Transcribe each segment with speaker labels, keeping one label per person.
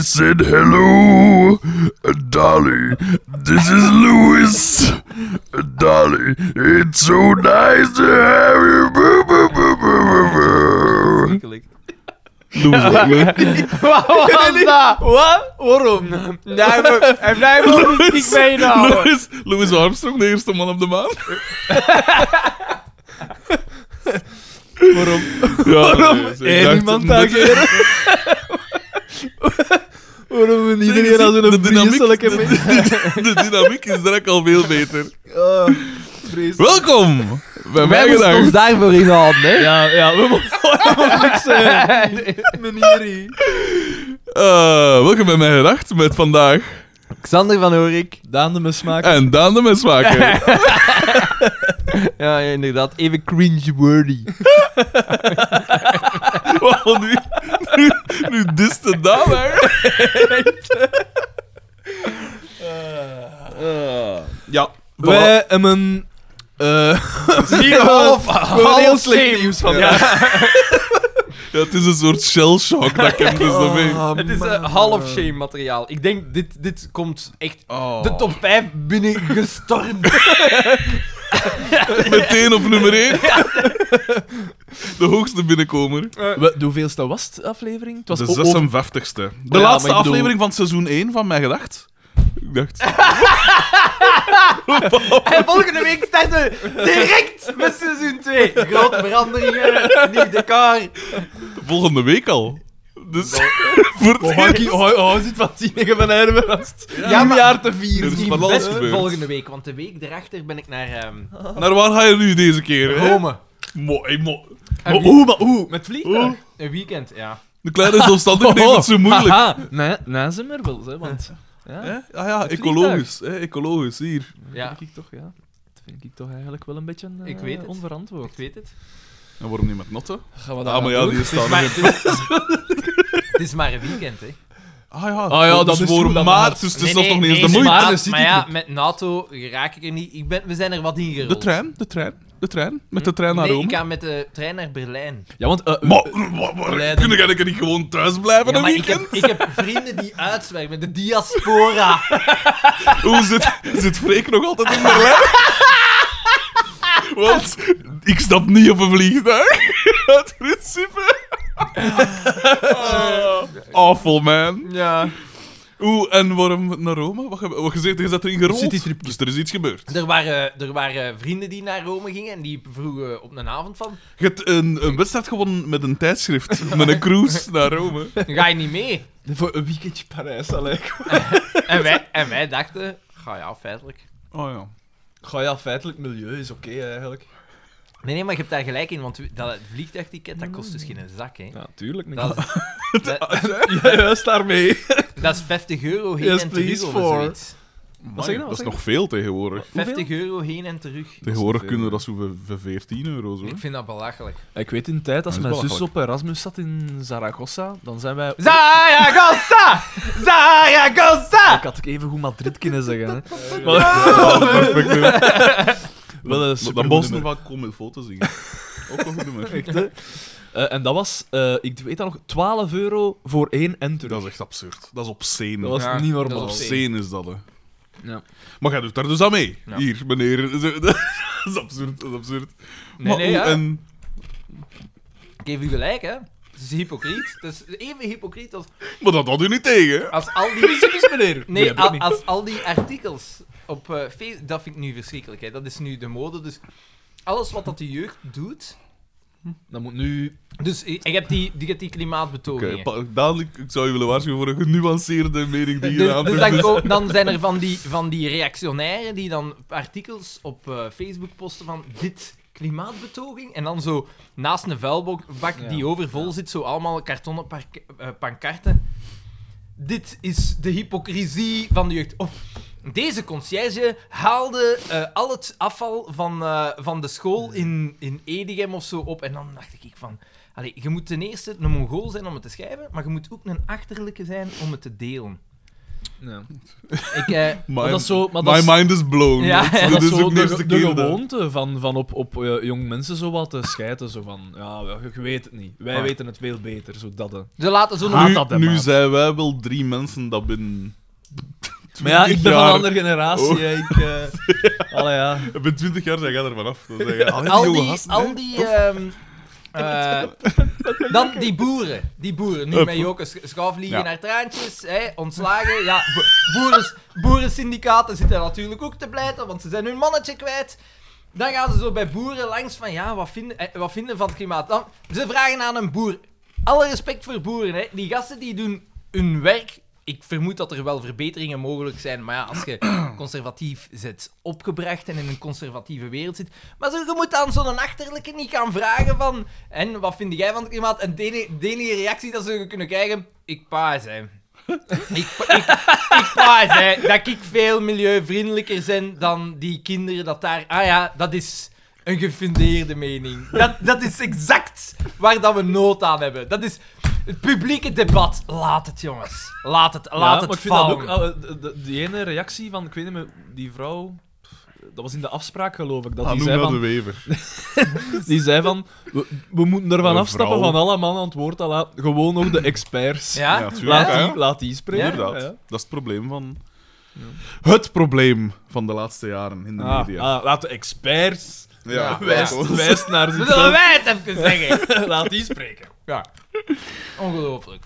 Speaker 1: said hello, Dolly. This is Louis. Dolly, it's so nice to have you. Boo, boo, boo, boo, boo, boo.
Speaker 2: Schrikkelijk.
Speaker 3: Wat
Speaker 2: Oh,
Speaker 3: was dat?
Speaker 2: Wat? Waarom?
Speaker 3: Hij heeft- Hij blijft ook niet
Speaker 4: Louis-
Speaker 3: ziek meehouden.
Speaker 4: Louis, Louis Armstrong, de eerste man op de maan.
Speaker 2: Waarom?
Speaker 4: Ja,
Speaker 2: Waarom?
Speaker 4: nee, dus ik
Speaker 2: Eén
Speaker 4: dacht-
Speaker 2: iemand
Speaker 4: dat-
Speaker 2: ageren? Waarom moet
Speaker 4: Zeg,
Speaker 2: iedereen als
Speaker 4: de
Speaker 2: een
Speaker 4: dynamiek-
Speaker 2: vreselijke
Speaker 4: de-
Speaker 2: mens?
Speaker 4: de- De dynamiek is direct al veel beter.
Speaker 2: Oh, vreselijk.
Speaker 4: Welkom bij
Speaker 2: Wij
Speaker 4: Mijn
Speaker 2: moeten ons
Speaker 4: Gedacht.
Speaker 2: daarvoor inhouden, hè?
Speaker 3: Ja, ja, we moeten... eh,
Speaker 2: Meneerie.
Speaker 4: Eh, welkom bij Mijn Gedacht met vandaag
Speaker 2: Xander van Horik. Daan de Mesmaak.
Speaker 4: en Daan de Mesmaker.
Speaker 2: Ja, ja, inderdaad. Even cringe-worthy.
Speaker 4: Wow, nu, nu, nu dist de Daan hè?
Speaker 3: Eh.
Speaker 4: Ja. voilà.
Speaker 2: Wij hebben...
Speaker 3: eh, Hier half, half
Speaker 2: heel
Speaker 3: slim.
Speaker 2: slecht nieuws vandaag.
Speaker 3: Ja,
Speaker 4: ja. Het is een soort shell shock dat ik hem dus nog mee.
Speaker 3: het is eh, half shame materiaal. Ik denk, dit, dit komt echt
Speaker 4: Oh.
Speaker 2: Oh.
Speaker 3: de top 5 binnen gestormd.
Speaker 4: Meteen op nummer 1. De hoogste binnenkomer.
Speaker 2: We, de hoeveelste was het aflevering? Het was
Speaker 4: de
Speaker 2: o-
Speaker 4: 56ste. De laatste
Speaker 2: Ja, maar ik bedoel-
Speaker 4: aflevering van seizoen 1 van Mijn Gedacht. Ik dacht.
Speaker 3: En volgende week starten we direct met seizoen 2. Grote veranderingen, nieuw decor.
Speaker 4: Volgende week al. Dus voor het eerst-
Speaker 2: oh, zit van Tienige van Herwest.
Speaker 3: Ja, maar-
Speaker 2: jaar te
Speaker 4: Er
Speaker 2: vieren.
Speaker 4: is
Speaker 3: Misschien
Speaker 4: van alles
Speaker 3: best
Speaker 4: gebeurd.
Speaker 3: volgende week, want de week daarachter ben ik naar ehm
Speaker 4: Naar waar ga je nu deze keer? hè?
Speaker 3: Rome.
Speaker 4: Mooi, mooi.
Speaker 3: Een wie-
Speaker 2: Oeh, maar oeh.
Speaker 3: Met vliegtuig. Een weekend, ja.
Speaker 4: De kleine zelfstandige deed het zo moeilijk.
Speaker 2: Haha, na, na zijn merbels, hè, want...
Speaker 4: Hè?
Speaker 2: Ja,
Speaker 4: Ah ja, ecologisch. Hè? Ecologisch, hier.
Speaker 3: Ja,
Speaker 2: Dat vind ik toch, ja. Dat vind ik toch eigenlijk wel een beetje eh,
Speaker 3: Ik weet het. ik
Speaker 2: onverantwoord.
Speaker 3: weet het.
Speaker 4: En waarom niet met notten?
Speaker 2: Gaan we
Speaker 4: Ah, maar ja, die staan
Speaker 3: Maar
Speaker 4: er.
Speaker 3: het is, het is maar een weekend, hè.
Speaker 4: Ah ja,
Speaker 2: Ah ja, dat
Speaker 4: dus
Speaker 2: is
Speaker 4: voor
Speaker 2: goed, dat
Speaker 4: maart,
Speaker 2: maakt.
Speaker 4: dus het is nog niet eens de
Speaker 2: nee,
Speaker 4: moeite.
Speaker 2: maar-
Speaker 3: Maar,
Speaker 2: dus zit
Speaker 3: maar
Speaker 2: ik
Speaker 3: ja,
Speaker 2: er.
Speaker 3: met NATO raak ik er niet. Ik ben, we zijn er wat in gerold.
Speaker 4: De trein, de trein, de trein. Met de trein naar
Speaker 3: Nee,
Speaker 4: Rome.
Speaker 3: ik ga met de trein naar Berlijn.
Speaker 2: Ja, want... eh,
Speaker 4: Maar, maar, maar,
Speaker 2: Leiden.
Speaker 4: kunnen jij niet gewoon thuis blijven
Speaker 3: Ja,
Speaker 4: een
Speaker 3: maar ik heb,
Speaker 4: weekend?
Speaker 3: ik heb vrienden die uitzwerken, de diaspora.
Speaker 4: Hoe zit, zit Freek nog altijd in Berlijn? Want ik stap niet op een vliegtuig. Uit principe. Ah, awful man.
Speaker 3: Ja.
Speaker 4: Oeh, en waarom naar Rome? Wat, ge- wat gezegd, je zat erin gerold.
Speaker 2: Citytripje.
Speaker 4: Dus er is iets gebeurd.
Speaker 3: Er waren, er waren vrienden die naar Rome gingen en die vroegen op een avond van...
Speaker 4: Je hebt een, een wedstrijd gewonnen met een tijdschrift. Met een cruise naar Rome.
Speaker 3: Ga je niet mee?
Speaker 2: Voor een weekendje Parijs, allee.
Speaker 3: En wij, en wij dachten... Ga ja, feitelijk.
Speaker 4: Oh ja.
Speaker 2: Goh, ja, feitelijk, milieu is oké, eigenlijk.
Speaker 3: Nee, nee, maar je hebt daar gelijk in, want dat vliegtuigticket, dat kost dus geen zak, hè.
Speaker 2: Ja, tuurlijk. niet.
Speaker 3: Dat, is- dat,
Speaker 2: Ja, juist daarmee.
Speaker 3: dat is 50 euro heen
Speaker 2: Yes,
Speaker 3: en terug
Speaker 2: please,
Speaker 3: of
Speaker 2: for.
Speaker 3: zoiets.
Speaker 4: Man,
Speaker 2: zeg je nou? Wat
Speaker 4: dat is
Speaker 2: zeg je?
Speaker 4: nog veel tegenwoordig.
Speaker 3: 50 euro heen en terug.
Speaker 4: Tegenwoordig
Speaker 2: veel,
Speaker 4: kunnen we
Speaker 2: hè.
Speaker 4: dat zo voor- voor 14 euro. Zo.
Speaker 3: Ik vind dat belachelijk.
Speaker 2: Ik weet in tijd,
Speaker 4: Dat
Speaker 2: als
Speaker 4: is
Speaker 2: mijn zus
Speaker 4: belachelijk.
Speaker 2: op Erasmus zat in Zaragoza, dan zijn wij...
Speaker 3: Zaragoza!
Speaker 2: Ik
Speaker 3: Zaragoza!
Speaker 2: had ik even goed Madrid kunnen zeggen. Hè.
Speaker 4: Perfect, hè.
Speaker 2: Wel een
Speaker 4: Dan
Speaker 2: supergoed
Speaker 4: Boston
Speaker 2: nummer.
Speaker 4: van Kom in foto's zingen. Ook een goed nummer.
Speaker 2: Echt, hè? Eh, en dat was, eh, ik weet dat nog, 12 euro voor één en terug.
Speaker 4: Dat is echt absurd. Dat is obscene.
Speaker 2: Dat was
Speaker 3: Ja,
Speaker 2: niet
Speaker 3: dat
Speaker 2: normaal.
Speaker 3: was
Speaker 4: obscene. is dat, hè.
Speaker 2: Ja.
Speaker 4: Maar jij doet daar dus aan mee.
Speaker 3: Ja.
Speaker 4: Hier, meneer. Dat is absurd, dat is absurd.
Speaker 3: Nee,
Speaker 4: maar
Speaker 3: nee,
Speaker 4: hoe-
Speaker 3: ja.
Speaker 4: en,
Speaker 3: Ik geef u gelijk, hè. Het is hypocriet. Het is even hypocriet als,
Speaker 4: maar dat had u niet tegen,
Speaker 2: Oh,
Speaker 4: hè?
Speaker 3: als al die...
Speaker 2: meneer.
Speaker 3: Nee,
Speaker 2: dat
Speaker 3: al-
Speaker 2: niet.
Speaker 3: als al die artikels op eh, Facebook... Dat vind ik nu verschrikkelijk, hè. Dat is nu de mode, dus... Alles wat dat de jeugd doet...
Speaker 2: Dat moet nu...
Speaker 3: Dus eh, je hebt die, die, je hebt die klimaatbetogingen.
Speaker 4: Oké, pa- dadelijk, ik zou je willen waarschuwen voor een genuanceerde mening die je
Speaker 3: Dus,
Speaker 4: aan
Speaker 3: dus dan, ko- dan zijn er van die, van die reactionairen die dan artikels op eh, Facebook posten van dit klimaatbetoging. En dan zo naast een vuilbak bak
Speaker 2: Ja.
Speaker 3: die overvol zit, zo allemaal kartonnen park- eh, pankarten. Dit is de hypocrisie van de jeugd. Of, deze conciërge haalde eh, al het afval van, eh, van de school in, in Edegem of zo op. En dan dacht ik van... Allee, je moet ten eerste een Mongool zijn om het te schrijven, maar je moet ook een achterlijke zijn om het te delen.
Speaker 2: Ja.
Speaker 3: Ik, eh,
Speaker 4: My,
Speaker 2: Maar dat is zo... Maar dat
Speaker 4: my
Speaker 2: is,
Speaker 4: mind is blown.
Speaker 3: Ja,
Speaker 4: dat,
Speaker 3: ja,
Speaker 2: dat
Speaker 4: dit
Speaker 2: is
Speaker 4: is dus
Speaker 2: zo
Speaker 4: ook de eerste
Speaker 2: de, de
Speaker 4: keer. dat-
Speaker 2: gewoonte van, van op, op eh, jong mensen zo wat te schijten. Zo van, ja, je, je weet het niet. Wij
Speaker 3: Ah.
Speaker 2: weten het veel beter. Zo dat. hè.
Speaker 3: ze laten zo'n...
Speaker 2: Haat dat, hè,
Speaker 4: nu nu
Speaker 2: maat.
Speaker 4: zijn wij wel drie mensen dat binnen...
Speaker 2: Maar ja, ik ben van
Speaker 4: jaar.
Speaker 2: een andere generatie.
Speaker 4: Oh.
Speaker 2: hè. Ik, eh, allee, ja.
Speaker 4: Binnen twintig jaar zijn jij er vanaf. Dan zeg je, "Ah,
Speaker 3: al
Speaker 4: jonge
Speaker 3: die,
Speaker 4: gasten, hè."
Speaker 3: al die ehm, eh, dan die boeren, die boeren. Nu
Speaker 4: Hup.
Speaker 3: met Joke Sch- Schaafliegen
Speaker 4: Ja.
Speaker 3: naar traantjes, hè, ontslagen. Ja, bo- boeren, boerensyndicaten zitten natuurlijk ook te pleiten, want ze zijn hun mannetje kwijt. Dan gaan ze zo bij boeren langs van, ja, wat vinden, eh, wat vinden van het klimaat? Dan, ze vragen aan een boer. Alle respect voor boeren, hè. Die gasten die doen hun werk. Ik vermoed dat er wel verbeteringen mogelijk zijn, maar ja, als je conservatief zit opgebracht en in een conservatieve wereld zit... Maar zo, je moet aan zo'n achterlijke niet gaan vragen van... En, wat vind jij van het klimaat? En de enige, de enige reactie dat ze kunnen krijgen... Ik paas, hè. Ik, pa- ik, ik paas, hè. Dat ik veel milieuvriendelijker ben dan die kinderen dat daar... Ah ja, dat is een gefundeerde mening. Dat, dat is exact waar dat we nood aan hebben. Dat is het publieke debat. Laat het, jongens. Laat het,
Speaker 2: Ja,
Speaker 3: laat
Speaker 2: maar
Speaker 3: het
Speaker 2: ik vind dat
Speaker 3: vallen.
Speaker 2: ook, ah, de, de- die ene reactie van, ik weet niet meer, die vrouw... pff, Dat was in de afspraak, geloof ik. Dat die, zei
Speaker 4: Hanouna de
Speaker 2: van,
Speaker 4: Wever.
Speaker 2: die zei van, we, we moeten ervan
Speaker 4: Een
Speaker 2: afstappen
Speaker 4: vrouw.
Speaker 2: van alle mannen aan het woord te laten. Gewoon nog de experts.
Speaker 3: Ja?
Speaker 4: Ja, tuurlijk,
Speaker 2: Laat,
Speaker 4: hè.
Speaker 2: die, laat die spreken.
Speaker 4: Inderdaad.
Speaker 2: Ja.
Speaker 4: Dat is het probleem van... Het probleem van de laatste jaren in de
Speaker 2: Ah,
Speaker 4: media.
Speaker 2: ah, laat de experts
Speaker 3: Ja,
Speaker 4: wijst-
Speaker 3: ja.
Speaker 4: wijst-
Speaker 2: wijst naar
Speaker 3: Dat zullen
Speaker 2: zichzelf.
Speaker 3: wij het even zeggen.
Speaker 2: laat die spreken.
Speaker 3: Ja. Ongelooflijk.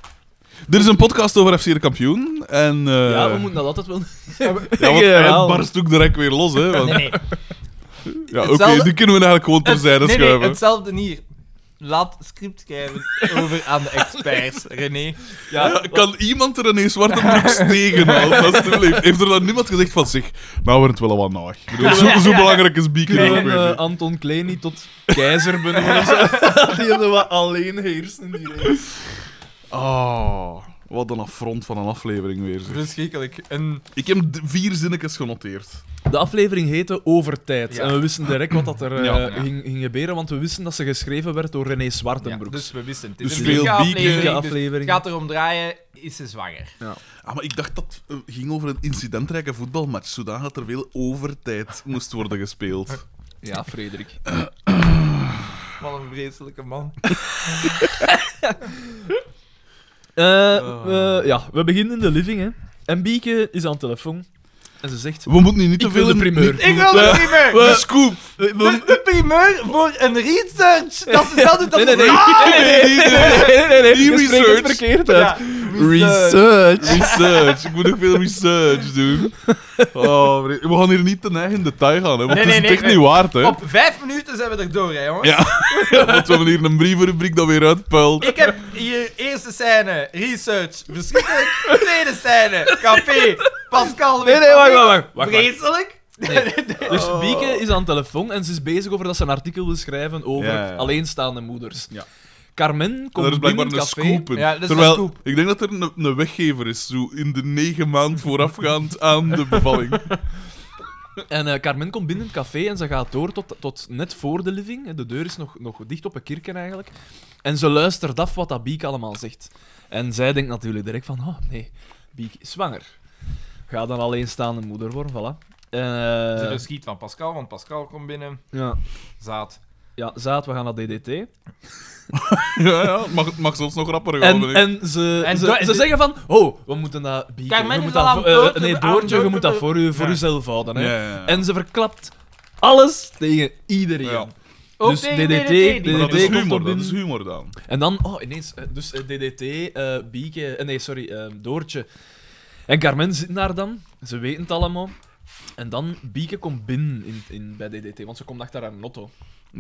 Speaker 4: Er is een podcast over FC de kampioen. En, eh,
Speaker 2: Ja, we moeten dat altijd wel...
Speaker 4: ja, want
Speaker 2: Ja,
Speaker 4: hij
Speaker 2: wel.
Speaker 4: barst ook direct weer los. Hè, want-
Speaker 3: Nee, nee.
Speaker 4: ja, Oké,
Speaker 3: Hetzelfde-
Speaker 4: die kunnen we eigenlijk gewoon terzijde
Speaker 3: nee, nee,
Speaker 4: schuiven.
Speaker 3: hetzelfde hier. Laat script schrijven over aan de experts, René.
Speaker 2: Ja,
Speaker 4: Ja, Eh, kan iemand er ineens zwarte broeks tegenhouden, alsjeblieft? Heeft er dan niemand gezegd van zich? Nou, wordt het wel wat naag. Ik bedoel, Zo, zo belangrijk is Beacon
Speaker 2: kunnen
Speaker 4: ook
Speaker 2: we
Speaker 4: weer
Speaker 2: eh,
Speaker 4: niet.
Speaker 2: Anton Klein niet tot keizer benoemen? zo? dat die er wat alleen heerst in die race.
Speaker 4: Ah, wat een affront van een aflevering weer. zeg.
Speaker 3: Verschrikkelijk. En
Speaker 4: Ik heb d- vier zinnetjes genoteerd.
Speaker 2: De aflevering heette Over tijd.
Speaker 3: Ja.
Speaker 2: En we wisten direct wat dat er eh,
Speaker 4: Ja, ja.
Speaker 2: Ging, ging gebeuren, want we wisten dat ze geschreven werd door René
Speaker 3: ja,
Speaker 2: Zwartenbroek.
Speaker 3: dus we wisten het.
Speaker 4: Dus
Speaker 3: is een
Speaker 4: veel
Speaker 3: dikke
Speaker 4: bieken,
Speaker 3: aflevering.
Speaker 2: dikke
Speaker 3: dus
Speaker 2: aflevering.
Speaker 3: het gaat erom draaien, is ze zwanger.
Speaker 4: Ah, maar ik dacht dat eh, ging over een incidentrijke voetbalmatch, zodanig dat er veel overtijd moest worden gespeeld.
Speaker 3: dus-
Speaker 2: Ja, Frederik.
Speaker 3: Wat een vreselijke man.
Speaker 2: Eh,
Speaker 3: Oh.
Speaker 2: we- ja, we beginnen in de living, hè. En Bieke is aan de telefoon. En ze zegt...
Speaker 4: We moeten nu niet
Speaker 2: Ik
Speaker 4: te veel...
Speaker 2: wil de primeur.
Speaker 4: niet-
Speaker 3: Ik wil de primeur!
Speaker 4: De scoop!
Speaker 2: We- we-
Speaker 3: De, de primeur voor een research! Dat is Ah! hetzelfde dat
Speaker 2: Nee, nee, nee.
Speaker 4: Nee, nee, nee, nee.
Speaker 2: nee, nee, nee.
Speaker 4: Die
Speaker 2: je spreekt het
Speaker 4: research.
Speaker 2: verkeerd uit.
Speaker 4: Research. Research. Ik moet nog veel research doen. Oh, vre- we gaan hier niet ten eigen detail gaan, hè, want
Speaker 3: Nee,
Speaker 4: het is
Speaker 3: nee, nee,
Speaker 4: echt
Speaker 3: nee.
Speaker 4: niet waard. Hè.
Speaker 3: Op vijf minuten zijn we er door, hè, jongens.
Speaker 4: Ja, want we hebben hier een brievenrubriek dat weer uitpuilt.
Speaker 3: Ik heb hier eerste scène, research, verschrikkelijk. Tweede scène, café, Pascal.
Speaker 2: Nee, nee, wacht, wacht, wacht. wacht, wacht.
Speaker 3: Vreselijk.
Speaker 2: Dus Bieke is aan de telefoon en ze is bezig over dat ze een artikel wil schrijven over
Speaker 4: Ja, ja, ja. alleenstaande
Speaker 2: alleenstaande moeders.
Speaker 4: Ja.
Speaker 2: Carmen
Speaker 4: Er is
Speaker 2: komt binnen
Speaker 4: blijkbaar
Speaker 2: het
Speaker 4: een
Speaker 2: café.
Speaker 4: scoop in.
Speaker 3: Ja, dat is
Speaker 4: Terwijl,
Speaker 3: een scoop.
Speaker 4: ik denk dat er een, een weggever is, zo in de negen maand voorafgaand aan de bevalling.
Speaker 2: En eh, Carmen komt binnen het café en ze gaat door tot, tot net voor de living. De deur is nog, nog dicht op een kirken eigenlijk. En ze luistert af wat dat Bieke allemaal zegt. En zij denkt natuurlijk direct van, oh nee, Bieke is zwanger. Ga dan alleenstaande moeder worden, voilà. En, eh,
Speaker 3: Ze verschiet van Pascal, want Pascal komt binnen.
Speaker 2: ja,
Speaker 3: Zaad.
Speaker 2: ja, zaad, we gaan naar DDT.
Speaker 4: Ja, ja, het mag, het mag zelfs nog rapper gaan.
Speaker 2: En,
Speaker 4: vind ik.
Speaker 2: en ze,
Speaker 3: En
Speaker 2: ze,
Speaker 3: do-
Speaker 2: ze zeggen van, oh, we moeten dat bieken.
Speaker 3: Carmen
Speaker 2: Je
Speaker 3: is
Speaker 2: moet
Speaker 3: al
Speaker 2: dat
Speaker 3: aan
Speaker 2: voor-
Speaker 3: het
Speaker 2: eh,
Speaker 3: dood-
Speaker 2: nee,
Speaker 3: aan
Speaker 2: Doortje,
Speaker 3: het
Speaker 2: je moet dat
Speaker 3: dood-
Speaker 2: voor, u, voor
Speaker 3: Ja.
Speaker 2: uzelf houden. Hè.
Speaker 4: Ja, ja, ja.
Speaker 2: En ze verklapt alles tegen iedereen.
Speaker 4: Ja.
Speaker 3: Ook
Speaker 2: Dus
Speaker 3: tegen
Speaker 2: DDT,
Speaker 3: DDT, die- dus-
Speaker 4: Maar dat
Speaker 2: DDT
Speaker 4: is
Speaker 2: komt
Speaker 4: humor,
Speaker 2: op
Speaker 4: dat
Speaker 2: in.
Speaker 4: is humor dan.
Speaker 2: En dan, oh, ineens, eh, dus eh, DDT, eh, Bieke, eh, nee, sorry, eh, Doortje. En Carmen zitten daar dan, ze weten het allemaal. En dan, Bieke komt binnen in, in, bij DDT, want ze komt achter haar notto.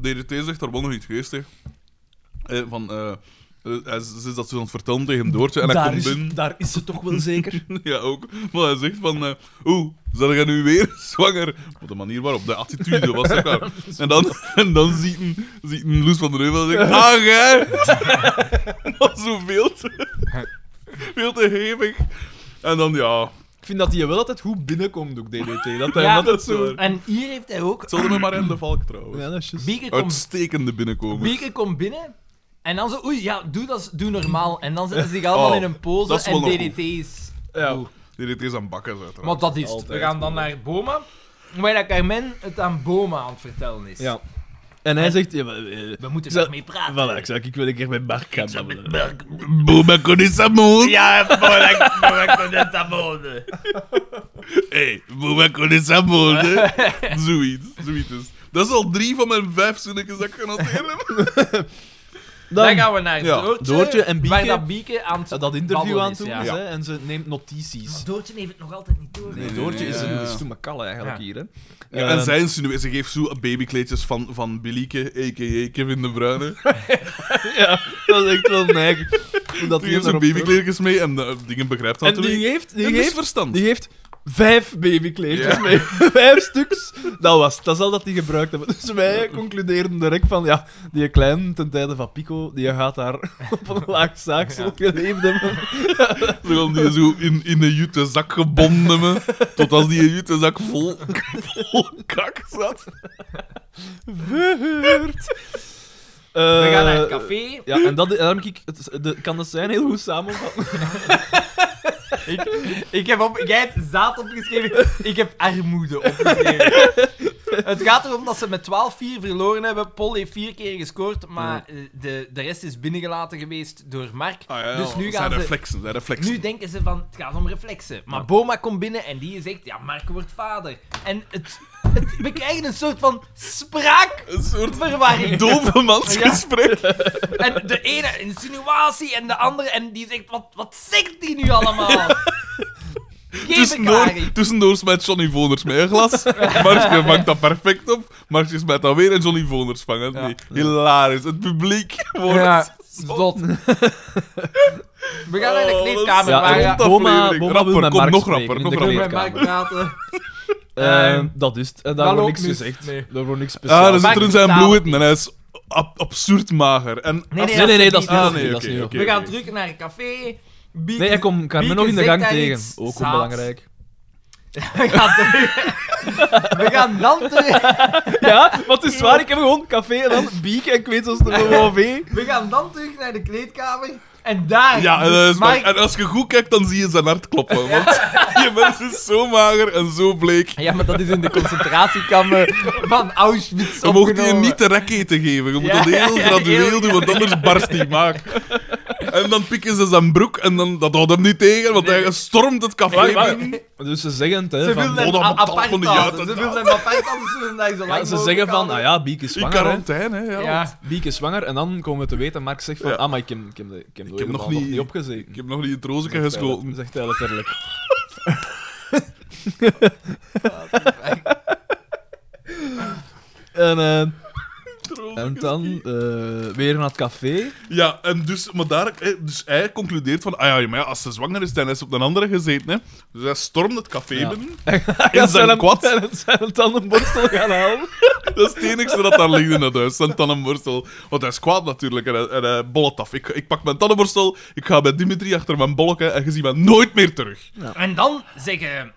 Speaker 4: DDT zegt daar wel nog iets geestig. Eh, van, eh, eh, hij z- ze is dat zo aan het vertellen tegen Doortje en hij
Speaker 2: Daar
Speaker 4: komt
Speaker 2: is,
Speaker 4: binnen.
Speaker 2: daar is ze toch wel zeker?
Speaker 4: Ja, ook. Maar hij zegt van, eh oeh, zijn jij nu weer zwanger? Op de manier waarop, de attitude was dat klaar. En dan, en dan ziet, een, ziet een Loes van der Heuvel en zegt, ah, jij! Maar zo veel te, veel te hevig. En dan, ja,
Speaker 2: Ik vind dat hij wel altijd goed binnenkomt, ook DDT. Dat hij
Speaker 3: Ja,
Speaker 2: altijd zo...
Speaker 3: En hier heeft hij ook...
Speaker 4: het zal er maar in de valk trouwens.
Speaker 2: Ja, dat is juist.
Speaker 3: Bieke komt
Speaker 4: Uitstekende binnenkomen.
Speaker 3: Bieke komt binnen. En dan zo, oei, ja, doe, dat, doe normaal. En dan zetten ze zich allemaal
Speaker 4: Oh,
Speaker 3: in een pose
Speaker 4: dat is wel
Speaker 3: en
Speaker 4: nog
Speaker 3: DDT's.
Speaker 2: Ja.
Speaker 3: Oeh.
Speaker 4: Die deed eerst aan bakken, uiteraard.
Speaker 3: Maar dat is het. We
Speaker 4: Altijd,
Speaker 3: gaan dan naar Boma. Waar dat Carmen het aan Boma aan het vertellen is.
Speaker 2: Ja. En hij zegt... Ja, maar, eh,
Speaker 3: We moeten
Speaker 2: Zo-
Speaker 3: daarmee praten.
Speaker 2: voilà, ik zou ik wil een keer met Bart gaan babbelen.
Speaker 4: Boema con esa mona.
Speaker 5: Ja, moeilijk, moeilijk met dit amone.
Speaker 4: Hey, boema con esa mona. Zoiets, zoiets is. Dat is al drie van mijn vijf zinnetjes dat ik genoteerd heb.
Speaker 3: Dan
Speaker 2: Dan,
Speaker 3: gaan we naar
Speaker 4: Ja,
Speaker 3: Doortje.
Speaker 2: Doortje en Bieke.
Speaker 3: Waar dat Bieke aan het
Speaker 2: dat interview
Speaker 3: babbelen
Speaker 2: aan
Speaker 3: is,
Speaker 2: toe
Speaker 3: ja.
Speaker 2: is,
Speaker 4: Ja.
Speaker 2: hè, en ze neemt notities.
Speaker 5: Doortje heeft het nog altijd niet door.
Speaker 2: Nee, Doortje is
Speaker 4: Ja,
Speaker 2: een
Speaker 4: ja.
Speaker 2: is toen makal eigenlijk
Speaker 3: Ja.
Speaker 2: hier, hè.
Speaker 4: Ja,
Speaker 2: Ehm,
Speaker 4: en zij insinueert, ze geeft zo babykleedjes van, van Billieke, a.k.a. Kevin de Bruyne.
Speaker 2: Ja, dat is echt wel neig. Dat
Speaker 4: Die geeft zijn babykleedjes mee en eh, dingen begrijpt dat
Speaker 2: En
Speaker 4: natuurlijk.
Speaker 2: die heeft, die
Speaker 4: Het is
Speaker 2: heeft,
Speaker 4: verstand.
Speaker 2: die heeft vijf babykleedjes
Speaker 4: Ja.
Speaker 2: mee. vijf stuks. Dat was het. Dat is al dat die gebruikt hebben. Dus wij concluderen direct van, ja, die kleine ten tijde van Pico, die gaat daar op een laag zaagsel geleefd hebben.
Speaker 4: Ze gaan die zo in, in een jute zak gebonden hebben, tot als die jute zak vol, vol kak zat.
Speaker 2: Verhuurd.
Speaker 3: We gaan naar het café.
Speaker 2: Eh, Ja, en dat, en daarom heb ik het, de, kan dat zijn heel goed samenvatten.
Speaker 3: Ik heb op, jij hebt zaad opgeschreven, ik heb armoede opgeschreven. het gaat erom dat ze met 12-4 verloren hebben. Paul heeft vier keer gescoord, maar eh, de, de rest is binnengelaten geweest door Mark.
Speaker 4: Ah, ja,
Speaker 3: dus nu
Speaker 4: dat
Speaker 3: gaan
Speaker 4: zijn
Speaker 3: ze...
Speaker 4: reflexen, zijn reflexen.
Speaker 3: Nu denken ze van, het gaat om reflexen. Maar Boma komt binnen en die zegt, ja, Mark wordt vader. En het, het, we krijgen een soort van spraakverwarring.
Speaker 4: Een soort dovemansgesprek.
Speaker 3: En de ene insinuatie en de andere, en die zegt, wat, wat zegt die nu allemaal? Geen
Speaker 4: Tussendoor,
Speaker 3: verklaring.
Speaker 4: tussendoor smijt Johnny Voners mij een glas. Markje vangt dat perfect op. Markje smijt dat weer en Johnny Voners vangt het
Speaker 3: Ja.
Speaker 4: mee. Hilarisch. Het publiek wordt...
Speaker 3: Ja, zot. We gaan naar de
Speaker 4: Oh,
Speaker 3: kleedkamer,
Speaker 4: dat is
Speaker 3: maar
Speaker 4: een
Speaker 3: ja,
Speaker 4: rond- aflevering. Rapper, kom, nog rapper, nog
Speaker 3: we
Speaker 4: rapper.
Speaker 3: met Mark praten.
Speaker 2: Ehm,
Speaker 3: Ehm,
Speaker 2: dat is het.
Speaker 3: dat
Speaker 2: En daar wordt
Speaker 3: loopt
Speaker 2: niks
Speaker 3: mis.
Speaker 2: gezegd.
Speaker 3: Nee. Ah,
Speaker 2: Daar wordt niks speciaals.
Speaker 4: Ja, dan zit
Speaker 3: Maakt
Speaker 4: er in
Speaker 3: niet
Speaker 4: zijn
Speaker 3: uit.
Speaker 4: bloed en hij is ab- absurd mager. En
Speaker 3: Nee, nee,
Speaker 2: Nee, nee, nee, dat is
Speaker 3: niet.
Speaker 4: Ah,
Speaker 2: niet.
Speaker 4: nee,
Speaker 2: Nee, dat
Speaker 4: oké,
Speaker 2: is niet.
Speaker 4: oké.
Speaker 3: We gaan terug naar een café. Bieke-
Speaker 2: Nee, ik kom Carmen
Speaker 3: Bieke
Speaker 2: nog in de
Speaker 3: zegt
Speaker 2: gang
Speaker 3: daar
Speaker 2: tegen.
Speaker 3: iets
Speaker 2: Ook
Speaker 3: zaads.
Speaker 2: onbelangrijk.
Speaker 3: We gaan, terug- we gaan dan terug...
Speaker 2: Ja, want het is waar, ik heb gewoon café en dan biek en ik weet zoals de OV.
Speaker 3: We gaan dan terug naar de kleedkamer. En daar...
Speaker 4: Ja, en, dat is
Speaker 3: Mark-
Speaker 4: waar. en als je goed kijkt, dan zie je zijn hart kloppen. Want die mens is zo mager en zo bleek.
Speaker 3: Ja, maar dat is in de concentratiekamer van Auschwitz
Speaker 4: Je mocht die
Speaker 3: opgenomen.
Speaker 4: niet de rek eten geven. Je moet
Speaker 3: Ja,
Speaker 4: dat heel
Speaker 3: ja, heel
Speaker 4: gradueel doen, want anders barst die maag. En dan pikken ze zijn broek en dan, dat houdt hem niet tegen, want hij stormt het café binnen.
Speaker 2: Dus ze zeggen het, hè.
Speaker 3: Ze
Speaker 2: van,
Speaker 4: oh,
Speaker 3: wilden hem
Speaker 4: dat
Speaker 3: a-
Speaker 4: betaalt
Speaker 3: apart
Speaker 4: van die
Speaker 3: houden.
Speaker 4: uit-
Speaker 3: Ze wilden hem apart houden, ze wilden daar zo lang
Speaker 2: ja, ze
Speaker 3: mogelijk
Speaker 2: zeggen van,
Speaker 3: houden.
Speaker 2: ah ja, Biek is
Speaker 4: In
Speaker 2: zwanger, hè.
Speaker 4: quarantaine, hè. Ja.
Speaker 3: Ja.
Speaker 2: Biek is zwanger en dan komen we te weten, Mark zegt van,
Speaker 4: Ja.
Speaker 2: ah, maar ik heb, ik heb, de- ik heb,
Speaker 4: Ik heb nog
Speaker 2: nog,
Speaker 4: niet-
Speaker 2: niet opgezeten.
Speaker 4: Ik heb nog niet in het rozenke geschoten.
Speaker 2: Zegt hij letterlijk. En, eh, en dan eh, weer naar het café.
Speaker 4: Ja, en dus, maar daar, eh, dus hij concludeert van, ah ja, maar ja, als ze zwanger is, dan is ze op een andere gezeten, hè. Dus hij stormt het café
Speaker 2: Ja.
Speaker 4: binnen.
Speaker 2: Ja,
Speaker 4: In zijn
Speaker 2: zijn
Speaker 4: kwad.
Speaker 2: Zijn, zijn tandenborstel gaan halen.
Speaker 4: Dat is het enigste dat daar ligt in het huis, zijn tandenborstel. Want hij is kwaad natuurlijk en hij, en hij bollet af. Ik, ik pak mijn tandenborstel, ik ga bij Dimitri achter mijn bolken en je ziet mij nooit meer terug.
Speaker 3: En dan zeggen,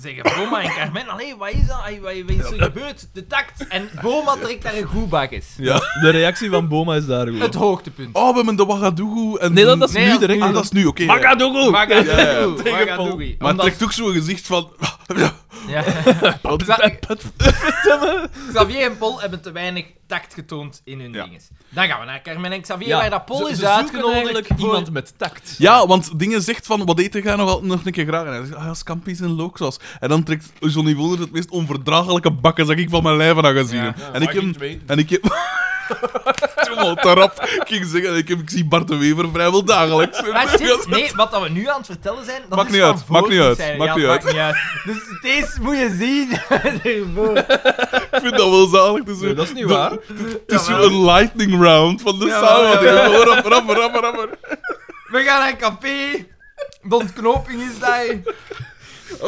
Speaker 3: zeggen Boma en Carmen, allee, wat is dat? Ai, Wat, wat is er gebeurd? De tact. En Boma trekt daar een goed bakjes.
Speaker 4: Ja.
Speaker 2: De reactie van Boma is daar
Speaker 3: Het
Speaker 2: goed.
Speaker 3: hoogtepunt.
Speaker 4: Oh, we hebben de Ouagadougou en...
Speaker 2: Nee, dat, dat is
Speaker 3: Nee,
Speaker 2: nu
Speaker 3: dat is
Speaker 2: direct.
Speaker 4: Ah, dat is nu, oké. Oh. ja.
Speaker 2: Magadougou!
Speaker 3: Wagadougou,
Speaker 2: Ja, ja.
Speaker 3: Wagadougou.
Speaker 4: Maar hij
Speaker 3: Omdat-
Speaker 4: trekt ook zo'n gezicht van...
Speaker 3: Ja.
Speaker 2: Wat- wat-
Speaker 3: Xavier en Paul hebben te weinig tact getoond in hun
Speaker 4: Ja.
Speaker 3: dinges. Dan gaan we naar Carmen en Xavier,
Speaker 2: Ja,
Speaker 3: waar dat Paul
Speaker 2: ze-
Speaker 3: is
Speaker 2: ze zoeken
Speaker 3: uitgenodigd
Speaker 2: eigenlijk
Speaker 3: voor...
Speaker 2: iemand met tact.
Speaker 4: Ja, want dingen zegt van, wat eten jij nog, al- nog een keer graag? En hij zegt, ah ja, scampi's en looksaus. En dan trekt Johnny Wonder het meest onverdraaglijke bakken dat ik van mijn lijf aan gezien heb. en, ik
Speaker 2: mag
Speaker 4: hem,
Speaker 2: niet weten.
Speaker 4: en ik heb... Toen al te rap. Ik ging zeggen, ik, heb, ik zie Bart de Wever vrijwel dagelijks.
Speaker 3: Maar shit, nee, wat dat we nu aan het vertellen zijn, dat
Speaker 4: Maakt
Speaker 3: is
Speaker 4: niet
Speaker 3: van
Speaker 4: uit,
Speaker 3: voor
Speaker 4: maakt niet
Speaker 3: die
Speaker 4: uit,
Speaker 3: scène.
Speaker 4: maakt
Speaker 3: Ja,
Speaker 4: niet
Speaker 3: maakt
Speaker 4: uit.
Speaker 3: niet uit. Dus deze moet je zien ervoor.
Speaker 4: Ik vind dat wel zalig. Dus,
Speaker 2: Nee, dat is niet waar.
Speaker 4: Het is zo een lightning round van de
Speaker 3: Jawel,
Speaker 4: samenvatting.
Speaker 3: jawel.
Speaker 4: Gewoon Rapper, rapper, rapper,
Speaker 2: Oh,
Speaker 4: rapper.
Speaker 3: We gaan naar een café. De ontknoping is daar.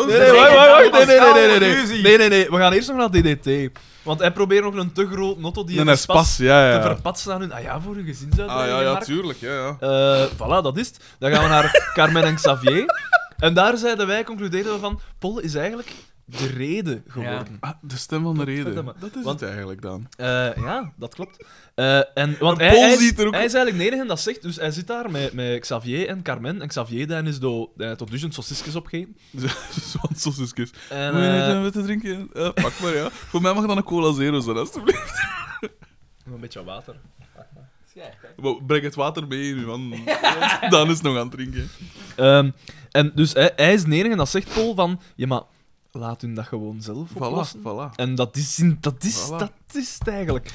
Speaker 2: Nee, nee, wacht, wacht, wacht. Nee, nee, nee, nee, nee,
Speaker 3: Ruzie.
Speaker 2: nee. Nee, nee, nee. We gaan eerst nog naar DDT. Want hij probeert nog een te groot notto die
Speaker 4: Nee,
Speaker 2: in
Speaker 4: nee,
Speaker 2: de
Speaker 4: spas, ja, ja.
Speaker 2: te verpatsen aan hun... Ah ja, voor hun
Speaker 4: Ah
Speaker 2: gezinsuitbreiding.
Speaker 4: ja, ja,
Speaker 2: Mark.
Speaker 4: tuurlijk, ja, ja.
Speaker 2: Eh, voilà, dat is het. Dan gaan we naar Carmen en Xavier. En daar zeiden wij, concludeerden we van... Paul is eigenlijk de reden geworden.
Speaker 4: Ah, de stem van de reden.
Speaker 2: maar.
Speaker 4: Dat is
Speaker 2: Want-
Speaker 4: het eigenlijk dan.
Speaker 2: Eh, ja, dat klopt. Eh, en, want
Speaker 4: Een
Speaker 2: hij, hij,
Speaker 4: Pool
Speaker 2: is,
Speaker 4: ziet er ook-
Speaker 2: hij is eigenlijk de enige die dat zegt. Dus hij zit daar met, met Xavier en Carmen. En Xavier dan is do, eh, tot duizend sausjes opgegeten.
Speaker 4: Zo'n sausjeskus.
Speaker 2: En,
Speaker 4: Moet je
Speaker 2: eh,
Speaker 4: niet hebben te drinken? Eh, pak maar, ja. Voor mij mag dan een cola zero zijn, alstublieft.
Speaker 2: een beetje water.
Speaker 4: Maar Breng het water mee in uw handen. want Dan is het nog aan het drinken.
Speaker 2: Ehm, en dus hij, hij is de enige dat zegt, Paul, van... Ja, maar laat hun dat gewoon zelf
Speaker 4: Voilà,
Speaker 2: oplossen.
Speaker 4: voilà.
Speaker 2: En dat is, in- dat is,
Speaker 4: Voilà.
Speaker 2: dat is het eigenlijk.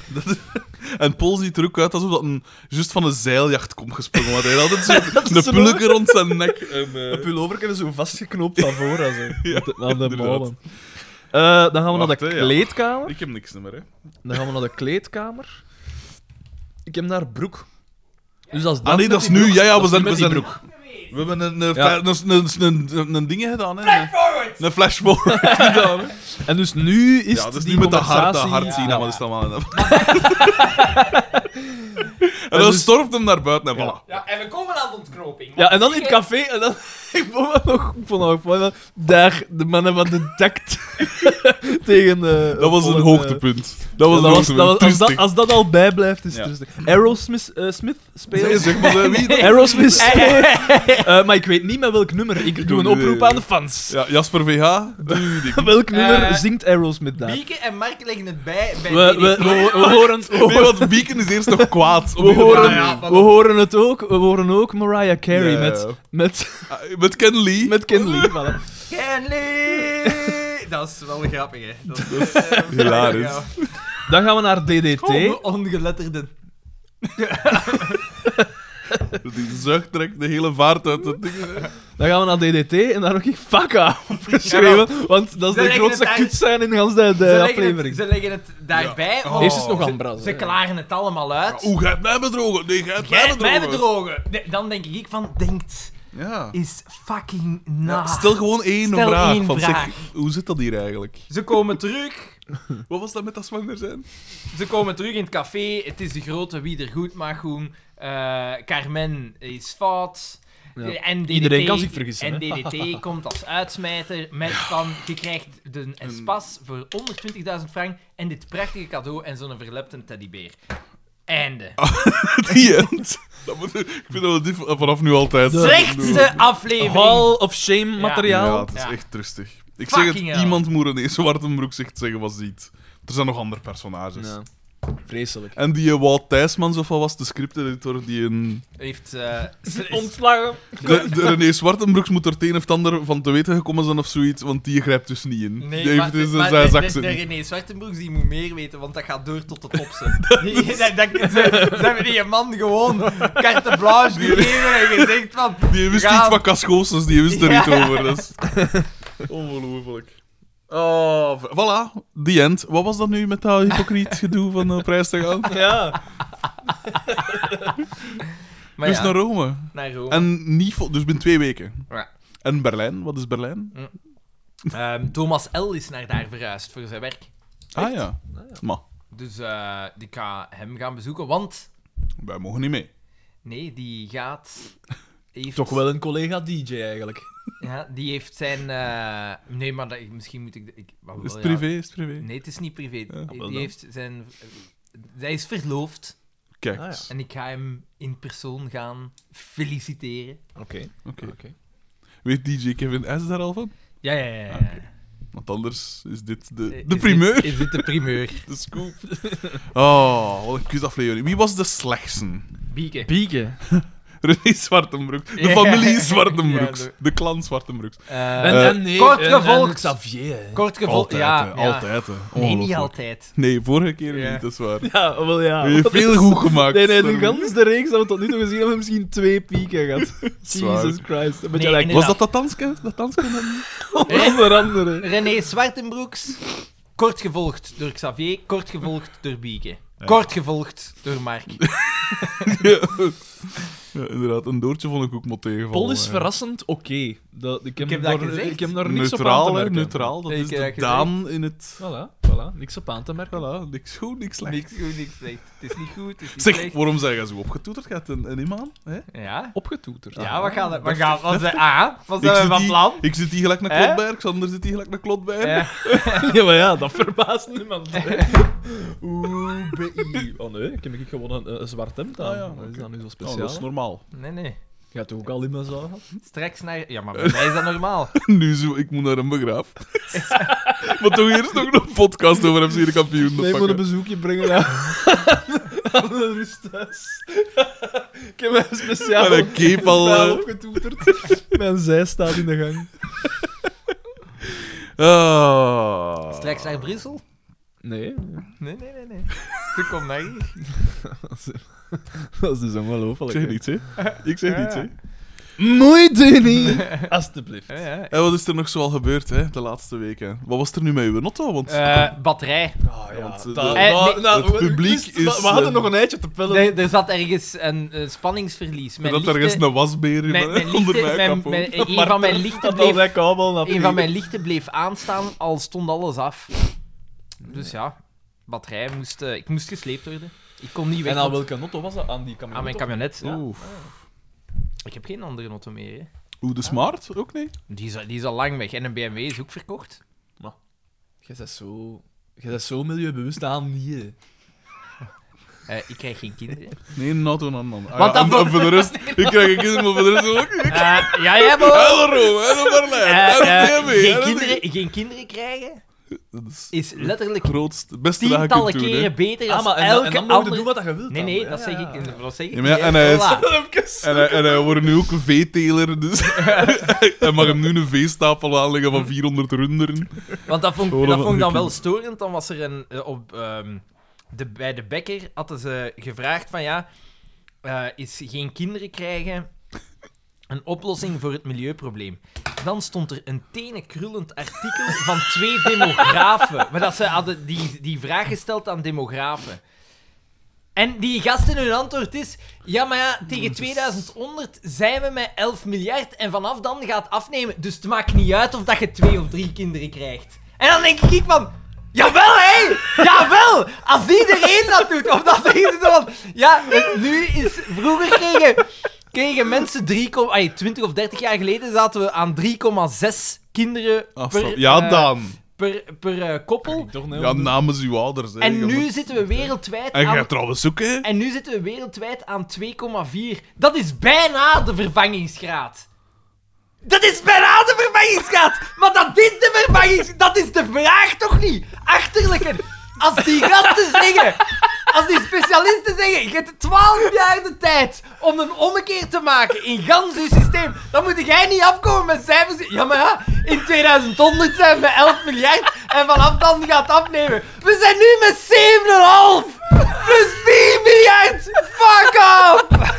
Speaker 4: En Paul ziet er ook uit alsof dat een, juist van een zeiljacht komt gesprongen. Want hij had altijd
Speaker 2: is
Speaker 4: zo'n
Speaker 2: zo.
Speaker 4: plukker rond zijn nek. En, eh,
Speaker 2: Een pullover is zo vastgeknoopt van voren. Zo,
Speaker 4: Ja,
Speaker 2: Met de- aan de
Speaker 4: inderdaad.
Speaker 2: mouwen. Eh, dan gaan we naar de
Speaker 4: Wacht, hè, ja.
Speaker 2: kleedkamer.
Speaker 4: ik heb niks meer, hè.
Speaker 2: Dan gaan we naar de kleedkamer. Ik heb daar broek. Dus als
Speaker 4: Ah nee, dat is nu. Ja, ja, we zijn... We, zijn,
Speaker 2: broek.
Speaker 4: we hebben een, eh,
Speaker 2: Ja.
Speaker 4: ver- een, een, een, een, een ding gedaan, hè. Een,
Speaker 5: Forward!
Speaker 4: een flash forward gedaan, hè.
Speaker 2: En dus nu is
Speaker 4: Ja,
Speaker 2: het
Speaker 4: dat is
Speaker 2: die
Speaker 4: nu met de hart, de
Speaker 2: conversatie...
Speaker 4: hart zien,
Speaker 2: Ja.
Speaker 4: maar dat is het allemaal... En dan
Speaker 2: dus-
Speaker 4: stormt hem naar buiten en voilà.
Speaker 3: Ja, en we komen aan de ontknoping.
Speaker 2: Ja, en dan in het café, en dan... Ik vond het nog... Ik vond het nog... mooi, want Daar, de mannen van de dekt tegen... eh,
Speaker 4: Dat was
Speaker 2: Paul
Speaker 4: een
Speaker 2: en, eh,
Speaker 4: hoogtepunt. Dat was
Speaker 2: ja,
Speaker 4: een
Speaker 2: dat
Speaker 4: hoogtepunt.
Speaker 2: was, dat was- als, dat,
Speaker 4: Toestig.
Speaker 2: als dat al bijblijft, is het
Speaker 4: Ja.
Speaker 2: rustig. Aerosmith eh, Smith
Speaker 4: Zeg,
Speaker 2: speelt...
Speaker 4: zeg maar eh, wie dat-
Speaker 2: Aerosmith speelt. Eh, maar ik weet niet met welk nummer. Ik doe een
Speaker 4: ook niet,
Speaker 2: oproep
Speaker 4: nee.
Speaker 2: aan de fans.
Speaker 4: Ja, Jasper VH, doe je ding.
Speaker 2: Welk nummer
Speaker 3: Eh,
Speaker 2: zingt Aerosmith daar?
Speaker 3: Bieke en Mark leggen het bij. bij
Speaker 2: We, we,
Speaker 3: Benny.
Speaker 2: we, we horen, we,
Speaker 4: Nee,
Speaker 2: horen-
Speaker 4: want Beacon is eerst nog kwaad. op
Speaker 2: Oh. we
Speaker 4: die
Speaker 2: horen,
Speaker 4: manier.
Speaker 3: ja, maar
Speaker 2: we horen het ook. We horen ook Mariah Carey
Speaker 4: Ja, ja,
Speaker 2: met,
Speaker 4: ja.
Speaker 2: met,
Speaker 4: Ah, Met Ken Lee.
Speaker 2: met Ken Lee. voilà.
Speaker 3: Kenley! Dat is wel grappig, hè. Dat is eh,
Speaker 4: Hilarisch.
Speaker 2: Dan gaan we naar DDT.
Speaker 3: T. Ongeletterden.
Speaker 2: Eh,
Speaker 4: Die zucht trekt de hele vaart uit het ding.
Speaker 2: Dan gaan we naar DDT en daar heb ik Faka opgeschreven. Want dat
Speaker 3: Ze
Speaker 2: is de
Speaker 3: leggen
Speaker 2: grootste
Speaker 3: het uit.
Speaker 2: kut zijn in gans de, de
Speaker 3: Ze leggen, het,
Speaker 2: aflevering.
Speaker 3: ze leggen het daarbij.
Speaker 4: Ja.
Speaker 3: want
Speaker 2: Eerst is het nog
Speaker 3: ze-
Speaker 2: Ambra,
Speaker 3: Ze
Speaker 2: hè.
Speaker 3: klaren het allemaal uit.
Speaker 4: Hoe gaat mij bedrogen? Nee, gaat
Speaker 3: Jij
Speaker 4: mij
Speaker 3: hebt mij
Speaker 4: bedrogen.
Speaker 3: bedrogen. Nee, Dan denk ik van, denkt
Speaker 4: Ja.
Speaker 3: is fucking na.
Speaker 4: Stel gewoon één
Speaker 3: Stel
Speaker 4: vraag.
Speaker 3: één
Speaker 4: van,
Speaker 3: vraag.
Speaker 4: Zeg, hoe zit dat hier eigenlijk?
Speaker 3: Ze komen terug.
Speaker 4: Wat was dat met dat zwanger zijn?
Speaker 3: Ze komen terug in het café. Het is de grote wie er goed mag doen. Eh, Carmen is fout.
Speaker 2: Ja.
Speaker 3: Eh, En DDT,
Speaker 2: Iedereen kan zich vergissen,
Speaker 3: En DDT komt als uitsmijter met van... Je krijgt de espas voor 120.000 frank en dit prachtige cadeau en zo'n verlepte teddybeer. Einde.
Speaker 4: Die end. Dat moet, ik vind dat we dit vanaf nu altijd doen.
Speaker 3: Slechtste aflevering.
Speaker 2: Hall of Shame
Speaker 4: Ja,
Speaker 2: materiaal.
Speaker 4: het is
Speaker 3: Ja.
Speaker 4: echt rustig. Ik zeg
Speaker 3: Fucking
Speaker 4: het,
Speaker 3: hell.
Speaker 4: iemand moet René Zwartenbroek zegt zeggen wat ziet. Er zijn nog andere personages.
Speaker 2: Ja. Vreselijk.
Speaker 4: En die eh, Wout Thijsmans, of wat was de scripteditor, die een...
Speaker 3: Heeft... eh, sle-
Speaker 2: Ontslagen.
Speaker 4: De, de René Zwartenbroeks moet er het een of het ander van te weten gekomen zijn of zoiets, want die grijpt dus niet in.
Speaker 3: Nee,
Speaker 4: die
Speaker 3: maar,
Speaker 4: heeft dus in
Speaker 3: maar
Speaker 4: zijn
Speaker 3: de-
Speaker 4: zak
Speaker 3: de- de
Speaker 4: zitten.
Speaker 3: René Zwartenbroeks die moet meer weten, want dat gaat door tot de top. ze. Die- die- dat- dat- Ze ze hebben die man gewoon carte blanche gegeven en gezegd van...
Speaker 4: Die wist
Speaker 3: "Gaan."
Speaker 4: niet van Cascoosens, die wist er
Speaker 3: Ja.
Speaker 4: niet over. dus. Dat is ongelooflijk. Oh, v- voilà, the end. Wat was dat nu met dat hypocriet gedoe van eh, prijs te gaan?
Speaker 2: Ja.
Speaker 3: Maar
Speaker 4: dus
Speaker 3: ja,
Speaker 4: naar Rome.
Speaker 3: naar Rome.
Speaker 4: En niet vol- dus binnen twee weken.
Speaker 3: Ja.
Speaker 4: En Berlijn, wat is Berlijn?
Speaker 3: Ehm, Thomas L. is naar daar verhuisd voor zijn werk.
Speaker 4: Ah ja. Maar,
Speaker 3: Dus eh, ik ga hem gaan bezoeken, want...
Speaker 4: wij mogen niet mee.
Speaker 3: Nee, die gaat... Heeft,
Speaker 2: Toch wel een collega DJ eigenlijk.
Speaker 3: Ja, die heeft zijn... eh, nee, maar dat, misschien moet ik... ik maar
Speaker 4: Is het
Speaker 3: wel, Oh, ja.
Speaker 4: privé, is het privé.
Speaker 3: Nee, het is niet privé.
Speaker 4: wel
Speaker 3: die
Speaker 4: dan.
Speaker 3: heeft zijn... eh, Zij is verloofd.
Speaker 4: Kijk
Speaker 2: Ah, ja.
Speaker 4: eens.
Speaker 3: En ik ga hem in persoon gaan feliciteren.
Speaker 2: Oké.
Speaker 4: Oké.
Speaker 2: Oké.
Speaker 4: Weet DJ Kevin S daar al van?
Speaker 3: Ja, ja, ja. ja.
Speaker 4: Ah, oké. Want anders is dit de,
Speaker 3: Is
Speaker 4: de
Speaker 3: dit-
Speaker 4: primeur.
Speaker 3: is dit de primeur?
Speaker 4: De scoop. Oh, wat een kutaflevering. Wie was de slechtste?
Speaker 3: Bieke.
Speaker 2: Pieken.
Speaker 4: René Zwartenbroek. De
Speaker 3: Ja.
Speaker 4: familie Zwartenbroeks.
Speaker 3: Ja, de-
Speaker 4: de clan Zwartenbroeks.
Speaker 2: Oh,
Speaker 3: Eh,
Speaker 2: En,
Speaker 4: Eh,
Speaker 2: en nee,
Speaker 3: kort
Speaker 2: en-
Speaker 3: gevolgd.
Speaker 2: En Xavier. hè.
Speaker 3: kort gevolgd,
Speaker 4: Altijd,
Speaker 3: ja,
Speaker 4: hè,
Speaker 3: ja.
Speaker 4: altijd. Hè.
Speaker 3: Nee, niet
Speaker 4: Ongelooflijk.
Speaker 3: altijd.
Speaker 4: Nee, vorige keer
Speaker 3: Ja.
Speaker 4: niet, dat is waar.
Speaker 2: Ja, wel ja.
Speaker 4: Je hebt veel goed gemaakt.
Speaker 2: Nee, nee, de
Speaker 4: Sterling.
Speaker 2: ganse reeks dat we tot nu toe gezien hebben, misschien twee pieken gehad.
Speaker 4: waar.
Speaker 2: Jesus Christ. Een beetje
Speaker 3: Nee,
Speaker 2: lijkt
Speaker 4: Was dat dat danske? Dat danske?
Speaker 2: onder andere.
Speaker 3: René Zwartenbroeks. Kort gevolgd door Xavier. Kort gevolgd door Bieke. Kort gevolgd door Mark.
Speaker 4: ja. Ja, inderdaad. Een doortje vond ik ook mot tegenvallen.
Speaker 2: Paul is
Speaker 4: hè.
Speaker 2: verrassend oké. Dat Ik, heb
Speaker 3: heb dat
Speaker 2: daar-
Speaker 3: gezegd.
Speaker 2: ik heb daar niks op aan
Speaker 4: Neutraal,
Speaker 2: te
Speaker 4: hè.
Speaker 2: merken.
Speaker 4: Neutraal. Dat
Speaker 3: Ik
Speaker 4: is
Speaker 3: heb
Speaker 4: de
Speaker 3: dat gezegd.
Speaker 4: Daan in het...
Speaker 2: Voilà, voilà. voilà, niks op aan te merken.
Speaker 4: Voilà, niks goed, niks slecht.
Speaker 3: Niks goed, niks slecht. Het is niet goed, het is niet
Speaker 4: Zeg,
Speaker 3: slecht.
Speaker 4: waarom zijn jij zo opgetoeterd? Gaat een, een imam? Hè?
Speaker 3: Ja?
Speaker 2: Opgetoeterd.
Speaker 3: Ja, wat gaan we... Wat gaan wat zijn- ah, wat zijn
Speaker 4: Ah. Ik
Speaker 3: we
Speaker 4: zit
Speaker 3: van
Speaker 4: hier-
Speaker 3: plan?
Speaker 4: Ik zit hier gelijk naar
Speaker 3: Hè?
Speaker 4: Klotberg, Sander zit hier gelijk naar Klotberg. Nou,
Speaker 3: Ja.
Speaker 2: Ja, maar ja, dat verbaast niemand. Oeh, BI. Oh nee, ik heb ik gewoon een, een zwart hemd aan.
Speaker 4: Ah ja,
Speaker 2: Wat is
Speaker 4: oké.
Speaker 2: dat nu zo speciaal?
Speaker 4: Oh, dat is normaal.
Speaker 3: Nee, nee.
Speaker 2: Je had toch ook al in mijn zaal gehad?
Speaker 3: Straks naar... Ja, maar bij mij is dat normaal.
Speaker 4: Nu zo, ik moet naar een begraaf. maar toch eerst nog een podcast over FC de kampioen.
Speaker 2: Nee, ik moet
Speaker 4: pakken.
Speaker 2: een bezoekje brengen aan, aan de rusthuis. ik heb mij speciaal
Speaker 4: En een cape al,
Speaker 2: speciaal
Speaker 4: eh.
Speaker 2: opgetoeterd. Mijn zij staat in de gang.
Speaker 4: eh. Ah.
Speaker 3: Straks naar Brussel?
Speaker 2: Nee,
Speaker 3: Nee, nee, nee, nee. Ze komt naar hier.
Speaker 2: dat is dus
Speaker 4: Ik
Speaker 2: ongelooflijk.
Speaker 4: zeg niets, hè. Ik zeg niets, hè.
Speaker 2: Moeite niet! Alsjeblieft.
Speaker 3: Ja, ja.
Speaker 4: En Eh, wat is er nog zoal gebeurd, hè, de laatste weken? Wat was er nu met uw notto? Want
Speaker 3: Eh, batterij.
Speaker 2: Ah, ja,
Speaker 4: Want, eh,
Speaker 2: dat-
Speaker 4: eh,
Speaker 2: nou,
Speaker 3: nee,
Speaker 2: nou,
Speaker 4: het
Speaker 2: we-
Speaker 4: publiek
Speaker 2: wist- we-
Speaker 4: is,
Speaker 2: We hadden
Speaker 4: eh,
Speaker 2: nog een eitje te pellen.
Speaker 3: Er, er zat ergens een eh, spanningsverlies. Mijn
Speaker 4: dat er
Speaker 3: lichten-
Speaker 4: eens een wasbeer in,
Speaker 3: mijn, mijn
Speaker 4: hè, onder mijn
Speaker 3: lichten-
Speaker 4: kap.
Speaker 3: mijn-
Speaker 4: hoor.
Speaker 3: mijn- een van mijn lichten bleef
Speaker 2: kabel naar
Speaker 3: Een van mijn lichten bleef aanstaan, al stond alles af. Dus ja, batterij moest, eh, ik moest gesleept worden. Ik kon niet weg
Speaker 2: En aan
Speaker 3: want-
Speaker 2: welke notto was dat? Aan die camera?
Speaker 3: aan mijn camionet. ja.
Speaker 4: Oeh.
Speaker 3: Ik heb geen andere auto meer. Hè.
Speaker 4: Oeh, de Smart ook niet?
Speaker 3: Die, is, al- die is al lang weg. En een BMW is ook verkocht.
Speaker 2: Jij bent zo... Jij bent zo milieubewust aan niet, hè.
Speaker 3: Eh, ik krijg geen kinderen.
Speaker 4: Nee, een auto aan man. Ah,
Speaker 3: Want
Speaker 4: ja,
Speaker 3: dat
Speaker 4: en- en voor de rest, ik krijg een kind, maar voor de rest ook niet.
Speaker 3: Eh, ja, ja, bro.
Speaker 4: Hello, Rome, hello, Berlijn, hello, BMW,
Speaker 3: geen,
Speaker 4: hello,
Speaker 3: kinderen, geen kinderen krijgen
Speaker 4: Dat is
Speaker 3: is letterlijk
Speaker 4: het grootste, het beste dat je
Speaker 3: tientallen
Speaker 4: kunt doen, hè.
Speaker 3: keren beter dan
Speaker 2: Ah, maar en,
Speaker 3: elke
Speaker 2: en dan mogen
Speaker 3: andere...
Speaker 2: we doen wat je wilt.
Speaker 3: Nee, nee, dat
Speaker 2: zeg
Speaker 3: zeg ik. Dat zeg ik
Speaker 4: Ja, maar ja,
Speaker 3: niet,
Speaker 4: en
Speaker 3: hè.
Speaker 4: hij is-
Speaker 3: Voilà.
Speaker 4: En hij, en hij wordt nu ook een veeteler, dus hij mag hem nu een veestapel aanleggen van 400 runderen.
Speaker 3: Want dat vond,
Speaker 4: Gewoon
Speaker 3: dat
Speaker 4: een
Speaker 3: vond ik dan
Speaker 4: andere
Speaker 3: wel storend. Dan was er een... eh, op, ehm, de, bij de bekker hadden ze gevraagd van ja... eh, is geen kinderen krijgen een oplossing voor het milieuprobleem? Dan stond er een tenenkrullend artikel van twee demografen. Maar dat ze hadden die, die vraag gesteld aan demografen. En die gasten, hun antwoord is... Ja, maar ja, tegen 2100 zijn we met 11 miljard en vanaf dan gaat afnemen. Dus het maakt niet uit of dat je twee of drie kinderen krijgt. En dan denk ik van... Jawel, hé! Jawel! Als iedereen dat doet, of dat zeggen ze dan van... Ja, eh, nu is... Vroeger kregen, kregen mensen 3... Ay, 20 of 30 jaar geleden zaten we aan 3,6 kinderen per,
Speaker 4: Afstand. Ah, ja,
Speaker 3: eh,
Speaker 4: Daan.
Speaker 3: per, per eh, koppel.
Speaker 4: Ja, namens uw ouders. Hè.
Speaker 3: En
Speaker 4: Je
Speaker 3: nu
Speaker 4: moet-
Speaker 3: zitten we wereldwijd
Speaker 4: En
Speaker 3: aan
Speaker 4: jij trouwens ook, hè?
Speaker 3: en nu zitten we wereldwijd aan 2,4. Dat is bijna de vervangingsgraad. Dat is bijna de vervangingsgraad! Maar dat is de vervangingsgraad! Dat is de vraag toch niet? Achterlijker! Als die gasten zeggen... Als die specialisten zeggen, je hebt 12 jaar de tijd om een ommekeer te maken in gans uw systeem, dan moet jij niet afkomen met cijfers. Ja, maar ja, in 2100 zijn we 11 miljard en vanaf dan gaat het afnemen. We zijn nu met 7,5! Plus 4 Dus miljard! Fuck off!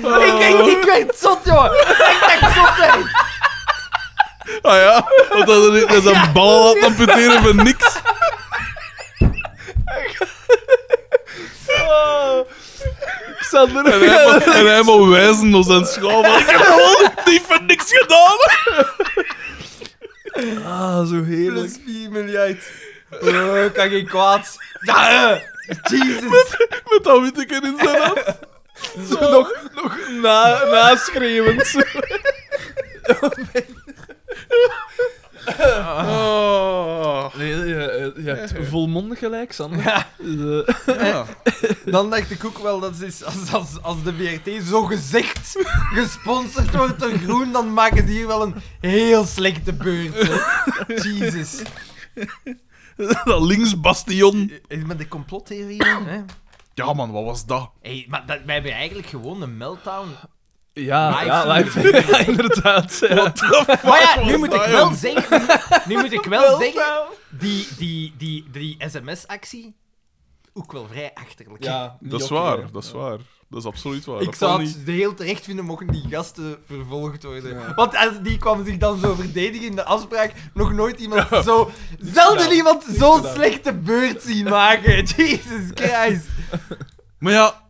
Speaker 3: Ik, ik, ik werd zot, jongen. Ik werd zot, hè.
Speaker 4: Ah ja, want dat is, dat is een bal aan het amputeren voor niks.
Speaker 2: Xander.
Speaker 4: En hij, mag- en hij mag wijzen ons aan school. Ik heb gewoon niet voor niks gedaan.
Speaker 2: Ah, zo heerlijk.
Speaker 3: 4 miljard. Eh, kan geen kwaad. Ja, eh. Jesus.
Speaker 4: Met dat witteken in zijn hand.
Speaker 2: Zo nog, nog Dus na, naschreeuwend. zo.
Speaker 4: Oh.
Speaker 2: Nee, je, je- je hebt volmondig gelijk, Sander. Eh,
Speaker 4: Ja.
Speaker 3: Dan dacht ik ook wel dat is, als, als, als de VRT zo gezegd gesponsord wordt door Groen, dan maken ze hier wel een heel slechte beurt. hè. Jesus.
Speaker 4: Dat linksbastion.
Speaker 3: Eh, Met de complottheorieën, hè?
Speaker 4: Ja man, wat was dat?
Speaker 3: Hey, maar dat, wij hebben eigenlijk gewoon een meltdown.
Speaker 2: ja,
Speaker 3: Live
Speaker 2: ja, live. Ja, inderdaad. ja.
Speaker 3: Maar Ah, ja, nu moet ik
Speaker 4: dat,
Speaker 3: wel
Speaker 4: joh?
Speaker 3: zeggen, nu, nu moet ik wel zeggen, die, die, die, die sms-actie, ook wel vrij achterlijk.
Speaker 2: Ja, niet
Speaker 4: Dat is
Speaker 2: oké,
Speaker 4: waar,
Speaker 2: hè.
Speaker 4: dat is waar. Dat is absoluut waar.
Speaker 3: Ik
Speaker 4: Dat
Speaker 3: zou
Speaker 4: kan
Speaker 3: het
Speaker 4: niet.
Speaker 3: heel terecht vinden mochten die gasten vervolgd worden.
Speaker 2: Ja.
Speaker 3: Want als die kwam zich dan zo verdedigen in de afspraak. Nog nooit iemand zo... Zelden
Speaker 2: gedaan.
Speaker 3: iemand zo'n
Speaker 2: gedaan.
Speaker 3: slechte beurt zien maken. Jesus Christ.
Speaker 4: Maar ja,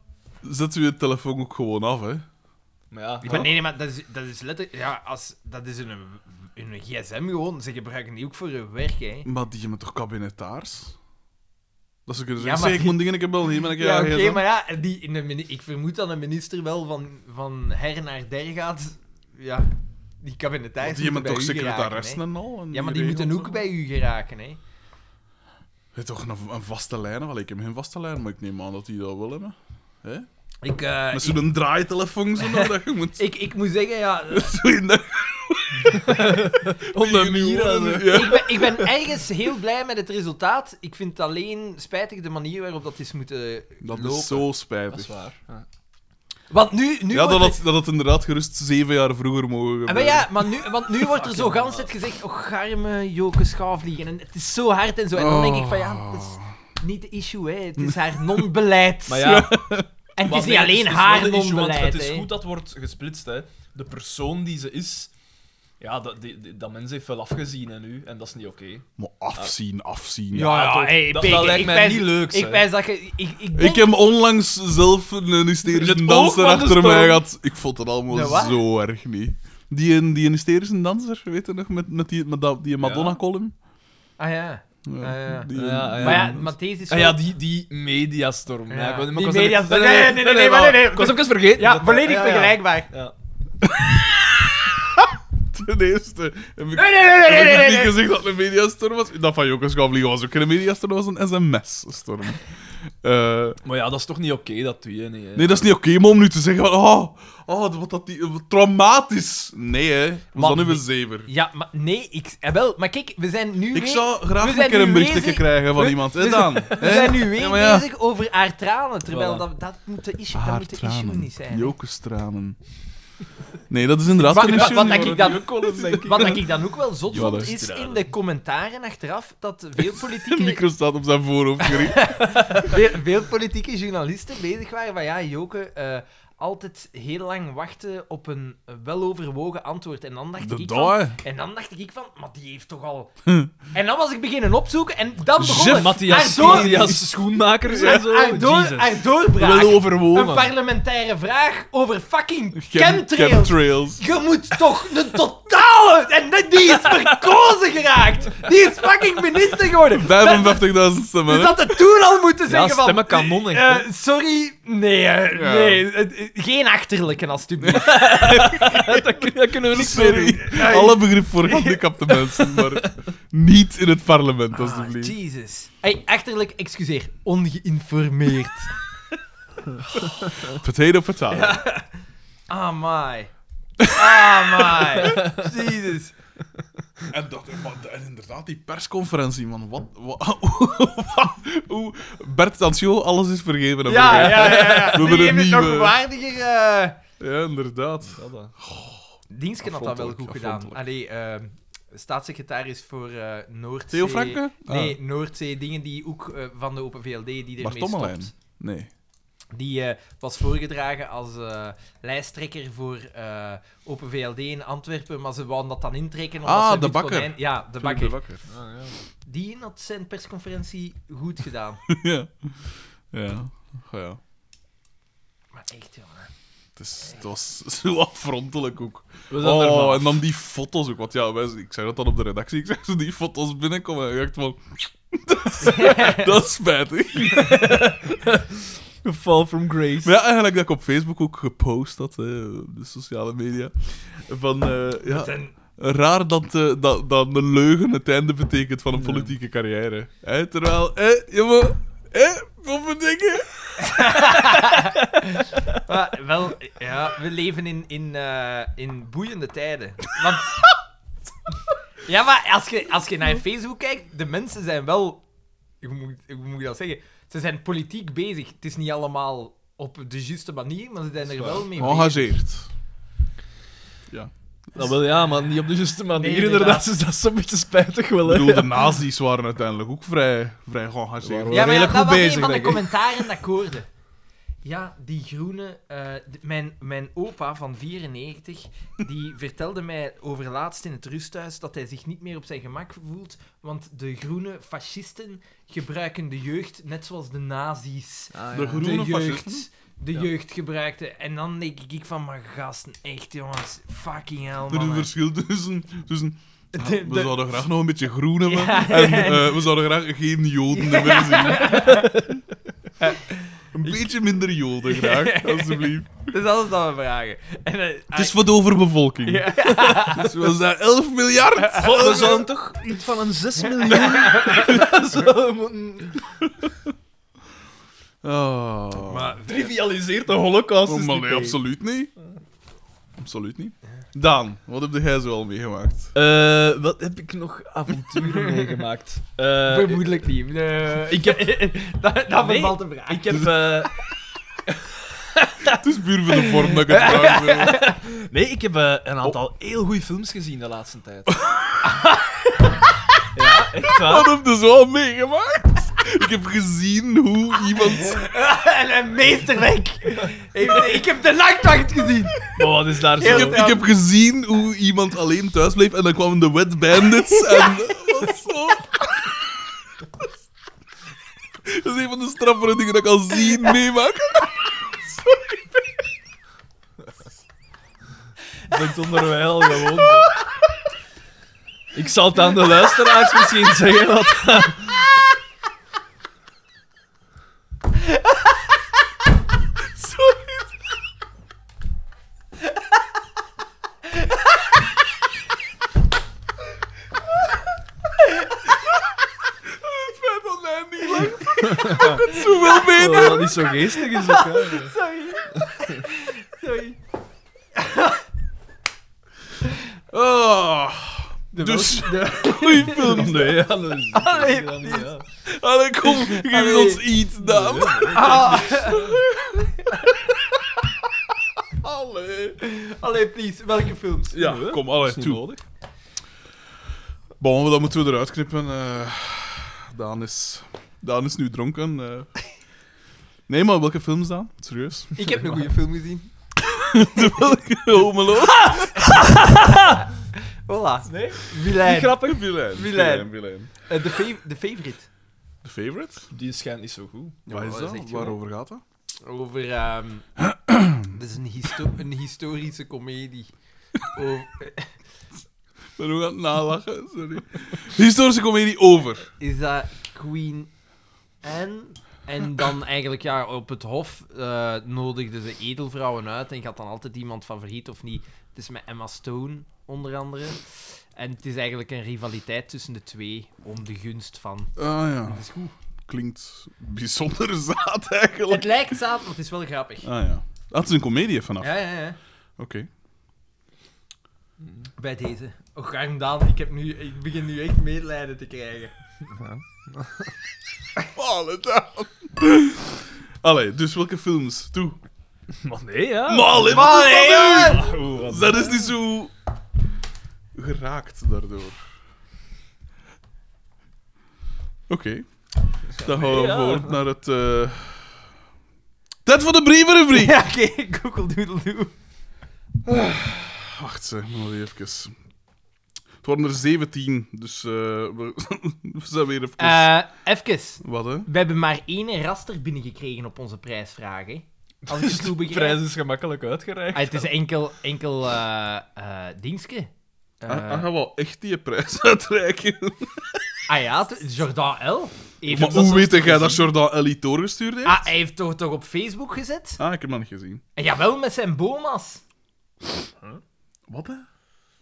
Speaker 4: zet uw telefoon ook gewoon af, hè.
Speaker 2: Maar ja,
Speaker 3: Maar nee, nee, maar dat is, dat is letterlijk... Ja, als, dat is in een, in een gsm gewoon. Ze gebruiken die ook voor hun werk, hè.
Speaker 4: Maar die hebben toch kabinetaars? Dat ze kunnen
Speaker 3: Ja,
Speaker 4: zeggen,
Speaker 3: maar-
Speaker 4: "Zeg, ik moet dingen, ik heb wel hier, maar ik
Speaker 3: Ja, oké,
Speaker 4: gsm."
Speaker 3: maar ja, die, in de mini- ik vermoed dat een minister wel van, van her naar der gaat. Ja, die kabinetaars
Speaker 4: Die hebben
Speaker 3: moeten
Speaker 4: toch
Speaker 3: bij u geraken,
Speaker 4: secretarissen
Speaker 3: hè.
Speaker 4: en al? en
Speaker 3: Ja, maar die
Speaker 4: regels
Speaker 3: moeten
Speaker 4: en
Speaker 3: ook
Speaker 4: zo?
Speaker 3: bij u geraken, hè.
Speaker 4: Heeft toch een, een vaste lijn? Wel, ik heb geen vaste lijn, maar ik neem aan dat die dat wel hebben.
Speaker 3: Ik, eh,
Speaker 4: Met
Speaker 3: ik,
Speaker 4: zo'n draaitelefoon zo nog, dat je moet...
Speaker 3: ik, ik moet zeggen, ja... eh,
Speaker 4: zo in de...
Speaker 2: om de mieren. hè.
Speaker 4: Ja.
Speaker 3: eh, Ik ben, ik ben ergens heel blij met het resultaat. Ik vind het alleen spijtig de manier waarop dat is moeten
Speaker 4: Dat
Speaker 3: lopen.
Speaker 4: is zo
Speaker 2: Dat is
Speaker 4: spijtig.
Speaker 2: waar. Ja.
Speaker 3: Want nu... nu
Speaker 4: ja,
Speaker 3: wordt
Speaker 4: dat
Speaker 3: er-
Speaker 4: had, dat had inderdaad gerust zeven jaar vroeger mogen
Speaker 3: Ah, maar
Speaker 4: gebeuren.
Speaker 3: ja, maar nu, want nu wordt er zo gans het gezegd, oh, garme joke schaafliegen. En het is zo hard en zo. En dan denk ik van, ja, dat is niet de issue, hè. Het is haar non-beleid.
Speaker 2: Oh. Maar ja,
Speaker 3: en het
Speaker 2: Maar
Speaker 3: is niet
Speaker 2: nee,
Speaker 3: alleen
Speaker 2: het is
Speaker 3: haar
Speaker 2: wel de issue, want
Speaker 3: non-beleid,
Speaker 2: Het is
Speaker 3: hè.
Speaker 2: goed dat wordt gesplitst, hè. De persoon die ze is... Ja, dat, die, die- dat mens heeft wel afgezien hè, nu. En dat is niet oké.
Speaker 4: Maar afzien, afzien.
Speaker 3: Ja, ja,
Speaker 2: toch.
Speaker 3: hey,
Speaker 2: dat,
Speaker 3: Peter,
Speaker 2: dat lijkt
Speaker 3: ik
Speaker 2: mij
Speaker 3: wijs-
Speaker 2: niet leuk,
Speaker 3: Ik wijs dat je... Ik, ik denk...
Speaker 4: Ik heb onlangs zelf een hysterische
Speaker 2: In het
Speaker 4: danser
Speaker 2: oog van de
Speaker 4: achter
Speaker 2: storm.
Speaker 4: mij gehad. Ik vond het allemaal
Speaker 3: De wat?
Speaker 4: zo erg niet. Die, een- die een hysterische danser, weet je nog, met, met die, met dat- die Madonna-column.
Speaker 3: Ah ja. eh, Ah, ja.
Speaker 4: die-
Speaker 2: Ja, ja.
Speaker 3: Maar ja, maar deze is
Speaker 2: Ah
Speaker 3: zo-
Speaker 2: ja, die, die mediastorm. Ja.
Speaker 3: Ja.
Speaker 2: ik weet niet, maar
Speaker 3: Die
Speaker 2: ik was er-
Speaker 3: mediastorm. Nee, nee, nee, nee, maar nee, nee.
Speaker 2: Ik was even vergeten.
Speaker 3: Ja,
Speaker 2: Dat-
Speaker 3: volledig
Speaker 2: ja, ja.
Speaker 3: vergelijkbaar.
Speaker 2: Ja.
Speaker 4: Ten eerste heb ik,
Speaker 3: Nee, nee, nee, nee,
Speaker 4: heb
Speaker 3: nee,
Speaker 4: ik
Speaker 3: nee,
Speaker 4: niet
Speaker 3: nee.
Speaker 4: gezegd dat het een mediastorm was. Dat van Jokers Gavliegen was ook geen mediastorm, dat was een sms-storm. Eh,
Speaker 2: Maar ja, dat is toch niet oké, dat doe je niet. Hè.
Speaker 4: nee, dat is niet oké, maar om nu te zeggen van... Oh, oh wat dat die... Wat traumatisch. Nee, hè. Was
Speaker 3: Man,
Speaker 4: dat nu een
Speaker 3: nee.
Speaker 4: zever?
Speaker 3: Ja, maar nee, ik... eh, wel, maar kijk, we zijn nu
Speaker 4: Ik
Speaker 3: weer-
Speaker 4: zou
Speaker 3: we
Speaker 4: graag
Speaker 3: zijn
Speaker 4: een keer
Speaker 3: nu
Speaker 4: een berichtje
Speaker 3: bezig-
Speaker 4: krijgen van
Speaker 3: we-
Speaker 4: iemand.
Speaker 3: we
Speaker 4: Hè, dan?
Speaker 3: We zijn nu weer
Speaker 4: Ja, maar ja.
Speaker 3: bezig over haar tranen, terwijl
Speaker 2: Voilà.
Speaker 3: dat, dat moet de issue, dat moet de issue niet zijn. hè.
Speaker 4: Jokerstranen. Nee, dat is inderdaad
Speaker 3: Wat-
Speaker 4: geen
Speaker 3: wat-
Speaker 4: issue.
Speaker 3: wat
Speaker 4: niet,
Speaker 3: denk ik
Speaker 4: maar-
Speaker 3: dan- Wat ik dan ook wel zot
Speaker 4: Ja,
Speaker 3: vond,
Speaker 4: dat is
Speaker 3: is
Speaker 2: raar,
Speaker 3: in
Speaker 2: hè.
Speaker 3: de commentaren achteraf dat veel
Speaker 4: De
Speaker 3: politieke,
Speaker 4: micro staat op zijn voorhoofd gericht.
Speaker 3: veel, veel politieke journalisten bezig waren van ja, Joke, eh, altijd heel lang wachten op een weloverwogen antwoord. En dan dacht
Speaker 4: De
Speaker 3: ik
Speaker 4: daai.
Speaker 3: van... En dan dacht ik van, maar die heeft toch al... en dan was ik beginnen opzoeken en dan begon
Speaker 2: Chef
Speaker 3: het.
Speaker 2: Hm. Matthias,
Speaker 3: Haar door-
Speaker 2: Matthias Schoenmakers en zo.
Speaker 3: haar door-
Speaker 2: Jezus.
Speaker 3: haar doorbraak.
Speaker 2: Wel
Speaker 3: Een
Speaker 2: overwogen.
Speaker 3: parlementaire vraag over fucking
Speaker 4: Chem-
Speaker 3: chemtrails.
Speaker 4: Chemtrails.
Speaker 3: Je moet toch een totale... En die is verkozen geraakt. Die is fucking minister geworden.
Speaker 4: 55.000 stemmen.
Speaker 3: Dus
Speaker 4: hè.
Speaker 3: dat het toen al moeten
Speaker 2: Ja,
Speaker 3: zeggen van...
Speaker 2: stemmen kanon, echt. hè.
Speaker 3: eh, sorry, nee, eh,
Speaker 4: Ja.
Speaker 3: nee. eh, eh, Geen achterlijken, alstublieft.
Speaker 2: Daar kun- daar kunnen we niks mee doen.
Speaker 4: Sorry. Alle begrip voor gehandicapte mensen, maar niet in het parlement, alsjeblieft.
Speaker 3: Ah, Jesus. Hey, achterlijk, excuseer. Ongeïnformeerd.
Speaker 4: Potato, potato.
Speaker 3: Ah, my. Ah, my. Jesus.
Speaker 4: En, dat, maar- en inderdaad, die persconferentie, man. Wat, wat, hoe, Bert Tancio, alles is vergeven. en
Speaker 3: Ja, ja,
Speaker 4: vergeten.
Speaker 3: ja. ja.
Speaker 4: hebben
Speaker 3: Die heeft
Speaker 4: een
Speaker 3: het nog
Speaker 4: nieuwe-
Speaker 3: waardiger... eh,
Speaker 4: eh, Ja, inderdaad.
Speaker 2: Ja, dat.
Speaker 3: Dienstken had dat wel goed
Speaker 4: Afrondelijk,
Speaker 3: gedaan. Allee, ehm, staatssecretaris voor eh Noordzee...
Speaker 4: Theo Franken?
Speaker 3: Nee, Noordzee, dingen die ook eh, van de Open VLD, die
Speaker 4: Maar
Speaker 3: ermee
Speaker 4: Tommelijn?
Speaker 3: stopt.
Speaker 4: Nee.
Speaker 3: Die eh, was voorgedragen als eh, lijsttrekker voor eh, Open VLD in Antwerpen, maar ze wouden dat dan intrekken. omdat
Speaker 4: Ah,
Speaker 3: ze
Speaker 4: de
Speaker 3: Ruud
Speaker 4: bakker.
Speaker 3: Konijn- Ja, de
Speaker 4: Philip de
Speaker 3: bakker.
Speaker 4: Bakker.
Speaker 2: Ah, ja.
Speaker 3: Die had zijn persconferentie goed gedaan.
Speaker 4: ja. Ja. Oh, ja.
Speaker 3: maar echt, jongen.
Speaker 4: Het, is, het was zo afrontelijk ook.
Speaker 2: We zijn er
Speaker 4: Oh,
Speaker 2: vanaf.
Speaker 4: en dan die foto's ook. Want ja, wij, ik zei dat dan op de redactie. Ik zei ze die foto's binnenkomen. En ik dacht van... dat, is, dat is spijtig.
Speaker 2: A fall from grace.
Speaker 4: Maar ja, eigenlijk dat ik op Facebook ook gepost had. Hè, op de sociale media. Van... eh, ja, Raar dat, eh, dat, dat een leugen het einde betekent van een politieke carrière. Hè, terwijl... Eh, jongen... Eh, wat voor dingen?
Speaker 3: Maar wel, ja, we leven in, in, eh, in boeiende tijden. Want... Ja, maar als je, als je naar Facebook kijkt, de mensen zijn wel... Hoe moet, hoe moet ik dat zeggen? Ze zijn politiek bezig. Het is niet allemaal op de juiste manier, maar ze zijn er wel
Speaker 4: Oh,
Speaker 3: mee bezig.
Speaker 4: Engageerd.
Speaker 2: Dat wil ja, maar niet op de juiste manier.
Speaker 3: Nee,
Speaker 2: inderdaad,
Speaker 3: inderdaad.
Speaker 2: dus dat is zo'n beetje spijtig
Speaker 4: Ik
Speaker 2: wel. Hè.
Speaker 4: bedoel, de nazi's waren uiteindelijk ook vrij, vrij geëngageerd.
Speaker 2: Waren
Speaker 3: Ja, maar ja,
Speaker 2: redelijk
Speaker 3: dat
Speaker 2: goed
Speaker 3: was een
Speaker 2: bezig,
Speaker 3: van de
Speaker 2: denk ik.
Speaker 3: commentaren dat ik hoorde. Ja, die groene... eh, d- mijn, mijn opa van 94, die vertelde mij overlaatst in het rusthuis dat hij zich niet meer op zijn gemak voelt, want de groene fascisten gebruiken de jeugd net zoals de nazi's.
Speaker 2: Ah,
Speaker 4: De groene
Speaker 3: de jeugd.
Speaker 4: fascisten?
Speaker 3: de jeugd gebruikte. En dan denk ik van, maar gasten, echt jongens, fucking hell,
Speaker 4: Er is een
Speaker 3: man.
Speaker 4: verschil tussen... tussen ah,
Speaker 3: De-
Speaker 4: we
Speaker 3: de-
Speaker 4: zouden graag nog een beetje groen hebben.
Speaker 3: Ja.
Speaker 4: En eh, we zouden graag geen joden erbij zien. een beetje minder joden graag, alstublieft.
Speaker 3: Dus dat is dan mijn vragen. En, eh,
Speaker 4: Het is voor de overbevolking.
Speaker 3: Ja.
Speaker 4: Dus we zijn 11 miljard.
Speaker 2: God, we zouden toch iets van een 6 miljoen. Zo moeten-
Speaker 4: Oh.
Speaker 3: maar,
Speaker 2: Trivialiseert de holocaust.
Speaker 4: Oh,
Speaker 2: is
Speaker 4: maar
Speaker 2: niet
Speaker 4: nee,
Speaker 2: mee.
Speaker 4: absoluut niet. Absoluut niet. Daan, wat heb jij zo al meegemaakt?
Speaker 2: Eh, wat heb ik nog avonturen meegemaakt? Eh,
Speaker 3: vermoedelijk niet. Nee.
Speaker 2: Ik heb,
Speaker 3: dat ah, eh, dat
Speaker 2: Nee.
Speaker 3: vervalt de vraag.
Speaker 2: ik heb, eh,
Speaker 4: Het is puur voor de vorm dat ik het vraag wil.
Speaker 2: nee, ik heb eh, een aantal heel goede films gezien de laatste tijd. ja, echt waar.
Speaker 4: Wat heb je zo al meegemaakt? Ik heb gezien hoe iemand...
Speaker 3: en een meesterwerk. ik, ik heb de nachtwacht gezien.
Speaker 2: Maar wat is daar
Speaker 4: Ik
Speaker 2: zo?
Speaker 4: heb, ik heb gezien hoe iemand alleen thuis bleef en dan kwamen de Wet Bandits en... Dat was zo... Dat is een van de straffere dingen dat ik al zien meemaken.
Speaker 2: Ik ben het onderwijl gewoon. zo. Ik zal het aan de luisteraars misschien zeggen wat.
Speaker 4: Zoveel beter.
Speaker 2: Dat niet zo geestig is. Ook, hè.
Speaker 3: Sorry. Sorry.
Speaker 4: Ah, dus, goeie film.
Speaker 2: Nee, ja, dat is-
Speaker 3: Allee,
Speaker 2: dat is niet, ja.
Speaker 4: Allee, kom, geef
Speaker 3: Allee.
Speaker 4: ons iets, Daan.
Speaker 3: Ah,
Speaker 4: Allee.
Speaker 3: allee, please. Welke films?
Speaker 4: Ja,
Speaker 2: Nee,
Speaker 4: kom, allee,
Speaker 2: is niet
Speaker 4: toe.
Speaker 2: nodig.
Speaker 4: Bon, dat moeten we eruit knippen. eh. Daan, is, Daan is nu dronken. eh. Nee, maar welke films dan? Serieus?
Speaker 3: Ik heb een goede film gezien.
Speaker 4: welke Home Alone?
Speaker 3: Voilà.
Speaker 2: Nee?
Speaker 3: Vilijn.
Speaker 4: Grappig. Villain.
Speaker 3: Villain.
Speaker 4: Villain.
Speaker 3: Eh, de, fav- de favorite.
Speaker 4: The Favorite?
Speaker 2: Die schijnt niet zo goed.
Speaker 4: Waar is
Speaker 3: dat
Speaker 4: dat?
Speaker 3: is echt
Speaker 4: Waarover gaat dat?
Speaker 3: Over. ehm, dat is een, histo- een historische komedie. Over-
Speaker 4: Ik ben ook aan het nalachen, sorry. Historische comedie over.
Speaker 3: is dat Queen Anne? En dan eigenlijk ja, op het hof eh nodigden ze edelvrouwen uit en je had dan altijd iemand favoriet of niet. Het is met Emma Stone onder andere. En het is eigenlijk een rivaliteit tussen de twee om de gunst van.
Speaker 4: Ah ja,
Speaker 3: Dat is goed.
Speaker 4: klinkt bijzonder zaad
Speaker 3: Het
Speaker 4: eigenlijk.
Speaker 3: lijkt zaad, maar het is wel grappig.
Speaker 4: Ah ja. Dat is een comedie vanaf.
Speaker 3: Ja, ja, ja.
Speaker 4: Oké.
Speaker 3: Bij deze. Och, arm Daan, ik, heb nu, ik begin nu echt medelijden te krijgen.
Speaker 4: Alle Daan. Allee, dus welke films? Toe.
Speaker 2: Maar nee, ja.
Speaker 4: Maar allee, wat
Speaker 3: Maar
Speaker 4: is
Speaker 3: nee,
Speaker 4: dat nu?
Speaker 3: jongen!
Speaker 2: Oh, wat-
Speaker 4: Dat is niet zo geraakt daardoor. Oké. Dan gaan we
Speaker 2: Ja.
Speaker 4: voort naar het... eh, Tijd voor de brievenrubriek!
Speaker 3: Ja, oké, Google Doodle Doo.
Speaker 4: Wacht, zeg, nog even. Het worden er 17, dus eh, we, we zijn weer even...
Speaker 3: Eh, even.
Speaker 4: Wat, hè?
Speaker 3: We hebben maar één raster binnengekregen op onze prijsvraag. Hè? Als ik het goed
Speaker 2: De
Speaker 3: begrijp.
Speaker 2: prijs is gemakkelijk uitgereikt.
Speaker 3: Ah, het is enkel, enkel eh eh, dingske. Eh,
Speaker 4: Dan gaan we wel echt die prijs uitreiken.
Speaker 3: ah ja, het is Jordan L. Heeft
Speaker 4: Maar
Speaker 3: hem-
Speaker 4: hoe weet jij dat Jordan Ellie doorgestuurd heeft?
Speaker 3: Ah, hij heeft toch, toch op Facebook gezet?
Speaker 4: Ah, ik heb dat niet gezien.
Speaker 3: En jawel, met zijn boma's.
Speaker 4: Wat, hè?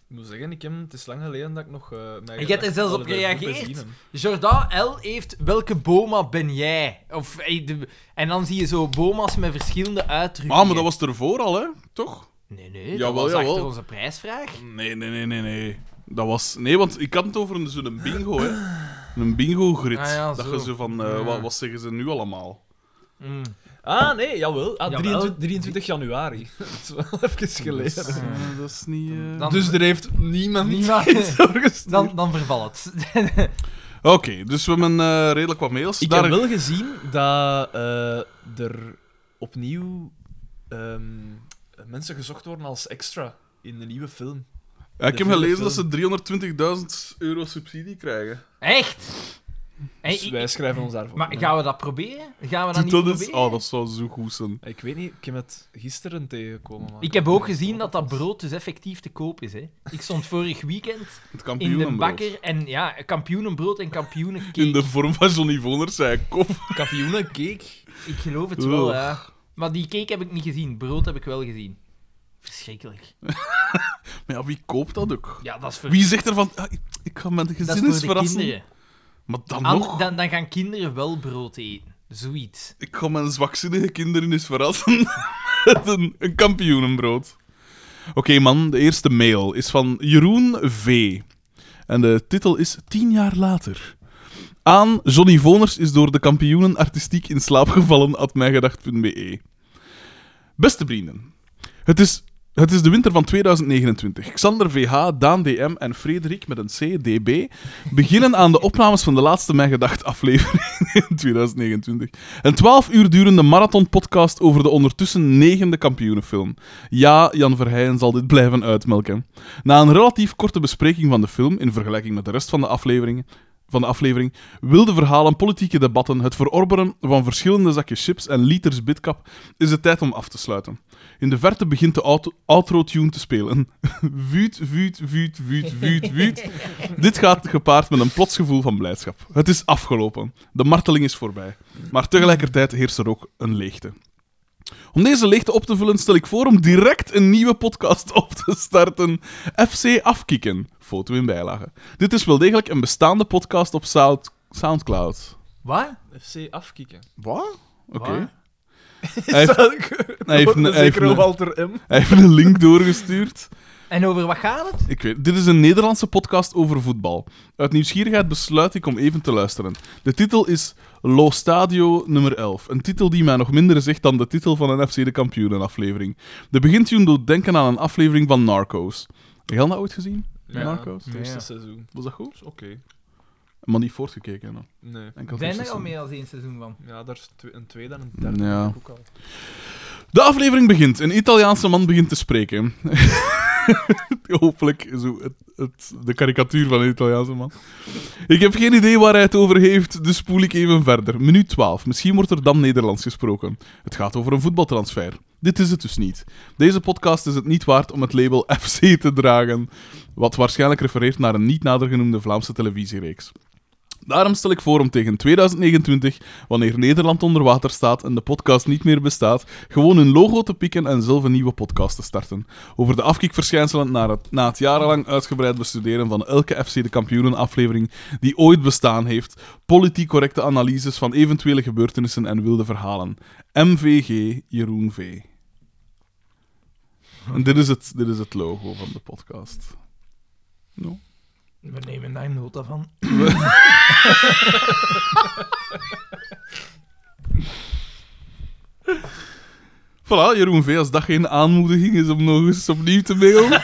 Speaker 2: Ik moet zeggen, ik heb, het is lang geleden dat ik nog... eh mijn
Speaker 3: Ik heb er zelfs op
Speaker 2: Allee, bij groepen
Speaker 3: gereageerd.
Speaker 2: zien heb.
Speaker 3: Jordan L. heeft welke boma ben jij? Of, eh, de- en dan zie je zo boma's met verschillende uitdrukkingen.
Speaker 4: Ah, maar dat was ervoor al, hè? Toch?
Speaker 3: Nee, nee, dat
Speaker 4: Jawel,
Speaker 3: was achter
Speaker 4: jawel.
Speaker 3: onze prijsvraag.
Speaker 4: Nee, nee, nee, nee, nee. Dat was... Nee, want ik had het over een- zo'n bingo, hè. Een bingo-grid.
Speaker 3: Ah, ja,
Speaker 4: dat
Speaker 3: zo.
Speaker 4: je zo van... eh,
Speaker 3: Ja.
Speaker 4: wat, wat zeggen ze nu allemaal?
Speaker 3: Mm.
Speaker 2: Ah, nee, jawel. Ah,
Speaker 3: Jawel.
Speaker 2: 23, 23 januari. dat is wel even geleden.
Speaker 4: Dus, eh, dat is niet... eh,
Speaker 3: Dan-
Speaker 2: dus er heeft niemand,
Speaker 3: Niemand.
Speaker 2: iets doorgestuurd.
Speaker 3: Dan, dan vervalt het.
Speaker 4: Oké, dus we hebben eh, redelijk wat mails.
Speaker 2: Ik
Speaker 4: Daar-
Speaker 2: heb wel gezien dat eh, er opnieuw ehm, mensen gezocht worden als extra in de nieuwe film.
Speaker 4: Ja, ik
Speaker 2: De
Speaker 4: heb gelezen
Speaker 2: film.
Speaker 4: dat ze 320.000 euro subsidie krijgen.
Speaker 3: Echt? En
Speaker 2: Dus
Speaker 3: ik-
Speaker 2: wij schrijven ons daarvoor.
Speaker 3: maar gaan we dat proberen? Gaan we dat
Speaker 4: Doet
Speaker 3: niet
Speaker 4: dat eens?
Speaker 3: proberen?
Speaker 4: Oh, dat zou zo goed zijn.
Speaker 2: Ik weet niet, ik heb het gisteren tegengekomen. Maar...
Speaker 3: Ik heb ook gezien dat dat brood dus effectief te koop is. Hè. Ik stond vorig weekend
Speaker 4: Het
Speaker 3: in de
Speaker 4: kampioenenbrood.
Speaker 3: bakker en ja, kampioenenbrood en kampioenencake.
Speaker 4: In de vorm van Johnny Voners, zei kop.
Speaker 2: kampioenencake.
Speaker 3: Ik geloof het wel,
Speaker 4: Ugh.
Speaker 3: ja. Maar die cake heb ik niet gezien, brood heb ik wel gezien. Verschrikkelijk.
Speaker 4: Maar ja, wie koopt dat ook?
Speaker 3: Ja, dat is voor,
Speaker 4: Wie zegt er van, ah, ik- ik ga mijn
Speaker 3: dat is
Speaker 4: gezin eens
Speaker 3: voor de
Speaker 4: verrassen?
Speaker 3: kinderen.
Speaker 4: Maar dan
Speaker 3: An-
Speaker 4: nog,
Speaker 3: dan, dan gaan kinderen wel brood eten. Zoiets.
Speaker 4: ik ga mijn zwakzinnige kinderen eens verrassen met een, een kampioenenbrood. Oké man, de eerste mail is van Jeroen V. En de titel is 10 jaar later. Aan Johnny Voners is door de kampioenen artistiek in slaap gevallen at mijgedacht.be. E. Beste vrienden, het is, het is de winter van 2029. Xander VH, Daan DM en Frederik met een C, DB beginnen aan de opnames van de laatste Mijn Gedacht aflevering in 2029. Een 12 uur durende marathonpodcast over de ondertussen negende kampioenenfilm. Ja, Jan Verheyen zal dit blijven uitmelken. Na een relatief korte bespreking van de film, in vergelijking met de rest van de afleveringen, van de aflevering, wilde verhalen, politieke debatten, het verorberen van verschillende zakjes chips en liters bitkap, is het tijd om af te sluiten. In de verte begint de auto- outro-tune te spelen. vuut, vuut, vuut, vuut, vuut, vuut. Dit gaat gepaard met een plots gevoel van blijdschap. Het is afgelopen. De marteling is voorbij. Maar tegelijkertijd heerst er ook een leegte. Om deze leegte op te vullen, stel ik voor om direct een nieuwe podcast op te starten. FC Afkikken. Foto in bijlage. Dit is wel degelijk een bestaande podcast op Sound- Soundcloud.
Speaker 3: Wat?
Speaker 2: FC afkicken.
Speaker 4: Wat? Oké.
Speaker 3: Wat?
Speaker 4: Hij heeft, hij heeft een, hij heeft
Speaker 2: Zeker
Speaker 4: een-
Speaker 2: Walter M.
Speaker 4: hij heeft een link doorgestuurd.
Speaker 3: En over wat gaat het?
Speaker 4: Ik weet, dit is een Nederlandse podcast over voetbal. Uit nieuwsgierigheid besluit ik om even te luisteren. De titel is Lo Stadio nummer 11. Een titel die mij nog minder zegt dan de titel van een FC de Kampioenen aflevering. De begintune doet denken aan een aflevering van Narcos. Heb je dat ooit gezien?
Speaker 2: Ja,
Speaker 4: Marco's?
Speaker 2: Het eerste
Speaker 3: Ja.
Speaker 2: seizoen.
Speaker 4: Was dat goed?
Speaker 2: Oké.
Speaker 4: Maar niet voortgekeken. hè.
Speaker 2: Nee.
Speaker 4: Enkel het
Speaker 3: Zijn
Speaker 4: eerste
Speaker 3: er al
Speaker 4: seizoen.
Speaker 3: meer dan één seizoen van?
Speaker 2: Ja, daar is twe- een tweede en een derde.
Speaker 4: Ja.
Speaker 2: denk ik Ook al.
Speaker 4: De aflevering begint. Een Italiaanse man begint te spreken. Hopelijk zo het, het, de karikatuur van een Italiaanse man. Ik heb geen idee waar hij het over heeft, dus spoel ik even verder. Minuut 12. Misschien wordt er dan Nederlands gesproken. Het gaat over een voetbaltransfer. Dit is het dus niet. Deze podcast is het niet waard om het label FC te dragen, wat waarschijnlijk refereert naar een niet nader genoemde Vlaamse televisiereeks. Daarom stel ik voor om tegen 2029, wanneer Nederland onder water staat en de podcast niet meer bestaat, gewoon hun logo te pikken en zelf een nieuwe podcast te starten. Over de afkikverschijnselen na het, na het jarenlang uitgebreid bestuderen van elke FC de Kampioenen aflevering die ooit bestaan heeft, politiek correcte analyses van eventuele gebeurtenissen en wilde verhalen. MVG Jeroen V. En dit is het, dit is het logo van de podcast. No.
Speaker 3: We nemen daar nota van.
Speaker 4: Voilà, Jeroen V. Als dat geen aanmoediging is om nog eens opnieuw te mailen.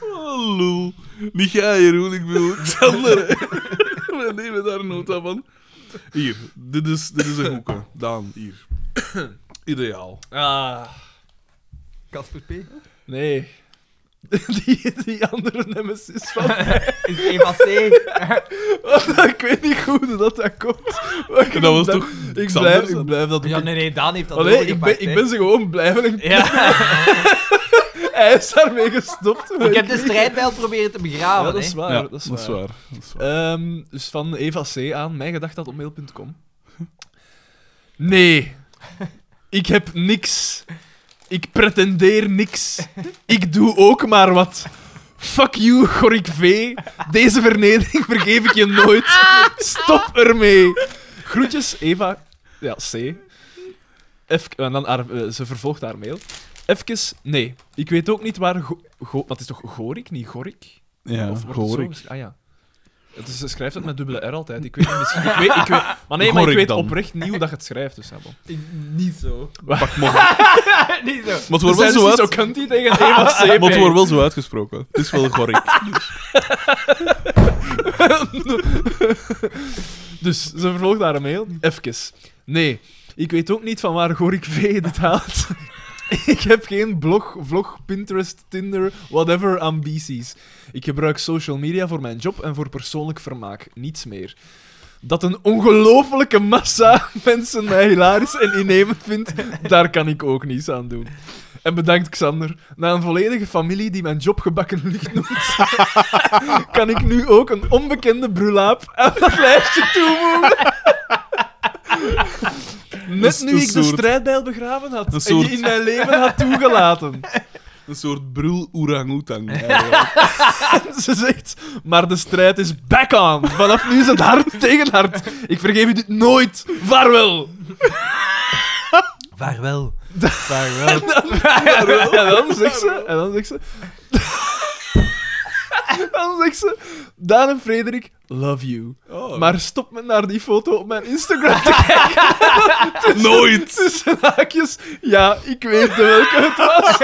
Speaker 4: oh, lul. Niet jij, Jeroen. Ik bedoel, Xander. hè. We nemen daar nota van. Hier, dit is, dit is een hoeken. Daan, hier. Ideaal.
Speaker 2: Ah,
Speaker 3: Casper P.
Speaker 2: nee. Die, die andere nemesis van... Oh, nou,
Speaker 3: Is Eva C.
Speaker 2: ik weet niet goed hoe dat, dat komt. Maar ik
Speaker 4: En dat was
Speaker 2: blijf-
Speaker 4: toch
Speaker 2: Ik
Speaker 4: Xander,
Speaker 2: blijf,
Speaker 4: hè?
Speaker 2: ik blijf dat...
Speaker 3: Ja, nee, nee, Daan heeft dat
Speaker 2: Oh, nee, ik,
Speaker 3: overgepakt,
Speaker 2: ben, ik
Speaker 3: hè.
Speaker 2: ben ze gewoon blijven...
Speaker 3: Ja,
Speaker 2: Hij is daarmee gestopt. maar
Speaker 3: ik heb de
Speaker 2: weet-
Speaker 3: strijdbijl proberen te
Speaker 2: Ah, Ja,
Speaker 3: begraven.
Speaker 2: dat is
Speaker 3: hè.
Speaker 2: waar.
Speaker 4: ja,
Speaker 2: dat is waar.
Speaker 4: Dat is waar.
Speaker 2: Ehm, dus van Eva C. aan mijgedacht.mail.com. Nee. Ik heb niks. Ik pretendeer niks. Ik doe ook maar wat. Fuck you, Gorik V. Deze vernedering vergeef ik je nooit. Stop ermee. Groetjes, Eva. Ja, C. Even- en dan haar- eh, ze vervolgt haar mail. Even, nee. Ik weet ook niet waar... Go- Go- wat is toch Gorik, niet Gorik?
Speaker 4: Ja,
Speaker 2: Eh, Of wordt het
Speaker 4: hoor
Speaker 2: zo
Speaker 4: ik.
Speaker 2: geschre- Ah ja. Het is, ze schrijft het met dubbele R altijd. Ik weet niet, misschien... Ik weet, ik weet, maar nee, maar
Speaker 4: Gorik
Speaker 2: ik weet
Speaker 4: dan.
Speaker 2: oprecht niet hoe dat je het schrijft, dus Sabo.
Speaker 3: Ik- Niet zo.
Speaker 4: Pak maar.
Speaker 3: niet zo.
Speaker 4: Maar het
Speaker 2: We
Speaker 4: wordt wel
Speaker 2: zijn
Speaker 4: zo
Speaker 2: dus
Speaker 4: uit.
Speaker 2: zo kunt hij tegen Eva C.
Speaker 4: Maar het wordt wel zo uitgesproken. Het is wel gorik.
Speaker 2: Dus ze vervolgt haar mail. Even. Nee, ik weet ook niet van waar Gorik V dit haalt. ik heb geen blog, vlog, Pinterest, Tinder, whatever ambities. Ik gebruik social media voor mijn job en voor persoonlijk vermaak. Niets meer. Dat een ongelofelijke massa mensen mij hilarisch en innemend vindt, daar kan ik ook niets aan doen. En bedankt, Xander. Na een volledige familie die mijn job gebakken licht noemt, kan ik nu ook een onbekende brulaap aan dat lijstje toevoegen. Net
Speaker 4: Een-
Speaker 2: nu
Speaker 4: een
Speaker 2: ik de
Speaker 4: soort-
Speaker 2: strijdbijl begraven had
Speaker 4: Een soort-
Speaker 2: en je in mijn leven had toegelaten.
Speaker 4: Een soort brul oerang-oetang.
Speaker 2: En ze zegt, maar de strijd is back on. Vanaf nu is het hart tegen hart. Ik vergeef u dit nooit. Vaarwel.
Speaker 3: Vaarwel.
Speaker 2: En dan, en dan zegt ze... En dan zegt ze... Dan zegt ze... Daan en Frederik, love you.
Speaker 4: Oh.
Speaker 2: Maar stop met naar die foto op mijn Instagram te kijken.
Speaker 4: Nooit!
Speaker 2: Tussen haakjes. Ja, ik weet welke het was.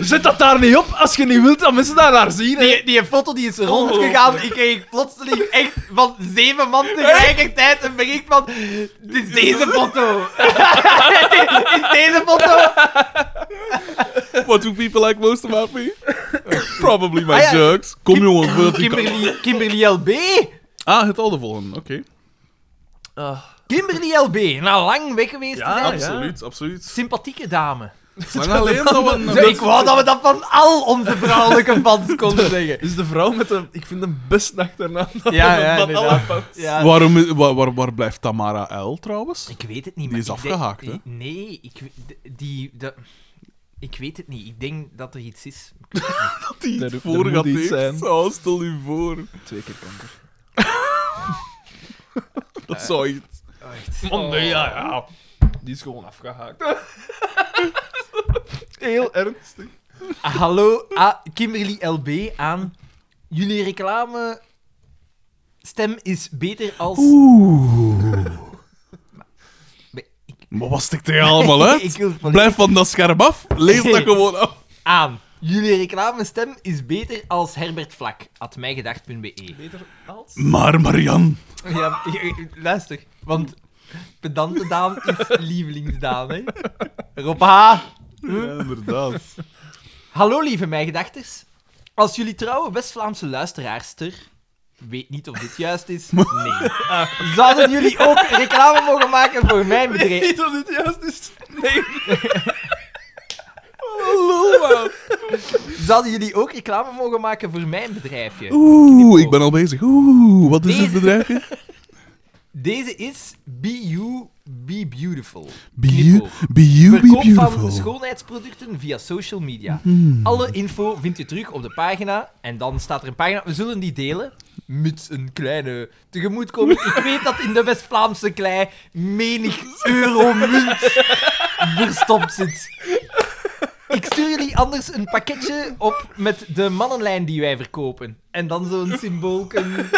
Speaker 2: Zet dat daar niet op als je niet wilt dat mensen daar naar zien. hè.
Speaker 3: Die, die foto die is rondgegaan, ik kreeg plotseling echt van zeven man tegelijkertijd een bericht van... Het is deze foto. Het is deze foto.
Speaker 4: What do people like most about me? Probably my
Speaker 3: Ah, ja.
Speaker 4: jokes. Kom jongen, voor die kant.
Speaker 3: Kimberly, Kimberly LB.
Speaker 4: Ah, het al de volgende, oké.
Speaker 3: Kimberly LB, na lang weg geweest te
Speaker 4: Ah,
Speaker 3: zijn.
Speaker 4: Absoluut, absoluut.
Speaker 3: Sympathieke dame.
Speaker 4: Lang alleen dat we...
Speaker 3: Zo, ik wou dat we dat van al onze vrouwelijke fans konden zeggen.
Speaker 2: Is de vrouw met de... Ik vind hem best achternaam.
Speaker 3: Ja, ja,
Speaker 2: van alle
Speaker 3: inderdaad.
Speaker 2: fans.
Speaker 3: Ja.
Speaker 4: Waarom, waar, waar, waar blijft Tamara L trouwens?
Speaker 3: Ik weet het
Speaker 4: Die
Speaker 3: niet, maar
Speaker 4: is
Speaker 3: ik denk-
Speaker 4: afgehaakt, hè?
Speaker 3: Nee, ik, we- die, dat- ik weet het niet. Ik denk dat er iets is.
Speaker 4: Die
Speaker 2: Er-
Speaker 4: het
Speaker 2: er
Speaker 4: voor
Speaker 2: moet
Speaker 4: gaat
Speaker 2: iets
Speaker 4: heeft.
Speaker 2: zijn.
Speaker 4: Oh, stel u voor.
Speaker 2: Twee keer kanker.
Speaker 4: Dat zou iets.
Speaker 2: Oh nee, ja, ja. Die is gewoon afgehaakt. Heel ernstig.
Speaker 3: Hallo, ah, Kimberly LB aan. Jullie reclame stem is beter als...
Speaker 4: Maar wat stikt hij allemaal uit?
Speaker 3: ik wil het van-
Speaker 4: Blijf van dat scherm af. Lees dat gewoon af.
Speaker 3: aan. Jullie reclame stem is beter als Herbert Vlak. At mijgedacht.be.
Speaker 2: Beter als?
Speaker 4: Maar Marian.
Speaker 3: Ja, luister. Want pedante Daan is lievelingsdaan, hè. Rob H.
Speaker 4: Ja, inderdaad.
Speaker 3: Hallo lieve mijgedachters. Als jullie trouwe West-Vlaamse luisteraarster... Weet niet of dit juist is. Nee. Zouden jullie ook reclame mogen maken voor mijn bedrijf?
Speaker 2: Niet dat dit juist is. Nee.
Speaker 4: Oh,
Speaker 3: Zouden jullie ook reclame mogen maken voor mijn bedrijfje?
Speaker 4: Oeh, ik ben al bezig. Oeh, wat is het bedrijfje?
Speaker 3: Deze is Be You, Be Beautiful.
Speaker 4: Be you,
Speaker 3: Kniphoog.
Speaker 4: be, you, be
Speaker 3: Verkoop van
Speaker 4: beautiful.
Speaker 3: schoonheidsproducten via social media. Alle info vind je terug op de pagina. En dan staat er een pagina. We zullen die delen. Met een kleine tegemoetkoming. Ik weet dat in de West-Vlaamse klei menig euromunt verstopt zit. Ik stuur jullie anders een pakketje op met de mannenlijn die wij verkopen. En dan zo'n symbool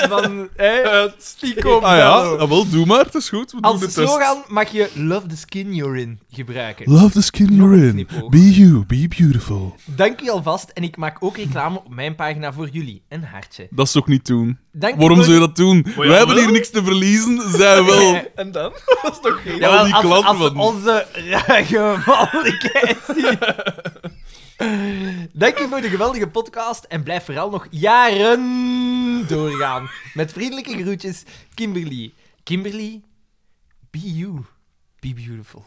Speaker 3: van... Hè,
Speaker 2: Eh,
Speaker 3: Stico
Speaker 4: Ah ja,
Speaker 3: Bello.
Speaker 4: ah, wel, doe maar. Het is goed. We doen de
Speaker 3: Als
Speaker 4: test.
Speaker 3: slogan mag je Love the skin you're in gebruiken.
Speaker 4: Love the skin you're
Speaker 3: een
Speaker 4: in.
Speaker 3: knipoog.
Speaker 4: Be you, be beautiful.
Speaker 3: Dank u alvast en ik maak ook reclame op mijn pagina voor jullie. Een hartje.
Speaker 4: Dat is toch niet doen?
Speaker 3: Dank u
Speaker 4: Waarom
Speaker 3: voor- Eh,
Speaker 4: zou je dat doen?
Speaker 3: Oh
Speaker 4: Wij hebben
Speaker 2: wel.
Speaker 4: hier niks te verliezen. Zij wel.
Speaker 2: En dan? Dat is toch geen...
Speaker 3: Jawel,
Speaker 4: al die
Speaker 3: als-
Speaker 4: klanten
Speaker 3: als,
Speaker 4: van-
Speaker 3: onze ruige mannelijkheid zien. Dank u voor de geweldige podcast en blijf vooral nog jaren doorgaan. Met vriendelijke groetjes, Kimberly. Kimberly, be you. Be beautiful.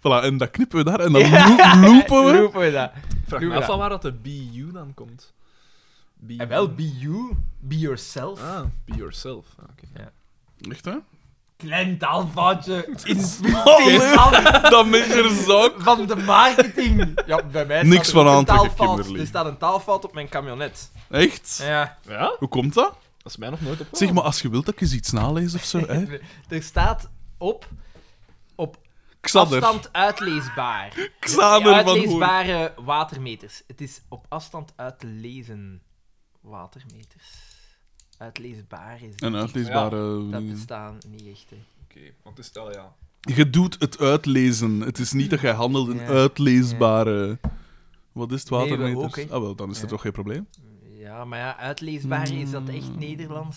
Speaker 4: Voilà, en dat knippen we daar en dan lo- loopen we.
Speaker 3: Roepen we dat.
Speaker 2: Vraag
Speaker 3: Doe maar
Speaker 2: me af
Speaker 3: dat.
Speaker 2: van waar dat de BU dan komt. Be
Speaker 3: En wel, be you, be yourself.
Speaker 2: Ah, be yourself. Ah, oké.
Speaker 4: Echt, hè?
Speaker 3: Klein taalfoutje.
Speaker 4: Allee.
Speaker 3: Inspecteer alles.
Speaker 4: Dat meneer zak.
Speaker 3: van de marketing. Ja, bij mij
Speaker 4: Niks
Speaker 3: staat er
Speaker 4: van
Speaker 3: ook
Speaker 4: aan
Speaker 3: een
Speaker 4: trekken,
Speaker 3: taalfout.
Speaker 4: Kimberly.
Speaker 3: Er staat een taalfout op mijn camionet.
Speaker 4: Echt?
Speaker 3: Ja. Oh.
Speaker 2: Ja?
Speaker 4: Hoe komt dat?
Speaker 2: Dat is mij nog nooit opgevallen.
Speaker 4: Zeg maar, als je wilt dat ik eens iets nalees of zo, hè?
Speaker 3: Er staat op, op
Speaker 4: Xander.
Speaker 3: afstand uitleesbaar.
Speaker 4: Xander van Hoorn.
Speaker 3: Uitleesbare watermeters. Het is op afstand uit te lezen watermeters. Uitleesbaar is
Speaker 4: Een uitleesbare... eh,
Speaker 3: Dat bestaan niet echt. Hè.
Speaker 2: Oké, want het is... al ja.
Speaker 4: Je doet het uitlezen. Het is niet dat jij handelt in
Speaker 3: Ja.
Speaker 4: uitleesbare... Wat is het,
Speaker 3: Nee, we
Speaker 4: watermeters?
Speaker 3: ook, hè.
Speaker 4: ah, wel, dan is er
Speaker 3: Ja.
Speaker 4: toch geen probleem.
Speaker 3: Ja, maar ja, uitleesbaar is dat echt Nederlands?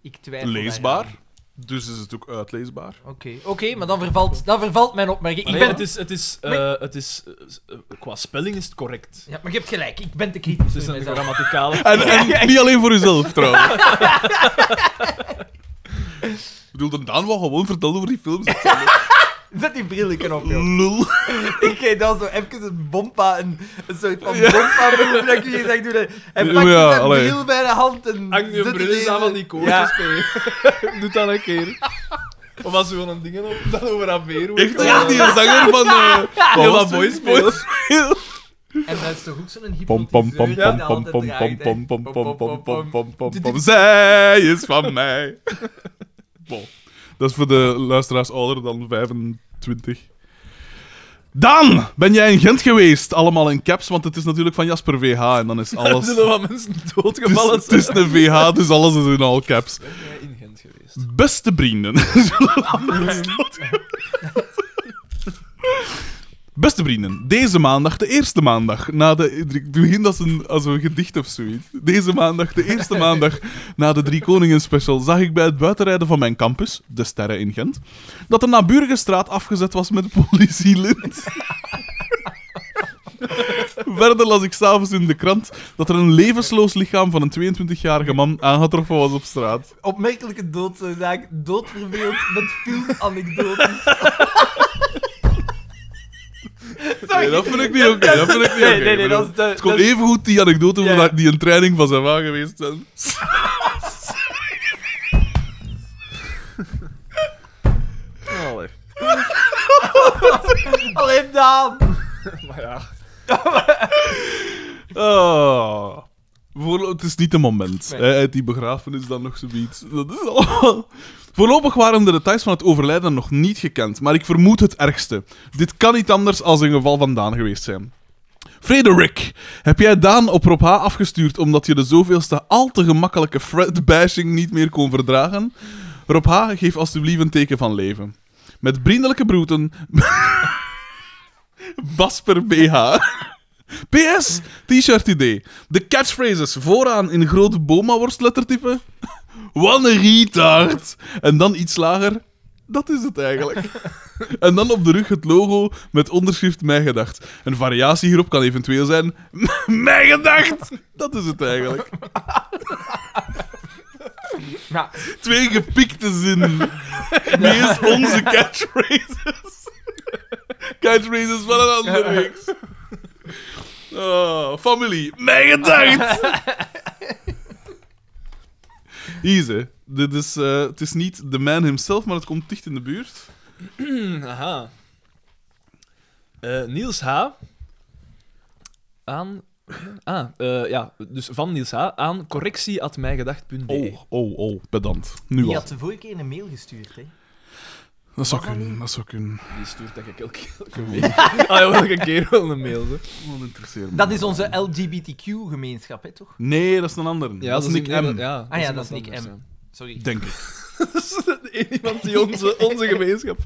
Speaker 3: Ik twijfel. daaraan.
Speaker 4: Hmm. Leesbaar? Dus is het ook uitleesbaar.
Speaker 3: Oké, oké, maar dan vervalt, dan vervalt mijn opmerking.
Speaker 2: Nee,
Speaker 3: ik ben...
Speaker 2: het is, het is, eh, het is eh, qua spelling is het correct.
Speaker 3: Ja, maar je hebt gelijk, ik ben te kritisch.
Speaker 2: Het is
Speaker 3: voor
Speaker 2: een
Speaker 3: mezelf.
Speaker 2: grammaticale.
Speaker 3: Ah,
Speaker 4: En, en niet alleen voor uzelf, trouwens. Ik bedoel, de Daan wou gewoon vertellen over die films. Dat zijn
Speaker 3: Zet die brilletje op, joh.
Speaker 4: Lul.
Speaker 3: ik geef dan zo even een bompa, een, een soort van bompa move dat ik je zegt doen. Hij
Speaker 4: Ja,
Speaker 3: pakt
Speaker 4: ja,
Speaker 3: zijn
Speaker 4: allee.
Speaker 3: bril bij de hand en
Speaker 2: Hang je
Speaker 3: zet
Speaker 2: bril
Speaker 3: die
Speaker 2: eens aan
Speaker 3: deze-
Speaker 2: van die koortjes,
Speaker 3: Ja.
Speaker 2: Doe dat een keer. Of als je van een dingen op, dan over Aveer wordt.
Speaker 4: Echt, echt die zanger van... eh
Speaker 2: Ja,
Speaker 4: wat was
Speaker 2: van Boys
Speaker 4: het?
Speaker 2: Boys.
Speaker 4: Boys.
Speaker 3: En dat is toch goed zo'n
Speaker 4: Pom pom pom
Speaker 3: hypnotiseur
Speaker 4: pom
Speaker 3: die
Speaker 4: pom pom pom
Speaker 3: altijd draait, hè.
Speaker 4: pom pom pom pom pom pom pom
Speaker 3: Dit-
Speaker 4: pom. Zij is van mij. Bon. Dat is voor de luisteraars ouder dan 25. Dan ben jij in Gent geweest, allemaal in caps, want het is natuurlijk van Jasper VH en dan is
Speaker 2: Er
Speaker 4: alles.
Speaker 2: zullen wat mensen
Speaker 4: Het is,
Speaker 2: doodgevallen
Speaker 4: het is een VH, dus alles is in all caps.
Speaker 2: Ben jij in Gent geweest?
Speaker 4: Beste vrienden. Zullen we aan de slot gaan? Beste vrienden, deze maandag, de eerste maandag, na de... Ik begin als een, als een gedicht of zoiets. Deze maandag, de eerste maandag, na de Drie Koningen special, zag ik bij het buitenrijden van mijn campus, de Sterren in Gent, dat de naburige straat afgezet was met politielint. Verder las ik s'avonds in de krant dat er een levensloos lichaam van een 22-jarige man aangetroffen was op straat.
Speaker 3: Opmerkelijke doodzaak, doodverbeeld met veel anekdotes. Sorry.
Speaker 4: Nee, dat vind ik niet oké. dat vind ik niet
Speaker 3: Nee,
Speaker 4: oké.
Speaker 3: nee, nee,
Speaker 4: Ik
Speaker 3: dat is de-
Speaker 4: Het kon
Speaker 3: dat is-
Speaker 4: even goed die anekdote
Speaker 3: Ja.
Speaker 4: van dat- die een training van zijn wagen geweest zijn.
Speaker 2: Allee.
Speaker 3: Alleen dan.
Speaker 2: Maar ja.
Speaker 4: Ah. Voor, het is niet de moment.
Speaker 3: Nee.
Speaker 4: Hè, uit die begrafenis dan nog zoiets. Dat is allemaal... Voorlopig waren de details van het overlijden nog niet gekend, maar ik vermoed het ergste. Dit kan niet anders als een geval van Daan geweest zijn. Frederik, heb jij Daan op Rob H. afgestuurd omdat je de zoveelste al te gemakkelijke Fred-bashing niet meer kon verdragen? Rob H., geef alstublieft een teken van leven. Met vriendelijke broeten... Basper BH. PS, t-shirt idee. De catchphrases vooraan in grote Boma-worst lettertype. Wat een retard. En dan iets lager. Dat is het eigenlijk. En dan op de rug het logo met onderschrift Mij Gedacht. Een variatie hierop kan eventueel zijn... Mij Gedacht! Dat is het eigenlijk.
Speaker 3: Ja,
Speaker 4: Twee gepikte zinnen. Meest onze catchphrases. Catchphrases van een andere reeks. Ah, familie, mijn gedacht! Easy. Dit is, eh, het is niet de man himself, maar het komt dicht in de buurt.
Speaker 2: Aha. Eh, Niels H. Aan. Ah, eh, ja, dus van Niels H. aan correctie.mijgedacht.be.
Speaker 4: Oh, oh, oh, pedant. Nu
Speaker 3: die
Speaker 4: al.
Speaker 3: had de vorige keer een mail gestuurd, hè.
Speaker 4: Dat zou kunnen, dat zou kunnen.
Speaker 2: Die stuurt dat ik elke, elke week. Ah, ja, elke keer wel een mail. Hè.
Speaker 4: Wat interesseert me.
Speaker 3: Dat is onze LGBTQ-gemeenschap, hè, toch?
Speaker 4: Nee, dat is een ander. dat is Nick
Speaker 2: nee,
Speaker 4: M.
Speaker 2: dat- ja,
Speaker 3: Ah ja,
Speaker 2: iemand
Speaker 3: dat is Nick
Speaker 2: anders,
Speaker 3: M.
Speaker 2: ja.
Speaker 3: Sorry.
Speaker 4: Denk ik.
Speaker 2: Dat is de enige iemand die onze, onze gemeenschap.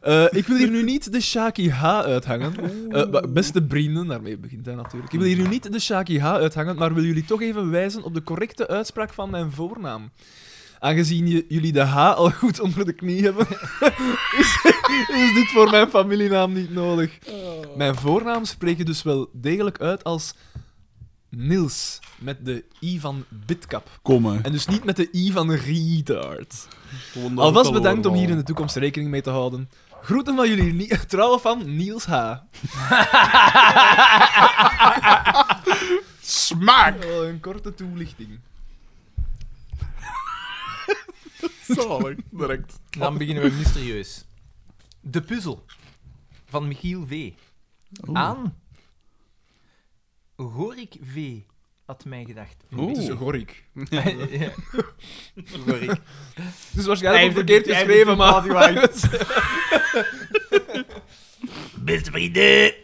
Speaker 2: Eh, ik wil hier nu niet de Shaki H uithangen. Eh, maar beste vrienden, daarmee begint hij natuurlijk. Ik wil hier nu niet de Shaki H uithangen, maar wil jullie toch even wijzen op de correcte uitspraak van mijn voornaam. Aangezien je- jullie de H al goed onder de knie hebben, is, is dit voor mijn familienaam niet nodig. Mijn voornaam spreek je dus wel degelijk uit als Niels, met de I van Bitkap.
Speaker 4: Kom, hè.
Speaker 2: En dus niet met de I van retard.
Speaker 4: Gewoon dat
Speaker 2: Alvast
Speaker 4: het al Oh.
Speaker 2: bedankt om
Speaker 4: overal-
Speaker 2: hier in de toekomst rekening mee te houden. Groeten van jullie nie- trouwe van Niels H.
Speaker 4: Smaak!
Speaker 2: Wel Oh, een korte toelichting.
Speaker 4: Zalig, direct.
Speaker 2: Oh.
Speaker 3: Dan beginnen we mysterieus. De puzzel van Michiel V. Aan Gorik V. Had mij gedacht.
Speaker 4: Oeh.
Speaker 2: Het is Gorik.
Speaker 3: Ja. Gorik.
Speaker 2: Dus waarschijnlijk ook verkeerd geschreven, maar...
Speaker 5: Beste vrienden.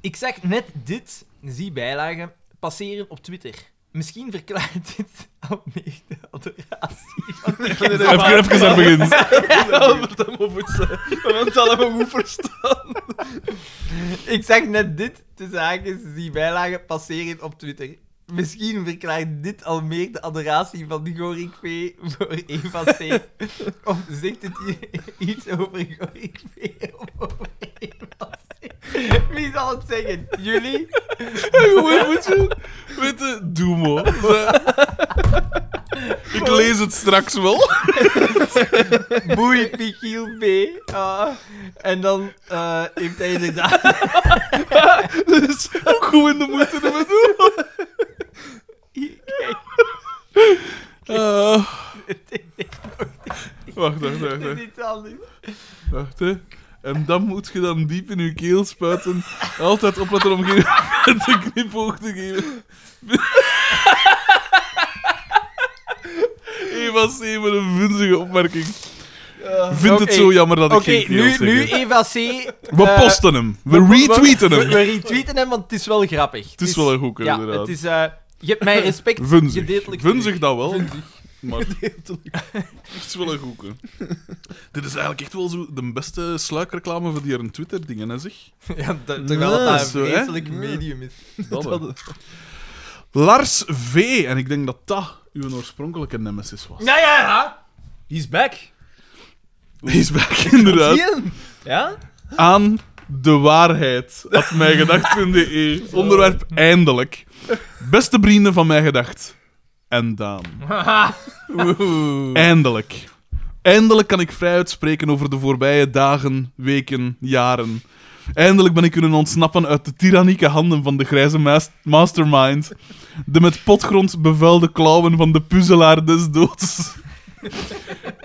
Speaker 3: Ik zag net dit, zie bijlagen, passeren op Twitter. Misschien verklaart dit al meer de adoratie. van de kerk.
Speaker 4: Even, even aan het begin.
Speaker 2: Albert hem op het zijn. We hebben het allemaal goed verstaan.
Speaker 3: Ik zag net dit, tussen haakjes, zie bijlagen, passeren op Twitter.
Speaker 6: Misschien verklaart dit al meer de adoratie van Gorik V voor Eva C. Of zegt het hier iets over Gorik V of over Eva C? Wie zal het zeggen? Jullie?
Speaker 4: Gewoon moet je... Weet je, doe maar. Zo. Ik lees het straks wel.
Speaker 6: Boei Michiel B. Ah, en dan eh, heeft hij inderdaad...
Speaker 4: Goed in de moeite ermee doen.
Speaker 6: Kijk,
Speaker 4: Eh, wacht, wacht, wacht.
Speaker 6: dit
Speaker 4: wacht.
Speaker 6: is anders.
Speaker 4: Wacht, hè. En dan moet je dan diep in je keel spuiten. Altijd opletten om geen te knipoog te geven. Eva C. met een vunzige opmerking. Vindt het
Speaker 6: oké.
Speaker 4: zo jammer dat ik
Speaker 6: Oké,
Speaker 4: geen keel
Speaker 6: nu, nu
Speaker 4: zeg.
Speaker 6: Eva C.
Speaker 4: We
Speaker 6: eh,
Speaker 4: posten hem. We retweeten
Speaker 6: We, we
Speaker 4: hem.
Speaker 6: retweeten hem, want het is wel grappig.
Speaker 4: Het is wel een goeie,
Speaker 6: ja,
Speaker 4: inderdaad.
Speaker 6: Het is, eh, je hebt mijn respect
Speaker 4: Vunzig.
Speaker 6: gedeeltelijk
Speaker 4: Vunzig dat wel. Maar het is wel een goeie. Dit is eigenlijk echt wel zo de beste sluikreclame van die jaren Twitter-dingen, hè, zeg.
Speaker 6: Ja, dat,
Speaker 2: terwijl
Speaker 6: terwijl
Speaker 2: dat
Speaker 6: dat
Speaker 4: een
Speaker 6: een
Speaker 4: vreselijk
Speaker 6: vreselijk medium is.
Speaker 4: Lars V. En ik denk dat dat uw oorspronkelijke nemesis was.
Speaker 3: Ja, ja, ja.
Speaker 2: He's back.
Speaker 4: Die is back, inderdaad.
Speaker 2: Ja?
Speaker 4: Aan de waarheid. At mijngedacht.de. Onderwerp eindelijk. Beste vrienden van mijn gedacht. En Daan. Eindelijk. Eindelijk kan ik vrij uitspreken over de voorbije dagen, weken, jaren. Eindelijk ben ik kunnen ontsnappen uit de tyrannieke handen van de grijze mas- mastermind. De met potgrond bevuilde klauwen van de puzzelaar des doods.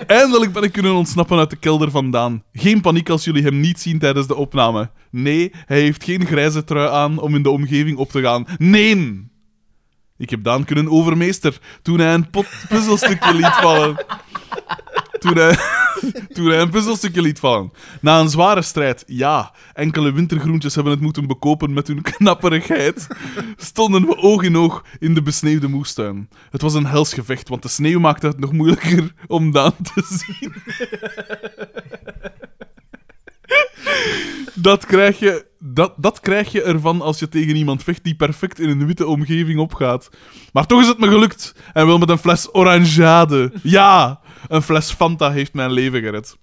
Speaker 4: Eindelijk ben ik kunnen ontsnappen uit de kelder vandaan. Geen paniek als jullie hem niet zien tijdens de opname. Nee, hij heeft geen grijze trui aan om in de omgeving op te gaan. Nee! Ik heb Daan kunnen overmeester toen hij een pot puzzelstukje liet vallen. Toen hij, toen hij een puzzelstukje liet vallen. Na een zware strijd, ja, enkele wintergroentjes hebben het moeten bekopen met hun knapperigheid, stonden we oog in oog in de besneeuwde moestuin. Het was een hels gevecht, want de sneeuw maakte het nog moeilijker om Daan te zien. Dat krijg, je, dat, dat krijg je ervan als je tegen iemand vecht die perfect in een witte omgeving opgaat. Maar toch is het me gelukt. En wel met een fles orangeade. Ja, een fles Fanta heeft mijn leven gered.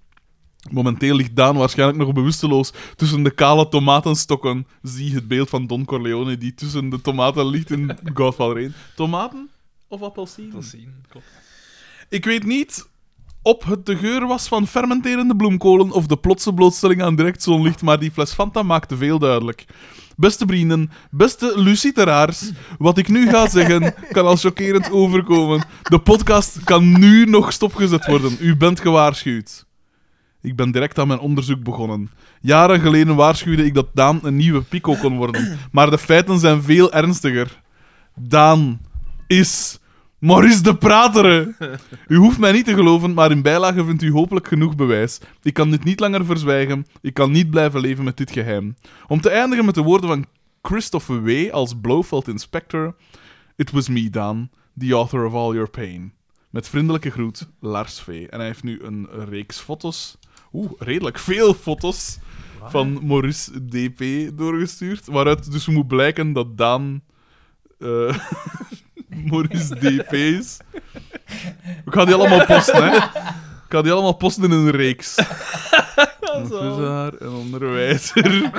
Speaker 4: Momenteel ligt Daan waarschijnlijk nog bewusteloos tussen de kale tomatenstokken. Zie het beeld van Don Corleone die tussen de tomaten ligt in Godfather 1. Tomaten of appelsien? Ik weet niet op het de geur was van fermenterende bloemkolen of de plotse blootstelling aan direct zonlicht, maar die fles Fanta maakte veel duidelijk. Beste vrienden, beste luciteraars, wat ik nu ga zeggen kan al chockerend overkomen. De podcast kan nu nog stopgezet worden. U bent gewaarschuwd. Ik ben direct aan mijn onderzoek begonnen. Jaren geleden waarschuwde ik dat Daan een nieuwe pico kon worden, maar de feiten zijn veel ernstiger. Daan is Maurice de Pratere. U hoeft mij niet te geloven, maar in bijlage vindt u hopelijk genoeg bewijs. Ik kan dit niet langer verzwijgen. Ik kan niet blijven leven met dit geheim. Om te eindigen met de woorden van Christopher W. als Blofeld Inspector. It was me, Daan, the author of all your pain. Met vriendelijke groet, Lars V. En hij heeft nu een reeks foto's. Oeh, redelijk veel foto's. Van Maurice DP doorgestuurd. Waaruit dus moet blijken dat Daan. eh, Maurice DP is. Ik ga die allemaal posten, hè. Ik ga die allemaal posten in een reeks. Een puzzelaar, een onderwijzer.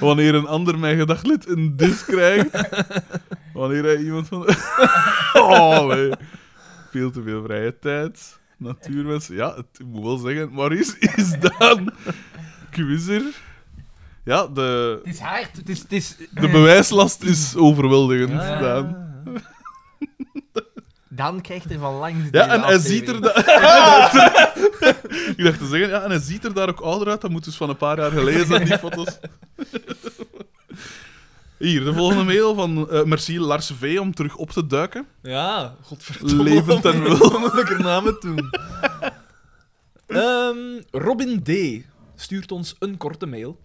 Speaker 4: Wanneer een ander mijn gedachtlid een dis krijgt. Wanneer hij iemand van... oh, nee. Veel te veel vrije tijd. Natuurmensen. Ja, het, ik moet wel zeggen. Maurice is dan quizzer. Ja, de,
Speaker 3: Het is hard. Het is,
Speaker 4: de bewijslast is overweldigend. Daan.
Speaker 3: eh,
Speaker 6: Dan krijgt er van langs
Speaker 4: Ja,
Speaker 6: deze
Speaker 4: en hij
Speaker 6: aflevering.
Speaker 4: ziet er... da- Ik dacht te zeggen, ja, en hij ziet er daar ook ouder uit. Dat moet dus van een paar jaar geleden zijn, die foto's. Hier, de volgende mail van eh Merci Lars V. om terug op te duiken.
Speaker 2: Ja, godverdomme.
Speaker 4: Levend en wel.
Speaker 2: Welke namen toen? Ehm, Robin D. stuurt ons een korte mail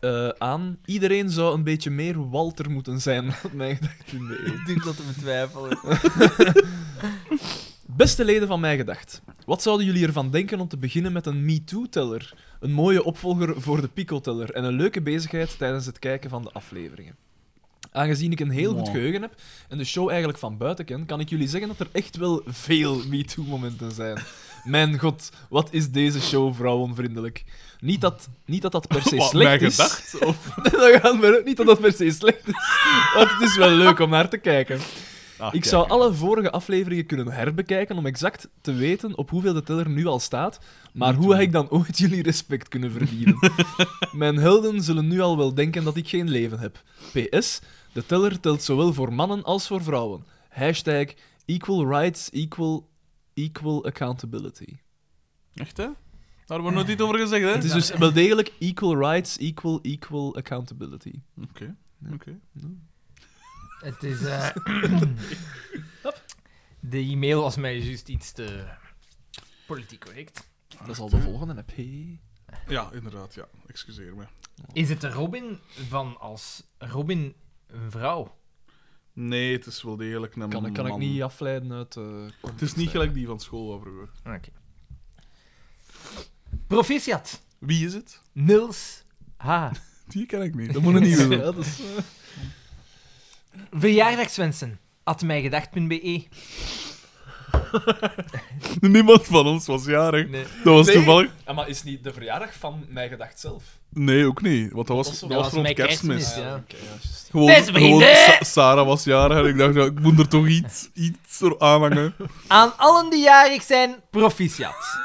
Speaker 2: eh, aan. Iedereen zou een beetje meer Walter moeten zijn, had mij gedacht in de eeuw.
Speaker 6: Ik durf dat te betwijfelen.
Speaker 2: Beste leden van Mij Gedacht, wat zouden jullie ervan denken om te beginnen met een MeToo-teller? Een mooie opvolger voor de Pico-teller en een leuke bezigheid tijdens het kijken van de afleveringen. Aangezien ik een heel goed geheugen heb en de show eigenlijk van buiten ken, kan ik jullie zeggen dat er echt wel veel MeToo-momenten zijn. Mijn god, wat is deze show vrouwenvriendelijk. Niet dat niet dat, dat per se
Speaker 4: Wat,
Speaker 2: slecht
Speaker 4: mijn
Speaker 2: is.
Speaker 4: gedacht? Of...
Speaker 2: dat gaat maar ook niet dat dat per se slecht is. Want het is wel leuk om naar te kijken.
Speaker 4: Ah,
Speaker 2: Ik
Speaker 4: kijk.
Speaker 2: zou alle vorige afleveringen kunnen herbekijken om exact te weten op hoeveel de teller nu al staat. Maar hoe heb ik dan ooit jullie respect kunnen verdienen? Mijn helden zullen nu al wel denken dat ik geen leven heb. PS, de teller telt zowel voor mannen als voor vrouwen. Hashtag equal rights, equal, equal accountability.
Speaker 4: Echt, hè? Daar wordt nooit iets over gezegd, hè?
Speaker 2: Het is dus wel degelijk equal rights, equal, equal accountability.
Speaker 4: Oké. Oké.
Speaker 3: Het is. eh, de e-mail was mij juist iets te. politiek correct.
Speaker 2: Dat is al de volgende heb. Hey.
Speaker 4: Ja, inderdaad, ja. Excuseer me.
Speaker 3: Is het de Robin van als Robin een vrouw?
Speaker 4: Nee, het is wel degelijk een
Speaker 2: Kan, ik- kan ik
Speaker 4: man.
Speaker 2: niet afleiden uit... eh,
Speaker 4: Het is niet gelijk die van school waar vroeger.
Speaker 3: Oké. Proficiat.
Speaker 4: Wie is het?
Speaker 3: Nils H.
Speaker 4: Die ken ik niet.
Speaker 2: Dat moet een nieuwe
Speaker 4: Ja,
Speaker 2: dat is...
Speaker 3: Verjaardagswensen. At mijgedacht.be.
Speaker 4: Niemand van ons was jarig.
Speaker 3: Nee.
Speaker 4: Dat was
Speaker 2: Nee.
Speaker 4: toevallig.
Speaker 2: Ja, maar is niet de verjaardag van mijn gedacht zelf?
Speaker 4: Nee, ook niet. Want dat was,
Speaker 2: Dat was zo-
Speaker 4: dat was rond kerstmis.
Speaker 3: Ja.
Speaker 2: oké, Ah, ja, juist.
Speaker 4: Gewoon,
Speaker 3: Beste
Speaker 4: gewoon
Speaker 3: vrienden!
Speaker 4: Sa- Sarah was jarig en ik dacht, ja, ik moet er toch iets, iets er aan hangen.
Speaker 3: Aan allen die jarig zijn, proficiat.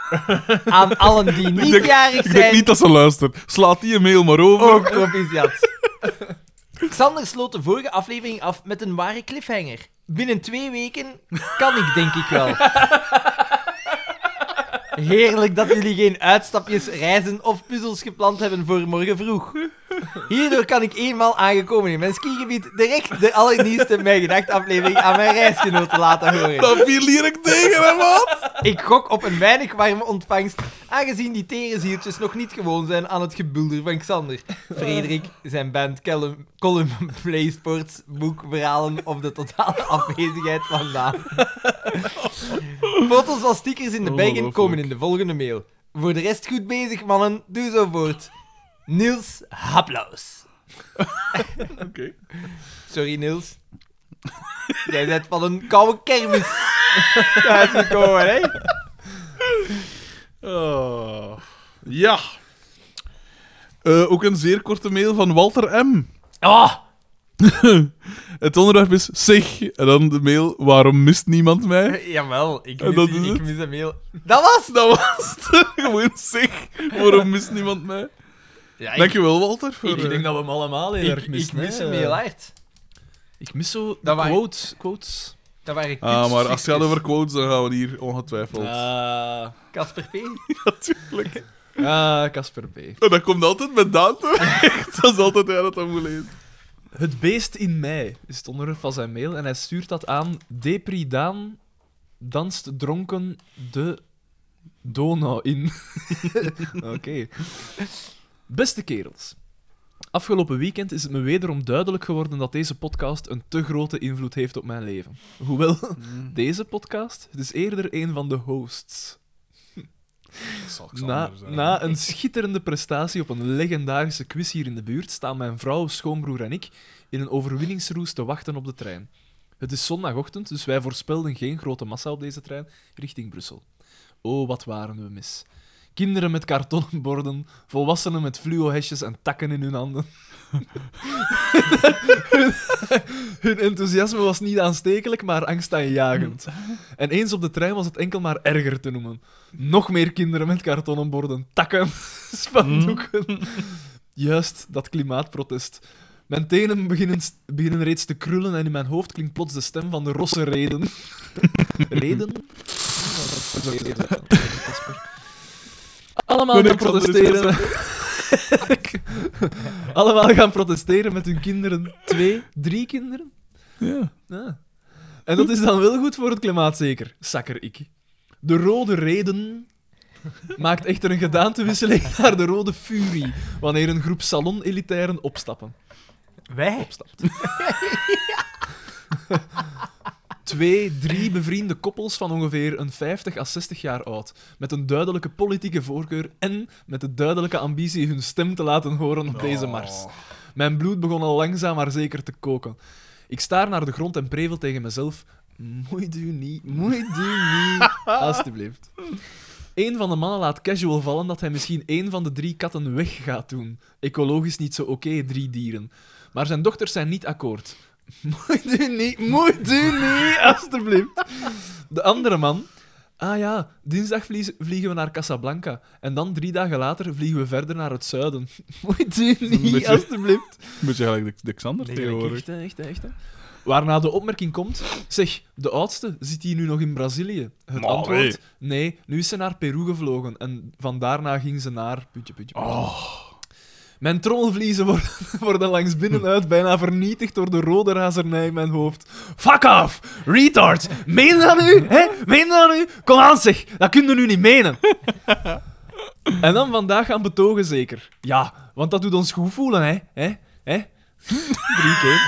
Speaker 3: Aan allen die niet
Speaker 4: denk-
Speaker 3: jarig
Speaker 4: Ik denk
Speaker 3: zijn,
Speaker 4: niet dat ze luistert. Slaat die een mail maar over.
Speaker 3: ook proficiat. Xander sloot de vorige aflevering af met een ware cliffhanger. Binnen twee weken kan ik, denk ik wel. Heerlijk dat jullie geen uitstapjes, reizen of puzzels gepland hebben voor morgen vroeg. Hierdoor kan ik eenmaal aangekomen in mijn skigebied direct de allernieuwste Mijn Gedacht aflevering aan mijn reisgenoten laten horen.
Speaker 4: Dat viel ik tegen, hè, man?
Speaker 3: Ik gok op een weinig warme ontvangst, aangezien die terenzieltjes nog niet gewoon zijn aan het gebulder van Xander. Frederik, zijn band, Callum, column, playsports, boek, verhalen of de totale afwezigheid van Daan. Foto's als stickers in de baggen
Speaker 4: Ongelooflijk.
Speaker 3: komen in de volgende mail. Voor de rest goed bezig, mannen. Doe zo voort. Niels Haplaus.
Speaker 4: Oké.
Speaker 3: Sorry, Niels. Jij bent van een koude kermis. Ja, is gekomen, hè?
Speaker 4: Ah, ja. Eh, ook een zeer korte mail van Walter M.
Speaker 2: Ah,
Speaker 3: Oh,
Speaker 4: Het onderwerp is zich. En dan de mail, waarom mist niemand mij?
Speaker 3: Jawel, ik
Speaker 4: En
Speaker 3: mis,
Speaker 4: dat
Speaker 3: die-
Speaker 4: is
Speaker 3: ik
Speaker 4: het?
Speaker 3: mis een mail. Dat was het!
Speaker 4: Dat was het. Gewoon zich. Waarom mist niemand mij?
Speaker 3: Ja, ik,
Speaker 4: Dankjewel, Walter. Voor,
Speaker 2: Ik
Speaker 4: eh,
Speaker 2: denk dat we hem allemaal heel
Speaker 3: ik,
Speaker 2: erg missen.
Speaker 3: ik mis
Speaker 2: hè.
Speaker 3: hem heel hard.
Speaker 2: Ik mis zo de
Speaker 3: Dat wij-
Speaker 2: quotes. quotes.
Speaker 3: Dat waren
Speaker 4: Ah, maar als het gaat
Speaker 3: kunststuksjes.
Speaker 4: over quotes, dan gaan we hier ongetwijfeld.
Speaker 2: Ah,
Speaker 3: Casper P.
Speaker 4: Natuurlijk.
Speaker 2: ah, Casper B.
Speaker 4: En Oh, dat komt altijd met Daan terecht. Dat is altijd hij dat dan moet lezen.
Speaker 2: Het beest in mij is het onderwerp van zijn mail. En hij stuurt dat aan Depridaan danst dronken de Donau in. Oké. Beste kerels. Afgelopen weekend is het me wederom duidelijk geworden dat deze podcast een te grote invloed heeft op mijn leven. Hoewel, deze podcast, het is eerder een van de hosts.
Speaker 4: Dat zal
Speaker 2: Na, na een schitterende prestatie op een legendarische quiz hier in de buurt staan mijn vrouw, schoonbroer en ik in een overwinningsroes te wachten op de trein. Het is zondagochtend, dus wij voorspelden geen grote massa op deze trein richting Brussel. Oh, wat waren we mis. Kinderen met kartonnen borden, volwassenen met fluohesjes en takken in hun handen. hun enthousiasme was niet aanstekelijk, maar angstaanjagend. En eens op de trein was het enkel maar erger te noemen. Nog meer kinderen met kartonnen borden, takken, spandoeken. Juist, dat klimaatprotest. Mijn tenen beginnen, beginnen reeds te krullen en in mijn hoofd klinkt plots de stem van de rosse reden. reden? Allemaal
Speaker 4: Nee,
Speaker 2: gaan
Speaker 4: nee, Xander is
Speaker 2: protesteren. Allemaal gaan protesteren met hun kinderen. Twee, drie kinderen?
Speaker 4: Ja.
Speaker 2: Ja. En dat is dan wel goed voor het klimaat, zeker, zakker ik. De rode reden maakt echter een gedaantewisseling naar de rode furie wanneer een groep salon-elitairen opstappen.
Speaker 3: Wij?
Speaker 2: Opstapt. twee, drie bevriende koppels van ongeveer een 50 à 60 jaar oud. Met een duidelijke politieke voorkeur en met de duidelijke ambitie hun stem te laten horen op deze mars. Mijn bloed begon al langzaam maar zeker te koken. Ik staar naar de grond en prevel tegen mezelf. Moeit u niet, moeit u niet, alstublieft. Een van de mannen laat casual vallen dat hij misschien één van de drie katten weg gaat doen. Ecologisch niet zo oké, drie dieren. Maar zijn dochters zijn niet akkoord. Moet u niet, moet u niet, alstublieft. De andere man. Ah ja, dinsdag vlie- vliegen we naar Casablanca. En dan drie dagen later vliegen we verder naar het zuiden. Moet u
Speaker 4: Een
Speaker 2: niet,
Speaker 4: beetje-
Speaker 2: alstublieft.
Speaker 4: Beetje gelijk de, de Xander tegenwoordig.
Speaker 2: Echt, hè, echt, hè, echt. hè. Waarna de opmerking komt: zeg, de oudste zit hier nu nog in Brazilië. Het
Speaker 4: Maar
Speaker 2: antwoord: nee, nu is ze naar Peru gevlogen. En van daarna ging ze naar. Puntje, puntje, puntje. Mijn trommelvliezen worden, worden langs binnenuit bijna vernietigd door de rode razernij in mijn hoofd. Fuck off! Retard! Meen je dat nu? Hè? Meen je dat nu? Kom aan zeg, dat kun je nu niet menen. En dan vandaag gaan betogen zeker. Ja, want dat doet ons goed voelen, hè? hè? hè? Drie keer.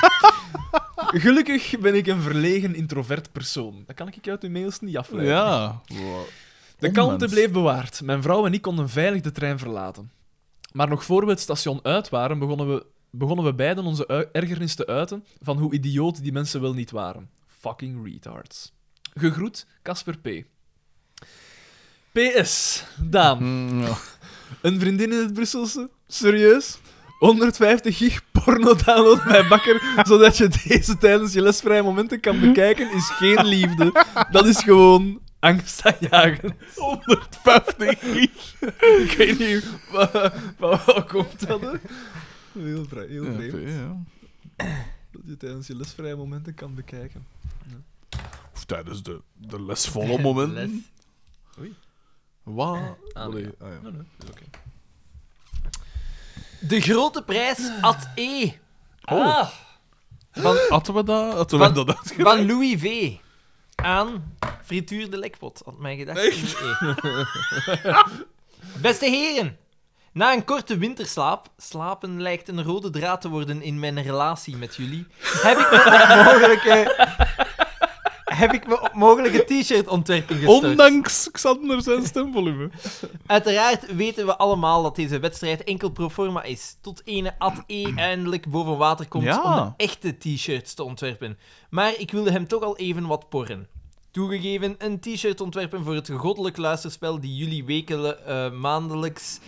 Speaker 2: Gelukkig ben ik een verlegen introvert persoon. Dat kan ik uit uw mails niet afleiden.
Speaker 4: Ja. Oh,
Speaker 2: De kalmte bleef bewaard. Mijn vrouw en ik konden veilig de trein verlaten. Maar nog voor we het station uit waren, begonnen we, begonnen we beiden onze ui- ergernis te uiten van hoe idioot die mensen wel niet waren. Fucking retards. Gegroet, Casper P. PS, Daan. Een vriendin in het Brusselse? Serieus? 150 gig porno download bij Bakker, zodat je deze tijdens je lesvrije momenten kan bekijken, is geen liefde. Dat is gewoon angstaanjagend.
Speaker 4: 150 gig.
Speaker 2: Ik weet niet wa- wa- waar komt dat, hè? Heel, vre- heel
Speaker 4: Ja,
Speaker 2: vreemd.
Speaker 4: ja.
Speaker 2: Dat je tijdens je lesvrije momenten kan bekijken.
Speaker 4: Of tijdens de, de lesvolle momenten.
Speaker 2: Oei.
Speaker 4: Wat?
Speaker 2: Ah,
Speaker 4: Allee,
Speaker 2: ja.
Speaker 4: ah, ja.
Speaker 3: De grote prijs at E
Speaker 4: Oh. Hadden we dat? Hadden we
Speaker 3: Van-
Speaker 4: dat uitge-
Speaker 3: van Louis V. Aan Frituur de Lekpot, had mij gedacht. E. Beste heren, na een korte winterslaap, slapen lijkt een rode draad te worden in mijn relatie met jullie, heb ik me op mogelijke, heb ik me op mogelijke t-shirt ontwerpen gestort.
Speaker 4: Ondanks Xander zijn stemvolume.
Speaker 3: Uiteraard weten we allemaal dat deze wedstrijd enkel pro forma is. Tot ene ad E eindelijk boven water komt
Speaker 4: Ja.
Speaker 3: om de echte t-shirts te ontwerpen. Maar ik wilde hem toch al even wat porren. Toegegeven, een t-shirt ontwerpen voor het goddelijk luisterspel die jullie wekelen, eh, maandelijks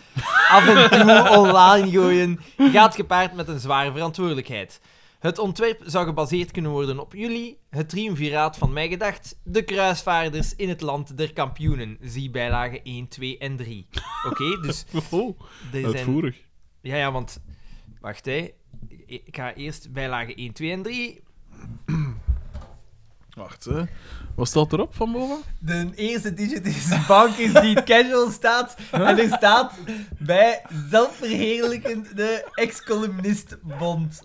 Speaker 3: af en toe online gooien, gaat gepaard met een zware verantwoordelijkheid. Het ontwerp zou gebaseerd kunnen worden op jullie, het triumviraat van mij gedacht, de kruisvaarders in het land der kampioenen. Zie bijlagen 1, 2 en 3. Oké, dus
Speaker 4: Oh,
Speaker 3: er zijn...
Speaker 4: uitvoerig.
Speaker 3: Ja, ja, want... Wacht, hè. E-, Ik ga eerst bijlagen 1, 2 en 3.
Speaker 4: Wacht, hè. Wat staat erop van boven?
Speaker 6: De eerste t-shirt is bankers die casual staat. En er staat bij zelfverheerlijkende ex-columnist Bond.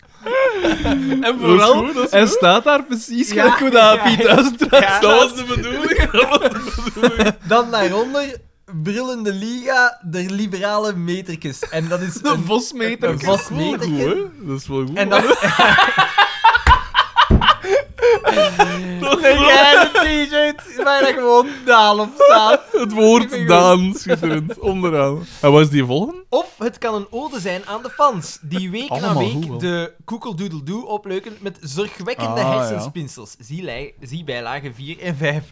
Speaker 2: En
Speaker 4: vooral,
Speaker 2: vooral, hij staat daar precies gelijk hoe dat
Speaker 6: ja,
Speaker 2: Piet Huistra-
Speaker 6: Ja.
Speaker 4: Dat was de bedoeling.
Speaker 6: Dan daaronder brullende liga der liberale metertjes. En dat is
Speaker 2: De
Speaker 6: een
Speaker 2: vosmeter.
Speaker 6: Een vos-
Speaker 4: Wel goed, hè? Dat is wel goed.
Speaker 6: En dat is
Speaker 4: Dat is
Speaker 6: een
Speaker 4: wel-
Speaker 6: geile t-shirt waar dat gewoon Daan op staat.
Speaker 4: Het woord Daan, schitterend, onderaan. En wat is die volgende?
Speaker 3: Of het kan een ode zijn aan de fans, die week na
Speaker 4: Allemaal
Speaker 3: week
Speaker 4: goed, wel.
Speaker 3: de koekeldoedeldoe opleuken met zorgwekkende
Speaker 4: Ah, ja.
Speaker 3: hersenspinsels. Zie, lij- zie bijlagen 4 en 5.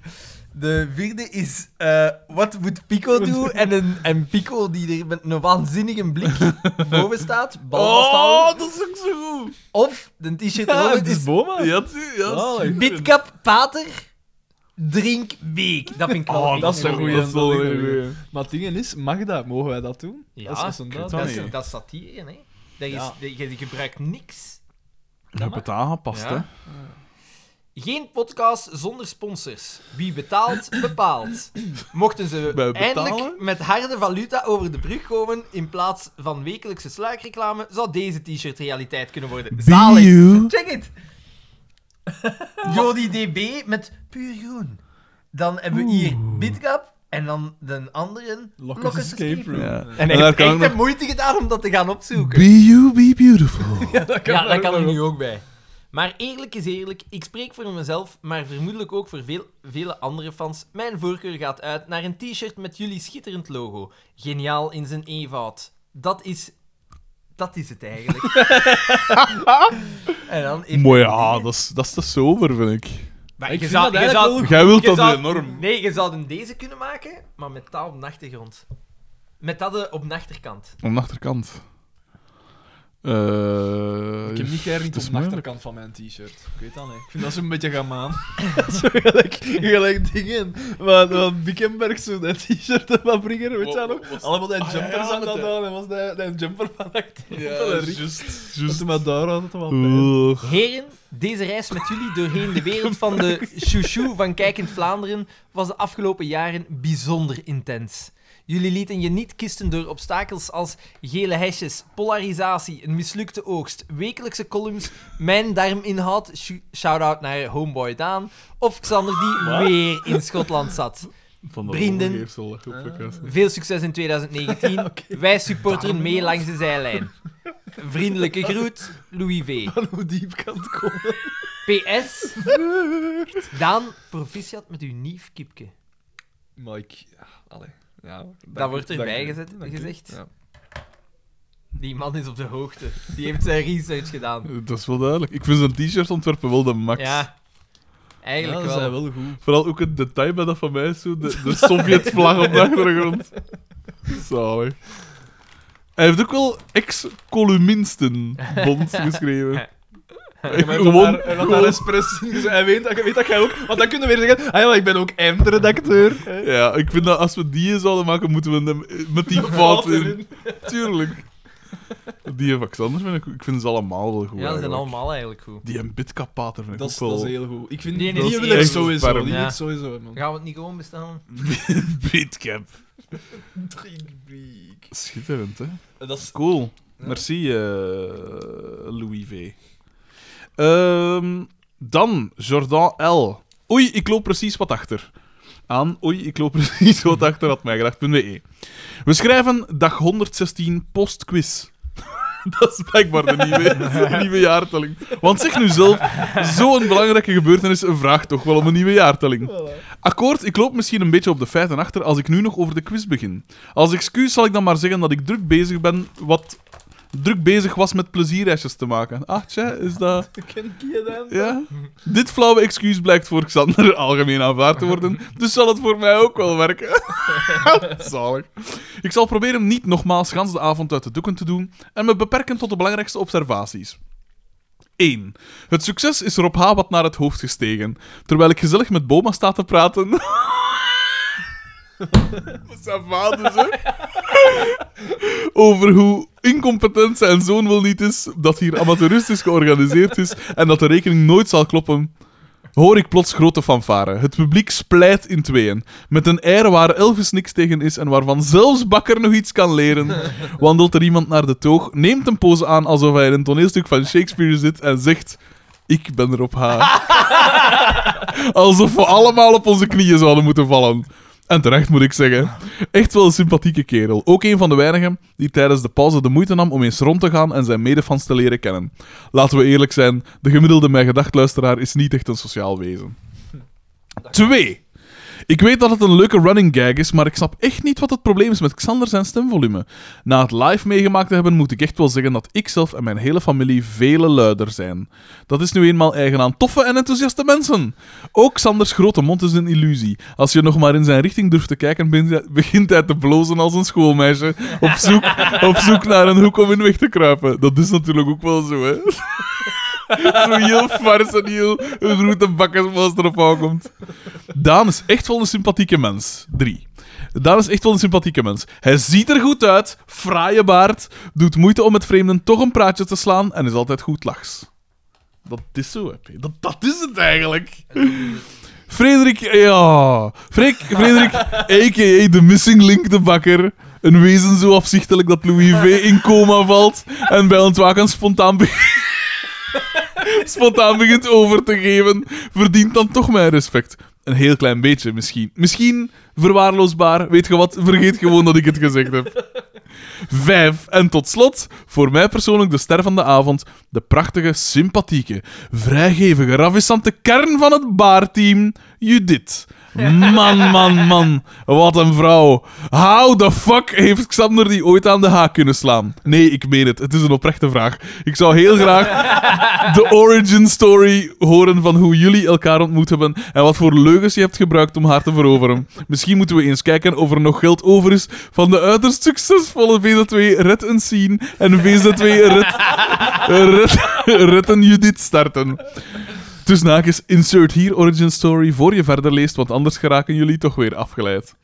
Speaker 6: De vierde is eh Wat moet Pico doen? En, een, en Pico die er met een waanzinnige blik boven staat. Bal vasthouden.
Speaker 4: Oh, dat is ook zo goed.
Speaker 6: Of de t-shirt
Speaker 2: Ja,
Speaker 6: eronder
Speaker 2: het is Boma.
Speaker 4: Ja, zie- ja,
Speaker 2: Zalig.
Speaker 4: schitterend.
Speaker 6: Bitkap, pater, drink, beek. Dat vind ik wel
Speaker 4: Oh,
Speaker 6: een
Speaker 2: dat is
Speaker 6: goeie.
Speaker 2: een goeie.
Speaker 4: Dat is wel
Speaker 2: dat is
Speaker 4: een
Speaker 2: een
Speaker 4: goeie.
Speaker 2: Maar het ding is, mag dat? Mogen wij dat doen?
Speaker 3: Ja,
Speaker 2: dat is een
Speaker 4: kut,
Speaker 2: daad.
Speaker 4: dat
Speaker 3: Dat,
Speaker 4: is-
Speaker 3: is, dat staat hier, hè. Dat is,
Speaker 2: Ja.
Speaker 3: je, je gebruikt niks.
Speaker 4: Ik heb het aangepast,
Speaker 3: Ja.
Speaker 4: hè.
Speaker 3: Ah. Geen podcast zonder sponsors. Wie betaalt, bepaalt. Mochten
Speaker 4: Wij
Speaker 3: ze
Speaker 4: betalen?
Speaker 3: eindelijk met harde valuta over de brug komen in plaats van wekelijkse sluikreclame, zou deze t-shirt realiteit kunnen worden. Zalig.
Speaker 6: Check it. Jody DB met puur groen. Dan hebben we hier Bitkap en dan de andere
Speaker 2: Lock
Speaker 6: Lock
Speaker 2: us
Speaker 6: us
Speaker 2: escape room.
Speaker 4: Ja.
Speaker 2: Ja.
Speaker 6: Hij
Speaker 4: En daar
Speaker 6: heeft
Speaker 4: kan ik
Speaker 6: echt
Speaker 4: nog...
Speaker 6: de moeite gedaan om dat te gaan opzoeken.
Speaker 4: Be you, be beautiful.
Speaker 2: dat
Speaker 3: Ja, daar kan
Speaker 2: ook
Speaker 3: ik
Speaker 2: nog.
Speaker 3: nu ook bij. Maar eerlijk is eerlijk, ik spreek voor mezelf, maar vermoedelijk ook voor veel, vele andere fans. Mijn voorkeur gaat uit naar een t-shirt met jullie schitterend logo. Geniaal in zijn eenvoud. Dat is... Dat is het eigenlijk. en dan heeft-
Speaker 4: Maar ja, dat is, dat is te sober, vind ik.
Speaker 3: Maar je
Speaker 2: Ik vind
Speaker 3: zou-
Speaker 2: dat
Speaker 3: je
Speaker 2: eigenlijk
Speaker 3: zou-
Speaker 4: Jij wilt
Speaker 3: je
Speaker 4: dat
Speaker 3: zou-
Speaker 4: enorm.
Speaker 3: Nee, je zou hem deze kunnen maken, maar met taal op de achtergrond. Met dat eh, op de achterkant.
Speaker 4: Aan de achterkant. Eh,
Speaker 2: Ik heb niet
Speaker 4: het
Speaker 2: geherinnerd
Speaker 4: is
Speaker 2: op de
Speaker 4: moeilijk.
Speaker 2: achterkant van mijn t-shirt. Ik weet dat niet. Ik vind dat zo'n beetje gamaan. zo gelijk, gelijk dingen. Wat, wat Bickenberg zo dat t-shirt van Brigger, weet je dat
Speaker 4: Wat-
Speaker 2: nog?
Speaker 4: was-
Speaker 2: Allemaal die
Speaker 4: Ah, ja,
Speaker 2: jumpers
Speaker 4: ja,
Speaker 2: aan
Speaker 4: met
Speaker 2: dat
Speaker 4: de-
Speaker 2: doen. En was die, die jumper van achterin.
Speaker 4: Ja, juist.
Speaker 2: Dat
Speaker 4: juist.
Speaker 2: hij maar daar had, het wel pijn.
Speaker 4: Oeh.
Speaker 3: Heren, deze reis met jullie doorheen de wereld van de chouchou van Kijkend Vlaanderen was de afgelopen jaren bijzonder intens. Jullie lieten je niet kisten door obstakels als gele hesjes, polarisatie, een mislukte oogst, wekelijkse columns, mijn darminhoud, shou- shout-out naar Homeboy Daan, of Xander die weer in Schotland zat.
Speaker 4: Van de
Speaker 3: Vrienden.
Speaker 4: overgeefsel, dat
Speaker 2: Ah.
Speaker 4: je op je kast hebt.
Speaker 3: Veel succes in 2019. Wij supporteren mee langs de zijlijn. Vriendelijke groet, Louis V.
Speaker 2: Van hoe diep kan het komen?
Speaker 3: PS. Daan, proficiat met uw nieuw kipke.
Speaker 2: Maar ik... Ja, allee. Ja,
Speaker 3: Dat wordt erbij gezet, gezegd. Die man is op de hoogte. Die heeft zijn research gedaan.
Speaker 4: Dat is wel duidelijk. Ik vind zijn t-shirt ontwerpen wel de max.
Speaker 3: Ja. Eigenlijk
Speaker 2: Eigenlijk ja, dat
Speaker 3: wel.
Speaker 2: zijn wel goed.
Speaker 4: Vooral ook het detail bij dat van mij is zo, de, de Sovjet-vlag op de achtergrond. Zalig. Hij heeft ook wel ex-columnisten-bond geschreven. Gewoon,
Speaker 2: Hij had daar espresso in gezet. Hij weet dat, weet dat jij ook... Want dan kunnen we weer zeggen... Ah ja, maar ik ben ook eindredacteur. Eh, hè.
Speaker 4: ja, ik vind dat als we die zouden maken, moeten we hem eh, met die fout in. Tuurlijk. Die van Xander vind ik, ik vind ze allemaal wel goed.
Speaker 3: Ja, dat zijn
Speaker 4: eigenlijk.
Speaker 3: allemaal eigenlijk goed.
Speaker 4: Die en Bitkapater vind ik
Speaker 2: Dat
Speaker 4: ook
Speaker 2: is,
Speaker 4: wel...
Speaker 2: dat is heel goed. Ik vind
Speaker 3: Die
Speaker 2: die,
Speaker 3: is
Speaker 2: wil ik
Speaker 4: echt
Speaker 2: sowieso.
Speaker 4: warm.
Speaker 2: Die wil
Speaker 3: Ja.
Speaker 2: ik sowieso, man.
Speaker 3: Gaan we het niet gewoon bestellen?
Speaker 4: Bitcap. Schitterend, hè?
Speaker 2: Eh, Dat is...
Speaker 4: Cool.
Speaker 2: Ja.
Speaker 4: Merci, eh, Louis V. Ehm, dan Jordan L. Oei, ik loop precies wat achter. Aan oei, ik loop precies wat achter, had mij gedacht.be. E. We schrijven dag 116 postquiz. Dat is blijkbaar de nieuwe, de nieuwe jaartelling. Want zeg nu zelf, zo'n belangrijke gebeurtenis vraagt toch wel om een nieuwe jaartelling. Akkoord, ik loop misschien een beetje op de feiten achter als ik nu nog over de quiz begin. Als excuus zal ik dan maar zeggen dat ik druk bezig ben wat druk bezig was met plezierreisjes te maken. Ach, tja, is dat...
Speaker 2: Ken je dat?
Speaker 4: Ja? Dit flauwe excuus blijkt voor Xander algemeen aanvaard te worden, dus zal het voor mij ook wel werken. Zalig. Ik zal proberen niet nogmaals gans de avond uit de doeken te doen en me beperken tot de belangrijkste observaties. 1. Het succes is Rob H. wat naar het hoofd gestegen, terwijl ik gezellig met Boma sta te praten. Ça va dus, hè? over hoe incompetent zijn zoon wel niet is, dat hier amateuristisch georganiseerd is en dat de rekening nooit zal kloppen. Hoor ik plots grote fanfare. Het publiek splijt in tweeën. Met een air waar Elvis niks tegen is en waarvan zelfs Bakker nog iets kan leren. Wandelt er iemand naar de toog, neemt een pose aan alsof hij in een toneelstuk van Shakespeare zit en zegt... Ik ben er op haar. Alsof we allemaal op onze knieën zouden moeten vallen. En terecht moet ik zeggen. Echt wel een sympathieke kerel. Ook een van de weinigen die tijdens de pauze de moeite nam om eens rond te gaan en zijn medefans te leren kennen. Laten we eerlijk zijn, de gemiddelde mijn gedachtluisteraar is niet echt een sociaal wezen. 2. Ik weet dat het een leuke running gag is, maar ik snap echt niet wat het probleem is met Xander zijn stemvolume. Na het live meegemaakt te hebben, moet ik echt wel zeggen dat ik zelf en mijn hele familie vele luider zijn. Dat is nu eenmaal eigen aan toffe en enthousiaste mensen. Ook Xanders grote mond is een illusie. Als je nog maar in zijn richting durft te kijken, ben- begint hij te blozen als een schoolmeisje. Op zoek, op zoek naar een hoek om in weg te kruipen. Dat is natuurlijk ook wel zo, hè? Zo heel fars en heel grote bakkersmaas erop aankomt. Daan is echt wel een sympathieke mens. Drie. Daan is echt wel een sympathieke mens. Hij ziet er goed uit, fraaie baard, doet moeite om met vreemden toch een praatje te slaan en is altijd goed lachs. Dat is zo, hè. P. Dat, dat is het eigenlijk. Frederik, ja. Freek, Frederik, a.k.a. de missing link, de bakker. Een wezen zo afzichtelijk dat Louis V. in coma valt en bij ontwaken spontaan, be- spontaan begint over te geven, verdient dan toch mijn respect. Een heel klein beetje misschien. Misschien verwaarloosbaar, weet je wat, vergeet gewoon dat ik het gezegd heb. Vijf. En tot slot, voor mij persoonlijk de ster van de avond, de prachtige, sympathieke, vrijgevige, ravissante kern van het baarteam, Judith. Man, man, man. Wat een vrouw. How the fuck heeft Xander die ooit aan de haak kunnen slaan? Nee, ik meen het. Het is een oprechte vraag. Ik zou heel graag de origin story horen van hoe jullie elkaar ontmoet hebben en wat voor leugens je hebt gebruikt om haar te veroveren. Misschien moeten we eens kijken of er nog geld over is van de uiterst succesvolle VZ2 Red and Scene en VZ2 Red, Red, Red and Judith starten. Dus naakjes, insert hier origin story voor je verder leest, want anders geraken jullie toch weer afgeleid.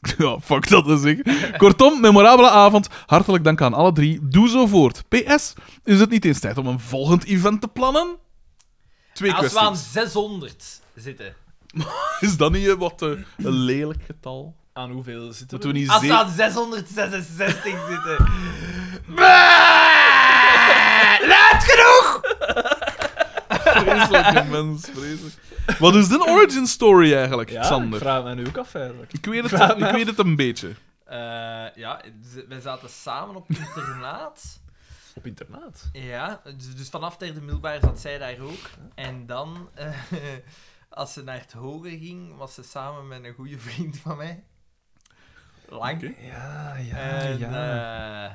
Speaker 4: Ja, fuck dat is ik. Kortom, memorabele avond. Hartelijk dank aan alle drie. Doe zo voort. PS, is het niet eens tijd om een volgend event te plannen? Twee
Speaker 3: Als we aan
Speaker 4: kwesties.
Speaker 3: 600 zitten.
Speaker 4: Is dat niet eh, wat eh, een lelijk getal?
Speaker 2: Aan hoeveel zitten
Speaker 4: Moeten we niet
Speaker 3: Als we
Speaker 4: zeven...
Speaker 3: aan 666 zitten.
Speaker 4: Vreselijke mens, vreselijk. Wat is de origin story eigenlijk,
Speaker 2: Ja,
Speaker 4: Xander?
Speaker 2: ik vraag me nu ook af eigenlijk.
Speaker 4: Ik weet, het, ik weet het een beetje.
Speaker 3: Eh, ja, z- wij zaten samen op internaat.
Speaker 2: Op internaat.
Speaker 3: Ja, dus, dus vanaf derde middelbaar zat zij daar ook. En dan, eh, als ze naar het hoger ging, was ze samen met een goede vriend van mij. Lang.
Speaker 2: Ja, ja,
Speaker 3: En,
Speaker 2: ja.
Speaker 3: eh,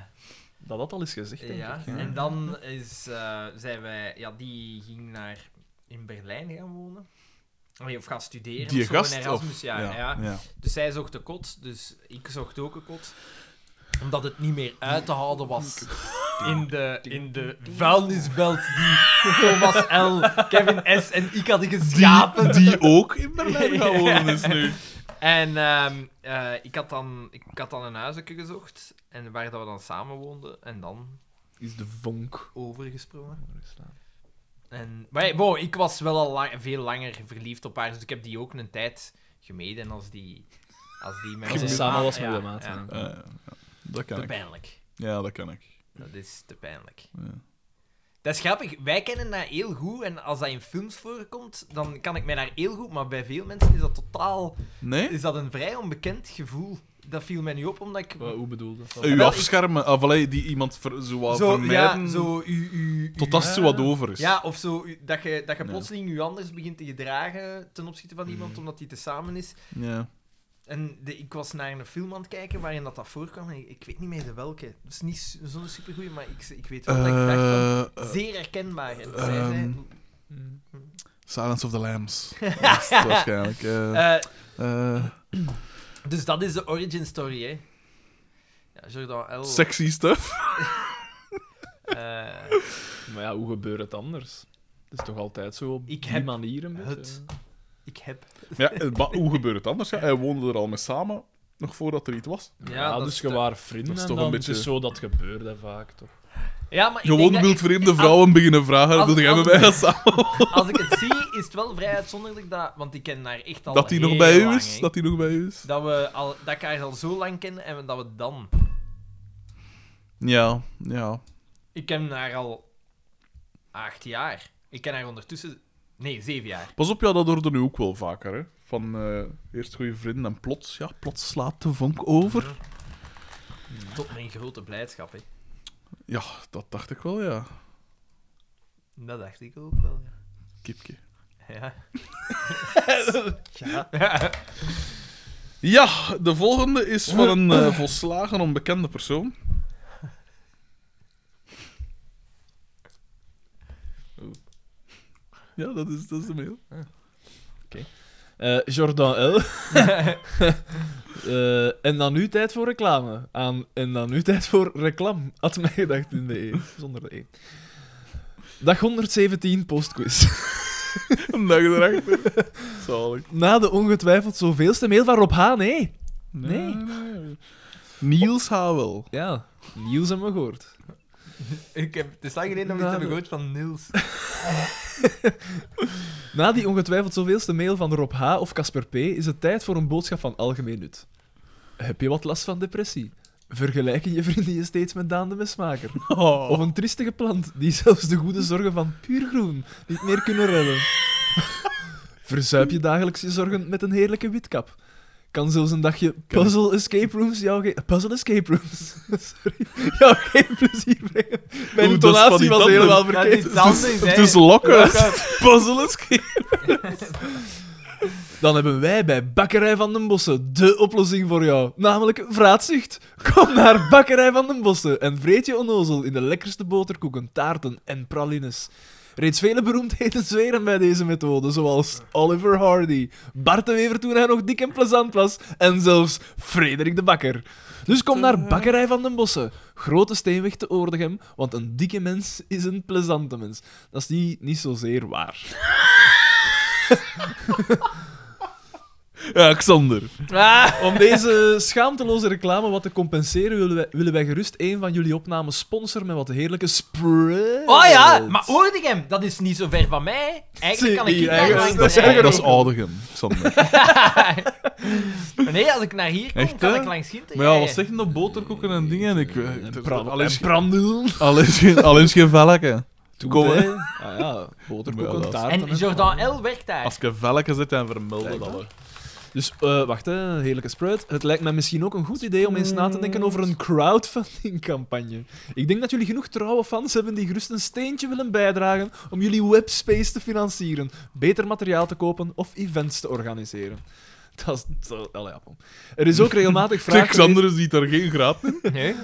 Speaker 2: Dat had al eens gezegd, denk
Speaker 3: ja.
Speaker 2: ik.
Speaker 3: en dan is, eh, zijn wij, ja, die ging naar in Berlijn gaan wonen. Nee, Of gaan studeren.
Speaker 4: Die
Speaker 3: of zo, in
Speaker 4: gast, of-
Speaker 3: Erasmus, ja, ja.
Speaker 4: ja.
Speaker 3: Dus zij zocht een kot, dus ik zocht ook een kot. Omdat het niet meer uit te houden was in de, in de vuilnisbelt die Thomas L., Kevin S. en ik hadden geschapen.
Speaker 4: Die, die ook in Berlijn gaan wonen is nu.
Speaker 3: En ehm, eh, ik, had dan, ik had dan een huisje gezocht, en waar dat we dan samen woonden, en dan
Speaker 2: Is de vonk.
Speaker 3: overgesprongen. En, maar ja, wow, ik was wel al lang- veel langer verliefd op haar, dus ik heb die ook een tijd gemeden als die... Als die met
Speaker 2: Als ze
Speaker 3: mijn
Speaker 2: samen
Speaker 3: maat-
Speaker 2: was met
Speaker 3: ja,
Speaker 2: de maat,
Speaker 3: ja.
Speaker 2: ja.
Speaker 4: Eh, ja, dat kan
Speaker 3: Te
Speaker 4: ik.
Speaker 3: pijnlijk.
Speaker 4: Ja, dat kan ik.
Speaker 3: Dat is te pijnlijk.
Speaker 4: Ja.
Speaker 3: Dat is grappig. Wij kennen dat heel goed. En als dat in films voorkomt, dan kan ik mij daar heel goed. Maar bij veel mensen is dat totaal...
Speaker 4: Nee?
Speaker 3: Is dat een vrij onbekend gevoel. Dat viel mij nu op, omdat ik...
Speaker 2: Wat- Hoe bedoel je dat?
Speaker 4: Eh, U
Speaker 3: Wel, ik-
Speaker 4: afschermen, of allee, die iemand ver, zo wat
Speaker 3: zo,
Speaker 4: vermijden,
Speaker 3: ja, zo... U, u,
Speaker 4: tot
Speaker 3: u-
Speaker 4: als het zo wat over is.
Speaker 3: Ja, of zo, u- dat je, dat je
Speaker 4: Ja. Mm.
Speaker 3: plotseling je anders begint te gedragen ten opzichte van iemand, omdat die te samen is.
Speaker 4: Ja.
Speaker 3: En de- ik was naar een film aan het kijken waarin dat, dat voorkwam. En ik, ik weet niet meer de welke. Dat is niet s- zo'n supergoeie, maar ik, ik weet wel dat ik dacht van...
Speaker 4: Eh, eh,
Speaker 3: Zeer herkenbaar. En zij
Speaker 4: ehm,
Speaker 3: zei-
Speaker 2: Hm.
Speaker 4: eh, Silence of the Lambs. Dat is het waarschijnlijk. eh
Speaker 3: Eh,
Speaker 4: eh,
Speaker 3: dus dat is de origin story, hè? Ja, Jordan L.
Speaker 4: sexy stuff.
Speaker 3: eh,
Speaker 2: Maar ja, hoe gebeurt het anders? Het is toch altijd zo op
Speaker 3: Ik
Speaker 2: die
Speaker 3: heb
Speaker 2: manier een beetje.
Speaker 3: het. ik heb.
Speaker 4: Ja, eh, maar hoe gebeurt het anders? Ja? Hij woonde er al mee samen, nog voordat er iets was.
Speaker 2: Ja,
Speaker 3: dat
Speaker 2: dus
Speaker 3: is
Speaker 2: je
Speaker 3: de-
Speaker 2: waren
Speaker 4: dat
Speaker 2: vrienden
Speaker 4: is
Speaker 2: en
Speaker 4: toch
Speaker 2: dan
Speaker 4: een
Speaker 2: het is
Speaker 4: beetje-
Speaker 2: zo dat gebeurde vaak, toch?
Speaker 3: Ja, maar ik denk
Speaker 4: Gewoon
Speaker 3: dat
Speaker 4: wildvreemde
Speaker 3: ik-
Speaker 4: vrouwen beginnen vragen,
Speaker 3: als-
Speaker 4: dat jij met
Speaker 3: als- Oh,
Speaker 4: mij gaat samen.
Speaker 3: Als, als ik het zie, is het wel vrij uitzonderlijk dat. Want ik ken haar echt al.
Speaker 4: Dat hij nog
Speaker 3: heel
Speaker 4: bij u
Speaker 3: lang,
Speaker 4: is.
Speaker 3: hè.
Speaker 4: Dat hij nog bij u is.
Speaker 3: Dat, we al, dat ik haar al zo lang ken en dat we dan.
Speaker 4: Ja, ja.
Speaker 3: Ik ken haar al acht jaar. Ik ken haar ondertussen. Nee, zeven jaar.
Speaker 4: Pas op, ja, dat hoorde nu ook wel vaker. Hè? Van eh, eerst goede vrienden en plots, ja, plots slaat de vonk over.
Speaker 3: Tot mijn grote blijdschap, hè?
Speaker 4: Ja, dat dacht ik wel, ja.
Speaker 3: Dat dacht ik ook wel. ja.
Speaker 4: Kipje.
Speaker 3: Ja.
Speaker 4: Ja, de volgende is van een eh, volslagen onbekende persoon. Ja, dat is, dat is de mail.
Speaker 2: Eh Jordan L. Eh, en dan nu tijd voor reclame. Aan, en dan nu tijd voor reclame. Had mij gedacht in de E. Zonder de E. Dag 117 postquiz.
Speaker 4: Een dag erachter. Zalig.
Speaker 2: Na de ongetwijfeld zoveelste mail van Rob H. Nee. Nee.
Speaker 4: Niels Hawel.
Speaker 2: Ja, nieuws hebben we gehoord.
Speaker 3: Ik heb, het is lang geleden dat we
Speaker 2: Nou,
Speaker 3: iets hebben
Speaker 2: dat-
Speaker 3: gehoord van Niels.
Speaker 2: Na die ongetwijfeld zoveelste mail van Rob H. of Casper P. is het tijd voor een boodschap van algemeen nut. Heb je wat last van depressie? Vergelijken je vrienden je steeds met Daan de Mesmaker? Of een triestige plant die zelfs de goede zorgen van puur groen niet meer kunnen redden? Verzuip je dagelijks je zorgen met een heerlijke witkap? kan zelfs een dagje puzzle escape rooms jou geen... Puzzle escape rooms. Sorry. Jou geen plezier brengen. Mijn
Speaker 4: Oeh, dat is
Speaker 2: intonatie
Speaker 4: van
Speaker 2: was
Speaker 4: die
Speaker 2: helemaal
Speaker 4: tanden.
Speaker 6: Dat is
Speaker 2: verkeerd.
Speaker 6: iets anders, hè.
Speaker 4: Het is
Speaker 3: Oh,
Speaker 4: lokken. Puzzle escape.
Speaker 2: Dan hebben wij bij Bakkerij van den Bossen de oplossing voor jou. Namelijk vraatzucht. Kom naar Bakkerij van den Bossen en vreet je onnozel in de lekkerste boterkoeken, taarten en pralines. Reeds vele beroemdheden zweren bij deze methode, zoals Oliver Hardy, Bart de Wever toen hij nog dik en plezant was, en zelfs Frederik de Bakker. Dus kom naar Bakkerij van den Bossen, Grote Steenweg te Oordegem, want een dikke mens is een plezante mens. Dat is niet, niet zozeer waar.
Speaker 4: Ja, Xander.
Speaker 2: Om deze schaamteloze reclame wat te compenseren, willen wij, willen wij gerust een van jullie opnames sponsoren met wat heerlijke spread.
Speaker 3: Oh ja, maar hoorde ik hem? Dat is niet zo ver van mij.
Speaker 2: Zie,
Speaker 3: Eigenlijk kan ik
Speaker 2: hier,
Speaker 3: hier naar
Speaker 2: eigenlijk-
Speaker 3: langs
Speaker 2: dat is
Speaker 3: rijden.
Speaker 4: Dat is Oudegem, Xander.
Speaker 3: Maar Nee, als ik naar hier kom,
Speaker 4: Echt,
Speaker 3: kan
Speaker 4: hè?
Speaker 3: ik langs Ginter
Speaker 4: Maar ja, wat
Speaker 3: rijden.
Speaker 4: zeggen dat boterkoeken en dingen? En ik,
Speaker 2: En
Speaker 4: eh,
Speaker 2: pra-
Speaker 4: alleen,
Speaker 2: en brandelen.
Speaker 4: alleen, geen, alleen geen velken.
Speaker 2: Toen
Speaker 4: Kom, hè.
Speaker 2: Ah ja, boterkoeken,
Speaker 4: Maar ja,
Speaker 2: taarten.
Speaker 3: En
Speaker 2: hè.
Speaker 3: Jordan L. werkt daar.
Speaker 4: Als ik een velken zit, dan vermelden
Speaker 2: Kijk,
Speaker 4: dat wel.
Speaker 2: Dus eh, wacht, hè, heerlijke spread. Het lijkt mij misschien ook een goed idee om eens na te denken over een crowdfunding-campagne. Ik denk dat jullie genoeg trouwe fans hebben die gerust een steentje willen bijdragen om jullie webspace te financieren, beter materiaal te kopen of events te organiseren. Dat is... dat- allee, ja, pom. Er is ook regelmatig vraag...
Speaker 4: Zeg, Xander ziet daar geen graad in.
Speaker 3: Nee.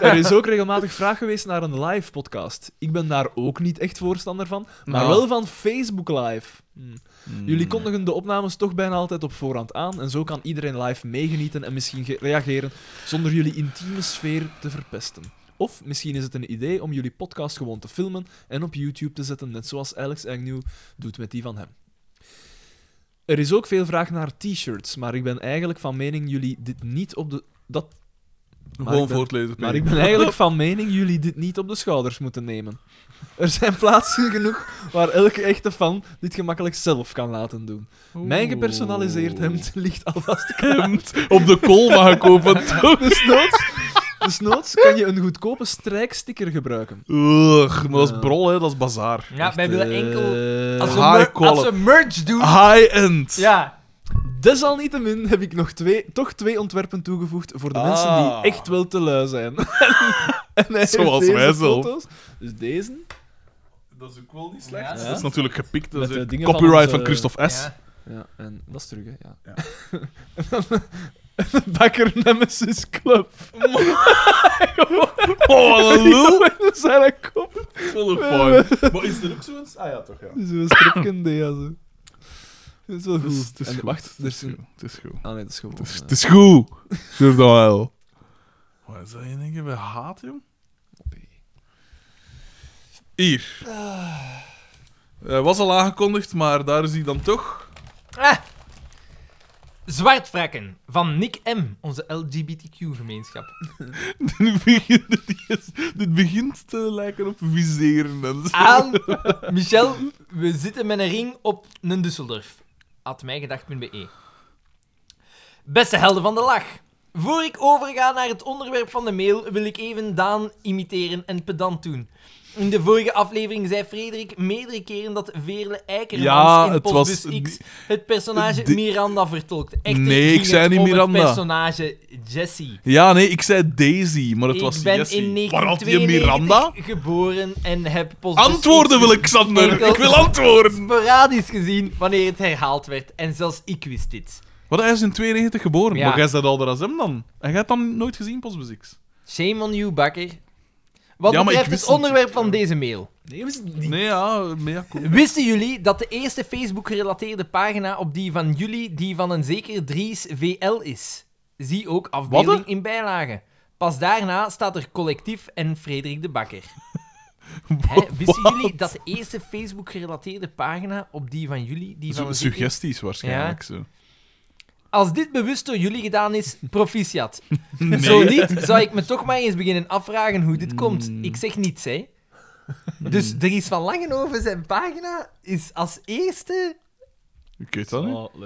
Speaker 2: Er is ook regelmatig vraag geweest naar een live podcast. Ik ben daar ook niet echt voorstander van, maar
Speaker 4: Nou.
Speaker 2: wel van Facebook Live. Hm.
Speaker 4: Hmm.
Speaker 2: Jullie kondigen de opnames toch bijna altijd op voorhand aan en zo kan iedereen live meegenieten en misschien ge- reageren zonder jullie intieme sfeer te verpesten. Of misschien is het een idee om jullie podcast gewoon te filmen en op YouTube te zetten, net zoals Alex Agnew doet met die van hem. Er is ook veel vraag naar t-shirts, maar ik ben eigenlijk van mening jullie dit niet op de... Dat Maar ik
Speaker 4: Gewoon
Speaker 2: ben-
Speaker 4: voortlezen.
Speaker 2: maar ik ben eigenlijk van mening jullie dit niet op de schouders moeten nemen. Er zijn plaatsen genoeg waar elke echte fan dit gemakkelijk zelf kan laten doen. Mijn gepersonaliseerd hemd ligt alvast klaar.
Speaker 4: Op de kool mag kopen, toch?
Speaker 2: Dus noods, dus noods kan je een goedkope strijksticker gebruiken.
Speaker 4: Ugh, maar dat
Speaker 2: Ja.
Speaker 4: is brol, hè. Dat is bazaar.
Speaker 3: Ja, wij willen enkel...
Speaker 2: Eh,
Speaker 3: Als we,
Speaker 4: high
Speaker 3: mer- als
Speaker 4: quality. Ah.
Speaker 3: we merch doen...
Speaker 4: High-end.
Speaker 3: Ja.
Speaker 2: Desalniettemin heb ik nog twee, toch twee ontwerpen toegevoegd voor de mensen
Speaker 4: Ah.
Speaker 2: die echt wel te lui zijn. en hij heeft
Speaker 4: Zoals
Speaker 2: deze
Speaker 4: wij zelf.
Speaker 2: foto's. Dus deze.
Speaker 4: Dat is ook wel niet slecht.
Speaker 3: Ja.
Speaker 4: Dat is natuurlijk gepikt. Dat
Speaker 2: Met
Speaker 4: is
Speaker 2: de
Speaker 4: een
Speaker 2: dingen van
Speaker 4: copyright
Speaker 2: onze-
Speaker 4: van, Christophe S.
Speaker 3: Ja.
Speaker 2: Ja, en dat is terug, hè? Ja. Bakker Nemesis Club.
Speaker 4: Oh, wat een lul.
Speaker 2: Dat zijn een kop.
Speaker 4: Wat een fooi. Maar is er ook zo'n... Ah ja, toch, ja.
Speaker 2: Zo'n stripkende, ja. Zo. Dat is wel
Speaker 4: Het is,
Speaker 2: goed.
Speaker 4: het is
Speaker 2: En
Speaker 4: goed.
Speaker 2: Wacht,
Speaker 4: het
Speaker 2: er
Speaker 4: is
Speaker 2: is
Speaker 4: goed.
Speaker 2: een...
Speaker 4: Het is goed.
Speaker 2: Ah nee, dat is gewoon...
Speaker 4: Het is,
Speaker 2: eh,
Speaker 4: het is goed. Jordan L. Wat is dat je denkt bij haat, jong? Hier. Ah. Eh, was al aangekondigd, maar daar is hij dan toch.
Speaker 3: Ah. Zwartvrakken van Nick M., onze LGBTQ-gemeenschap.
Speaker 4: dit, begint, dit, is- dit begint te lijken op viseren. En zo.
Speaker 3: Aan Michel, we zitten met een ring op een Düsseldorf. At mijgedacht.be. E. Beste helden van de lach. Voor ik overga naar het onderwerp van de mail, wil ik even Daan imiteren en pedant doen. In de vorige aflevering zei Frederik meerdere keren dat Veerle Eikermans
Speaker 4: Ja,
Speaker 3: in
Speaker 4: het
Speaker 3: Postbus
Speaker 4: was
Speaker 3: X het personage
Speaker 4: di-
Speaker 3: Miranda vertolkt. Echter
Speaker 4: Nee,
Speaker 3: ging
Speaker 4: ik zei
Speaker 3: het
Speaker 4: niet
Speaker 3: om het
Speaker 4: Miranda.
Speaker 3: personage Jessie.
Speaker 4: Ja, nee, ik zei Daisy, maar het was
Speaker 3: ik ben
Speaker 4: Jessie.
Speaker 3: in
Speaker 4: Waar had je Miranda?
Speaker 3: 1992 geboren en heb Postbus
Speaker 4: Antwoorden
Speaker 3: X
Speaker 4: wil ik, Xander.
Speaker 3: Enkel-
Speaker 4: Ik wil antwoorden.
Speaker 3: sporadisch gezien wanneer het herhaald werd. En zelfs ik wist dit.
Speaker 4: Wat, hij is in 92 geboren.
Speaker 3: Ja.
Speaker 4: Maar jij bent ouder als hem dan. En jij hebt dan nooit gezien, Postbus X.
Speaker 3: Shame on you, Bakker. Wat
Speaker 4: Ja, maar ik
Speaker 3: betreft
Speaker 4: wist
Speaker 3: het
Speaker 4: het.
Speaker 3: onderwerp van deze mail.
Speaker 2: Nee, is het niet.
Speaker 4: Nee, ja, mea culpa.
Speaker 3: Wisten jullie dat de eerste Facebook-gerelateerde pagina op die van jullie die van een zeker Dries VL is? Zie ook afbeelding
Speaker 4: Wat?
Speaker 3: in bijlage. Pas daarna staat er Collectief en Frederik de Bakker. Hè, wisten jullie dat de eerste Facebook-gerelateerde pagina op die van jullie die van
Speaker 4: Zo,
Speaker 3: een zeker
Speaker 4: suggesties waarschijnlijk. Zo.
Speaker 3: Als dit bewust door jullie gedaan is, proficiat.
Speaker 4: Nee.
Speaker 3: Zo niet, zou ik me toch maar eens beginnen afvragen hoe dit komt.
Speaker 4: Mm.
Speaker 3: Ik zeg niets, hè. Dus er is van Langenhoven zijn pagina is als eerste...
Speaker 4: Ik weet dat niet.
Speaker 2: Ah,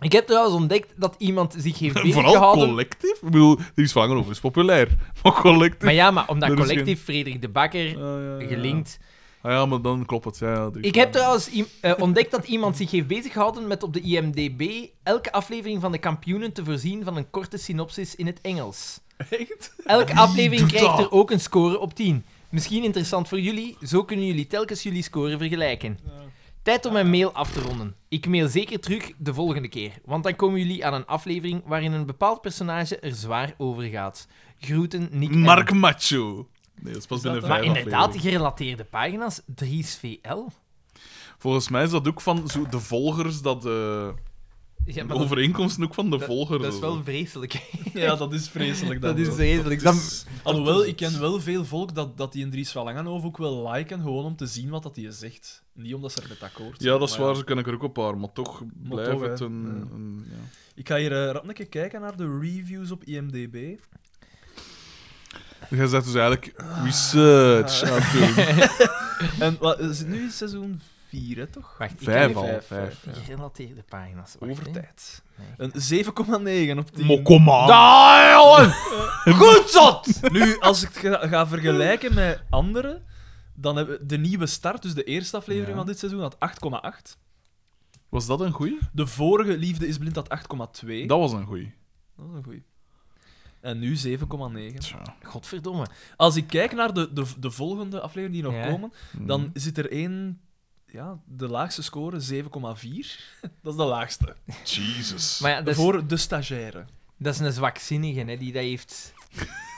Speaker 3: Ik heb trouwens ontdekt dat iemand zich heeft
Speaker 4: En vooral
Speaker 3: beziggehouden...
Speaker 4: collectief. Ik bedoel, die is vangen over, is populair. Maar collectief.
Speaker 3: Maar ja, maar omdat
Speaker 4: Er is
Speaker 3: collectief Frederik de Bakker
Speaker 4: Ah, ja, ja, ja.
Speaker 3: gelinkt...
Speaker 4: Ah ja, maar dan klopt het. Ja, ja, drie
Speaker 3: Ik
Speaker 4: sterren.
Speaker 3: heb trouwens i- eh, ontdekt dat iemand zich heeft beziggehouden met op de IMDB elke aflevering van de kampioenen te voorzien van een korte synopsis in het Engels.
Speaker 2: Echt?
Speaker 3: Elke aflevering
Speaker 4: doet
Speaker 3: krijgt
Speaker 4: dat?
Speaker 3: er ook een score op 10. Misschien interessant voor jullie, zo kunnen jullie telkens jullie score vergelijken. Tijd om mijn mail af te ronden. Ik mail zeker terug de volgende keer, want dan komen jullie aan een aflevering waarin een bepaald personage er zwaar over gaat. Groeten, Nick. en-
Speaker 4: Mark Macho. Nee, dat is pas binnen
Speaker 2: dat-
Speaker 4: vijf
Speaker 3: Maar inderdaad,
Speaker 4: afleveringen.
Speaker 3: gerelateerde pagina's, 3's VL.
Speaker 4: Volgens mij is dat ook van zo de volgers, dat eh, de
Speaker 3: Ja, maar dat-
Speaker 4: overeenkomsten ook van de volgers.
Speaker 6: Dat is
Speaker 4: en zo.
Speaker 6: wel vreselijk.
Speaker 2: Ja, dat is vreselijk.
Speaker 6: Dat
Speaker 2: dan
Speaker 6: is
Speaker 2: wel.
Speaker 6: vreselijk. Dan,
Speaker 2: Alhoewel, ik ken wel veel volk dat, dat die Andries Valangenhoven ook wel liken, gewoon om te zien wat dat die zegt. Niet omdat ze er met akkoord zijn.
Speaker 4: Ja, dat is
Speaker 2: maar
Speaker 4: waar, ze kunnen er ook een paar, maar toch blijft
Speaker 2: toch,
Speaker 4: het
Speaker 2: hè.
Speaker 4: een...
Speaker 2: Ja.
Speaker 4: een- ja.
Speaker 2: Ik ga hier eh, rap een keer kijken naar de reviews op IMDb.
Speaker 4: Jij zegt dus eigenlijk research aan het doen.
Speaker 2: En wat, is het nu in seizoen 4, hè, toch?
Speaker 3: Wacht, ik
Speaker 4: Vijf
Speaker 3: heb-
Speaker 4: al,
Speaker 2: vijf,
Speaker 4: vijf. ja.
Speaker 3: Gerelateerde pagina's. Wacht,
Speaker 2: Over
Speaker 3: hè.
Speaker 2: tijd.
Speaker 3: Nee.
Speaker 2: Een 7,9 op 10.
Speaker 4: Maar kom aan.
Speaker 3: Daar, Ah, jongen! Goed zot!
Speaker 2: Nu, als ik het ga, ga vergelijken met anderen, dan hebben we de nieuwe start, dus de eerste aflevering
Speaker 4: Ja.
Speaker 2: van dit seizoen, had 8,8.
Speaker 4: Was dat een goeie?
Speaker 2: De vorige Liefde is Blind had 8,2.
Speaker 4: Dat was een goeie.
Speaker 2: Dat is een goeie. En nu 7,9.
Speaker 4: Tja.
Speaker 3: Godverdomme.
Speaker 2: Als ik kijk naar de, de, de volgende afleveringen die nog
Speaker 3: Ja. Mhm.
Speaker 2: komen,
Speaker 4: Mm.
Speaker 2: dan zit er één... Ja, de laagste score, 7,4. Dat is de laagste.
Speaker 4: Jesus.
Speaker 3: Maar ja, dat is,
Speaker 2: Voor de stagiaire.
Speaker 3: dat is een zwakzinnige, hè, die dat heeft...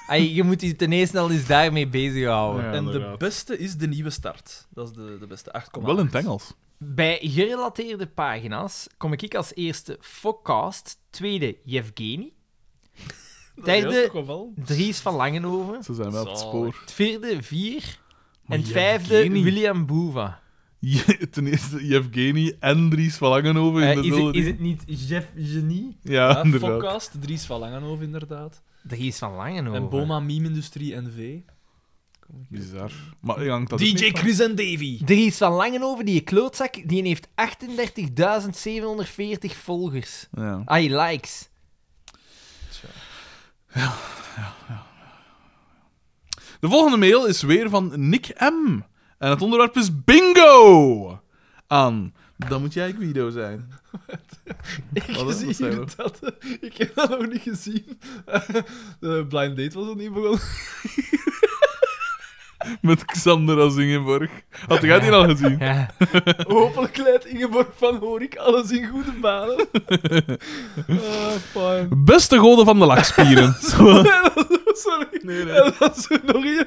Speaker 3: Ai, je moet je ten eerste al eens daarmee bezighouden.
Speaker 4: Ja,
Speaker 2: en de
Speaker 4: inderdaad.
Speaker 2: beste is de nieuwe start. Dat is de, de beste, 8,8.
Speaker 4: Wel in het Engels.
Speaker 3: Bij gerelateerde pagina's kom ik als eerste Focast, tweede Yevgeny,
Speaker 2: Dat
Speaker 3: Derde-
Speaker 2: is toch wel wel.
Speaker 3: Dries van Langenhoven,
Speaker 4: Ze zijn wel op het spoor.
Speaker 3: het vierde Vier
Speaker 4: Maar
Speaker 3: en het vijfde
Speaker 4: Yevgeny.
Speaker 3: William Boeva.
Speaker 4: Je- Ten eerste Yevgeny en Dries van Langenhoven in
Speaker 3: Eh,
Speaker 4: de
Speaker 3: is, het,
Speaker 4: wilde
Speaker 3: is het niet Jeff Genie?
Speaker 4: Ja,
Speaker 2: Ja,
Speaker 4: inderdaad.
Speaker 2: Focast, Dries van Langenhoven inderdaad.
Speaker 3: Dries van Langenhoven.
Speaker 4: Oh,
Speaker 2: En Boma Meme Industrie NV.
Speaker 4: Bizar. Maar je hangt dat ook
Speaker 2: DJ
Speaker 4: niet van-
Speaker 2: Chris en Davy.
Speaker 3: Dries van Langenhoven, die klootzak, die heeft 38.740 volgers.
Speaker 4: Ja.
Speaker 3: Ai, likes.
Speaker 4: De volgende mail is weer van Nick M. En het onderwerp is bingo! Aan. Dan moet jij Guido zijn.
Speaker 2: Ik
Speaker 4: Wat is-
Speaker 2: zie
Speaker 4: wat zijn
Speaker 2: hier dat. Ik heb dat nog niet gezien. De blind date was nog niet begonnen.
Speaker 4: Met Xander als Ingeborg. Had jij die al gezien?
Speaker 3: Ja.
Speaker 2: Hopelijk leidt Ingeborg van Horik alles in goede banen. Ah, fijn.
Speaker 4: Beste goden van de lachspieren. Zo.
Speaker 2: Sorry. En dan zo nog één.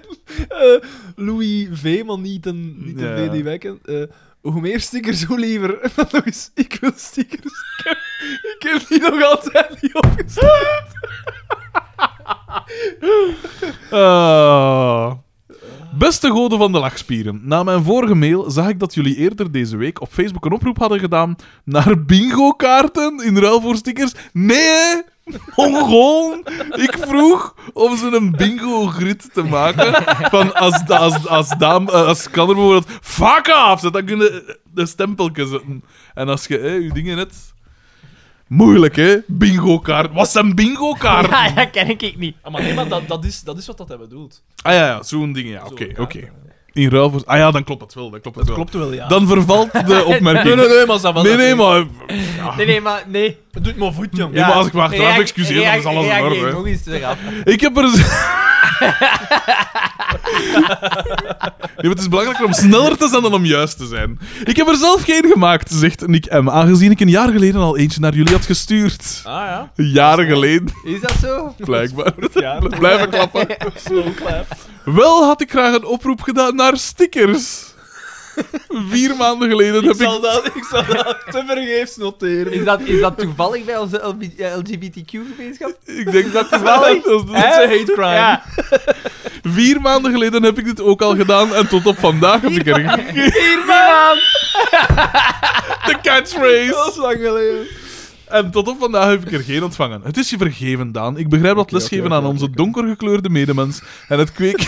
Speaker 2: Eh, Louis V, maar niet een, niet een
Speaker 4: Ja.
Speaker 2: V die wij kennen. Eh, hoe meer stickers, hoe liever. En dan nog eens, ik wil stickers. Ik heb, ik heb die nog altijd niet opgesteld.
Speaker 4: Ah. Beste goden van de lachspieren, na mijn vorige mail zag ik dat jullie eerder deze week op Facebook een oproep hadden gedaan naar bingo-kaarten in ruil voor stickers. Nee, hè? Mongool! Ik vroeg om ze een bingo-grid te maken. Van als, da- als, als, dame, eh, als kan er bijvoorbeeld fuck off, zet, dan kunnen eh, de stempeltje zetten. En als je eh, je dingen net... Moeilijk, hè? Bingo-kaart. Wat zijn bingo-kaarten?
Speaker 3: ja, dat ken ik niet.
Speaker 2: Ah, maar nee, maar dat, dat, is, dat is wat dat hij bedoelt.
Speaker 4: Ah ja, ja zo'n ding, ja. Oké, oké.
Speaker 2: ja.
Speaker 4: In ruil voor... Ah ja, dan klopt het wel. Dan klopt het
Speaker 2: Dat
Speaker 4: wel.
Speaker 2: klopt wel, ja.
Speaker 4: Dan vervalt de opmerking.
Speaker 2: Nee, nee, nee, maar dat was
Speaker 4: Nee, nee, maar... Ah,
Speaker 3: Nee, nee, maar nee.
Speaker 2: Doe het maar voet, jong.
Speaker 4: Nee, maar als ik me achteraf
Speaker 3: Reageer-
Speaker 4: excuseer, dan is alles in
Speaker 3: reageer
Speaker 4: orde.
Speaker 3: nog eens eraf.
Speaker 4: hè. Ik heb er... z- Nee, maar het is belangrijker om sneller te zijn dan om juist te zijn. Ik heb er zelf geen gemaakt, zegt Nick M. Aangezien ik een jaar geleden al eentje naar jullie had gestuurd.
Speaker 2: Ah ja,
Speaker 4: Jaren geleden,
Speaker 3: Is dat zo?
Speaker 4: blijkbaar.
Speaker 2: jaar.
Speaker 4: Blijven klappen.
Speaker 2: slow clap.
Speaker 4: Wel had ik graag een oproep gedaan naar stickers. Vier maanden geleden
Speaker 2: Ik
Speaker 4: heb ik
Speaker 2: zal dat, ik zal dat te vergeefs noteren.
Speaker 3: Is dat, is dat toevallig bij onze eh, LGBTQ-gemeenschap?
Speaker 4: Ik denk dat het wel is. Dat is
Speaker 2: Het is een hate crime.
Speaker 3: Ja.
Speaker 4: Vier maanden geleden heb ik dit ook al gedaan en tot op vandaag heb ik er
Speaker 3: Hier, man!
Speaker 4: de catchphrase.
Speaker 2: Dat is lang geleden.
Speaker 4: En tot op vandaag heb ik er geen ontvangen. Het is je vergeven, Daan. Ik begrijp dat lesgeven aan onze donkergekleurde medemens en het kweken,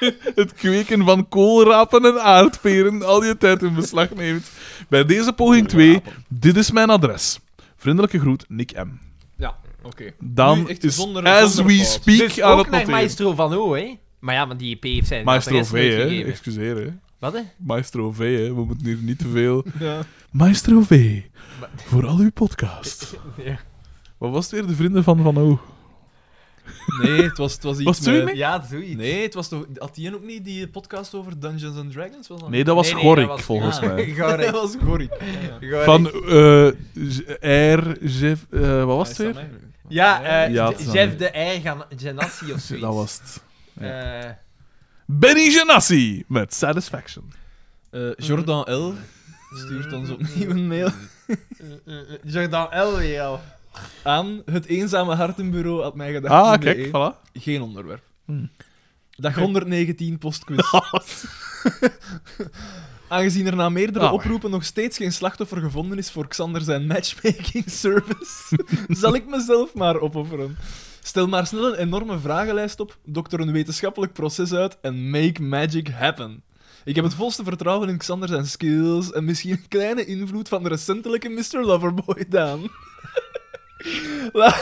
Speaker 4: het kweken van koolrapen en aardperen al je tijd in beslag neemt. Bij deze poging 2, dit is mijn adres. Vriendelijke groet, Nick M.
Speaker 2: Ja, oké. Nu
Speaker 4: Daan
Speaker 2: echt
Speaker 4: is,
Speaker 2: zonder-
Speaker 4: as
Speaker 2: zonder
Speaker 4: we
Speaker 2: fout.
Speaker 4: speak,
Speaker 3: Dus
Speaker 4: aan
Speaker 3: ook
Speaker 4: het
Speaker 3: naar
Speaker 4: noteren.
Speaker 3: Maestro van O, hè? Maar ja, want die EP heeft zijn
Speaker 4: Maestro
Speaker 3: adres
Speaker 4: V,
Speaker 3: nooit
Speaker 4: hè.
Speaker 3: gegeven.
Speaker 4: Excuseer, hè.
Speaker 3: Wat, hè?
Speaker 4: Maestro V, hè. we moeten hier niet te veel.
Speaker 2: Ja.
Speaker 4: Maestro V, voor al uw podcast.
Speaker 3: Ja.
Speaker 4: Wat was het weer, de vrienden van Van O?
Speaker 2: Nee, het was, het was iets
Speaker 4: Was het
Speaker 2: met-
Speaker 4: zoiets
Speaker 6: Ja, zoiets.
Speaker 2: Nee, het was toch... Had die ook niet die podcast over Dungeons and Dragons? Was dat
Speaker 4: Nee, dat was
Speaker 3: Nee, nee,
Speaker 4: Gorik,
Speaker 3: dat was-
Speaker 4: volgens
Speaker 2: Ah.
Speaker 4: mij.
Speaker 2: dat
Speaker 6: Gorik.
Speaker 2: was Gorik. Ja,
Speaker 6: Gorik.
Speaker 4: Van eh R. Jeff, eh, wat was het weer?
Speaker 6: Ja, eh
Speaker 4: Ja,
Speaker 6: J-
Speaker 4: het is
Speaker 6: Jeff
Speaker 4: aan-
Speaker 6: de R. Gan- Genassi of zoiets.
Speaker 4: Dat was het.
Speaker 6: Eh,
Speaker 4: Benny Genassi met Satisfaction.
Speaker 2: Eh, Jordan L. stuurt ons opnieuw een mail
Speaker 6: eh, eh, Mm-hmm. Jordan L. weer al.
Speaker 2: aan het eenzame hartenbureau had mij gedacht.
Speaker 4: Ah, kijk, voilà.
Speaker 2: Geen onderwerp.
Speaker 4: Hmm.
Speaker 2: Dag 119 postquiz. Aangezien er na meerdere
Speaker 4: Ah, maar.
Speaker 2: oproepen nog steeds geen slachtoffer gevonden is voor Xander zijn matchmaking service, zal ik mezelf maar opofferen. Stel maar snel een enorme vragenlijst op, dokter een wetenschappelijk proces uit en make magic happen. Ik heb het volste vertrouwen in Xander zijn skills en misschien een kleine invloed van de recentelijke Mr. Loverboy Daan. La-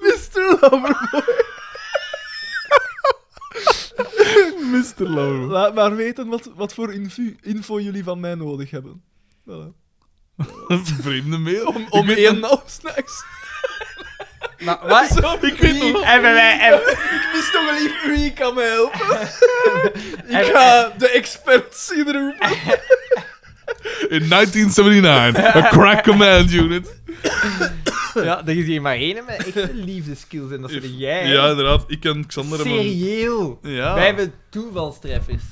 Speaker 2: Mr. Loverboy.
Speaker 4: Mr. Lowe.
Speaker 2: Laat maar weten wat, wat voor infu- info jullie van mij nodig hebben. Voilà.
Speaker 4: Een vreemde mail. Om,
Speaker 2: Om één afsnacks.
Speaker 6: Maar wat?
Speaker 4: Ik weet nog...
Speaker 6: Hebben wij... hebben-
Speaker 2: Ik mis toch wel even wie kan mij helpen. Ik ga de experts zien roepen.
Speaker 4: In 1979, a crack command unit.
Speaker 6: Ja, er is hier maar één met echte liefdeskills en dat is jij. hè?
Speaker 4: Ja, inderdaad. Ik ken Xander en mijn-
Speaker 6: Serieel.
Speaker 4: Ja.
Speaker 6: Wij hebben toevalstreffers.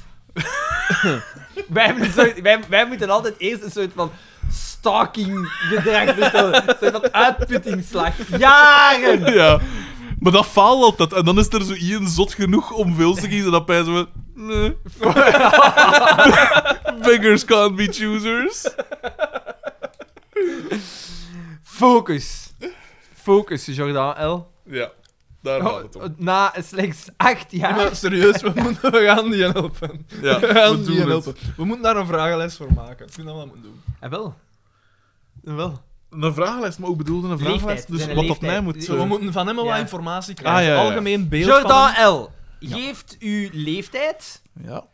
Speaker 6: wij, hebben een soort, wij, wij moeten altijd eerst een soort van stalking gedrag bestellen. Een soort van uitputtingsslag. Jaren!
Speaker 4: Ja. Maar dat faalt altijd. En dan is er zo iemand zot genoeg om veel te kiezen. Dat pijzen we... Nee. Beggars can't be choosers.
Speaker 6: Focus. Focus, Jordan L.
Speaker 4: Ja. Daar
Speaker 6: Oh,
Speaker 4: gaat het om.
Speaker 6: Na slechts acht jaar.
Speaker 2: Maar serieus, we, moeten, we gaan die helpen.
Speaker 4: Ja,
Speaker 2: We gaan
Speaker 4: we
Speaker 2: die
Speaker 4: doen
Speaker 2: helpen.
Speaker 4: het.
Speaker 2: We moeten daar een vragenlijst voor maken. Ik vind dat we dat moeten doen.
Speaker 6: En Ah, wel. En wel.
Speaker 4: Een vragenlijst, maar ook bedoelde een
Speaker 6: Leeftijd,
Speaker 4: vragenlijst.
Speaker 6: zijn
Speaker 4: Dus
Speaker 6: een
Speaker 4: wat dat
Speaker 6: leeftijd.
Speaker 4: mij moet...
Speaker 2: Zo,
Speaker 4: eh,
Speaker 2: we moeten van hem wel wat
Speaker 6: ja.
Speaker 2: informatie krijgen.
Speaker 4: Ah, ja, ja, ja.
Speaker 2: Algemeen beeld van hem.
Speaker 6: Jordan L. Geeft uw leeftijd.
Speaker 4: Ja.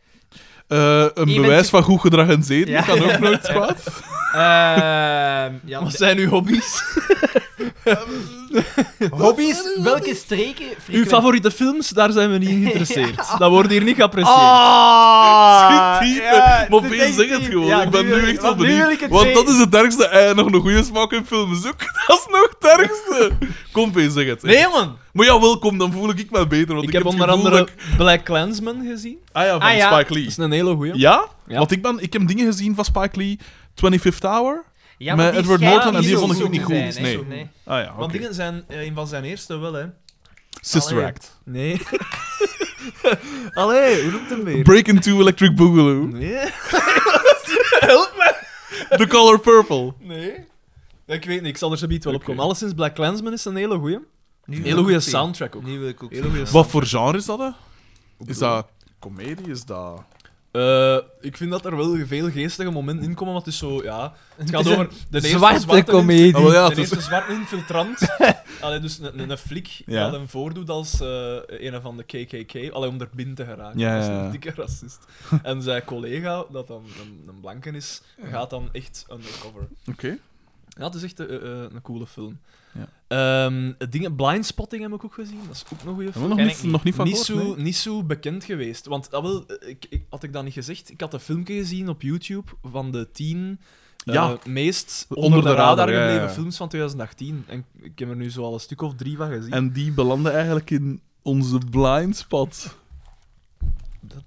Speaker 4: Eh, een
Speaker 6: Eventu-
Speaker 4: bewijs van goed gedrag en zeden
Speaker 6: Ja.
Speaker 4: kan ook nooit kwaad.
Speaker 6: Ehm ja,
Speaker 2: Wat zijn uw hobby's?
Speaker 6: hobby's. Welke streken
Speaker 2: Uw
Speaker 6: frequenteer-
Speaker 2: favoriete films, daar zijn we niet in geïnteresseerd. Dat wordt hier niet geapprecieerd.
Speaker 6: Ah,
Speaker 4: Schiet diepe.
Speaker 6: ja,
Speaker 4: maar
Speaker 6: de
Speaker 4: opeens zeg het
Speaker 6: detective.
Speaker 4: gewoon.
Speaker 6: Ja,
Speaker 4: ik ben
Speaker 6: wil
Speaker 4: nu echt wel
Speaker 6: want nu wil ik
Speaker 4: benieuwd.
Speaker 6: het
Speaker 4: Want dat
Speaker 6: weten.
Speaker 4: is het ergste. Eh, nog een goede smaak in film zoek. Dat is nog het ergste. Kom, opeens zeg het.
Speaker 2: Nee, man.
Speaker 4: Maar ja, welkom, dan voel ik ik me beter. Want
Speaker 2: Ik
Speaker 4: ik,
Speaker 2: heb
Speaker 4: het
Speaker 2: onder
Speaker 4: gevoel
Speaker 2: andere
Speaker 4: dat ik-
Speaker 2: Black Clansman gezien.
Speaker 4: Ah ja, van
Speaker 6: Ah ja.
Speaker 4: Spike Lee.
Speaker 2: Dat is een hele goeie.
Speaker 4: Ja?
Speaker 2: Ja.
Speaker 4: Want ik, ben, ik heb dingen gezien van Spike Lee. 25th Hour.
Speaker 6: Ja,
Speaker 4: Met
Speaker 6: maar die
Speaker 4: Edward
Speaker 6: schijnt
Speaker 4: Norton en
Speaker 6: niet
Speaker 4: die
Speaker 6: zo
Speaker 4: vond ik ook
Speaker 6: te
Speaker 4: niet goed,
Speaker 6: zijn, hè.
Speaker 4: nee.
Speaker 6: Zo, nee.
Speaker 4: Ah ja,
Speaker 2: Want
Speaker 4: oké.
Speaker 2: dingen zijn eh, een van zijn eerste wel, hè.
Speaker 4: Sister
Speaker 2: Allee.
Speaker 4: Act.
Speaker 2: Nee. Allee, hoe noemt hem weer?
Speaker 4: Break into Electric Boogaloo.
Speaker 2: Nee.
Speaker 4: The Color Purple.
Speaker 2: Nee. Ja, Ik weet niet, ik zal er zo biedt wel op
Speaker 4: Oké.
Speaker 2: komen. Alleszins Black Clansman is een hele goeie.
Speaker 6: Nu wil
Speaker 2: Hele
Speaker 6: ik
Speaker 2: goeie
Speaker 6: het zien.
Speaker 2: soundtrack ook.
Speaker 6: Nu wil ik ook
Speaker 2: Hele
Speaker 6: zien.
Speaker 2: goeie
Speaker 4: Wat voor genre is dat? Hè? Is
Speaker 2: bedoel
Speaker 4: dat comedie? Is dat...
Speaker 2: Eh, ik vind dat er wel veel geestige momenten in komen, want het is zo, ja... Het
Speaker 6: is
Speaker 2: gaat
Speaker 6: een
Speaker 2: over de eerste
Speaker 6: zwarte
Speaker 2: zwarte
Speaker 6: komedie.
Speaker 4: Ah, wel ja,
Speaker 2: de
Speaker 4: het is-
Speaker 2: eerste zwarte infiltrant. Allee, dus een, een, een flik
Speaker 4: Ja.
Speaker 2: dat hem voordoet als eh, een van de KKK. Allee, om er binnen te geraken.
Speaker 4: Ja,
Speaker 2: Dat is
Speaker 4: ja, ja.
Speaker 2: een dikke racist. En zijn collega, dat dan een, een blanke is, gaat dan echt undercover.
Speaker 4: Oké.
Speaker 2: Ja, het is echt eh, eh, een coole film.
Speaker 4: Ja.
Speaker 2: Ehm, dingen, Blindspotting heb ik ook gezien. Dat is ook nog een goede film.
Speaker 4: Hebben we nog, niet, nog niet van
Speaker 2: Niet
Speaker 4: gehoord, nee?
Speaker 2: zo, niet zo bekend geweest. Want dat wil, ik, ik- had ik dat niet gezegd, ik had een filmpje gezien op YouTube van de tien eh,
Speaker 4: Ja.
Speaker 2: meest
Speaker 4: Onder
Speaker 2: onder, de,
Speaker 4: de
Speaker 2: radar,
Speaker 4: radar, ja,
Speaker 2: gebleven
Speaker 4: ja, ja.
Speaker 2: films van 2018. En ik heb er nu zo al een stuk of drie van gezien.
Speaker 4: En die belanden eigenlijk in onze blind spot.
Speaker 2: Dat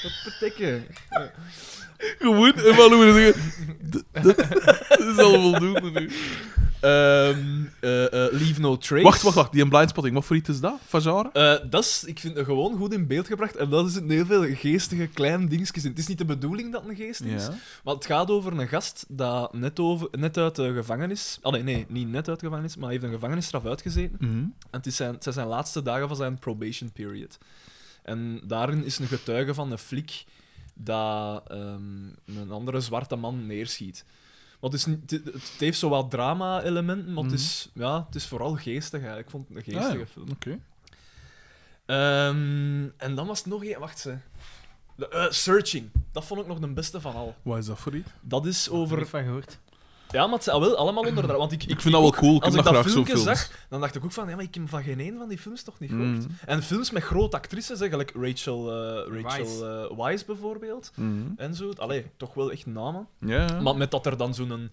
Speaker 2: vertikken.
Speaker 4: Gewoon, en wat moeten we zeggen? D- d- Dat is al voldoende nu.
Speaker 2: Ehm, eh, eh, Leave No Trace.
Speaker 4: Wacht, wacht, wacht. Die een blind spotting. Wat voor iets is dat? Van genre?
Speaker 2: Eh, dat is, ik vind het gewoon goed in beeld gebracht. En dat is een heel veel geestige, kleine dingetjes in. Het is niet de bedoeling dat het een geest is. Maar het gaat over een gast dat net, over, net uit de gevangenis... Allee, nee, niet net uit de gevangenis, maar hij heeft een gevangenisstraf uitgezeten.
Speaker 4: Mhm.
Speaker 2: En het, is zijn, het zijn zijn laatste dagen van zijn probation period. En daarin is een getuige van een flik dat ehm, een andere zwarte man neerschiet. Want het, is niet- het- het heeft zo wat drama-elementen, maar het, is, ja, het is vooral geestig eigenlijk. Ik vond het een geestige
Speaker 4: Ah, ja.
Speaker 2: film.
Speaker 4: Oké.
Speaker 2: Eh, Ehm, en dan was het nog één... Wacht, ze. De, eh, searching. Dat vond ik nog de beste van al.
Speaker 4: Wat is dat voor iets?
Speaker 2: Dat is over...
Speaker 3: van gehoord.
Speaker 2: Ja, maar het zijn ah, wel allemaal onder... de- Want ik,
Speaker 4: Ik vind dat wel cool, ik heb
Speaker 2: als
Speaker 4: dat
Speaker 2: ik dat
Speaker 4: graag zo
Speaker 2: filmpje
Speaker 4: films.
Speaker 2: zag, dan dacht ik ook van, ja, maar ik heb van geen één van die films toch niet gehoord.
Speaker 4: Mhm.
Speaker 2: En films met grote actrices, hè, gelijk Rachel, eh,
Speaker 7: Weisz.
Speaker 2: Rachel eh, Weisz bijvoorbeeld,
Speaker 4: Mhm.
Speaker 2: en zo. Allee, toch wel echt namen.
Speaker 4: mm, Ja. ja.
Speaker 2: Maar met dat er dan zo'n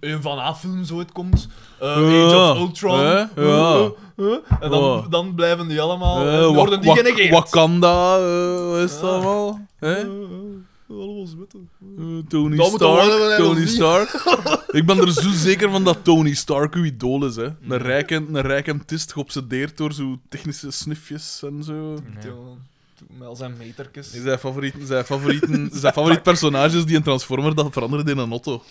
Speaker 2: een van A-film zo uitkomt, eh
Speaker 4: Ja,
Speaker 2: Age of Ultron,
Speaker 4: hè?
Speaker 2: eh,
Speaker 4: Ja.
Speaker 2: eh, eh, en dan,
Speaker 4: Ja.
Speaker 2: dan blijven die allemaal,
Speaker 4: Eh,
Speaker 2: eh,
Speaker 4: Wak-
Speaker 2: worden die
Speaker 4: Wak-
Speaker 2: genegeerd.
Speaker 4: Wakanda, eh, wat is dat allemaal? Hè?
Speaker 2: Eh, eh, allemaal zwetten.
Speaker 4: Eh, Tony
Speaker 2: Dat moet toch
Speaker 4: Stark,
Speaker 2: wel hebben, hè,
Speaker 4: Tony
Speaker 2: dat is
Speaker 4: Stark. ik ben er zo zeker van dat Tony Stark uw idool is, hè.
Speaker 2: Mm.
Speaker 4: Een rijke, een rijke tist geobsedeerd door zo'n technische snifjes en zo.
Speaker 2: Mm. Ja, Met al zijn metertjes.
Speaker 4: Zijn favorieten, zijn favorieten, zijn favoriet personages die een Transformer dat veranderen in een Otto.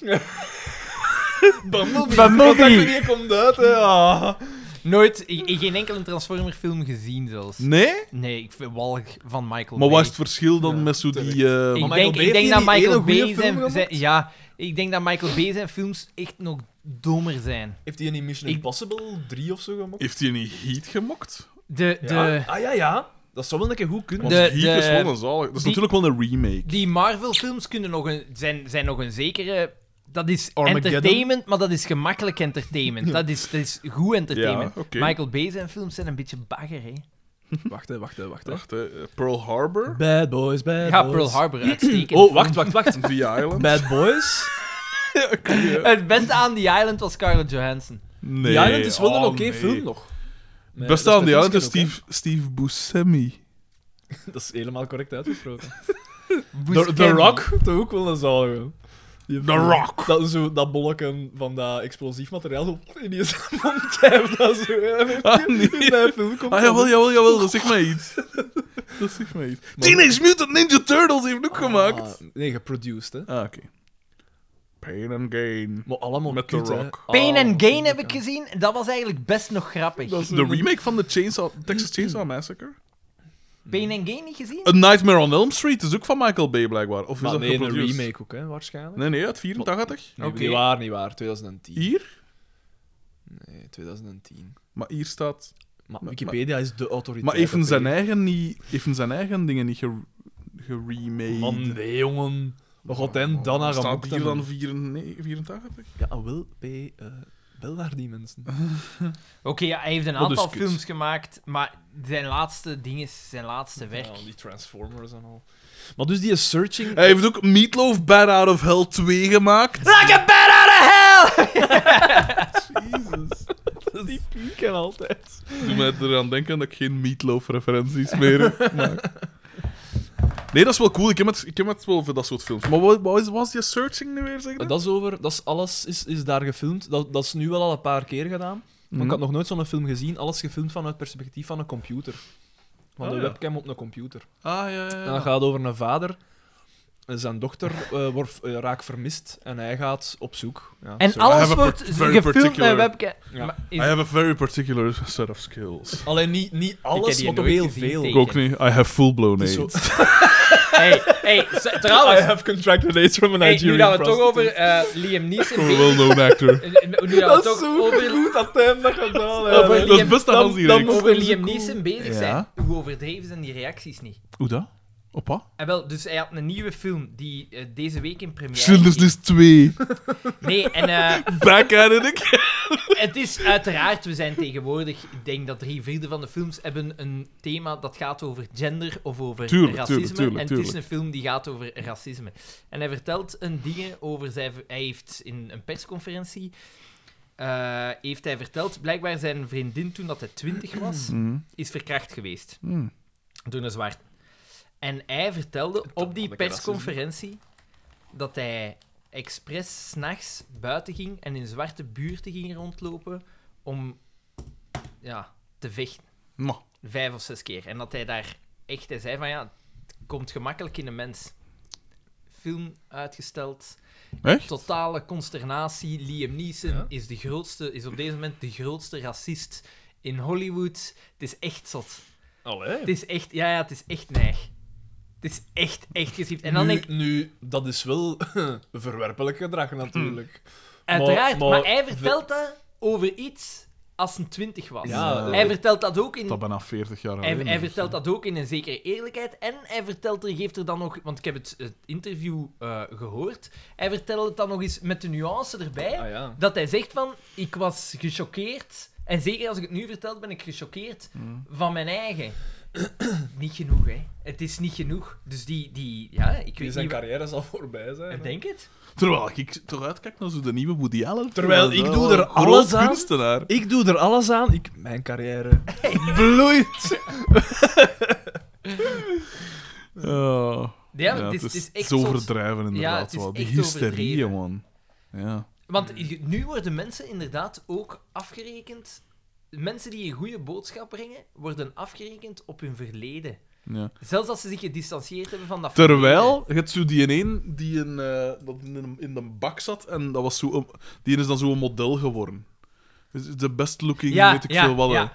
Speaker 2: Bumblebee.
Speaker 3: Bumblebee.
Speaker 2: Die komt uit, hè. Ah.
Speaker 3: Nooit, i- i- geen enkele Transformer-film gezien zelfs.
Speaker 4: Nee?
Speaker 3: Nee, ik vind walg van Michael
Speaker 4: Maar
Speaker 3: Bay.
Speaker 4: wat is het verschil dan
Speaker 2: Ja,
Speaker 4: met zo
Speaker 2: terecht.
Speaker 4: die... eh,
Speaker 3: Ik
Speaker 2: Maar
Speaker 3: denk,
Speaker 2: Michael
Speaker 3: ik
Speaker 2: Bay
Speaker 3: denk
Speaker 2: heeft
Speaker 3: dat
Speaker 2: niet die
Speaker 3: Michael
Speaker 2: ene goeie
Speaker 3: Bay
Speaker 2: film
Speaker 3: zijn,
Speaker 2: gemaakt?
Speaker 3: zijn- Ja, ik denk dat Michael Bay zijn films echt nog dommer zijn.
Speaker 2: Heeft hij in Mission
Speaker 3: Ik-
Speaker 2: Impossible 3 of zo gemaakt?
Speaker 4: heeft hij niet heat gemokt?
Speaker 3: De, de,
Speaker 2: Ja? Ah ja, ja. Dat zou wel een keer goed kunnen.
Speaker 4: Want
Speaker 3: De-
Speaker 4: heat is
Speaker 3: de-
Speaker 4: wel een zalig. Dat is
Speaker 3: die-
Speaker 4: natuurlijk wel een remake.
Speaker 3: Die Marvel-films kunnen nog een, zijn, zijn nog een zekere. Dat is
Speaker 2: Armageddon.
Speaker 3: entertainment, maar dat is gemakkelijk entertainment. Dat, is, dat is goed entertainment.
Speaker 4: Ja, oké.
Speaker 3: Michael Bay zijn films zijn een beetje bagger, hè?
Speaker 2: Wacht, hè, wacht, hè, wacht. hè.
Speaker 4: Wacht, hè. Pearl Harbor,
Speaker 2: Bad boys, bad
Speaker 3: Ja,
Speaker 2: boys.
Speaker 3: Pearl Harbor, uitstekend.
Speaker 2: Oh, wacht, wacht, wacht.
Speaker 4: The Island.
Speaker 2: Bad boys?
Speaker 3: Het beste aan The Island was Scarlett Johansson.
Speaker 4: Nee.
Speaker 2: ja, het is wel een
Speaker 4: oh,
Speaker 2: oké
Speaker 4: nee.
Speaker 2: film nog. Nee,
Speaker 4: Best
Speaker 2: dat
Speaker 4: aan die
Speaker 2: met
Speaker 4: Island is
Speaker 2: Winston ook,
Speaker 4: Steve, Steve Buscemi.
Speaker 2: hè. Dat is helemaal correct uitgesproken.
Speaker 3: Buscemi.
Speaker 2: The, The Rock, toch ook wel een zalige.
Speaker 4: The Rock.
Speaker 2: Dat, zo, dat bolletje van dat explosief materiaal zo in die zijn mond heeft. Dat zo, hè.
Speaker 4: Ah, nee.
Speaker 2: In dat film komt
Speaker 4: Ah,
Speaker 2: dat
Speaker 4: jawel, jawel, jawel, dat zegt mij iets. Dat zegt mij iets. Teenage Mutant Ninja Turtles heeft ook gemaakt.
Speaker 2: Ah, nee, geproduced, hè.
Speaker 4: Ah, oké. Pain and Gain.
Speaker 2: Maar allemaal
Speaker 4: Met The
Speaker 2: kut, hè.
Speaker 4: Rock.
Speaker 3: Pain
Speaker 2: Ah,
Speaker 3: and Gain
Speaker 2: natuurlijk,
Speaker 3: heb ik
Speaker 2: ja.
Speaker 3: gezien. Dat was eigenlijk best nog grappig.
Speaker 2: Dat is
Speaker 4: De
Speaker 2: een-
Speaker 4: remake van de Chainsaw, Texas Chainsaw Massacre.
Speaker 3: Pain and Gain niet gezien?
Speaker 4: A Nightmare on Elm Street is ook van Michael Bay, blijkbaar. Of is
Speaker 2: Maar
Speaker 4: dat
Speaker 2: nee, een
Speaker 4: geproduceerd?
Speaker 2: remake ook, hè, waarschijnlijk.
Speaker 4: Nee, nee, uit 84.
Speaker 2: Nee,
Speaker 3: Oké.
Speaker 2: niet waar, niet waar. 2010.
Speaker 4: Hier?
Speaker 2: Nee, 2010.
Speaker 4: Maar hier staat...
Speaker 2: Maar
Speaker 4: Maar-
Speaker 2: Wikipedia is de autoriteit.
Speaker 4: Maar even
Speaker 2: hè,
Speaker 4: zijn
Speaker 2: Peter.
Speaker 4: eigen, niet, even zijn eigen dingen niet gere- geremaked.
Speaker 2: Man, nee, jongen. Oh, We gaan hem
Speaker 4: dan
Speaker 2: dan naar
Speaker 4: Oh, Staat
Speaker 2: gemokt
Speaker 4: hier dan
Speaker 2: hebben.
Speaker 4: 84? 84?
Speaker 2: Ja, wel, P. eh, bel daar die mensen.
Speaker 3: Oké, ja, hij heeft een
Speaker 2: Dat is
Speaker 3: aantal
Speaker 2: kut.
Speaker 3: films gemaakt, maar zijn laatste ding is zijn laatste werk.
Speaker 2: Ja, die Transformers en al. Maar dus die searching...
Speaker 4: Hij heeft ook Meatloaf Bad Out of Hell 2 gemaakt.
Speaker 3: Like a bat out of hell!
Speaker 4: Jezus.
Speaker 2: die pieken altijd.
Speaker 4: Doe mij eraan denken dat ik geen Meatloaf-referenties meer maak. Nee, dat is wel cool. Ik heb het, ik heb het wel voor dat soort films. Maar wat, wat is, was die searching nu weer, zeg je?
Speaker 2: Dat is over... Dat is alles is, is daar gefilmd. Dat, dat is nu wel al een paar keer gedaan. Maar
Speaker 4: Mhm.
Speaker 2: ik had nog nooit zo'n film gezien. Alles gefilmd vanuit het perspectief van een computer. Van
Speaker 4: Ah,
Speaker 2: de
Speaker 4: ja.
Speaker 2: webcam op een computer.
Speaker 4: Ah, ja, ja,
Speaker 2: En dat
Speaker 4: ja.
Speaker 2: gaat over een vader. En Zijn dochter eh, wordt, eh, raakt vermist en hij gaat op zoek. Ja,
Speaker 3: En
Speaker 2: sorry.
Speaker 3: alles
Speaker 4: have a
Speaker 3: wordt
Speaker 4: per- very
Speaker 3: gefilmd
Speaker 4: particular-
Speaker 3: met webcam.
Speaker 2: Ah, Ja.
Speaker 3: Maar
Speaker 4: I
Speaker 3: is-
Speaker 4: have a very particular set of skills.
Speaker 2: Alleen niet, niet
Speaker 3: heb
Speaker 2: alles,
Speaker 3: die
Speaker 2: maar toch
Speaker 3: nooit
Speaker 2: heel
Speaker 3: gezien,
Speaker 2: veel.
Speaker 3: tegen.
Speaker 4: Ik ook niet. I have full-blown
Speaker 2: Het is zo-
Speaker 4: AIDS.
Speaker 3: Hey, hey, s- trouwens,
Speaker 2: have contracted AIDS from a
Speaker 3: hey, nu dat we het toch over eh, Liam Neeson
Speaker 4: Voor een
Speaker 3: bezig-
Speaker 4: well-known actor.
Speaker 3: eh, Nu dat we toch over,
Speaker 2: goed dat hij dat gedaan
Speaker 3: heeft. Over-
Speaker 4: Dat is best aan ons
Speaker 2: Dan- dan
Speaker 4: direct.
Speaker 2: moet-
Speaker 3: over
Speaker 2: Over
Speaker 3: Liam
Speaker 2: zoeken.
Speaker 3: Neeson bezig
Speaker 4: Ja.
Speaker 3: zijn, hoe overdreven zijn die reacties niet?
Speaker 4: Hoe dat? Op wat?
Speaker 3: En wel, dus hij had een nieuwe film die eh, deze week in première
Speaker 4: Schindler's
Speaker 3: ging.
Speaker 4: List 2.
Speaker 3: Nee, en eh,
Speaker 4: Back at it again.
Speaker 3: Het is uiteraard, we zijn tegenwoordig, ik denk dat drie vierde van de films hebben een thema dat gaat over gender of over
Speaker 4: Tuurlijk,
Speaker 3: racisme.
Speaker 4: tuurlijk, tuurlijk,
Speaker 3: en het
Speaker 4: tuurlijk.
Speaker 3: is een film die gaat over racisme. En hij vertelt een dingen over, zijn, hij heeft in een persconferentie, eh, heeft hij verteld, blijkbaar zijn vriendin toen dat hij twintig was,
Speaker 4: Mm.
Speaker 3: is verkracht geweest
Speaker 4: Mm.
Speaker 3: door een zwart. En hij vertelde op die
Speaker 2: manneke
Speaker 3: persconferentie dat hij expres s'nachts buiten ging en in zwarte buurten ging rondlopen om ja, te vechten.
Speaker 4: Maar.
Speaker 3: Vijf of zes keer. En dat hij daar echt... Hij zei van ja, het komt gemakkelijk in een mens. Film uitgesteld.
Speaker 4: Echt?
Speaker 3: Totale consternatie. Liam Neeson
Speaker 2: Ja.
Speaker 3: is, de grootste, is op deze moment de grootste racist in Hollywood. Het is echt zot.
Speaker 2: Allee.
Speaker 3: Het is echt, ja, ja, het is echt neig. Het is echt, echt geschikt. En dan
Speaker 2: nu,
Speaker 3: denk ik,
Speaker 2: nu, dat is wel verwerpelijk gedrag natuurlijk.
Speaker 3: uiteraard, maar,
Speaker 2: maar-
Speaker 3: hij vertelt dat over iets als een twintig was.
Speaker 2: Ja,
Speaker 3: hij vertelt dat ook in...
Speaker 4: Dat bijna 40 jaar
Speaker 3: Hij,
Speaker 4: geleden
Speaker 3: hij
Speaker 4: is,
Speaker 3: vertelt
Speaker 4: hè.
Speaker 3: dat ook in een zekere eerlijkheid. En hij vertelt er, geeft er dan nog... Want ik heb het, het interview eh, gehoord. Hij vertelt het dan nog eens met de nuance erbij.
Speaker 2: Ah ja.
Speaker 3: Dat hij zegt van, ik was gechoqueerd. En zeker als ik het nu vertel, ben ik gechoqueerd
Speaker 4: Mm.
Speaker 3: van mijn eigen. niet genoeg, hè. Het is niet genoeg. Dus die... die ja, ik weet
Speaker 2: Zijn
Speaker 3: niet... wa-
Speaker 2: carrière zal voorbij zijn.
Speaker 3: Ik denk het.
Speaker 4: Terwijl ik toch uitkijk naar zo de nieuwe Woody Allen.
Speaker 2: Terwijl
Speaker 4: film,
Speaker 2: ik
Speaker 4: hè.
Speaker 2: doe er
Speaker 4: Groot
Speaker 2: alles aan.
Speaker 4: kunstenaar.
Speaker 2: Ik doe er alles aan. Ik, mijn carrière bloeit.
Speaker 4: Ja.
Speaker 3: Ja,
Speaker 4: Ja,
Speaker 3: het, is,
Speaker 4: het is,
Speaker 3: echt
Speaker 4: zo
Speaker 3: zot.
Speaker 4: overdrijven inderdaad.
Speaker 3: het is
Speaker 4: wel. Die
Speaker 3: echt
Speaker 4: hysterie,
Speaker 3: overdreven.
Speaker 4: man. Ja.
Speaker 3: Want je- nu worden mensen inderdaad ook afgerekend. Mensen die een goede boodschap brengen, worden afgerekend op hun verleden.
Speaker 4: ja.
Speaker 3: Zelfs als ze zich gedistanceerd hebben van dat
Speaker 4: Terwijl, je hebt zo die een die in, eh, dat in, een- in de bak zat en dat was zo een- die is dan zo'n model geworden. Dus De best looking,
Speaker 3: Ja,
Speaker 4: weet ik
Speaker 3: ja,
Speaker 4: veel wat. hè.
Speaker 3: ja.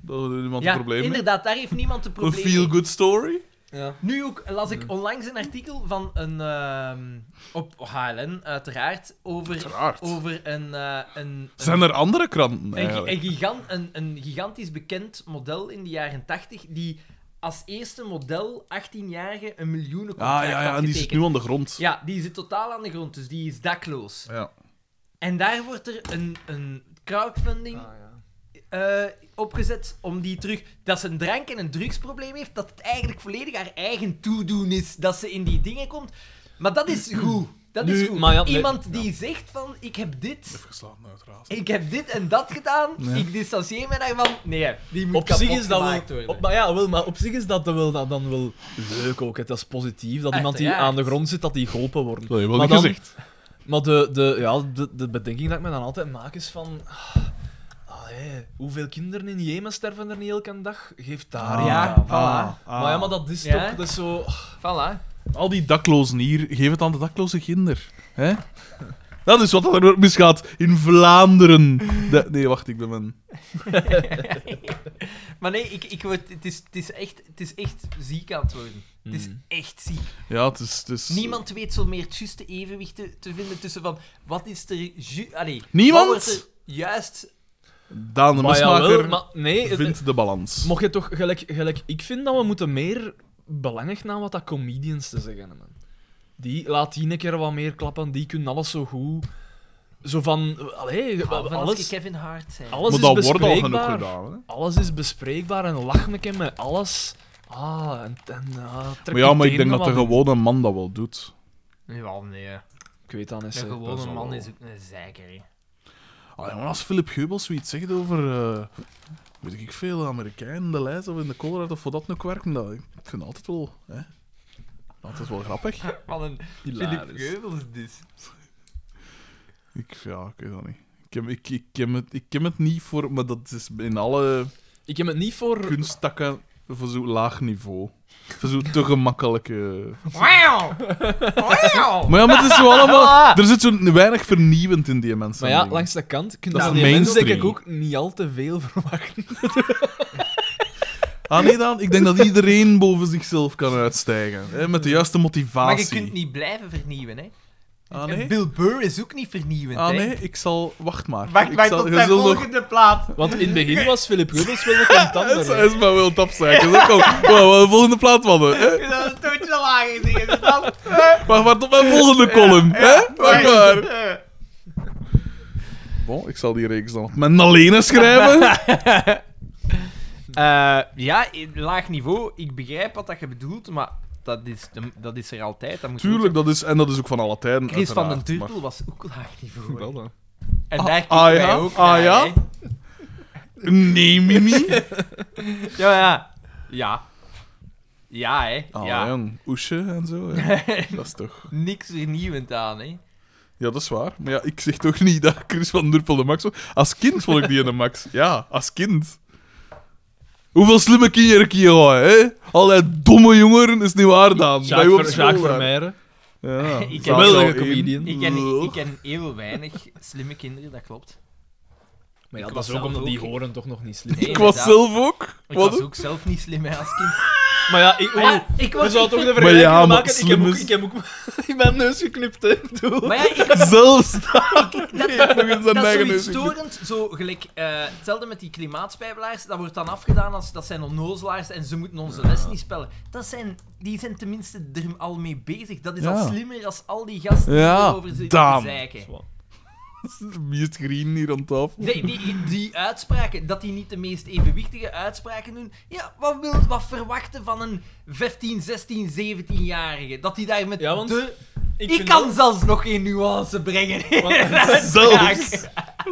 Speaker 4: Dat er niemand
Speaker 3: Ja,
Speaker 4: een probleem mee.
Speaker 3: inderdaad, daar heeft niemand een
Speaker 4: Een
Speaker 3: probleem mee.
Speaker 4: feel-good story.
Speaker 2: Ja.
Speaker 3: Nu ook las ik onlangs een artikel van een... ehm, op HLN, uiteraard, over,
Speaker 4: Uiteraard.
Speaker 3: over een, eh, een, een,
Speaker 4: Zijn er andere kranten
Speaker 3: een, gi-
Speaker 4: eigenlijk?
Speaker 3: een gigan- een, een gigantisch bekend model in de jaren 80 die als eerste model 18-jarige een miljoenen
Speaker 4: Ah ja, ja,
Speaker 3: had
Speaker 4: en die zit
Speaker 3: getekend.
Speaker 4: nu aan de grond.
Speaker 3: Ja, die zit totaal aan de grond, dus die is dakloos.
Speaker 4: Ja.
Speaker 3: En daar wordt er een, een crowdfunding
Speaker 2: Ah,
Speaker 3: eh, opgezet om die terug... Dat ze een drank- en een drugsprobleem heeft, dat het eigenlijk volledig haar eigen toedoen is. Dat ze in die dingen komt. Maar dat is goed. Dat is
Speaker 2: Nu,
Speaker 3: goed.
Speaker 2: maar ja, nee,
Speaker 3: Iemand die zegt van, ik heb dit...
Speaker 4: Geslagen uiteraard.
Speaker 3: Ik heb dit en dat gedaan, ik distancieer me daarvan. Nee, die moet
Speaker 2: Op zich
Speaker 3: kapot
Speaker 2: is dat
Speaker 3: gemaakt
Speaker 2: wel,
Speaker 3: worden.
Speaker 2: op, maar ja, wel, maar op zich is dat dan wel, dat dan wel leuk ook. hè. Dat is positief dat iemand die
Speaker 3: Uiteraard.
Speaker 2: aan de grond zit, dat die geholpen wordt.
Speaker 4: Dat heb je wel
Speaker 2: maar
Speaker 4: niet
Speaker 2: dan-
Speaker 4: gezegd.
Speaker 2: Maar de, de, ja, de, de bedenking dat ik me dan altijd maak is van... ah, allee, hoeveel kinderen in Jemen sterven er niet elke dag? Geeft daar
Speaker 4: Ah,
Speaker 2: ja.
Speaker 3: Ja, voilà.
Speaker 4: ah.
Speaker 2: Maar ja, maar dat is
Speaker 3: Ja.
Speaker 2: toch... Dat is zo...
Speaker 3: Voilà.
Speaker 4: Al die daklozen hier, geef het aan de dakloze kinder. Hè? Dat is wat er misgaat in Vlaanderen. De- nee, wacht, ik ben mijn...
Speaker 3: Maar nee, ik, ik word, het, is, het, is echt, het is echt ziek aan het worden. Het is
Speaker 2: Mm.
Speaker 3: echt ziek.
Speaker 4: Ja, het is... Het is
Speaker 3: Niemand weet zo meer het juiste evenwicht te, te vinden tussen van wat is er. Ju Allee,
Speaker 4: Niemand?
Speaker 3: wat wordt er juist.
Speaker 4: Daan de
Speaker 2: Maar ja,
Speaker 4: Mesmaker
Speaker 2: wel, Ah, maar nee... het-
Speaker 4: vindt de balans.
Speaker 2: Mocht je toch gelijk, gelijk, ik vind dat we moeten meer belangrijk naar wat dat comedians te zeggen hebben. Die laat die een keer wat meer klappen, die kunnen alles zo goed. Zo van, allee,
Speaker 3: Van als ik
Speaker 2: alles,
Speaker 3: Kevin Hart zijn.
Speaker 2: alles
Speaker 4: maar dat
Speaker 2: is
Speaker 4: wordt al genoeg
Speaker 2: bespreekbaar.
Speaker 4: gedaan. Hè?
Speaker 2: alles is bespreekbaar en lach een keer met alles. Ah, en, en ah, trek
Speaker 4: Maar ja,
Speaker 2: je
Speaker 4: maar ik
Speaker 2: tenen
Speaker 4: denk dat
Speaker 2: wat
Speaker 4: de
Speaker 2: in.
Speaker 4: gewone man dat wel doet.
Speaker 3: Ja, nee.
Speaker 2: Ik weet dat niet.
Speaker 3: Een
Speaker 2: hè.
Speaker 3: gewone
Speaker 4: zal
Speaker 3: man
Speaker 4: wel.
Speaker 3: is ook een zeiker. hè.
Speaker 4: Allee, maar als Philip Geubels zoiets zegt over... eh, weet ik veel, Amerikanen in de lijst of in de Colorado of voor dat nog werken, dat, ik vind dat altijd wel... Hè? Altijd wel grappig.
Speaker 3: Wat een
Speaker 2: Hilarisch.
Speaker 3: Philip Geubels dus.
Speaker 4: Ik, ja, ik weet dat niet. Ik ken, ik, ik, ken het, ik ken het niet voor, maar dat is in alle
Speaker 2: Ik heb het niet voor.
Speaker 4: kunsttakken voor zo'n laag niveau. Voor zo'n te gemakkelijke.
Speaker 3: Wauw! Wauw!
Speaker 4: Maar ja, maar het is zo allemaal. Er zit zo weinig vernieuwend in die mensen.
Speaker 2: Maar ja,
Speaker 4: denk ik.
Speaker 2: langs de kant kun je
Speaker 4: Dat is
Speaker 2: van die mensen denk ik
Speaker 4: mainstream.
Speaker 2: ook niet al te veel verwachten.
Speaker 4: Ah nee, dan. Ik denk dat iedereen boven zichzelf kan uitstijgen. Hè, met de juiste motivatie.
Speaker 3: Maar je kunt niet blijven vernieuwen, hè?
Speaker 4: Ah
Speaker 3: En
Speaker 4: nee.
Speaker 3: Bill Burr is ook niet vernieuwend,
Speaker 4: Ah
Speaker 3: hè?
Speaker 4: nee, ik zal. Wacht maar.
Speaker 6: Wacht
Speaker 4: ik
Speaker 6: maar
Speaker 4: zal,
Speaker 6: tot
Speaker 4: je
Speaker 6: zijn
Speaker 4: zult nog-
Speaker 6: volgende plaat.
Speaker 2: Want in het begin was Philip Rubbels wel een contander.
Speaker 4: Hij is maar wel tapzaken. Zo, kom. Wauw, wauw, volgende plaat, mannen. hè.
Speaker 6: Je zou een toontje lager zingen. dus dan-
Speaker 4: Wacht maar tot mijn volgende column. Hè? Wacht maar.
Speaker 6: Eh,
Speaker 4: Bon, ik zal die reeks dan op mijn Nalene schrijven.
Speaker 3: Eh, ja, in laag niveau. Ik begrijp wat dat je bedoelt, maar dat is, dat is er altijd. Dat moet
Speaker 4: Tuurlijk, dat is, en dat is ook van alle tijden.
Speaker 3: Chris van den
Speaker 4: uiteraard,
Speaker 3: Turtel
Speaker 4: maar-
Speaker 3: was ook laag niveau. hè.
Speaker 2: Wel dan.
Speaker 3: En
Speaker 4: Ah,
Speaker 3: daar kijken
Speaker 4: ah,
Speaker 3: wij
Speaker 4: ja?
Speaker 3: ook
Speaker 4: Ah,
Speaker 3: naar,
Speaker 4: ja?
Speaker 3: hè.
Speaker 4: Nee, Mimi.
Speaker 3: Ja, ja. Ja. Ja, hè.
Speaker 4: Ah,
Speaker 3: ja.
Speaker 4: jong. Oesje en zo. hè. dat is toch...
Speaker 3: Niks vernieuwend aan, hè.
Speaker 4: Ja, dat is waar. Maar ja, ik zeg toch niet dat Chris van den Turtel de Max was. Als kind vond ik die in de Max. Ja, als kind. Hoeveel slimme kinderen kun je gooien, hè? Allerlei domme jongeren is niet waar, Daan. Dat je op school
Speaker 2: Jacques
Speaker 4: daar-
Speaker 2: Vermeijeren.
Speaker 4: Ja,
Speaker 3: Ik ken
Speaker 4: Zaal
Speaker 3: wel
Speaker 2: een
Speaker 4: één.
Speaker 2: comedian.
Speaker 3: Ik ken, ik ken heel weinig slimme kinderen, dat klopt.
Speaker 2: Maar
Speaker 3: Ik
Speaker 2: ja, dat
Speaker 3: was
Speaker 2: is ook
Speaker 3: zelf
Speaker 2: omdat die
Speaker 3: ook-
Speaker 2: horen toch nog niet slim.
Speaker 3: Nee.
Speaker 4: Ik was
Speaker 3: inderdaad.
Speaker 4: zelf ook.
Speaker 3: Ik
Speaker 4: Wat
Speaker 3: was ook zelf niet slim hè, als kind.
Speaker 2: Maar Ah, ja, ik...
Speaker 3: Maar ja, ik
Speaker 2: we
Speaker 3: was
Speaker 2: zouden toch
Speaker 3: echt-
Speaker 2: de
Speaker 4: Maar
Speaker 2: vergelijking
Speaker 4: ja, maar
Speaker 2: maken. Ik heb, ook,
Speaker 4: slimmers.
Speaker 2: ik heb ook in mijn neus geknipt, hè. Doe.
Speaker 3: Maar ja, ik,
Speaker 4: Zelfs dat
Speaker 3: dat, dat,
Speaker 4: nog eens een
Speaker 3: dat is
Speaker 4: eigen
Speaker 3: zoiets
Speaker 4: neus.
Speaker 3: storend. Zo gelijk, eh, hetzelfde met die klimaatspijbelaars. Dat wordt dan afgedaan als dat zijn onnozelaars en ze moeten onze les niet spellen. Dat zijn, die zijn tenminste er al mee bezig. Dat is
Speaker 4: Ja.
Speaker 3: al slimmer als al die gasten
Speaker 4: Ja,
Speaker 3: die over zitten
Speaker 4: damn.
Speaker 3: te zeiken.
Speaker 4: Wie is het green hier aan tafel?
Speaker 3: Nee, die, die uitspraken, dat die niet de meest evenwichtige uitspraken doen. Ja, wat wil wat verwachten van een 15, 16, 17-jarige? Dat die daar met
Speaker 2: Ja, want
Speaker 3: de... Ik,
Speaker 2: vind
Speaker 3: kan
Speaker 2: wel-
Speaker 3: zelfs nog geen nuance brengen.
Speaker 2: want,
Speaker 4: Zelfs!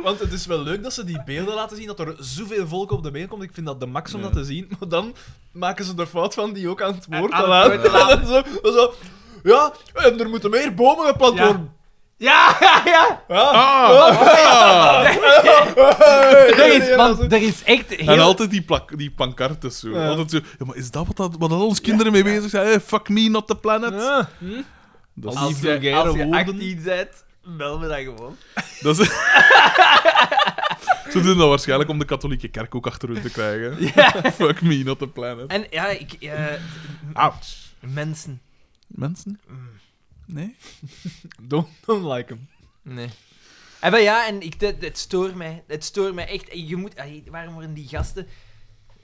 Speaker 2: want het is wel leuk dat ze die beelden laten zien, dat er zoveel volk op de been komt. Ik vind dat de max om dat te zien. Maar dan maken ze er fout van die ook aan het woord te
Speaker 3: aan het
Speaker 2: laten. En zo, zo, ja, en er moeten meer bomen geplant
Speaker 3: Ja.
Speaker 2: worden.
Speaker 3: Ja, ja, ja.
Speaker 2: Ah,
Speaker 3: Er is, want er is echt heel...
Speaker 4: En altijd die, plak, die pancartes zo.
Speaker 2: Ja.
Speaker 4: Altijd zo. Ja, maar is dat wat, dat, wat al onze kinderen mee bezig zijn? Hey, fuck me, not the planet.
Speaker 2: Ja.
Speaker 4: Dat, is,
Speaker 2: Als-
Speaker 6: Als
Speaker 2: vulgaire
Speaker 6: je, als je
Speaker 2: woorden.
Speaker 6: 18 bent, bel me dan gewoon.
Speaker 4: dat is- Ze doen dat waarschijnlijk om de katholieke kerk ook achter hun te krijgen. Fuck me, not the planet.
Speaker 3: En ja, ik... eh,
Speaker 4: Ouch.
Speaker 3: mensen.
Speaker 4: Mensen? Nee?
Speaker 2: Don't, don't like him.
Speaker 3: Nee. En ben, Ah, ja, en ik, dit, dit stoort mij. Het stoort mij echt. En Je moet, ay, waarom worden die gasten...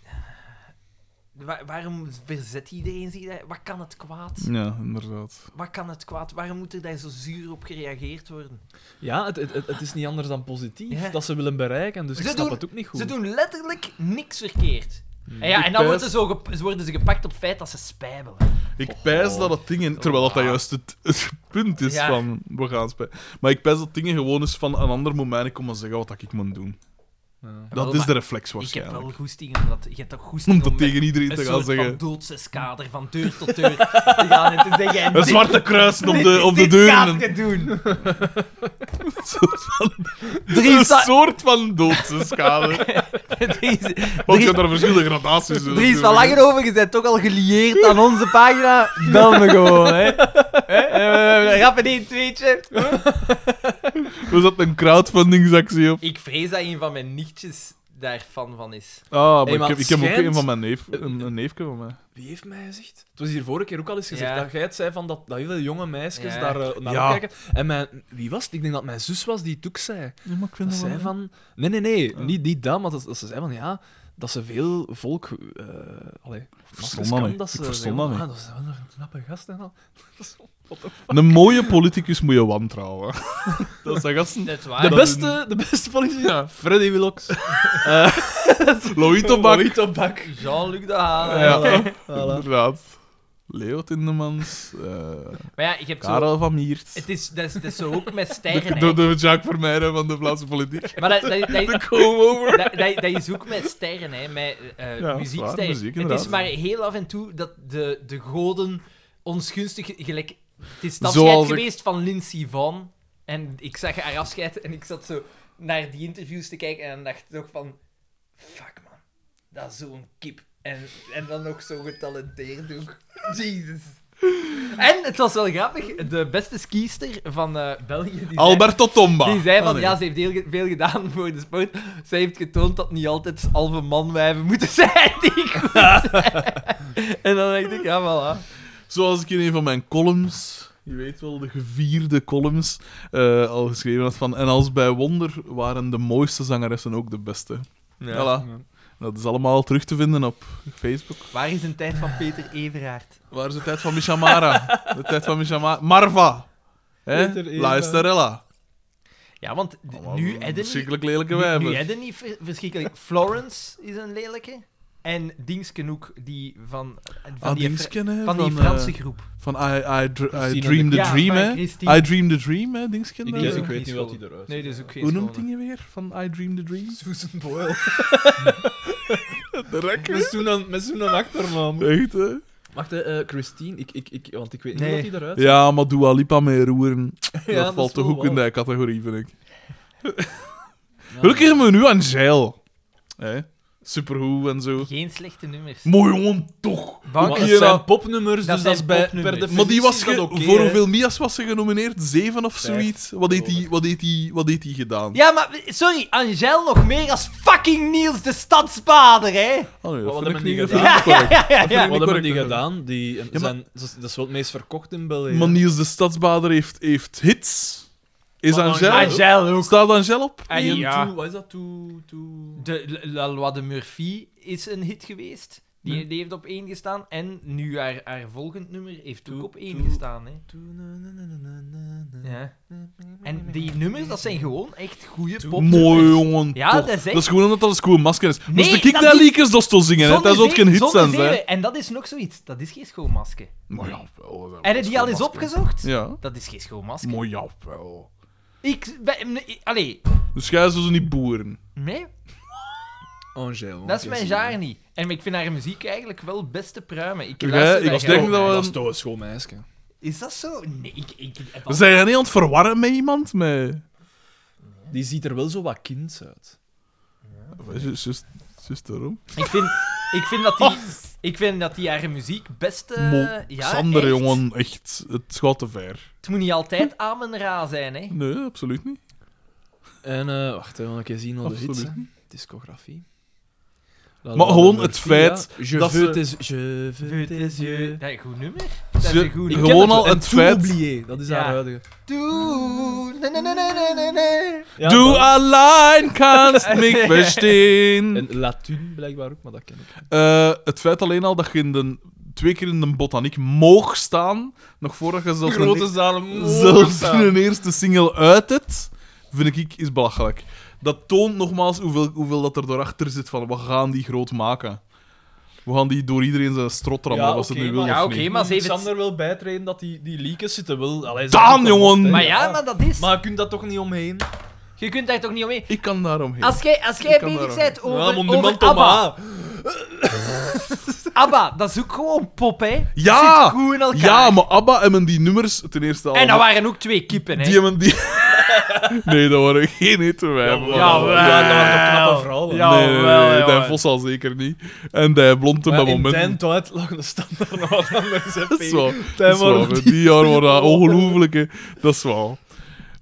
Speaker 3: Ah, Wa- waarom verzet iedereen zich daar? Wat kan het kwaad?
Speaker 4: Ja, inderdaad.
Speaker 3: Wat kan het kwaad? Waarom moet er daar zo zuur op gereageerd worden?
Speaker 2: Ja, het, het, het- het is niet anders dan positief
Speaker 3: Ja.
Speaker 2: dat ze willen bereiken, dus
Speaker 3: Ze
Speaker 2: ik snap
Speaker 3: doen-
Speaker 2: het ook niet goed.
Speaker 3: Ze doen letterlijk niks verkeerd.
Speaker 4: Hmm.
Speaker 3: En, ja,
Speaker 2: Ik
Speaker 3: en dan
Speaker 2: thuis-
Speaker 3: worden, ze zo gep- ze worden ze gepakt op het feit dat ze spijbelen.
Speaker 4: Ik pijs dat dat dingen... Terwijl dat, dat juist het, het punt is
Speaker 3: Oh. Ah. Ja.
Speaker 4: van... We gaan spij- Maar ik pijs dat dingen gewoon eens van een ander moment komen zeggen wat ik moet doen.
Speaker 3: Wel,
Speaker 4: Dat is
Speaker 3: maar
Speaker 4: de reflex
Speaker 3: Ik heb
Speaker 4: waarschijnlijk.
Speaker 3: wel goesting omdat... Je hebt toch goesting
Speaker 4: Om dat
Speaker 3: met
Speaker 4: tegen iedereen
Speaker 3: een
Speaker 4: te
Speaker 3: soort
Speaker 4: gaan
Speaker 3: van
Speaker 4: zeggen.
Speaker 3: doodseskader van deur tot deur te gaan en te zeggen... en
Speaker 4: Een
Speaker 3: dit-
Speaker 4: zwarte kruis op de,
Speaker 3: dit-
Speaker 4: op de
Speaker 3: dit
Speaker 4: deur.
Speaker 3: gaat
Speaker 4: en
Speaker 3: je doen.
Speaker 4: Een soort van,
Speaker 6: Drie
Speaker 4: een
Speaker 6: sta-
Speaker 4: soort van doodseskader.
Speaker 6: Dries,
Speaker 4: Want je
Speaker 6: Dries,
Speaker 4: hebt daar verschillende gradaties in. dus
Speaker 6: Dries van Langenhoven, je bent toch al gelieerd aan onze pagina. Bel me gewoon, hè. Hè? Eh, Rap in één tweetje.
Speaker 4: We zaten een crowdfundingsactie op.
Speaker 3: Ik vrees dat een van mijn nichtjes daar fan van is.
Speaker 4: Ah, maar
Speaker 2: Hey, maar
Speaker 4: ik, heb, ik heb ook
Speaker 2: schijnt-
Speaker 4: een van mijn neef, een, een neefje van mij.
Speaker 2: Wie heeft mij gezegd? Het was hier vorige keer ook al eens gezegd
Speaker 3: Ja.
Speaker 2: dat jij het zei van dat, dat heel veel jonge meisjes
Speaker 3: Ja.
Speaker 2: daar eh, naar
Speaker 4: Ja.
Speaker 2: kijken. En mijn, wie was het? Ik denk dat mijn zus was die het ook zei.
Speaker 4: Ja, maar ik vind
Speaker 2: Dat
Speaker 4: dat wel-
Speaker 2: zei van... Nee, nee, nee.
Speaker 4: Ja.
Speaker 2: Niet, niet dat, maar dat, dat ze zei van ja... Dat ze veel volk... eh allee,
Speaker 4: verstond dat niet. Ik verstond dat niet.
Speaker 2: Ah, dat is wel een knappe gast en al.
Speaker 4: Een mooie politicus moet je wantrouwen. dat zijn gasten.
Speaker 3: Ah, Dat is waar.
Speaker 2: De
Speaker 4: dat is
Speaker 2: beste, de beste politie... Freddy Willox.
Speaker 4: Louis Tobak.
Speaker 2: Marie Tobak.
Speaker 3: Jean-Luc de Haan.
Speaker 4: Ja,
Speaker 2: Voilà.
Speaker 4: inderdaad. Leo Tindemans. eh,
Speaker 3: Maar ja, ik heb zo...
Speaker 4: Karel van Miert.
Speaker 3: Het is, dat, is, dat is zo ook met
Speaker 4: De,
Speaker 3: sterren.
Speaker 4: de,
Speaker 3: hè.
Speaker 4: de Jacques Vermeijden van de Vlaamse politiek.
Speaker 3: Maar dat, dat, dat,
Speaker 4: De come over.
Speaker 3: dat, dat, dat is ook met sterren, hè, met eh
Speaker 4: dat is waar,
Speaker 3: muzieksterren.
Speaker 4: muziek,
Speaker 3: het
Speaker 4: inderdaad.
Speaker 3: is maar heel af en toe dat de, de goden ons gunstig... Gelijk, het is het
Speaker 4: Zoals
Speaker 3: afscheid
Speaker 4: ik-
Speaker 3: geweest van Lindsay Van. En ik zag haar afscheid en ik zat zo naar die interviews te kijken en dacht toch van... Fuck, man. Dat is zo'n kip. En, en dan nog zo getalenteerd ook. Jesus. En het was wel grappig. De beste skiester van eh, België... die zei-
Speaker 4: Alberto Tomba.
Speaker 3: die zei van,
Speaker 4: Ah, nee.
Speaker 3: ja, ze heeft heel ge- veel gedaan voor de sport. Zij heeft getoond dat niet altijd halve manwijven moeten zijn die goed zijn. en dan denk ik, ja, voilà.
Speaker 4: Zoals ik in een van mijn columns, je weet wel, de gevierde columns, eh, al geschreven had van... En als bij wonder waren de mooiste zangeressen ook de beste. Voilà. Dat is allemaal terug te vinden op Facebook.
Speaker 6: Waar is een tijd van Peter Everaard?
Speaker 4: Waar is de tijd van Michamara? De tijd van Michamara. Marva. Hè?
Speaker 2: Peter Eva.
Speaker 4: eh, Laisterella.
Speaker 3: Ja, want d-
Speaker 4: Allemaal
Speaker 3: nu Eden niet...
Speaker 4: Verschrikkelijk lelijke
Speaker 3: Nu, nu
Speaker 4: wijven.
Speaker 3: Eden niet ver- verschrikkelijk. Florence is een lelijke. En Dingsken ook, die van, van,
Speaker 4: Ah,
Speaker 3: die,
Speaker 4: die
Speaker 3: Fra-
Speaker 4: skin, hè,
Speaker 3: van die
Speaker 4: eh,
Speaker 3: Franse groep.
Speaker 4: Van I, I, dr- I
Speaker 2: Christine
Speaker 4: Dream the
Speaker 3: Ja,
Speaker 4: Dream,
Speaker 3: van
Speaker 4: hè?
Speaker 3: Christine.
Speaker 4: I Dream the Dream, hè? Dingsken.
Speaker 2: Ik,
Speaker 4: eh.
Speaker 2: ik
Speaker 3: ook
Speaker 2: weet
Speaker 3: niet
Speaker 2: niet wat
Speaker 3: zo.
Speaker 2: die eruit
Speaker 3: Nee, dat is ook geen
Speaker 4: Hoe noemt
Speaker 3: schone.
Speaker 4: die weer? Van I Dream the Dream?
Speaker 2: Susan Boyle.
Speaker 4: De rekker.
Speaker 2: Met zo'n- Met zo'n achternaam.
Speaker 4: Echt, hè?
Speaker 2: Wacht, hè, eh, Christine, ik, ik, ik, want ik weet niet
Speaker 3: Nee.
Speaker 2: hoe dat die eruit ziet.
Speaker 4: Ja, maar Dua Lipa mee roeren, dat valt
Speaker 2: is
Speaker 4: toch
Speaker 2: wel
Speaker 4: ook in
Speaker 2: waar.
Speaker 4: die categorie, vind ik.
Speaker 2: Ja.
Speaker 4: Gelukkig hebben we nu Angel. Hè? supergoed en zo.
Speaker 3: Geen slechte nummers.
Speaker 4: Mooi gewoon toch.
Speaker 2: Maar
Speaker 4: Ook
Speaker 2: het
Speaker 4: hier
Speaker 2: zijn
Speaker 4: dat-
Speaker 2: popnummers,
Speaker 3: Dat zijn
Speaker 2: dus dat is bij, per
Speaker 3: popnummers.
Speaker 2: definitie
Speaker 4: Maar die eh, was
Speaker 2: dat
Speaker 4: ge-
Speaker 2: oké,
Speaker 4: voor
Speaker 2: hè.
Speaker 4: hoeveel Mia's was ze genomineerd? Zeven of
Speaker 2: Vijf,
Speaker 4: zoiets? Wat heeft die, wat heeft die, wat heeft die gedaan?
Speaker 3: Ja, maar sorry, Angel nog meer als fucking Niels de Stadsbader, hè?
Speaker 4: Oh, nee,
Speaker 2: Wat
Speaker 4: dat
Speaker 2: hebben
Speaker 4: vind ik niet-
Speaker 2: die
Speaker 4: dat
Speaker 2: gedaan?
Speaker 4: vind ik niet correct.
Speaker 3: ja, ja.
Speaker 2: Wat hebben die
Speaker 4: correct.
Speaker 2: gedaan? Die
Speaker 4: maar-
Speaker 2: zijn, dat is- dat is wel het meest verkocht in België.
Speaker 4: Maar Niels de Stadsbader heeft, heeft hits. Is Angel...
Speaker 3: Angel ook.
Speaker 4: Staat Angel op?
Speaker 3: En
Speaker 2: Die en
Speaker 3: ja.
Speaker 2: toe- wat is dat? Toe, toe...
Speaker 3: De La Loi de Murphy is een hit geweest. Die, die heeft op één gestaan. En nu haar, haar volgend nummer heeft ook
Speaker 2: Toe-
Speaker 3: op één
Speaker 2: toe-
Speaker 3: gestaan. Hè. Ja. En die nummers, dat zijn gewoon echt goede pop.
Speaker 4: Mooi, jongen.
Speaker 3: Ja,
Speaker 4: toch.
Speaker 3: dat is echt-
Speaker 4: Dat is gewoon omdat dat een schoon masker is. Moest
Speaker 3: Nee,
Speaker 4: de kik
Speaker 3: dat
Speaker 4: naar
Speaker 3: is-
Speaker 4: Liekers dat zo zingen, hè?
Speaker 3: Zonder
Speaker 4: Dat is ook
Speaker 3: zeven,
Speaker 4: geen hits
Speaker 3: zonder
Speaker 4: zijn, hè?
Speaker 3: zeven. En dat is nog zoiets. Dat is geen schoonmasker.
Speaker 4: Maar oh, ja, wel, wel,
Speaker 3: En die al
Speaker 4: schoon
Speaker 3: eens
Speaker 4: masker.
Speaker 3: opgezocht?
Speaker 4: Ja.
Speaker 3: Dat is geen schoonmasker.
Speaker 4: Maar ja, wel.
Speaker 3: Ik... ben- ik- Allee,
Speaker 4: Dus jij zo niet boeren.
Speaker 3: nee,
Speaker 2: Angel.
Speaker 3: dat is mijn jaar niet. En ik vind haar muziek eigenlijk wel best te pruimen. Ik
Speaker 4: Ja,
Speaker 3: luister
Speaker 4: ik
Speaker 3: daar
Speaker 4: denk
Speaker 2: Oh,
Speaker 3: graag
Speaker 4: dat
Speaker 3: naar.
Speaker 4: we-
Speaker 2: Dat is toch een schoon meisje.
Speaker 3: Is dat zo? Nee, ik... ik eh, ik heb al-
Speaker 4: Zijn jij niet aan het verwarren met iemand? Met...
Speaker 2: Die ziet er wel zo wat kind uit.
Speaker 4: Zus- zus- Zus daarom.
Speaker 3: Ik vind, ik vind dat die... Ik vind dat die haar muziek best... eh,
Speaker 4: Mo-
Speaker 3: ja,
Speaker 4: Sander,
Speaker 3: echt.
Speaker 4: jongen, echt. Het gaat te ver.
Speaker 3: Het moet niet altijd Amen Ra zijn, hè.
Speaker 4: Nee, absoluut niet.
Speaker 2: En eh wacht, even, ik zien al de hits.
Speaker 4: Absoluut
Speaker 2: hè. Discografie. La
Speaker 4: Maar
Speaker 2: La
Speaker 4: gewoon
Speaker 2: La
Speaker 4: het
Speaker 2: Murphy,
Speaker 4: feit
Speaker 2: ja. Je
Speaker 4: dat
Speaker 2: veux
Speaker 4: ze-
Speaker 2: tes, je veux tes yeux.
Speaker 3: Dat is een goed nummer. Dat is
Speaker 4: Ze-
Speaker 3: een goed
Speaker 4: Ik
Speaker 3: nummer.
Speaker 4: Gewoon al het feit-
Speaker 2: Oublié, dat is
Speaker 3: Ja.
Speaker 2: haar huidige.
Speaker 3: Doe... na, na, na, na, na, na, na.
Speaker 2: Ja,
Speaker 4: Du
Speaker 2: dat-
Speaker 4: allein kannst mich verstehen.
Speaker 2: En Latun blijkbaar ook, maar dat ken ik. niet.
Speaker 4: Eh, het feit alleen al dat je in de, twee keer in de botaniek moog staan, nog voordat je zelfs, een,
Speaker 2: zalen.
Speaker 4: zelfs een eerste single uit het, vind ik is belachelijk. Dat toont nogmaals hoeveel, hoeveel dat er daarachter zit van we gaan die groot maken. We gaan die door iedereen zijn strot rammen,
Speaker 2: Ja,
Speaker 4: als het
Speaker 2: oké,
Speaker 4: nu wil
Speaker 2: maar-
Speaker 3: Ja,
Speaker 4: of
Speaker 3: oké,
Speaker 4: niet.
Speaker 3: maar
Speaker 2: Maar
Speaker 3: ze heeft het-
Speaker 2: Sander wil bijtreden dat die, die leakers zitten wel... Allee, ze
Speaker 4: Daan,
Speaker 2: hebben toch
Speaker 4: jongen!
Speaker 2: wat, hè.
Speaker 3: Maar ja, maar dat is...
Speaker 2: Maar je kunt dat toch niet omheen?
Speaker 3: Je kunt daar toch niet omheen.
Speaker 4: Ik kan daaromheen.
Speaker 3: Als jij, als jij
Speaker 4: Ik kan
Speaker 3: bezig
Speaker 4: daar ook
Speaker 3: bent over,
Speaker 2: ja, maar
Speaker 3: over
Speaker 2: niemand om
Speaker 3: ABBA.
Speaker 2: aan.
Speaker 3: ABBA, dat is ook gewoon pop, hè. Dat
Speaker 4: Ja!
Speaker 3: zit goed in elkaar.
Speaker 4: Ja, maar ABBA hebben die nummers ten eerste al.
Speaker 3: En dat waren ook twee kippen, hè.
Speaker 4: die hebben die... nee, dat waren geen hitte wij. man.
Speaker 3: Jawel.
Speaker 2: Ja, dat waren toch knappe vrouwen.
Speaker 3: Ja,
Speaker 4: nee, nee, nee,
Speaker 3: wel,
Speaker 4: nee,
Speaker 3: jongen.
Speaker 4: die Vos al zeker niet. En die blond op
Speaker 2: Maar
Speaker 4: dat
Speaker 2: in
Speaker 4: moment.
Speaker 2: Tijn Toit lag de standaard nog wat anders. hè,
Speaker 4: Dat is
Speaker 2: P.
Speaker 4: wel.
Speaker 2: Tijn
Speaker 4: Dat is wel,
Speaker 2: Marot,
Speaker 4: hè. die jaar waren dat ongelooflijke. Dat is wel.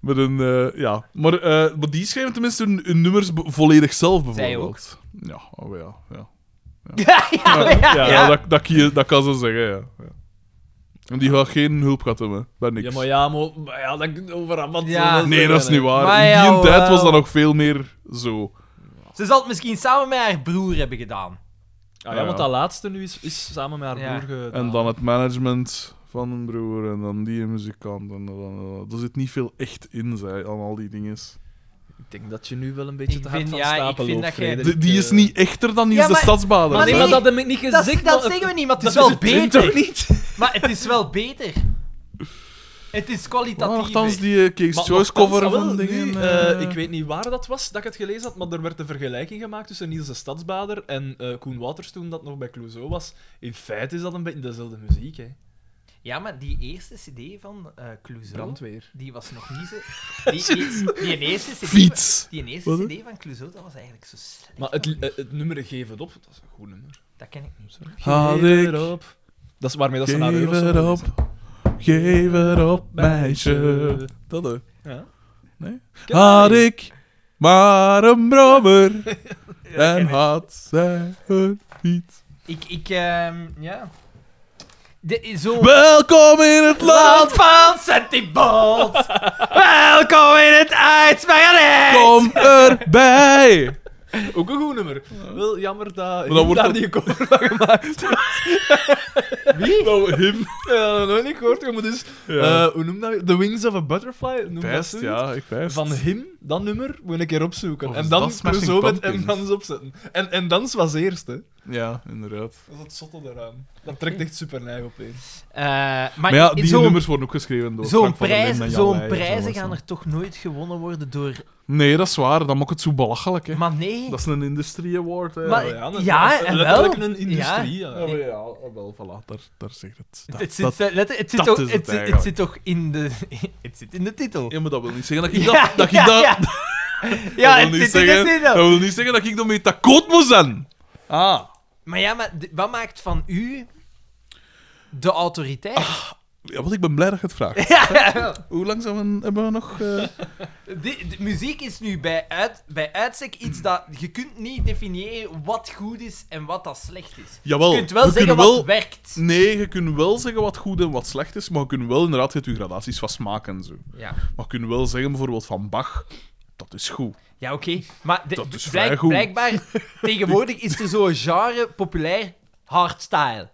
Speaker 4: Met een, eh, ja. Maar, eh, maar die schrijven tenminste hun, hun nummers be- volledig zelf, bijvoorbeeld. Ja, oh ja. Ja,
Speaker 3: Ja, ja, ja, ja.
Speaker 4: ja, Dat, dat, kun je- dat kan ze zeggen, ja. ja. En die gaat geen hulp gehad hebben. Dat niks.
Speaker 2: Ja, maar ja, maar, maar ja, dat over Abba.
Speaker 3: Ja.
Speaker 4: Nee, dat is niet waar.
Speaker 3: Maar
Speaker 4: in die
Speaker 3: jawel.
Speaker 4: tijd was dat nog veel meer zo.
Speaker 3: Ze zal het misschien samen met haar broer hebben gedaan.
Speaker 2: Ah, ja, want dat laatste nu is, is samen met haar
Speaker 3: Ja.
Speaker 2: broer gedaan.
Speaker 4: En dan het management van een broer en dan die muzikant. En dan, dan- er zit niet veel echt in, zij, aan al die dingen.
Speaker 2: Ik denk dat je nu wel een beetje
Speaker 3: Ik
Speaker 2: te hard
Speaker 3: vind-
Speaker 2: van
Speaker 3: ja, ik
Speaker 2: stapel
Speaker 3: vind
Speaker 2: loopt,
Speaker 3: dat jij-
Speaker 2: Frederik,
Speaker 4: Die, die is
Speaker 2: eh.
Speaker 4: niet echter dan die
Speaker 3: Ja,
Speaker 4: is de
Speaker 3: maar-
Speaker 4: stadsbader.
Speaker 3: maar
Speaker 2: Nee,
Speaker 3: nee,
Speaker 2: maar dat heb ik niet
Speaker 3: Dat,
Speaker 2: gezegd.
Speaker 3: dat
Speaker 2: maar-
Speaker 3: zeggen we niet, maar het is
Speaker 2: dat
Speaker 3: wel
Speaker 2: het toch
Speaker 3: beter.
Speaker 2: niet?
Speaker 3: Maar het is wel beter. Het is
Speaker 4: Althans,
Speaker 3: kwalitatiever.
Speaker 4: die eh, Case
Speaker 2: Maar
Speaker 4: Choice
Speaker 2: nogthans,
Speaker 4: cover
Speaker 2: ah, wel,
Speaker 4: van dingen.
Speaker 2: nu,
Speaker 4: eh,
Speaker 2: eh, ik weet niet waar dat was dat ik het gelezen had, maar er werd een vergelijking gemaakt tussen Niels de Stadsbader en eh, Koen Wouters toen dat nog bij Clouseau was. In feite is dat een beetje dezelfde muziek, hè.
Speaker 3: Ja, maar die eerste cd van eh Clouseau,
Speaker 2: Brandweer.
Speaker 3: die was nog niet zo... Die, die, die eerste cd...
Speaker 4: Fiets.
Speaker 3: Die
Speaker 4: Wat?
Speaker 3: eerste cd van Clouseau, dat was eigenlijk zo slecht.
Speaker 2: Maar het, li- eh, het nummer Geef het op, dat is een goed nummer.
Speaker 3: Dat ken ik niet.
Speaker 4: Had
Speaker 2: Geef
Speaker 4: ik-
Speaker 2: het op. Dat is waarmee dat ze naar
Speaker 4: Geef
Speaker 2: Eurosong
Speaker 4: het
Speaker 2: geweest
Speaker 4: op, geef het op, meisje.
Speaker 2: Meisje.
Speaker 4: Dat hè.
Speaker 2: zijn. Ja.
Speaker 4: Nee?
Speaker 2: ken dat
Speaker 4: Had
Speaker 2: niet.
Speaker 4: ik maar een brommer en had zij een fiets.
Speaker 3: Ik, ik, ehm, ja... De, zo...
Speaker 4: Welkom in het land!
Speaker 3: Land van Sentiment! Welkom in het aardsmaradijs!
Speaker 4: Kom erbij!
Speaker 2: Ook een goed nummer. Wel jammer dat
Speaker 4: dan wordt
Speaker 2: daar
Speaker 4: dat-
Speaker 2: die cover van gemaakt
Speaker 4: Wie? Nou, hem.
Speaker 2: Ja, dat nooit niet gehoord. Je moet eens...
Speaker 4: Ja.
Speaker 2: eh, hoe noem dat? weer? The Wings of a Butterfly? Noem dat
Speaker 4: Best,
Speaker 2: zoiets?
Speaker 4: ja, ik best.
Speaker 2: Van hem, dat nummer, moet ik een keer opzoeken.
Speaker 4: Of is
Speaker 2: en dan
Speaker 4: dat Smashing
Speaker 2: zo met en
Speaker 4: Pumpkins?
Speaker 2: dans opzetten. En, en dans was eerst, hè.
Speaker 4: Ja, inderdaad.
Speaker 2: Dat is het zotte daaraan. Dat trekt echt super neig op één.
Speaker 3: Eh, maar
Speaker 4: Maar ja,
Speaker 3: i-
Speaker 4: die
Speaker 3: zo'n-
Speaker 4: nummers worden ook geschreven door
Speaker 3: Zo'n
Speaker 4: Frank van der
Speaker 3: prijs,
Speaker 4: Linden en Jan
Speaker 3: zo'n
Speaker 4: Leijer,
Speaker 3: prijzen
Speaker 4: zo
Speaker 3: gaan
Speaker 4: was
Speaker 3: er toch nooit gewonnen worden door...
Speaker 4: dat. Nee, dat is waar. Dat maakt het zo belachelijk, hè.
Speaker 3: Maar nee...
Speaker 4: Dat is een industrie award, hè.
Speaker 3: Maar-
Speaker 4: ja,
Speaker 2: dat is
Speaker 3: ja, en
Speaker 2: letterlijk
Speaker 3: wel.
Speaker 2: een industrie.
Speaker 4: ja,
Speaker 2: Ja.
Speaker 4: maar ja, wel, voilà. Daar, daar zegt het. Dat,
Speaker 3: het,
Speaker 4: dat-
Speaker 3: zit, eh, letter- het, zit
Speaker 4: dat
Speaker 3: toch,
Speaker 4: is het
Speaker 3: het, zit-
Speaker 4: eigenlijk.
Speaker 3: het zit toch in de, het zit in de titel.
Speaker 4: Ja, maar dat wil niet zeggen dat ik
Speaker 3: Ja,
Speaker 4: dat... dat, ik
Speaker 3: ja,
Speaker 4: dat,
Speaker 3: ja.
Speaker 4: dat
Speaker 3: het
Speaker 4: wil niet
Speaker 3: zit in de
Speaker 4: zeggen, Oh.
Speaker 3: titel.
Speaker 4: dat wil niet zeggen dat ik daarmee tekort moet zijn. Ah.
Speaker 3: Maar ja, maar d- wat maakt van u de autoriteit?
Speaker 4: Ah. Ja, want ik ben blij dat je het vraagt. Hoe lang zijn we, hebben we nog? eh?
Speaker 3: De, de muziek is nu bij, uit, bij uitstek iets dat je kunt niet definiëren wat goed is en wat dat slecht is.
Speaker 4: Jawel.
Speaker 3: je kunt wel
Speaker 4: we
Speaker 3: zeggen
Speaker 4: kunnen
Speaker 3: wat
Speaker 4: wel-
Speaker 3: werkt.
Speaker 4: Nee, je kunt wel zeggen wat goed en wat slecht is, maar je kunt wel inderdaad je hebt je gradaties van smaak en zo.
Speaker 3: Ja,
Speaker 4: Maar je kunt wel zeggen bijvoorbeeld van Bach, dat is goed.
Speaker 3: ja oké. Maar de-
Speaker 4: Dat is
Speaker 3: blijk-
Speaker 4: vrij goed.
Speaker 3: blijkbaar, tegenwoordig is er zo'n genre populair hardstyle.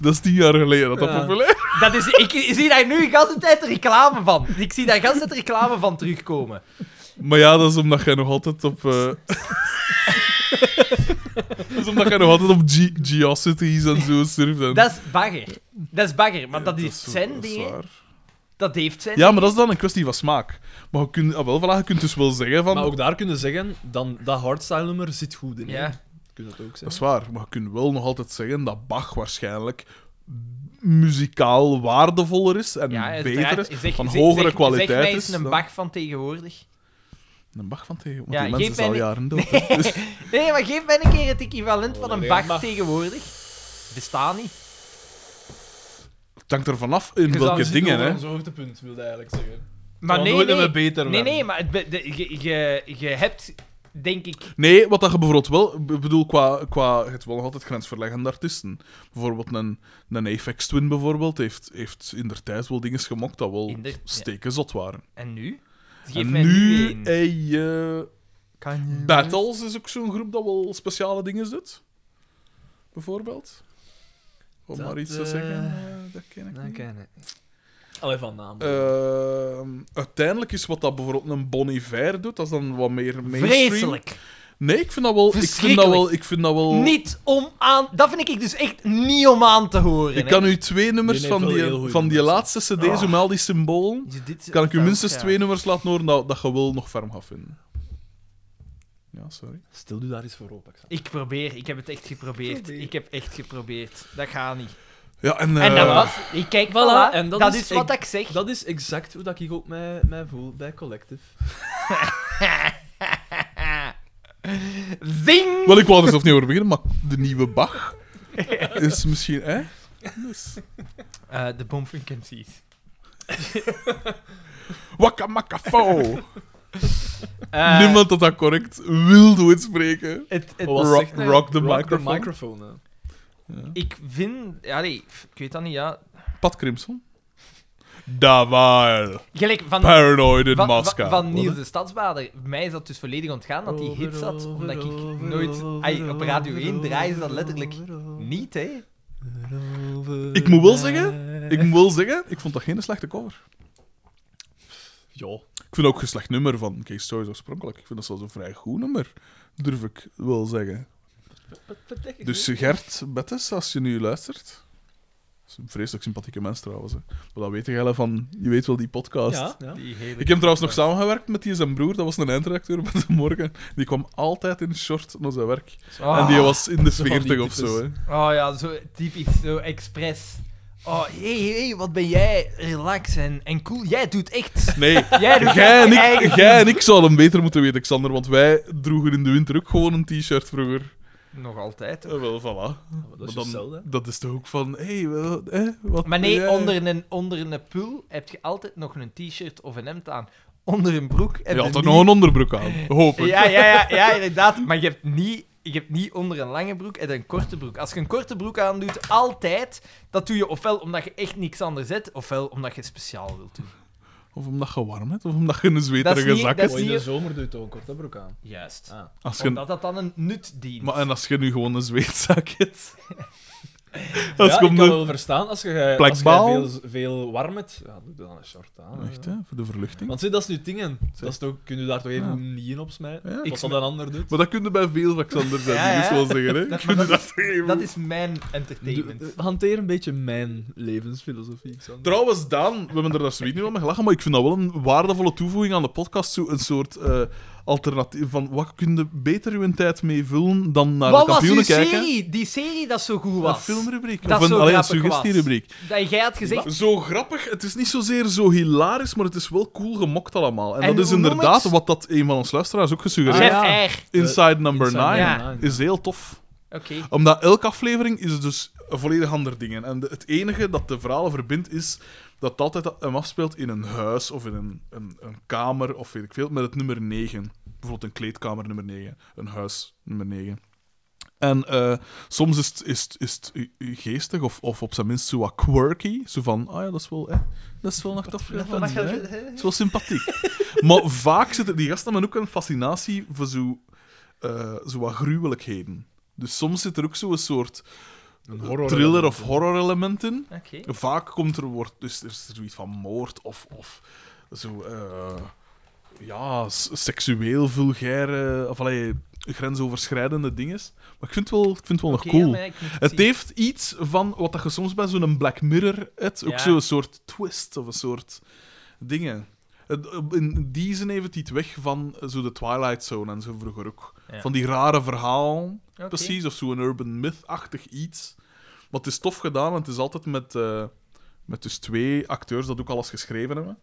Speaker 4: Dat is tien jaar geleden dat dat populair
Speaker 3: Dat is, ik, ik zie daar nu de hele tijd reclame van. Ik zie daar de hele tijd reclame van terugkomen.
Speaker 4: Maar ja, dat is omdat jij nog altijd op... eh, dat is omdat jij nog altijd op G Geocities en zo surft. En...
Speaker 3: Dat is bagger. Dat is bagger, maar dat
Speaker 4: Ja,
Speaker 3: heeft
Speaker 4: is-
Speaker 3: zijn
Speaker 4: dat is
Speaker 3: dingen.
Speaker 4: waar.
Speaker 3: Dat heeft zijn
Speaker 4: Ja, maar dat is dan een kwestie van smaak. Maar je kunt, ah, wel, voilà, je kunt dus wel zeggen van...
Speaker 2: Maar ook daar kunnen zeggen, dan, dat hardstyle-nummer zit goed in.
Speaker 3: Ja.
Speaker 2: Kun je dat ook
Speaker 4: Dat is
Speaker 2: zeggen.
Speaker 4: waar, maar je kunt wel nog altijd zeggen dat Bach waarschijnlijk muzikaal waardevoller is en
Speaker 3: Ja,
Speaker 4: beter
Speaker 3: uiteraard.
Speaker 4: is,
Speaker 3: Zeg-
Speaker 4: van
Speaker 3: zeg-
Speaker 4: hogere
Speaker 3: zeg-
Speaker 4: kwaliteit
Speaker 3: Zeg mij
Speaker 4: is.
Speaker 3: eens een
Speaker 4: dan-
Speaker 3: bag van tegenwoordig.
Speaker 4: Een Bach van tegen, want
Speaker 3: Ja,
Speaker 4: die
Speaker 3: geef
Speaker 4: mensen is
Speaker 3: mij
Speaker 4: al
Speaker 3: niet-
Speaker 4: jaren dood. hè. Dus-
Speaker 3: Nee, maar geef mij een keer het equivalent van een
Speaker 2: Oh, nee,
Speaker 3: bag
Speaker 2: maar-
Speaker 3: tegenwoordig. Bestaat niet.
Speaker 4: het hangt er vanaf in welke dingen, hè.
Speaker 2: Zo'n hoogtepunt wilde eigenlijk zeggen.
Speaker 3: Maar
Speaker 2: Kan
Speaker 3: nee,
Speaker 2: nooit
Speaker 3: nee.
Speaker 2: meer beter
Speaker 3: nee,
Speaker 2: werden.
Speaker 3: nee, maar het be- de- je, je, je hebt, denk ik...
Speaker 4: Nee, wat dat je bijvoorbeeld wel... Ik bedoel, qua, qua het wel nog altijd grensverleggende artiesten. Bijvoorbeeld een, een Apex Twin bijvoorbeeld heeft, heeft in der tijd wel dingen gemokt dat wel
Speaker 3: Inder- ja.
Speaker 4: steken zot waren.
Speaker 3: En nu? Geef
Speaker 4: en
Speaker 3: mij
Speaker 4: nu...
Speaker 3: een.
Speaker 4: hey, eh,
Speaker 6: Kan je...
Speaker 4: Battles is ook zo'n groep dat wel speciale dingen doet. Bijvoorbeeld. Om
Speaker 2: Dat,
Speaker 4: maar iets te
Speaker 2: eh,
Speaker 4: zeggen. eh, dat ken ik niet.
Speaker 2: Allee, van naam.
Speaker 4: Ehm, uiteindelijk is wat dat bijvoorbeeld een Bon Iver doet, dat is dan wat meer mainstream.
Speaker 3: Vreselijk.
Speaker 4: Nee, ik vind dat wel... Ik vind dat wel... Ik, vind dat wel,
Speaker 3: Niet om aan... Dat vind ik dus echt niet om aan te horen.
Speaker 4: ik
Speaker 3: hè.
Speaker 4: kan u twee nummers
Speaker 2: Nee, nee,
Speaker 4: van
Speaker 2: veel heel
Speaker 4: die,
Speaker 2: goeie
Speaker 4: van die
Speaker 2: nummers.
Speaker 4: laatste cd's, met al die symbolen,
Speaker 3: Dus dit-
Speaker 4: kan ik u
Speaker 3: dat-
Speaker 4: minstens
Speaker 3: ja.
Speaker 4: twee nummers laten horen dat, dat je wel nog ferm gaat vinden. Ja, sorry.
Speaker 2: Stil u daar eens voor op, Alexander.
Speaker 3: Ik probeer, ik heb het echt geprobeerd. Ik heb echt geprobeerd. Dat gaat niet.
Speaker 4: Ja, en...
Speaker 3: En dat
Speaker 4: eh,
Speaker 3: was... Ik kijk, voilà. en
Speaker 2: Voilà, en
Speaker 3: dat,
Speaker 2: dat
Speaker 3: is,
Speaker 2: is
Speaker 3: wat
Speaker 2: ik-
Speaker 3: ik zeg.
Speaker 2: Dat is exact hoe dat ik ook mij, mij voel bij Collective.
Speaker 3: Zing!
Speaker 4: Wel, ik wou er zelf niet over beginnen, maar de nieuwe Bach is misschien... Hè? Dus.
Speaker 3: Eh, de bomfrequenties.
Speaker 4: Wakka makka fo.
Speaker 3: Eh,
Speaker 4: Niemand dat dat correct wil doen spreken.
Speaker 3: Het, het,
Speaker 2: Wat
Speaker 4: Rock-
Speaker 2: zegt hij?
Speaker 4: rock the
Speaker 2: The
Speaker 4: microphone.
Speaker 2: microphone hè.
Speaker 3: ik vind... Allee, f- ik weet dat niet, ja.
Speaker 4: Pat Crimson. Dawaal.
Speaker 3: Gelijk, van, van,
Speaker 4: Paranoid in
Speaker 3: van,
Speaker 4: Moskou.
Speaker 3: van Niels de Stadsbader. Mij is dat dus volledig ontgaan dat die hit zat. Omdat ik nooit... ai, op Radio 1 draaien ze dat letterlijk niet, hè.
Speaker 4: Ik moet wel zeggen, ik moet wel zeggen, ik vond dat geen slechte cover.
Speaker 2: Ja.
Speaker 4: Ik vind ook een slecht nummer van Kees Stories oorspronkelijk. Ik vind dat zelfs een vrij goed nummer, durf ik wel zeggen. Dus Gert Bettes, als je nu luistert... Dat is een vreselijk sympathieke mens trouwens. Hè. Maar dat weet jij wel van... Je weet wel die podcast.
Speaker 2: Ja, ja.
Speaker 4: Ik heb trouwens nog samengewerkt met die zijn broer, dat was een eindredacteur met de morgen. Die kwam altijd in short naar zijn werk.
Speaker 3: Oh,
Speaker 4: En die was in de
Speaker 2: zo van die
Speaker 4: 40 of
Speaker 2: types.
Speaker 4: zo. Hè.
Speaker 3: oh ja, zo typisch, zo expres. Oh, hé, hey, hey, wat ben jij relax en, en cool. Jij doet echt...
Speaker 4: Nee,
Speaker 3: Jij doet
Speaker 4: jij en,
Speaker 3: echt eigen
Speaker 4: ik, jij en ik zouden hem beter moeten weten, Xander, want wij droegen in de winter ook gewoon een t-shirt vroeger.
Speaker 3: Nog altijd.
Speaker 4: Eh, wel, voilà.
Speaker 2: Maar dat is
Speaker 4: Maar
Speaker 2: hetzelfde, hè.
Speaker 4: dat is toch ook van, hé, hey, wel, hè, wat
Speaker 3: Maar nee,
Speaker 4: jij-
Speaker 3: onder een, onder een pull heb je altijd nog een t-shirt of een hemd aan. Onder een broek heb
Speaker 4: Je
Speaker 3: je
Speaker 4: had er
Speaker 3: niet-
Speaker 4: nog een onderbroek aan, hoop ik.
Speaker 3: ja, ja, ja, ja, inderdaad. Maar je hebt, niet, je hebt niet onder een lange broek en een korte broek. Als je een korte broek aandoet, altijd, dat doe je ofwel omdat je echt niks anders zet, ofwel omdat je speciaal wilt doen.
Speaker 4: Of omdat je warm hebt, of omdat je een
Speaker 3: Dat is
Speaker 4: zweterige
Speaker 3: niet-
Speaker 4: zak
Speaker 3: dat
Speaker 4: hebt.
Speaker 3: is-
Speaker 2: Oh, in de
Speaker 3: hier-
Speaker 2: zomer doet ook een korte broek aan.
Speaker 3: Juist.
Speaker 2: Ah.
Speaker 4: Als je-
Speaker 3: Omdat dat dan een nut dient.
Speaker 4: Maar en als je nu gewoon een zweetzak hebt...
Speaker 2: Ja,
Speaker 4: Als
Speaker 2: ik
Speaker 4: je om
Speaker 2: kan
Speaker 4: de-
Speaker 2: wel verstaan als je,
Speaker 4: Plak
Speaker 2: als je
Speaker 4: baal.
Speaker 2: veel, veel warm hebt. Ja, doe dan een short aan.
Speaker 4: Ah, Echt, hè, voor de verluchting.
Speaker 2: Want zie, dat is nu dingen. Dat is toch, kun je daar toch even
Speaker 4: Ja.
Speaker 2: niet in op smijten?
Speaker 4: Ja.
Speaker 2: Wat dat een ander doet.
Speaker 4: Maar dat kun je bij veel vaccins zijn,
Speaker 3: Ja,
Speaker 4: ja,
Speaker 3: ja.
Speaker 4: is wel zeggen. Hè?
Speaker 3: Dat-
Speaker 4: Kun je
Speaker 3: maar
Speaker 4: dat
Speaker 3: is-
Speaker 4: zeggen.
Speaker 3: Dat is mijn
Speaker 2: Doe-
Speaker 3: entertainment.
Speaker 2: eh, hanteer een beetje mijn levensfilosofie. Xander.
Speaker 4: Trouwens, Daan, we hebben er daar zoiets niet om gelachen, maar ik vind dat wel een waardevolle toevoeging aan de podcast. Zo een soort eh, alternatief van wat kun je beter uw tijd mee vullen dan naar
Speaker 3: Wat
Speaker 4: de
Speaker 3: was uw
Speaker 4: kampioenen kijken.
Speaker 3: serie? Die serie dat zo goed
Speaker 4: Een
Speaker 3: was.
Speaker 4: filmrubriek.
Speaker 3: Dat
Speaker 4: of een,
Speaker 3: zo
Speaker 4: alleen een
Speaker 3: grappig was.
Speaker 4: suggestierubriek.
Speaker 3: Dat jij had gezegd...
Speaker 4: Zo grappig, het is niet zozeer zo hilarisch, maar het is wel cool gemokt allemaal. En,
Speaker 3: En
Speaker 4: dat is
Speaker 3: hoe noem
Speaker 4: inderdaad
Speaker 3: het? Ah,
Speaker 4: wat dat een van ons luisteraars ook gesuggereerd
Speaker 3: Chef
Speaker 4: heeft.
Speaker 3: Eyre.
Speaker 4: Inside Number
Speaker 2: Inside
Speaker 4: 9
Speaker 2: Number Nine,
Speaker 4: is heel tof.
Speaker 3: Oké.
Speaker 4: Omdat elke aflevering is dus een volledig ander ding. En de- het enige dat de verhalen verbindt is dat het altijd hem afspeelt in een huis of in een, een, een kamer of weet ik veel, met het nummer 9. Bijvoorbeeld een kleedkamer nummer 9, een huis nummer 9. En eh, soms is het, is, het- is het u- u geestig of, of op zijn minst zo wat quirky. Zo van, ah ja, dat is wel, hè, dat is wel nog tof. gedaan, hè. Dat is wel sympathiek. maar vaak zitten die gasten hebben ook een fascinatie voor zo, eh, zo wat gruwelijkheden. Dus soms zit er ook zo'n soort
Speaker 2: Een horror.
Speaker 4: thriller of horror element in.
Speaker 3: Oké.
Speaker 4: Vaak komt er, wordt, dus er is er zoiets van moord of, of zo, eh, ja, s- seksueel vulgaire, of allee, grensoverschrijdende dingen. Maar ik vind het wel, ik vind het wel
Speaker 3: Oké,
Speaker 4: nog cool.
Speaker 3: ja, maar ik moet het
Speaker 4: Het
Speaker 3: zien.
Speaker 4: heeft iets van wat dat je soms bij zo'n Black Mirror hebt. Ook
Speaker 3: Ja.
Speaker 4: zo'n soort twist of een soort dingen. Het- In die zin heeft het iets weg van eh, zo de Twilight Zone en zo vroeger ook.
Speaker 3: Ja.
Speaker 4: Van die rare verhaal,
Speaker 3: Oké.
Speaker 4: precies. Of zo'n urban myth-achtig iets. Maar het is tof gedaan en het is altijd met, eh, met dus twee acteurs dat ook alles geschreven hebben.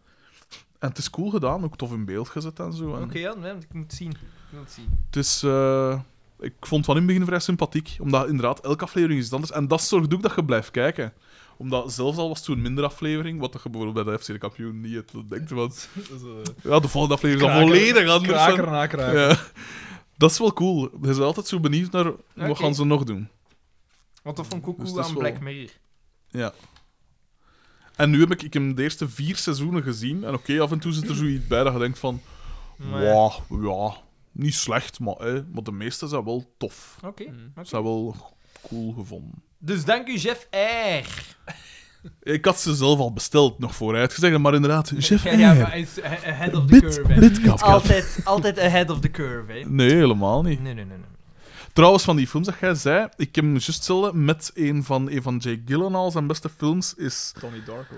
Speaker 4: En het is cool gedaan, ook tof in beeld gezet en zo. En
Speaker 3: Oké, ja, nee, ik moet het zien. Ik moet het zien.
Speaker 4: het is, eh, ik vond het van in het begin vrij sympathiek. Omdat inderdaad, elke aflevering is iets anders. En dat zorgt ook dat je blijft kijken. Omdat zelfs al was het toen minder aflevering, wat dat je bijvoorbeeld bij de FC de kampioen niet het denkt. Want ja, de volgende aflevering is al volledig anders.
Speaker 2: Kraker na kraker.
Speaker 4: Ja. Dat is wel cool. Je bent altijd zo benieuwd naar wat
Speaker 3: Oké.
Speaker 4: gaan ze nog doen.
Speaker 3: Want dat vond ik ook
Speaker 4: Dus
Speaker 3: cool
Speaker 4: dat is
Speaker 3: aan
Speaker 4: wel-
Speaker 3: Black Mirror.
Speaker 4: Ja. En nu heb ik, ik heb de eerste vier seizoenen gezien. En oké, af en toe zit er zoiets bij dat je denkt van...
Speaker 3: Maar-
Speaker 4: Wauw, ja, niet slecht, maar, hè, maar de meeste zijn wel tof.
Speaker 3: Oké.
Speaker 4: Dat zijn wel cool gevonden.
Speaker 3: Dus dank u, Jeff R.
Speaker 4: Ik had ze zelf al besteld, nog vooruit gezegd, maar inderdaad, chef
Speaker 3: Ja, ja,
Speaker 4: Air,
Speaker 3: maar hij is a- ahead of
Speaker 4: bit,
Speaker 3: the curve. hè.
Speaker 4: bitkap.
Speaker 3: Altijd, altijd ahead of the curve, hè.
Speaker 4: Nee, helemaal niet.
Speaker 3: Nee, nee, nee. nee.
Speaker 4: Trouwens, van die films dat jij zei, ik heb hem juist zelden met een van, een van Jake Gyllenhaal zijn beste films is...
Speaker 2: Tony Darko.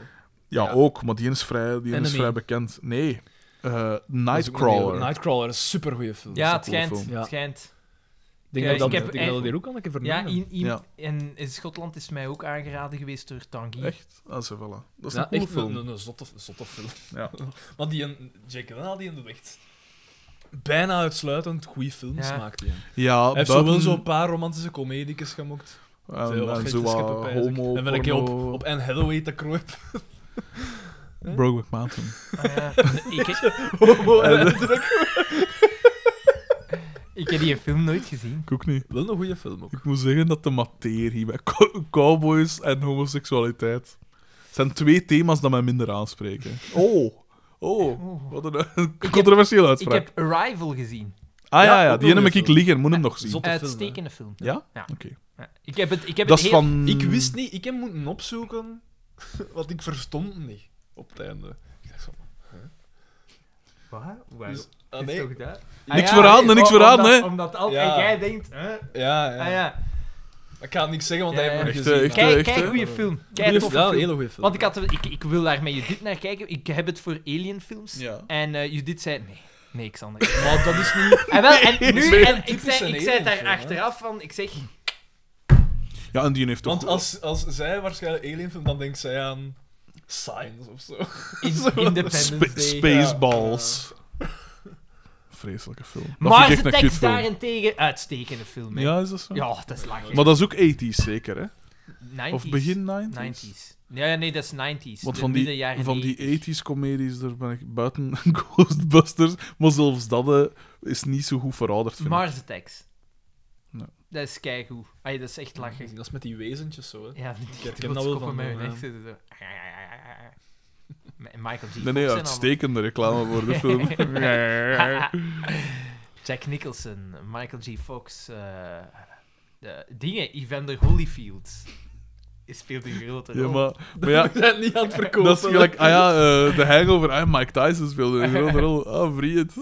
Speaker 4: Ja,
Speaker 2: Ja.
Speaker 4: ook, maar die is vrij, die is
Speaker 2: Enemy.
Speaker 4: vrij bekend. Nee, eh,
Speaker 2: Dat is ook een
Speaker 4: Nightcrawler.
Speaker 2: heel- Nightcrawler is een supergoeie film.
Speaker 3: Ja, het
Speaker 4: coole
Speaker 3: schijnt.
Speaker 4: film.
Speaker 2: Ja.
Speaker 3: Het schijnt.
Speaker 2: Ik denk
Speaker 3: Ja,
Speaker 2: dat dat
Speaker 3: ik heb
Speaker 2: ik denk dat
Speaker 3: echt-
Speaker 2: die ook al een keer
Speaker 3: Ja,
Speaker 2: vernoemd.
Speaker 3: i- i-
Speaker 4: Ja.
Speaker 3: en in Schotland is mij ook aangeraden geweest door Tanguy.
Speaker 4: Echt? Ah, zo, voilà. Dat is
Speaker 2: Ja,
Speaker 4: een coole
Speaker 2: echt
Speaker 4: film.
Speaker 2: Een, een, een zotte, een zotte film.
Speaker 4: Ja.
Speaker 2: Want die een, Jake Gyllenhaal die een echt bijna uitsluitend goede films
Speaker 3: Ja.
Speaker 2: maakt. Die. Hij
Speaker 4: Ja,
Speaker 2: heeft zo wel
Speaker 4: buiten-
Speaker 2: zo'n paar romantische comediekes gemokt. Veel
Speaker 4: En,
Speaker 2: wat
Speaker 4: en
Speaker 2: gekte
Speaker 4: zo wat
Speaker 2: scheppen, pijs ik.
Speaker 4: homo,
Speaker 2: En ben ik op,
Speaker 4: porno,
Speaker 2: op Anne Hathaway te kruipen.
Speaker 4: Brokeback Mountain.
Speaker 3: Ah, ja. ik, heb- ik heb die film nooit gezien.
Speaker 4: Ik ook niet.
Speaker 2: Wel een goede film ook.
Speaker 4: Ik moet zeggen dat de materie bij cow- cowboys en homoseksualiteit zijn twee thema's dat mij minder aanspreken. Oh, oh, wat een, een controversiële
Speaker 3: Ik
Speaker 4: uitspraak.
Speaker 3: heb Arrival gezien.
Speaker 4: ah
Speaker 2: Ja,
Speaker 4: ja, ja
Speaker 2: ook
Speaker 4: die
Speaker 2: wel
Speaker 4: heb
Speaker 2: weer
Speaker 4: ik
Speaker 2: zo.
Speaker 4: liggen, moet hem nog zien.
Speaker 2: Zotte film, hè.
Speaker 3: Uitstekende film.
Speaker 4: Ja?
Speaker 3: Ja.
Speaker 4: Oké.
Speaker 3: Ja. Ik heb het, ik heb
Speaker 4: Dat
Speaker 3: het
Speaker 4: is
Speaker 3: heel-
Speaker 4: van...
Speaker 2: Ik wist niet, ik heb moeten opzoeken, want ik verstond niet op het einde. Ik dacht van,
Speaker 3: Wat? Wow.
Speaker 2: Dus- ah,
Speaker 3: Is
Speaker 2: nee.
Speaker 3: toch dat?
Speaker 4: Niks verraden,
Speaker 3: nee,
Speaker 4: niks
Speaker 3: om-
Speaker 4: verraden,
Speaker 3: omdat-
Speaker 4: hè.
Speaker 3: Omdat al,
Speaker 2: Ja.
Speaker 3: en jij denkt... hè?
Speaker 2: Ja, ja.
Speaker 3: Ah, ja.
Speaker 2: Ik ga het niks zeggen, want
Speaker 3: Ja,
Speaker 2: hij
Speaker 4: ja.
Speaker 2: heeft nog
Speaker 4: Echt,
Speaker 2: gezien.
Speaker 4: echt,
Speaker 2: maar-
Speaker 4: eh,
Speaker 3: Kijk, kijk,
Speaker 4: hè?
Speaker 3: goede film. Kijk,
Speaker 2: Goeie-
Speaker 3: toffe
Speaker 2: ja, een
Speaker 3: film.
Speaker 2: hele goede film.
Speaker 3: Want ik, had, ik, ik wil daar met Judith naar kijken. Ik heb het voor Alien films.
Speaker 4: Ja.
Speaker 3: En eh Judith zei... Nee, nee, Xander.
Speaker 2: Maar dat is niet...
Speaker 3: En, Ah, wel, en nu...
Speaker 2: meer
Speaker 3: en
Speaker 2: een
Speaker 3: ik
Speaker 2: typische
Speaker 3: zei, ik zei daar
Speaker 2: Alien-film, hè?
Speaker 3: achteraf van... Ik zeg...
Speaker 4: Ja, en die heeft toch...
Speaker 2: Want als, als zij waarschijnlijk alien vindt, dan denkt zij aan Signs of zo.
Speaker 3: In,
Speaker 2: Zo.
Speaker 3: Independence
Speaker 4: Spa-
Speaker 3: Day.
Speaker 4: Spaceballs. Vreselijke film. Dat
Speaker 3: Maar
Speaker 4: vind ik
Speaker 3: de
Speaker 4: echt een
Speaker 3: tekst
Speaker 4: kutfilm.
Speaker 3: daarentegen... Uitstekende film, hè.
Speaker 4: Ja, is dat zo?
Speaker 3: Ja, dat is lachen.
Speaker 4: Maar dat is ook 80s zeker, hè?
Speaker 3: 90s.
Speaker 4: Of begin 90s?
Speaker 3: 90s. Ja, ja, nee, dat is 90s.
Speaker 4: Want
Speaker 3: De
Speaker 4: van
Speaker 3: midden
Speaker 4: die,
Speaker 3: jaren
Speaker 4: van die
Speaker 3: 90s.
Speaker 4: 80s comedies, daar ben ik buiten Ghostbusters. Maar zelfs dat eh, is niet zo goed verouderd. Vind ik.
Speaker 3: Mars Attacks.
Speaker 4: Nee.
Speaker 3: Dat is keigoed. Ay, dat is echt lachen.
Speaker 2: Dat is met die wezentjes zo, hè.
Speaker 3: Ja, die
Speaker 2: heb
Speaker 3: die
Speaker 2: nou wel
Speaker 3: koppen
Speaker 2: van,
Speaker 3: met hun
Speaker 2: eh,
Speaker 3: nek zitten zo. En Michael G.
Speaker 4: Nee, nee,
Speaker 3: Fox en
Speaker 4: uitstekende reclame voor de film.
Speaker 3: allemaal. Jack Nicholson, Michael G. Fox. eh, de dingen, Evander Holyfield. Speelt een grote rol.
Speaker 4: ja, maar, maar ja,
Speaker 2: We zijn niet aan het verkopen.
Speaker 4: dat is gelijk... Ah ja, eh, The Hangover. Ah, Mike Tyson speelde een grote rol. Ah, vriend.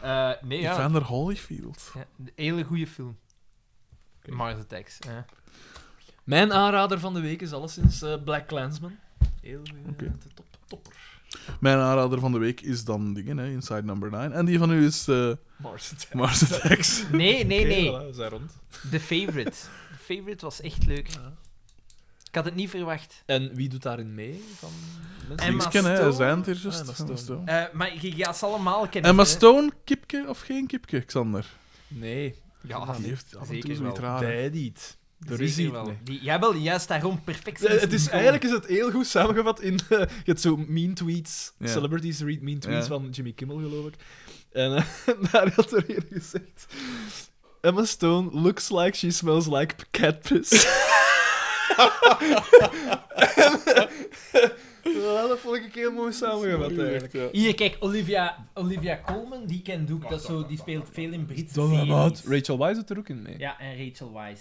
Speaker 3: Eh, nee, ja.
Speaker 4: Evander Holyfield.
Speaker 3: ja een hele goede film. Mars Attacks. hè.
Speaker 2: Mijn aanrader van de week is alleszins eh, Black Clansman. Heel eh, de top, topper.
Speaker 4: Mijn aanrader van de week is dan dingen, hè, Inside Number 9. En die van u is eh,
Speaker 2: Mars Attack.
Speaker 4: Mars Attacks.
Speaker 3: Nee, nee,
Speaker 2: Oké,
Speaker 3: nee.
Speaker 2: voilà, we zijn rond.
Speaker 3: The Favorite. The Favorite was echt leuk.
Speaker 2: Ja.
Speaker 3: Ik had het niet verwacht.
Speaker 2: En wie doet daarin mee? Van mensen?
Speaker 3: Emma
Speaker 4: Niks kennen, hè.
Speaker 3: Stone.
Speaker 4: Zijn het hier just?
Speaker 2: Ah, Emma
Speaker 4: Emma
Speaker 2: Stone.
Speaker 4: Stone.
Speaker 3: Eh, maar je gaat ze allemaal kennen.
Speaker 4: Emma
Speaker 3: hè.
Speaker 4: Stone, kipke of geen kipke, Xander?
Speaker 2: Nee.
Speaker 8: Ja,
Speaker 4: Die heeft af en toe
Speaker 8: Zeker
Speaker 4: zoiets
Speaker 8: wel.
Speaker 4: raar.
Speaker 2: Deed niet. Er
Speaker 8: Zeker
Speaker 2: is iets
Speaker 8: wel.
Speaker 2: mee.
Speaker 3: Die, jawel, juist daarom perfect.
Speaker 2: Eh, Het is,
Speaker 3: seizoen
Speaker 2: eigenlijk is het heel goed samengevat in... eh, je hebt zo mean tweets.
Speaker 4: Ja.
Speaker 2: Celebrities read mean tweets
Speaker 4: Ja.
Speaker 2: van Jimmy Kimmel, geloof ik. En eh, daar had er een gezegd... Emma Stone looks like she smells like cat piss. Ja, dat vond ik heel mooi samengevat, eigenlijk.
Speaker 3: komen. Hier, kijk, Olivia, Olivia Colman, die kent ook, dat zo, die speelt veel in Britse series.
Speaker 2: Rachel Weisz doet er ook in mee.
Speaker 3: Ja, en Rachel Weisz.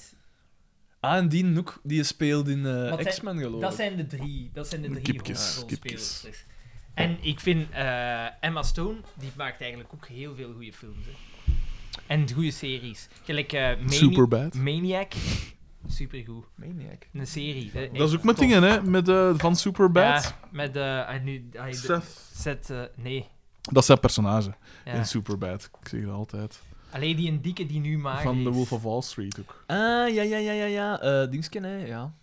Speaker 2: Ah, en die Nook, die speelt in eh,
Speaker 3: Wat zijn-
Speaker 2: X-Men, geloof ik.
Speaker 3: Dat zijn de drie, dat zijn de drie
Speaker 4: Kipkes,
Speaker 3: hoofdrolspelers. En ik vind eh, Emma Stone, die maakt eigenlijk ook heel veel goede films. hè. En goede series. Gelijk eh, Mani-
Speaker 4: Superbad.
Speaker 3: Maniac. Supergoed.
Speaker 2: Maniac.
Speaker 3: Een serie.
Speaker 4: Dat
Speaker 3: eh,
Speaker 4: is
Speaker 3: echt
Speaker 4: ook met
Speaker 3: tof.
Speaker 4: dingen, hè? Met, eh, van Superbad.
Speaker 3: Ja, met eh, hij nu, hij,
Speaker 4: Seth.
Speaker 3: Seth, eh, nee.
Speaker 4: Dat is zijn personage
Speaker 3: Ja.
Speaker 4: in Superbad. Ik zeg dat altijd.
Speaker 3: Alleen die een dikke die nu maakt.
Speaker 4: Van The Wolf of Wall Street ook.
Speaker 2: Ah, ja, ja, ja, ja, ja. Eh Dingsken, hè, ja.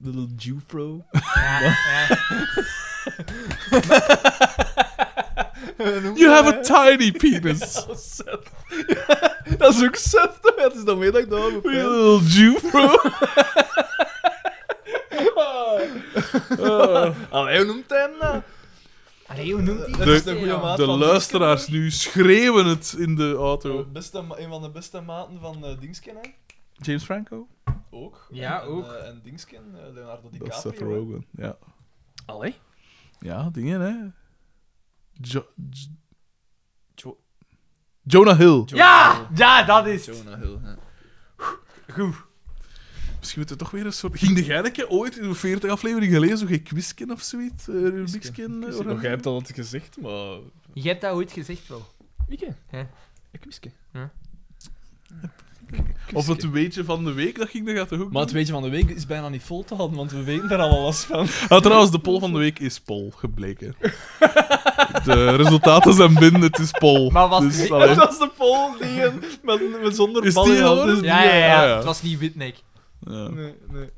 Speaker 2: Little Jufro.
Speaker 3: Ja, ja.
Speaker 4: You have a tiny penis.
Speaker 2: dat is ook Seth, toch? Het is dan meer dat ik dat heb.
Speaker 4: Little Jew, bro.
Speaker 2: Ah, Allee, hoe noemt hij hem nou?
Speaker 3: Allee, hoe noemt die?
Speaker 2: Dat
Speaker 4: De-
Speaker 2: is een goede maat
Speaker 4: De
Speaker 2: van Oh.
Speaker 4: luisteraars
Speaker 2: Dingsken,
Speaker 4: nu schreeuwen het in de
Speaker 2: hoor.
Speaker 4: auto.
Speaker 2: De Eh, Beste, ma- een van de beste maten van eh Dingsken, hè.
Speaker 4: James Franco?
Speaker 2: Ook.
Speaker 3: Ja,
Speaker 2: en,
Speaker 3: ook.
Speaker 2: En, eh, en Dingsken, eh, Leonardo
Speaker 4: Dat is
Speaker 2: DiCaprio.
Speaker 4: Seth Rogen. Ja.
Speaker 2: Allee.
Speaker 4: ja, dingen, hè? Jo- J-
Speaker 2: Jo-
Speaker 4: Jonah Hill.
Speaker 3: Ja! Ja, dat is het.
Speaker 2: Jonah Hill, ja.
Speaker 4: Misschien moeten we toch weer een soort... Ging de Geineke ooit in de 40 aflevering gelezen? Zo'n quizken of zoiets? Eh, Rubik'sken? eh,
Speaker 2: Nog, jij
Speaker 4: oranje?
Speaker 2: hebt dat altijd gezegd, maar...
Speaker 3: Je hebt dat ooit gezegd wel.
Speaker 2: Mieke.
Speaker 3: Hè?
Speaker 2: Ik wiske.
Speaker 3: Ja.
Speaker 4: Of het weetje van de week, dat ging de gaten ook
Speaker 2: Maar het weetje van de week is bijna niet vol te houden, want we weten er allemaal last van.
Speaker 4: Ah, trouwens, de poll van de week is Pol gebleken. De resultaten zijn binnen, het is Pol.
Speaker 3: Maar was
Speaker 4: Dus,
Speaker 3: het-
Speaker 4: allee.
Speaker 2: Dat is de pol die hem met, met zonder
Speaker 4: Is
Speaker 2: bal
Speaker 4: die
Speaker 2: in hand
Speaker 4: geworden?
Speaker 2: is die,
Speaker 3: Ja, ja, ja,
Speaker 4: ja, ja.
Speaker 3: Het was niet Witnek.
Speaker 4: ja.
Speaker 2: Nee, nee.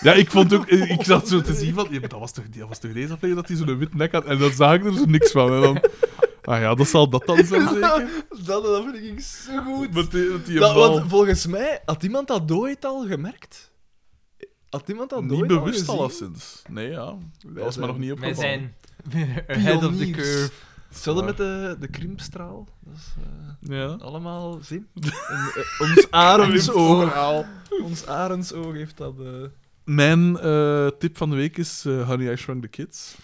Speaker 4: Ja, ik vond ook, ik zat zo te zien van, ja, maar dat was toch, dat was toch deze aflevering dat hij zo'n wit nek had? En dan zag ik er zo niks van. En dan, ah ja, dat zal dat dan zijn zeker.
Speaker 2: Dat, dat vind ik zo goed.
Speaker 4: Met die, met die
Speaker 2: dat,
Speaker 4: bal.
Speaker 2: want volgens mij had iemand dat ooit al gemerkt. Had iemand dat
Speaker 4: niet
Speaker 2: ooit
Speaker 4: bewust
Speaker 2: al gezien?
Speaker 4: alleszins. Nee, ja. Dat was
Speaker 2: Wij
Speaker 4: me
Speaker 2: zijn-
Speaker 4: nog niet
Speaker 3: Wij
Speaker 4: opgevallen.
Speaker 3: zijn ahead of the
Speaker 2: Pioniers.
Speaker 3: curve.
Speaker 2: Hetzelfde met de, de krimpstraal. Dat is eh,
Speaker 4: Ja.
Speaker 2: allemaal zin. En, eh, ons arendsoog. ons arendsoog heeft dat... eh,
Speaker 4: Mijn eh, tip van de week is eh, Honey, I Shrunk the Kids.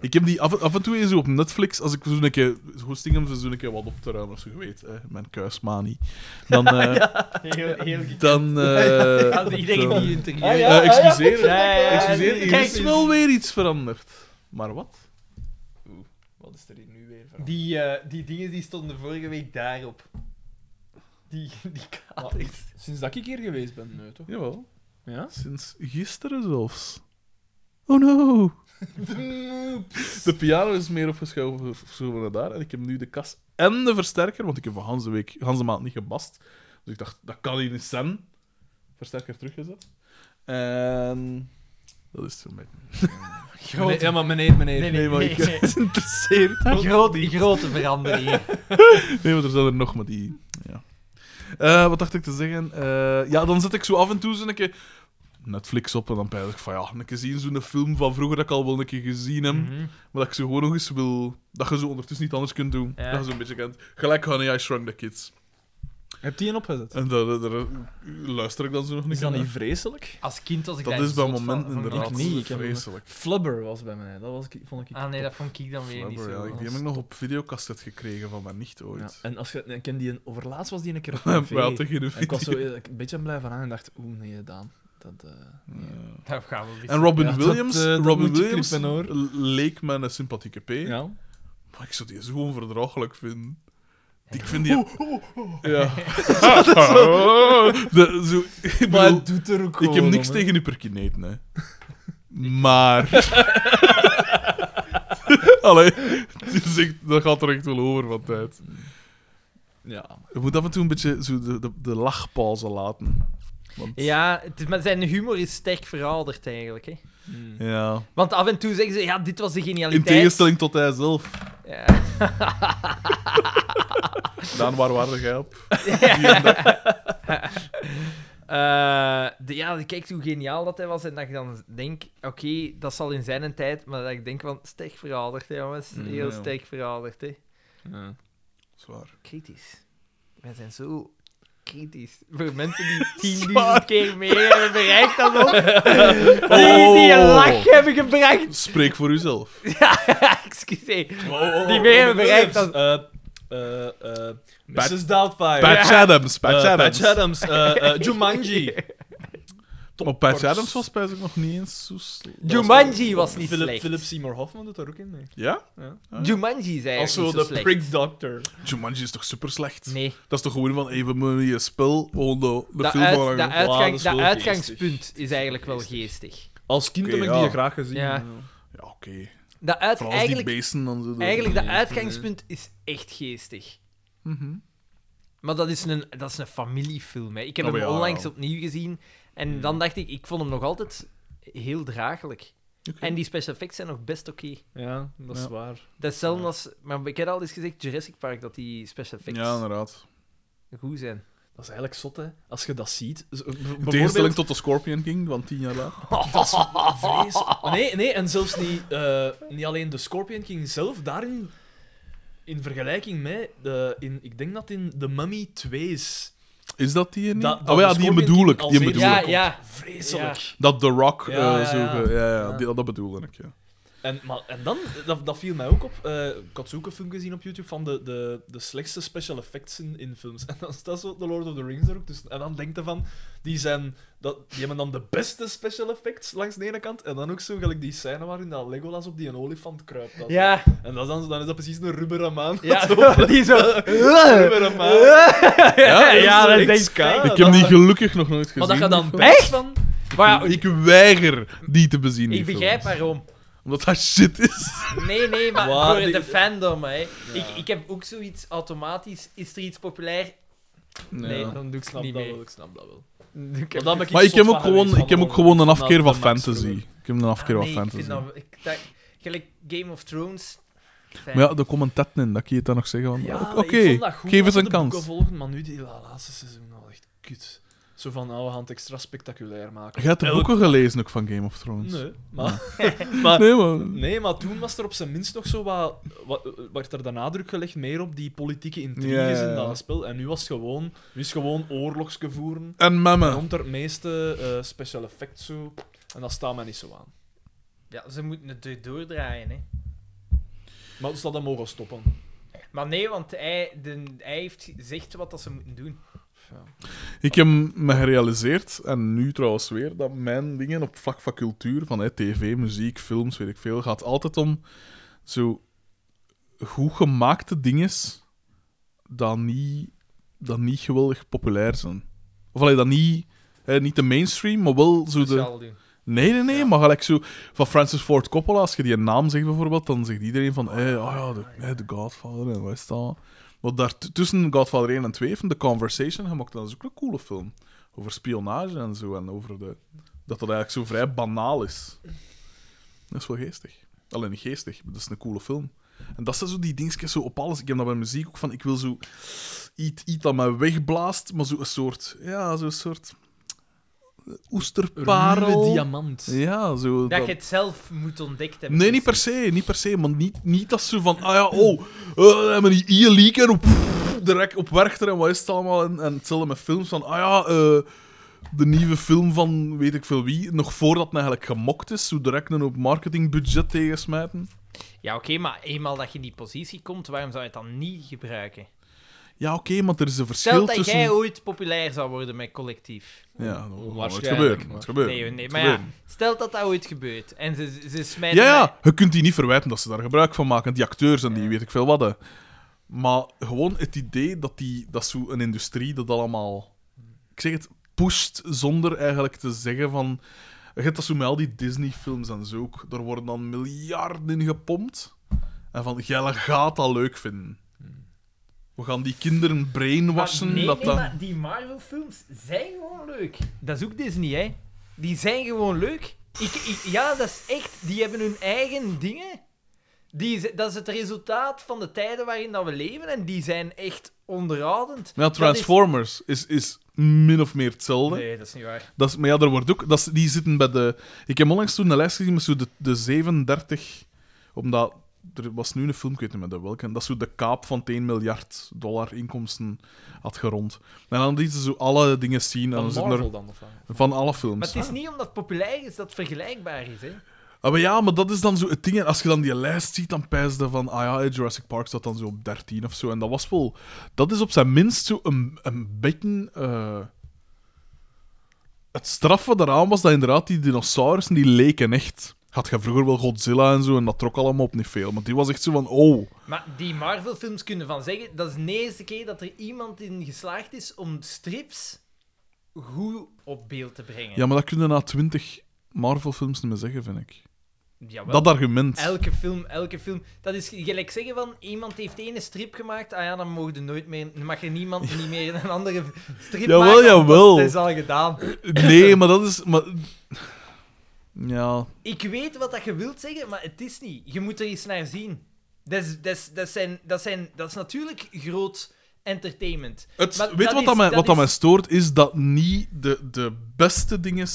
Speaker 4: ik heb die af, en- af en toe eens op Netflix, als ik zo'n keer goed sting om zo'n keer wat op te ruimen of zo, je weet, hè, mijn kuismanie. Dan... eh,
Speaker 3: Heel, heel
Speaker 4: dan eh,
Speaker 3: Als iedereen
Speaker 4: dan-
Speaker 3: die interview.
Speaker 2: Ah,
Speaker 4: Eh, excuseer,
Speaker 3: Ja, ja, ja.
Speaker 4: excuseer, hier
Speaker 3: Kijk, dus-
Speaker 4: is wel weer iets veranderd. Maar wat?
Speaker 2: Wat is er hier nu weer van?
Speaker 3: Die, eh, die dingen die stonden vorige week daarop. Die, die kaders.
Speaker 2: Sinds dat ik hier geweest ben, nee, toch?
Speaker 4: Jawel,
Speaker 2: Ja?
Speaker 4: sinds gisteren zelfs. Oh no! De piano is meer opgeschoven opgeschoven naar daar. En ik heb nu de kas en de versterker, want ik heb van Hans de week, Hans de maand niet gebast. Dus ik dacht, dat kan hier niet zijn. Versterker teruggezet. En... Dat is het voor mij.
Speaker 2: Nee, ja, maar meneer, meneer.
Speaker 3: Nee,
Speaker 4: Nee, maar ik-
Speaker 3: nee.
Speaker 2: Het interesseert me
Speaker 3: Groot, grote veranderingen.
Speaker 4: Nee, want er zijn er nog, maar die... Ja. Eh, wat dacht ik te zeggen? Eh, ja, dan zet ik zo af en toe zo'n keer Netflix op en dan pijs ik van ja, een keer zien zo'n film van vroeger dat ik al wel een keer gezien heb.
Speaker 3: Mhm.
Speaker 4: Maar dat ik ze gewoon nog eens wil... Dat je ze ondertussen niet anders kunt doen.
Speaker 3: Ja.
Speaker 4: Dat je ze een beetje kent. Gelijk Honey, I Shrunk the Kids.
Speaker 2: Heb die een opgezet?
Speaker 4: En daar, daar- daar luister ik dan zo nog een
Speaker 2: Is
Speaker 4: keer
Speaker 2: dat niet
Speaker 4: naar.
Speaker 2: vreselijk?
Speaker 3: Als kind was ik
Speaker 4: Dat
Speaker 3: daar
Speaker 4: is bij
Speaker 3: zot van-
Speaker 4: momenten
Speaker 3: van
Speaker 4: inderdaad
Speaker 2: Ik niet, ik heb hem-
Speaker 4: vreselijk.
Speaker 2: Flubber was bij mij. Dat was, ik- vond ik...
Speaker 3: Ah nee, dat vond ik dan weer niet
Speaker 4: Flubber,
Speaker 3: zo.
Speaker 4: ja. Ik- Die heb ik nog op videocassette gekregen van mijn nicht
Speaker 2: Ja,
Speaker 4: ooit.
Speaker 2: en als je... en ken die een... Overlaatst was die een keer op
Speaker 4: Ja.
Speaker 2: tv.
Speaker 4: We hadden geen
Speaker 2: En ik
Speaker 4: video.
Speaker 2: was zo een beetje blij van aan en dacht, oeh, nee, Daan. Dat, eh, nee.
Speaker 4: Ja.
Speaker 3: Daar gaan we weer.
Speaker 4: En Robin
Speaker 2: Ja, dat,
Speaker 4: Williams,
Speaker 2: eh, dat
Speaker 4: Robin
Speaker 2: moet je
Speaker 4: Williams
Speaker 2: knippen, hoor.
Speaker 4: l- leek me een sympathieke P.
Speaker 2: Ja.
Speaker 4: Maar ik zou die zo onverdraaglijk vinden. Ik vind die... Ja. De, zo, ik,
Speaker 2: Maar
Speaker 4: bedoel,
Speaker 2: het doet er ook
Speaker 4: ik heb
Speaker 2: gewoon
Speaker 4: niks
Speaker 2: om, hè.
Speaker 4: tegen hyperkineten, hè. Maar... Allee, het is echt- dat gaat er echt wel over van tijd.
Speaker 2: Ja.
Speaker 4: Je moet af en toe een beetje zo de, de, de lachpauze laten. Want,
Speaker 3: Ja, het is, maar zijn humor is sterk verouderd eigenlijk. Hè.
Speaker 2: hmm.
Speaker 4: Ja.
Speaker 3: Want af en toe zeggen ze, ja, dit was de
Speaker 4: In
Speaker 3: genialiteit.
Speaker 4: tegenstelling tot hij zelf.
Speaker 3: Ja.
Speaker 4: Daan, waar waren jij op?
Speaker 3: Eh, de, ja, kijk hoe geniaal dat hij was. En dat ik dan denk, oké, dat zal in zijn tijd. Maar dat ik denk van, sterk verouderd, hè, jongens.
Speaker 4: Mm,
Speaker 3: Heel
Speaker 4: ja.
Speaker 3: sterk verouderd, hè.
Speaker 2: Ja.
Speaker 4: Zwaar.
Speaker 3: Kritisch. Wij zijn zo kritisch. Voor mensen die 10.000 keer meer hebben bereikt dan ons. Die, die een lach hebben gebracht.
Speaker 4: Spreek voor uzelf.
Speaker 3: Ja, excuseer. Die meer hebben bereikt dan...
Speaker 2: Eh, eh, eh, Mrs. Doubtfire.
Speaker 4: Eh, Patch Adams, Patch
Speaker 2: Eh,
Speaker 4: Adams.
Speaker 2: Patch Adams. eh, eh, Jumanji.
Speaker 4: Maar Patch Adams was bij zich nog niet eens zo slecht.
Speaker 3: Jumanji was niet
Speaker 2: Philip,
Speaker 3: slecht.
Speaker 2: Philip Seymour Hoffman doet daar ook in mee.
Speaker 4: Ja?
Speaker 3: Jumanji is eigenlijk
Speaker 2: Also
Speaker 3: niet
Speaker 2: de
Speaker 3: zo slecht.
Speaker 2: prick doctor.
Speaker 4: Jumanji is toch super slecht?
Speaker 3: Nee,
Speaker 4: Dat is toch gewoon van even mijn je spel, gewoon de, de
Speaker 3: dat,
Speaker 4: film
Speaker 3: uit-
Speaker 4: van
Speaker 3: dat,
Speaker 4: hangen.
Speaker 3: uitgang-
Speaker 2: dat is
Speaker 3: dat
Speaker 2: wel
Speaker 3: uitgangspunt
Speaker 2: geestig.
Speaker 3: is eigenlijk wel geestig.
Speaker 2: Als kind
Speaker 4: Oké,
Speaker 2: heb ik
Speaker 4: ja.
Speaker 2: die graag gezien.
Speaker 3: Ja.
Speaker 4: Ja, oké.
Speaker 3: Dat
Speaker 4: Vooral als
Speaker 3: uit,
Speaker 4: die
Speaker 3: eigenlijk,
Speaker 4: beesten dan zo...
Speaker 3: eigenlijk, dat
Speaker 2: Nee,
Speaker 3: uitgangspunt is echt geestig.
Speaker 4: Mhm.
Speaker 3: Maar dat is een, dat is een familiefilm. Hè. Ik heb
Speaker 4: Oh,
Speaker 3: hem
Speaker 4: ja,
Speaker 3: onlangs
Speaker 4: ja. Hmm.
Speaker 3: opnieuw gezien. En dan dacht ik, ik vond hem nog altijd heel draaglijk. En die special effects zijn nog best oké.
Speaker 2: Ja, dat is
Speaker 4: Ja.
Speaker 2: waar.
Speaker 3: Dat is hetzelfde als... Maar ik heb al eens gezegd, Jurassic Park, dat die special effects
Speaker 4: Ja, inderdaad.
Speaker 3: goed zijn.
Speaker 2: Dat is eigenlijk zot, hè. Als je dat ziet. Z- b-
Speaker 4: In
Speaker 2: bijvoorbeeld-
Speaker 4: tegenstelling tot de Scorpion King van tien jaar later.
Speaker 2: Dat is vlees. Nee, nee, en zelfs niet, eh, niet alleen de Scorpion King zelf. Daarin, in vergelijking met... de- in, ik denk dat in The Mummy 2 is...
Speaker 4: Is dat die er niet?
Speaker 2: Dat- dat
Speaker 4: oh ja,
Speaker 2: de
Speaker 4: die
Speaker 2: Scorpion
Speaker 4: bedoel ik.
Speaker 2: King
Speaker 4: Die
Speaker 2: als
Speaker 4: bedoel
Speaker 3: Ja,
Speaker 4: ik.
Speaker 3: ja.
Speaker 2: Vreselijk.
Speaker 4: Dat The Rock
Speaker 2: Ja,
Speaker 4: eh
Speaker 2: ja,
Speaker 4: zo...
Speaker 2: ja.
Speaker 4: ge- Ja, ja,
Speaker 2: Ja.
Speaker 4: die- dat bedoelde ik, ja.
Speaker 2: En, maar, en dan, dat, dat viel mij ook op. eh, ik had zo ook een film gezien op YouTube van de, de, de slechtste special effects in, in films. En dan staat zo The Lord of the Rings er ook tussen. En dan denk je van, die, zijn, dat, die hebben dan de beste special effects langs de ene kant. En dan ook zo gelijk die scène waarin dat Legolas op die een olifant kruipt. Dat-
Speaker 3: Ja,
Speaker 2: En dat is dan, dan is dat precies een rubberen maan.
Speaker 3: ja.
Speaker 2: Zo,
Speaker 3: die zo...
Speaker 2: rubberen maan.
Speaker 3: Ja,
Speaker 2: zo
Speaker 3: dat Oh,
Speaker 2: echt
Speaker 3: denk
Speaker 2: ska,
Speaker 3: ik.
Speaker 4: Ik heb die gelukkig nog nooit gezien.
Speaker 2: Maar dat je dan
Speaker 4: die
Speaker 2: echt van...
Speaker 3: Maar ja,
Speaker 4: film. Ik weiger die te bezien, die
Speaker 3: ik begrijp
Speaker 4: films.
Speaker 3: waarom.
Speaker 4: Omdat dat shit is.
Speaker 3: Nee, nee, maar
Speaker 2: Waar
Speaker 3: voor
Speaker 2: die-
Speaker 3: de fandom, hè. Ik, ik heb ook zoiets automatisch. Is er iets populair? Nee,
Speaker 4: Ja.
Speaker 3: dan doe ik
Speaker 2: Ik snap
Speaker 3: niet
Speaker 2: dat
Speaker 3: mee.
Speaker 2: wel, ik snap dat wel.
Speaker 3: Doe ik
Speaker 2: Want
Speaker 3: hem-
Speaker 2: dan ben
Speaker 4: Maar ik
Speaker 2: zot
Speaker 4: heb ook
Speaker 2: van
Speaker 4: gewoon,
Speaker 2: geweest
Speaker 4: ik heb
Speaker 2: van
Speaker 4: ook gewoon een
Speaker 2: naar
Speaker 4: afkeer
Speaker 2: de
Speaker 4: van
Speaker 2: Max
Speaker 4: fantasy.
Speaker 2: Verstappen.
Speaker 4: Ik heb een afkeer
Speaker 3: Ah,
Speaker 4: van
Speaker 3: nee, ik vind
Speaker 4: fantasy.
Speaker 3: dat... Ik, dat gelijk Game of Thrones. fijn.
Speaker 4: Maar ja, er komt een tet in, dat kun je het dan nog zeggen. van,
Speaker 2: Ja,
Speaker 4: Oké,
Speaker 2: Ah, ik vond dat goed
Speaker 4: geef eens
Speaker 2: als ze
Speaker 4: een
Speaker 2: de
Speaker 4: kans.
Speaker 2: boeken volgen, maar nu die la- laatste seizoen al echt kut. Zo van, nou, we gaan het extra spectaculair maken.
Speaker 4: Je hebt de
Speaker 2: Elk-
Speaker 4: boeken gelezen ook van Game of Thrones.
Speaker 2: Nee, maar... maar
Speaker 4: Nee, man.
Speaker 2: Nee, maar toen was er op zijn minst nog zo wat... wat werd er de nadruk gelegd meer op die politieke intriges
Speaker 4: Ja, ja, ja.
Speaker 2: in dat spel. En nu was het gewoon... Nu is het gewoon oorlogsgevoeren.
Speaker 4: En
Speaker 2: En
Speaker 4: memmen.
Speaker 2: rond het meeste eh, special effects zo. En dat staat mij niet zo aan.
Speaker 3: Ja, ze moeten het do- doordraaien, hè.
Speaker 2: Maar ze hadden mogen stoppen.
Speaker 3: Maar nee, want hij, de, hij heeft gezegd wat dat ze moeten doen.
Speaker 4: Ik heb me gerealiseerd, en nu trouwens weer, dat mijn dingen op vlak van cultuur, van hè, tv, muziek, films, weet ik veel, gaat altijd om zo goed gemaakte dingen dat niet, dat niet geweldig populair zijn. Of allee, dat niet, hè, niet de mainstream, maar wel zo
Speaker 3: Dat
Speaker 4: de...
Speaker 3: zal doen.
Speaker 4: Nee, nee, nee, maar gelijk zo van Francis Ford Coppola, als je die naam zegt bijvoorbeeld, dan zegt iedereen van, eh, oh ja, de, eh, de Godfather en wat is dat? Want daar t- tussen Godfather 1 en 2 heeft The Conversation gemaakt, en dat is ook een coole film. Over spionage en zo, en over de, dat dat eigenlijk zo vrij banaal is. Dat is wel geestig. Alleen niet geestig, maar dat is een coole film. En dat zijn zo die dingetjes zo op alles. Ik heb dat bij muziek ook van, ik wil zo iets, iets dat mij wegblaast, maar zo een soort, ja, zo'n soort eh, oesterparel.
Speaker 2: Ruwe diamant.
Speaker 4: Ja, zo.
Speaker 3: Dat
Speaker 4: dat-
Speaker 3: je het zelf moet ontdekt hebben.
Speaker 4: Nee, niet per se, niet per se. Maar niet, niet dat ze van, ah ja, oh, eh, maar die IELIEK en op, direct op Werchter en wat is het allemaal. En, en hetzelfde met films van, ah ja, eh, de nieuwe film van weet ik veel wie, nog voordat het eigenlijk gemokt is, zo direct een op marketingbudget tegensmijten.
Speaker 3: Ja, oké, maar eenmaal dat je in die positie komt, waarom zou je het dan niet gebruiken?
Speaker 4: Ja, oké, maar er is een
Speaker 3: Stel
Speaker 4: verschil
Speaker 3: dat
Speaker 4: tussen...
Speaker 3: jij ooit populair zou worden met collectief.
Speaker 4: Ja, dat gaat nooit
Speaker 2: Waarschijnlijk,
Speaker 4: gebeuren.
Speaker 2: maar-
Speaker 4: nooit gebeuren.
Speaker 3: Nee, nee,
Speaker 4: Het
Speaker 3: maar ja,
Speaker 4: gebeuren.
Speaker 3: stel dat dat ooit gebeurt. En ze, ze smijten...
Speaker 4: Ja,
Speaker 3: mij-
Speaker 4: ja, je kunt die niet verwijten dat ze daar gebruik van maken. Die acteurs en die weet ik veel wat. hè. Maar gewoon het idee dat, die, dat zo'n industrie dat allemaal... Ik zeg het, pusht zonder eigenlijk te zeggen van... Je hebt dat zo met al die Disney-films en zo ook. Daar worden dan miljarden in gepompt. En van, jij gaat dat leuk vinden. We gaan die kinderen brainwashen.
Speaker 3: Maar Ah, nee,
Speaker 4: dat
Speaker 3: nee,
Speaker 4: dat...
Speaker 3: maar die Marvel-films zijn gewoon leuk. Dat is ook Disney, hè. Die zijn gewoon leuk. Ik, ik- ja, dat is echt. Die hebben hun eigen dingen. Die, z- dat is het resultaat van de tijden waarin dat we leven. En die zijn echt onderhoudend.
Speaker 4: Maar ja,
Speaker 3: Dat is-
Speaker 4: Transformers is, is min of meer hetzelfde.
Speaker 3: Nee, dat is niet waar.
Speaker 4: Dat is, maar ja, er wordt ook... Dat is- die zitten bij de... Ik heb onlangs toen een lijst gezien met zo de, de 37... Omdat... Er was nu een film, ik weet niet meer de welke, dat zo de kaap van het 1 miljard dollar inkomsten had gerond. En dan lieten ze zo alle dingen zien. en
Speaker 2: Van
Speaker 4: dan zitten
Speaker 2: Marvel
Speaker 4: er,
Speaker 2: dan, of wat?
Speaker 4: van alle films.
Speaker 3: Maar het is niet omdat het populair is dat het vergelijkbaar is. Hè.
Speaker 4: Ah, maar ja, maar dat is dan zo het ding. En Als je dan die lijst ziet, dan pijs je van... Ah ja, Jurassic Park staat dan zo op 13 of zo. En dat was wel... Dat is op zijn minst zo een, een beetje... eh, het straffe daaraan was dat inderdaad die dinosaurussen, die leken echt... Had je vroeger wel Godzilla en zo, en dat trok allemaal op niet veel. Maar die was echt zo van... Oh,
Speaker 3: Maar die Marvel-films kunnen van zeggen. Dat is de eerste keer dat er iemand in geslaagd is om strips goed op beeld te brengen.
Speaker 4: ja, maar dat kunnen na 20 Marvel-films niet meer zeggen, vind ik.
Speaker 3: Jawel.
Speaker 4: Dat argument.
Speaker 3: Elke film, elke film. Dat is gelijk zeggen van iemand heeft één strip gemaakt. Ah ja, dan mag je nooit meer. dan mag je niemand niet meer een andere strip
Speaker 4: Jawel,
Speaker 3: maken. want
Speaker 4: jawel.
Speaker 3: Dat is dus al gedaan.
Speaker 4: Nee, maar dat is... Maar... Ja,
Speaker 3: Ik weet wat dat je wilt zeggen, maar het is niet. Je moet er eens naar zien. Dat is, dat is, dat zijn, dat zijn, dat is natuurlijk groot entertainment.
Speaker 4: Het,
Speaker 3: Maar
Speaker 4: weet je wat,
Speaker 3: is-
Speaker 4: dat mij, wat dat mij
Speaker 3: is-
Speaker 4: stoort? Is dat niet de, de beste dingen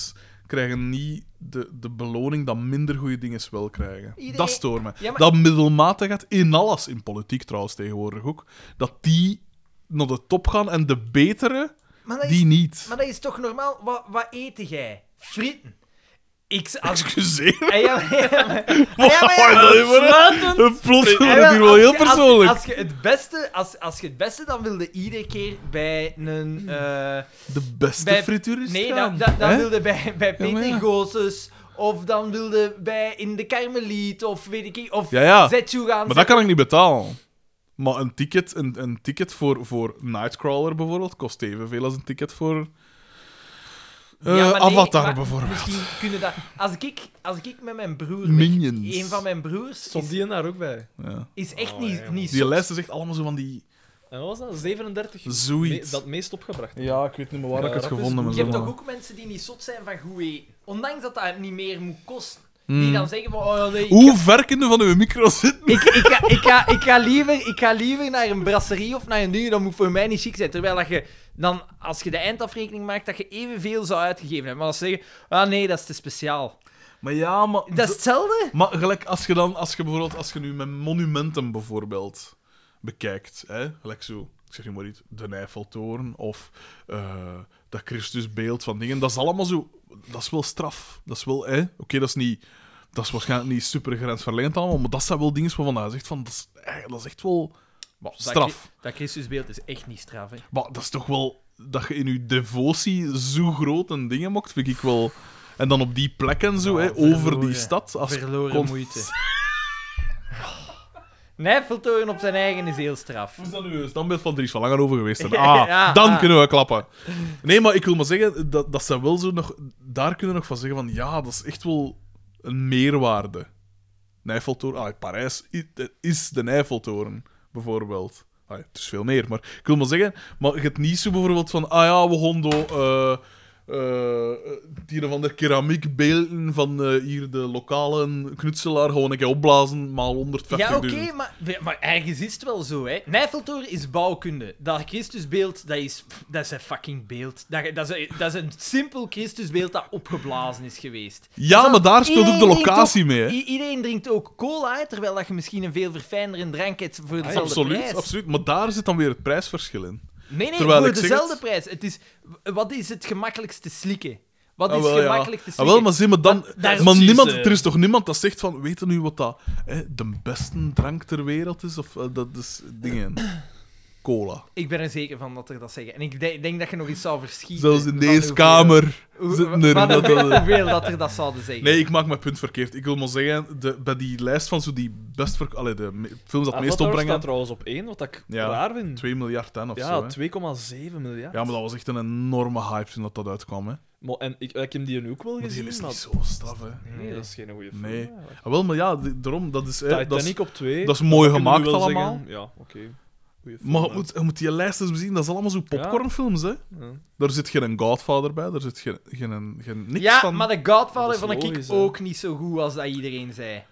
Speaker 4: krijgen niet de, de beloning dat minder goede dingen wel krijgen.
Speaker 3: Iedereen-
Speaker 4: Dat stoort mij.
Speaker 3: Ja, maar-
Speaker 4: Dat middelmatig gaat in alles, in politiek trouwens tegenwoordig ook, dat die naar de top gaan en de betere,
Speaker 3: maar dat is-
Speaker 4: die niet.
Speaker 3: Maar dat is toch normaal? Wat, wat eet jij? Frieten. Ik... Als...
Speaker 4: Excuseer.
Speaker 3: Ah, ja, maar- ja, maar- Ah,
Speaker 4: Wat
Speaker 3: ja, maar-
Speaker 4: dat even, hè? Plots wordt het hier wel heel persoonlijk.
Speaker 3: Als, je het beste, als, als je het beste, dan wilde iedere keer bij een. eh,
Speaker 4: de beste
Speaker 3: bij-
Speaker 4: frituurist
Speaker 3: nee,
Speaker 4: gaan,
Speaker 3: dan, dan, dan
Speaker 4: hè?
Speaker 3: wilde bij, bij
Speaker 4: Ja, maar
Speaker 3: Peter
Speaker 4: ja.
Speaker 3: Goossens, Of dan wilde bij in de Karmeliet. Of weet ik niet. Of
Speaker 4: Ja, ja.
Speaker 3: Zetsu gaan.
Speaker 4: Maar dat kan ik niet betalen. Maar een ticket, een, een ticket voor, voor Nightcrawler bijvoorbeeld kost evenveel als een ticket voor eh,
Speaker 3: Ja, maar nee,
Speaker 4: Avatar
Speaker 3: maar
Speaker 4: bijvoorbeeld.
Speaker 3: Misschien kunnen dat. Als ik, als ik met mijn broer.
Speaker 4: Minions.
Speaker 3: Een van mijn broers
Speaker 2: Stond
Speaker 3: is,
Speaker 2: die daar ook bij?
Speaker 4: Ja.
Speaker 3: is echt niet, niet
Speaker 4: Die
Speaker 3: zot.
Speaker 4: lijst is echt allemaal zo van die...
Speaker 2: En wat was dat? 37?
Speaker 4: Zoiets.
Speaker 2: Me- dat meest opgebracht.
Speaker 4: Ja, ik weet niet meer waar
Speaker 2: Ja,
Speaker 4: ik het
Speaker 2: dat is
Speaker 4: gevonden heb.
Speaker 2: goed.
Speaker 3: Je hebt
Speaker 4: maar-
Speaker 3: toch ook mensen die niet zot zijn van goed eten. Ondanks dat dat niet meer moet kosten. Die
Speaker 4: Hmm.
Speaker 3: dan zeggen van, oh nee, ik
Speaker 4: Hoe ver kunnen van uw micro zitten?
Speaker 3: Ik, ik, ga, ik, ga, ik, ga liever, ik ga liever naar een brasserie of naar een ding, dat moet voor mij niet chic zijn. Terwijl dat je dan, als je de eindafrekening maakt, dat je evenveel zou uitgegeven hebben. Maar als ze zeggen, ah nee, dat is te speciaal.
Speaker 4: Maar ja, maar...
Speaker 3: Dat is hetzelfde.
Speaker 4: Maar gelijk als je dan, als je bijvoorbeeld, als je nu met monumenten bijvoorbeeld bekijkt, hè, gelijk zo, ik zeg niet maar iets, de Eiffeltoren of eh, dat Christusbeeld van dingen, dat is allemaal zo, dat is wel straf. Dat is wel, hè, oké, dat is niet, dat is waarschijnlijk niet super grensverlengend allemaal, maar dat zijn wel dingen waarvan hij zegt van, dat is, eh, dat is echt wel maar, straf.
Speaker 3: Dat Christusbeeld is echt niet straf, hè.
Speaker 4: Maar dat is toch wel, dat je in je devotie zo groot een dingen mocht, vind ik wel... En dan op die plek en zo,
Speaker 3: Ja,
Speaker 4: hè, over die
Speaker 3: verloren.
Speaker 4: stad. Als
Speaker 3: Verloren
Speaker 4: kon-
Speaker 3: moeite. Nijfeltoren op zijn eigen is heel straf.
Speaker 4: Hoe is dat nu een standbeeld van Dries van Langer over geweest? zijn?
Speaker 3: Ja,
Speaker 4: Ah,
Speaker 3: ja,
Speaker 4: dan
Speaker 3: ah.
Speaker 4: kunnen we klappen. Nee, maar ik wil maar zeggen, dat, dat ze wel zo nog... Daar kunnen we nog van zeggen van, ja, dat is echt wel een meerwaarde. Nijfeltoren, ah, Parijs i- is de Nijfeltoren, bijvoorbeeld. Ah, het is veel meer, maar ik wil maar zeggen, maar het niet zo bijvoorbeeld van, ah ja, we gaan door, eh, eh, die een of ander keramiekbeelden van eh, hier de lokale knutselaar gewoon een keer opblazen, maal 150.000.
Speaker 3: Ja, oké, maar, maar ergens is het wel zo, hè. Nijfeltoren is bouwkunde. Dat Christusbeeld, dat is, pff, dat is een fucking beeld. Dat, dat, is, dat is een simpel Christusbeeld dat opgeblazen is geweest.
Speaker 4: Ja, maar daar speelt ook de
Speaker 3: Iedereen drinkt
Speaker 4: locatie
Speaker 3: ook-
Speaker 4: mee. Hè?
Speaker 3: i- Iedereen drinkt ook cola, hè, terwijl dat je misschien een veel verfijndere drank hebt voor dezelfde prijs.
Speaker 4: Ah, Absoluut, absoluut. Maar daar zit dan weer het prijsverschil in.
Speaker 3: Nee, nee,
Speaker 4: Terwijl
Speaker 3: voor
Speaker 4: ik zeg
Speaker 3: dezelfde
Speaker 4: het-
Speaker 3: prijs. Het is, wat is het gemakkelijkst te slikken? Wat
Speaker 4: Ah,
Speaker 3: is
Speaker 4: wel, ja.
Speaker 3: gemakkelijk te
Speaker 4: Ah,
Speaker 3: slikken?
Speaker 4: wel, maar zie, maar dan...
Speaker 3: Maar daar-
Speaker 4: maar
Speaker 3: Precies,
Speaker 4: niemand,
Speaker 3: eh.
Speaker 4: er is toch niemand dat zegt van... Weet je nu wat dat hè, de beste drank ter wereld is? Of eh, dat is dingen... Cola.
Speaker 3: Ik ben er zeker van dat er dat zeggen. En ik denk, denk dat je nog eens zou verschieten.
Speaker 4: Zelfs in
Speaker 3: van
Speaker 4: deze
Speaker 3: hoeveel-
Speaker 4: kamer
Speaker 3: hoe-
Speaker 4: zitten er...
Speaker 3: van
Speaker 4: dat- dat-
Speaker 3: hoeveel- hoeveel dat er dat zouden zeggen.
Speaker 4: Nee, ik maak mijn punt verkeerd. Ik wil maar zeggen, de, bij die lijst van zo die best... verk- Allee, de me- films dat het meest
Speaker 3: Ah,
Speaker 2: Avatar Ah, staat
Speaker 4: opbrengen...
Speaker 2: trouwens op 1, wat ik
Speaker 4: Ja,
Speaker 2: raar vind.
Speaker 4: 2 miljard ten of zo,
Speaker 2: Ja,
Speaker 4: hè.
Speaker 2: 2,7 miljard.
Speaker 4: Ja, maar dat was echt een enorme hype toen dat, dat uitkwam, hè.
Speaker 2: Maar- en ik, ik heb die nu ook wel
Speaker 4: Maar die
Speaker 2: gezien.
Speaker 4: is
Speaker 2: maar-
Speaker 4: niet zo straf, hè.
Speaker 2: Nee, dat is geen goede film.
Speaker 4: Nee.
Speaker 2: eigenlijk.
Speaker 4: Ah, wel, maar ja, d- daarom, dat is... hè, dat is-
Speaker 2: Titanic op 2.
Speaker 4: Dat is mooi gemaakt allemaal.
Speaker 2: Ja, oké. Goeie film,
Speaker 4: Maar je
Speaker 2: hè.
Speaker 4: moet, je moet die lijst eens bezien, dat is allemaal zo popcornfilms, hè.
Speaker 2: Ja.
Speaker 4: Daar zit geen Godfather bij, daar zit geen, geen, geen niks
Speaker 3: ja,
Speaker 4: van.
Speaker 3: maar de Godfather
Speaker 2: Dat is
Speaker 3: vond ik
Speaker 2: logisch, hè.
Speaker 3: ook niet zo goed als dat iedereen zei.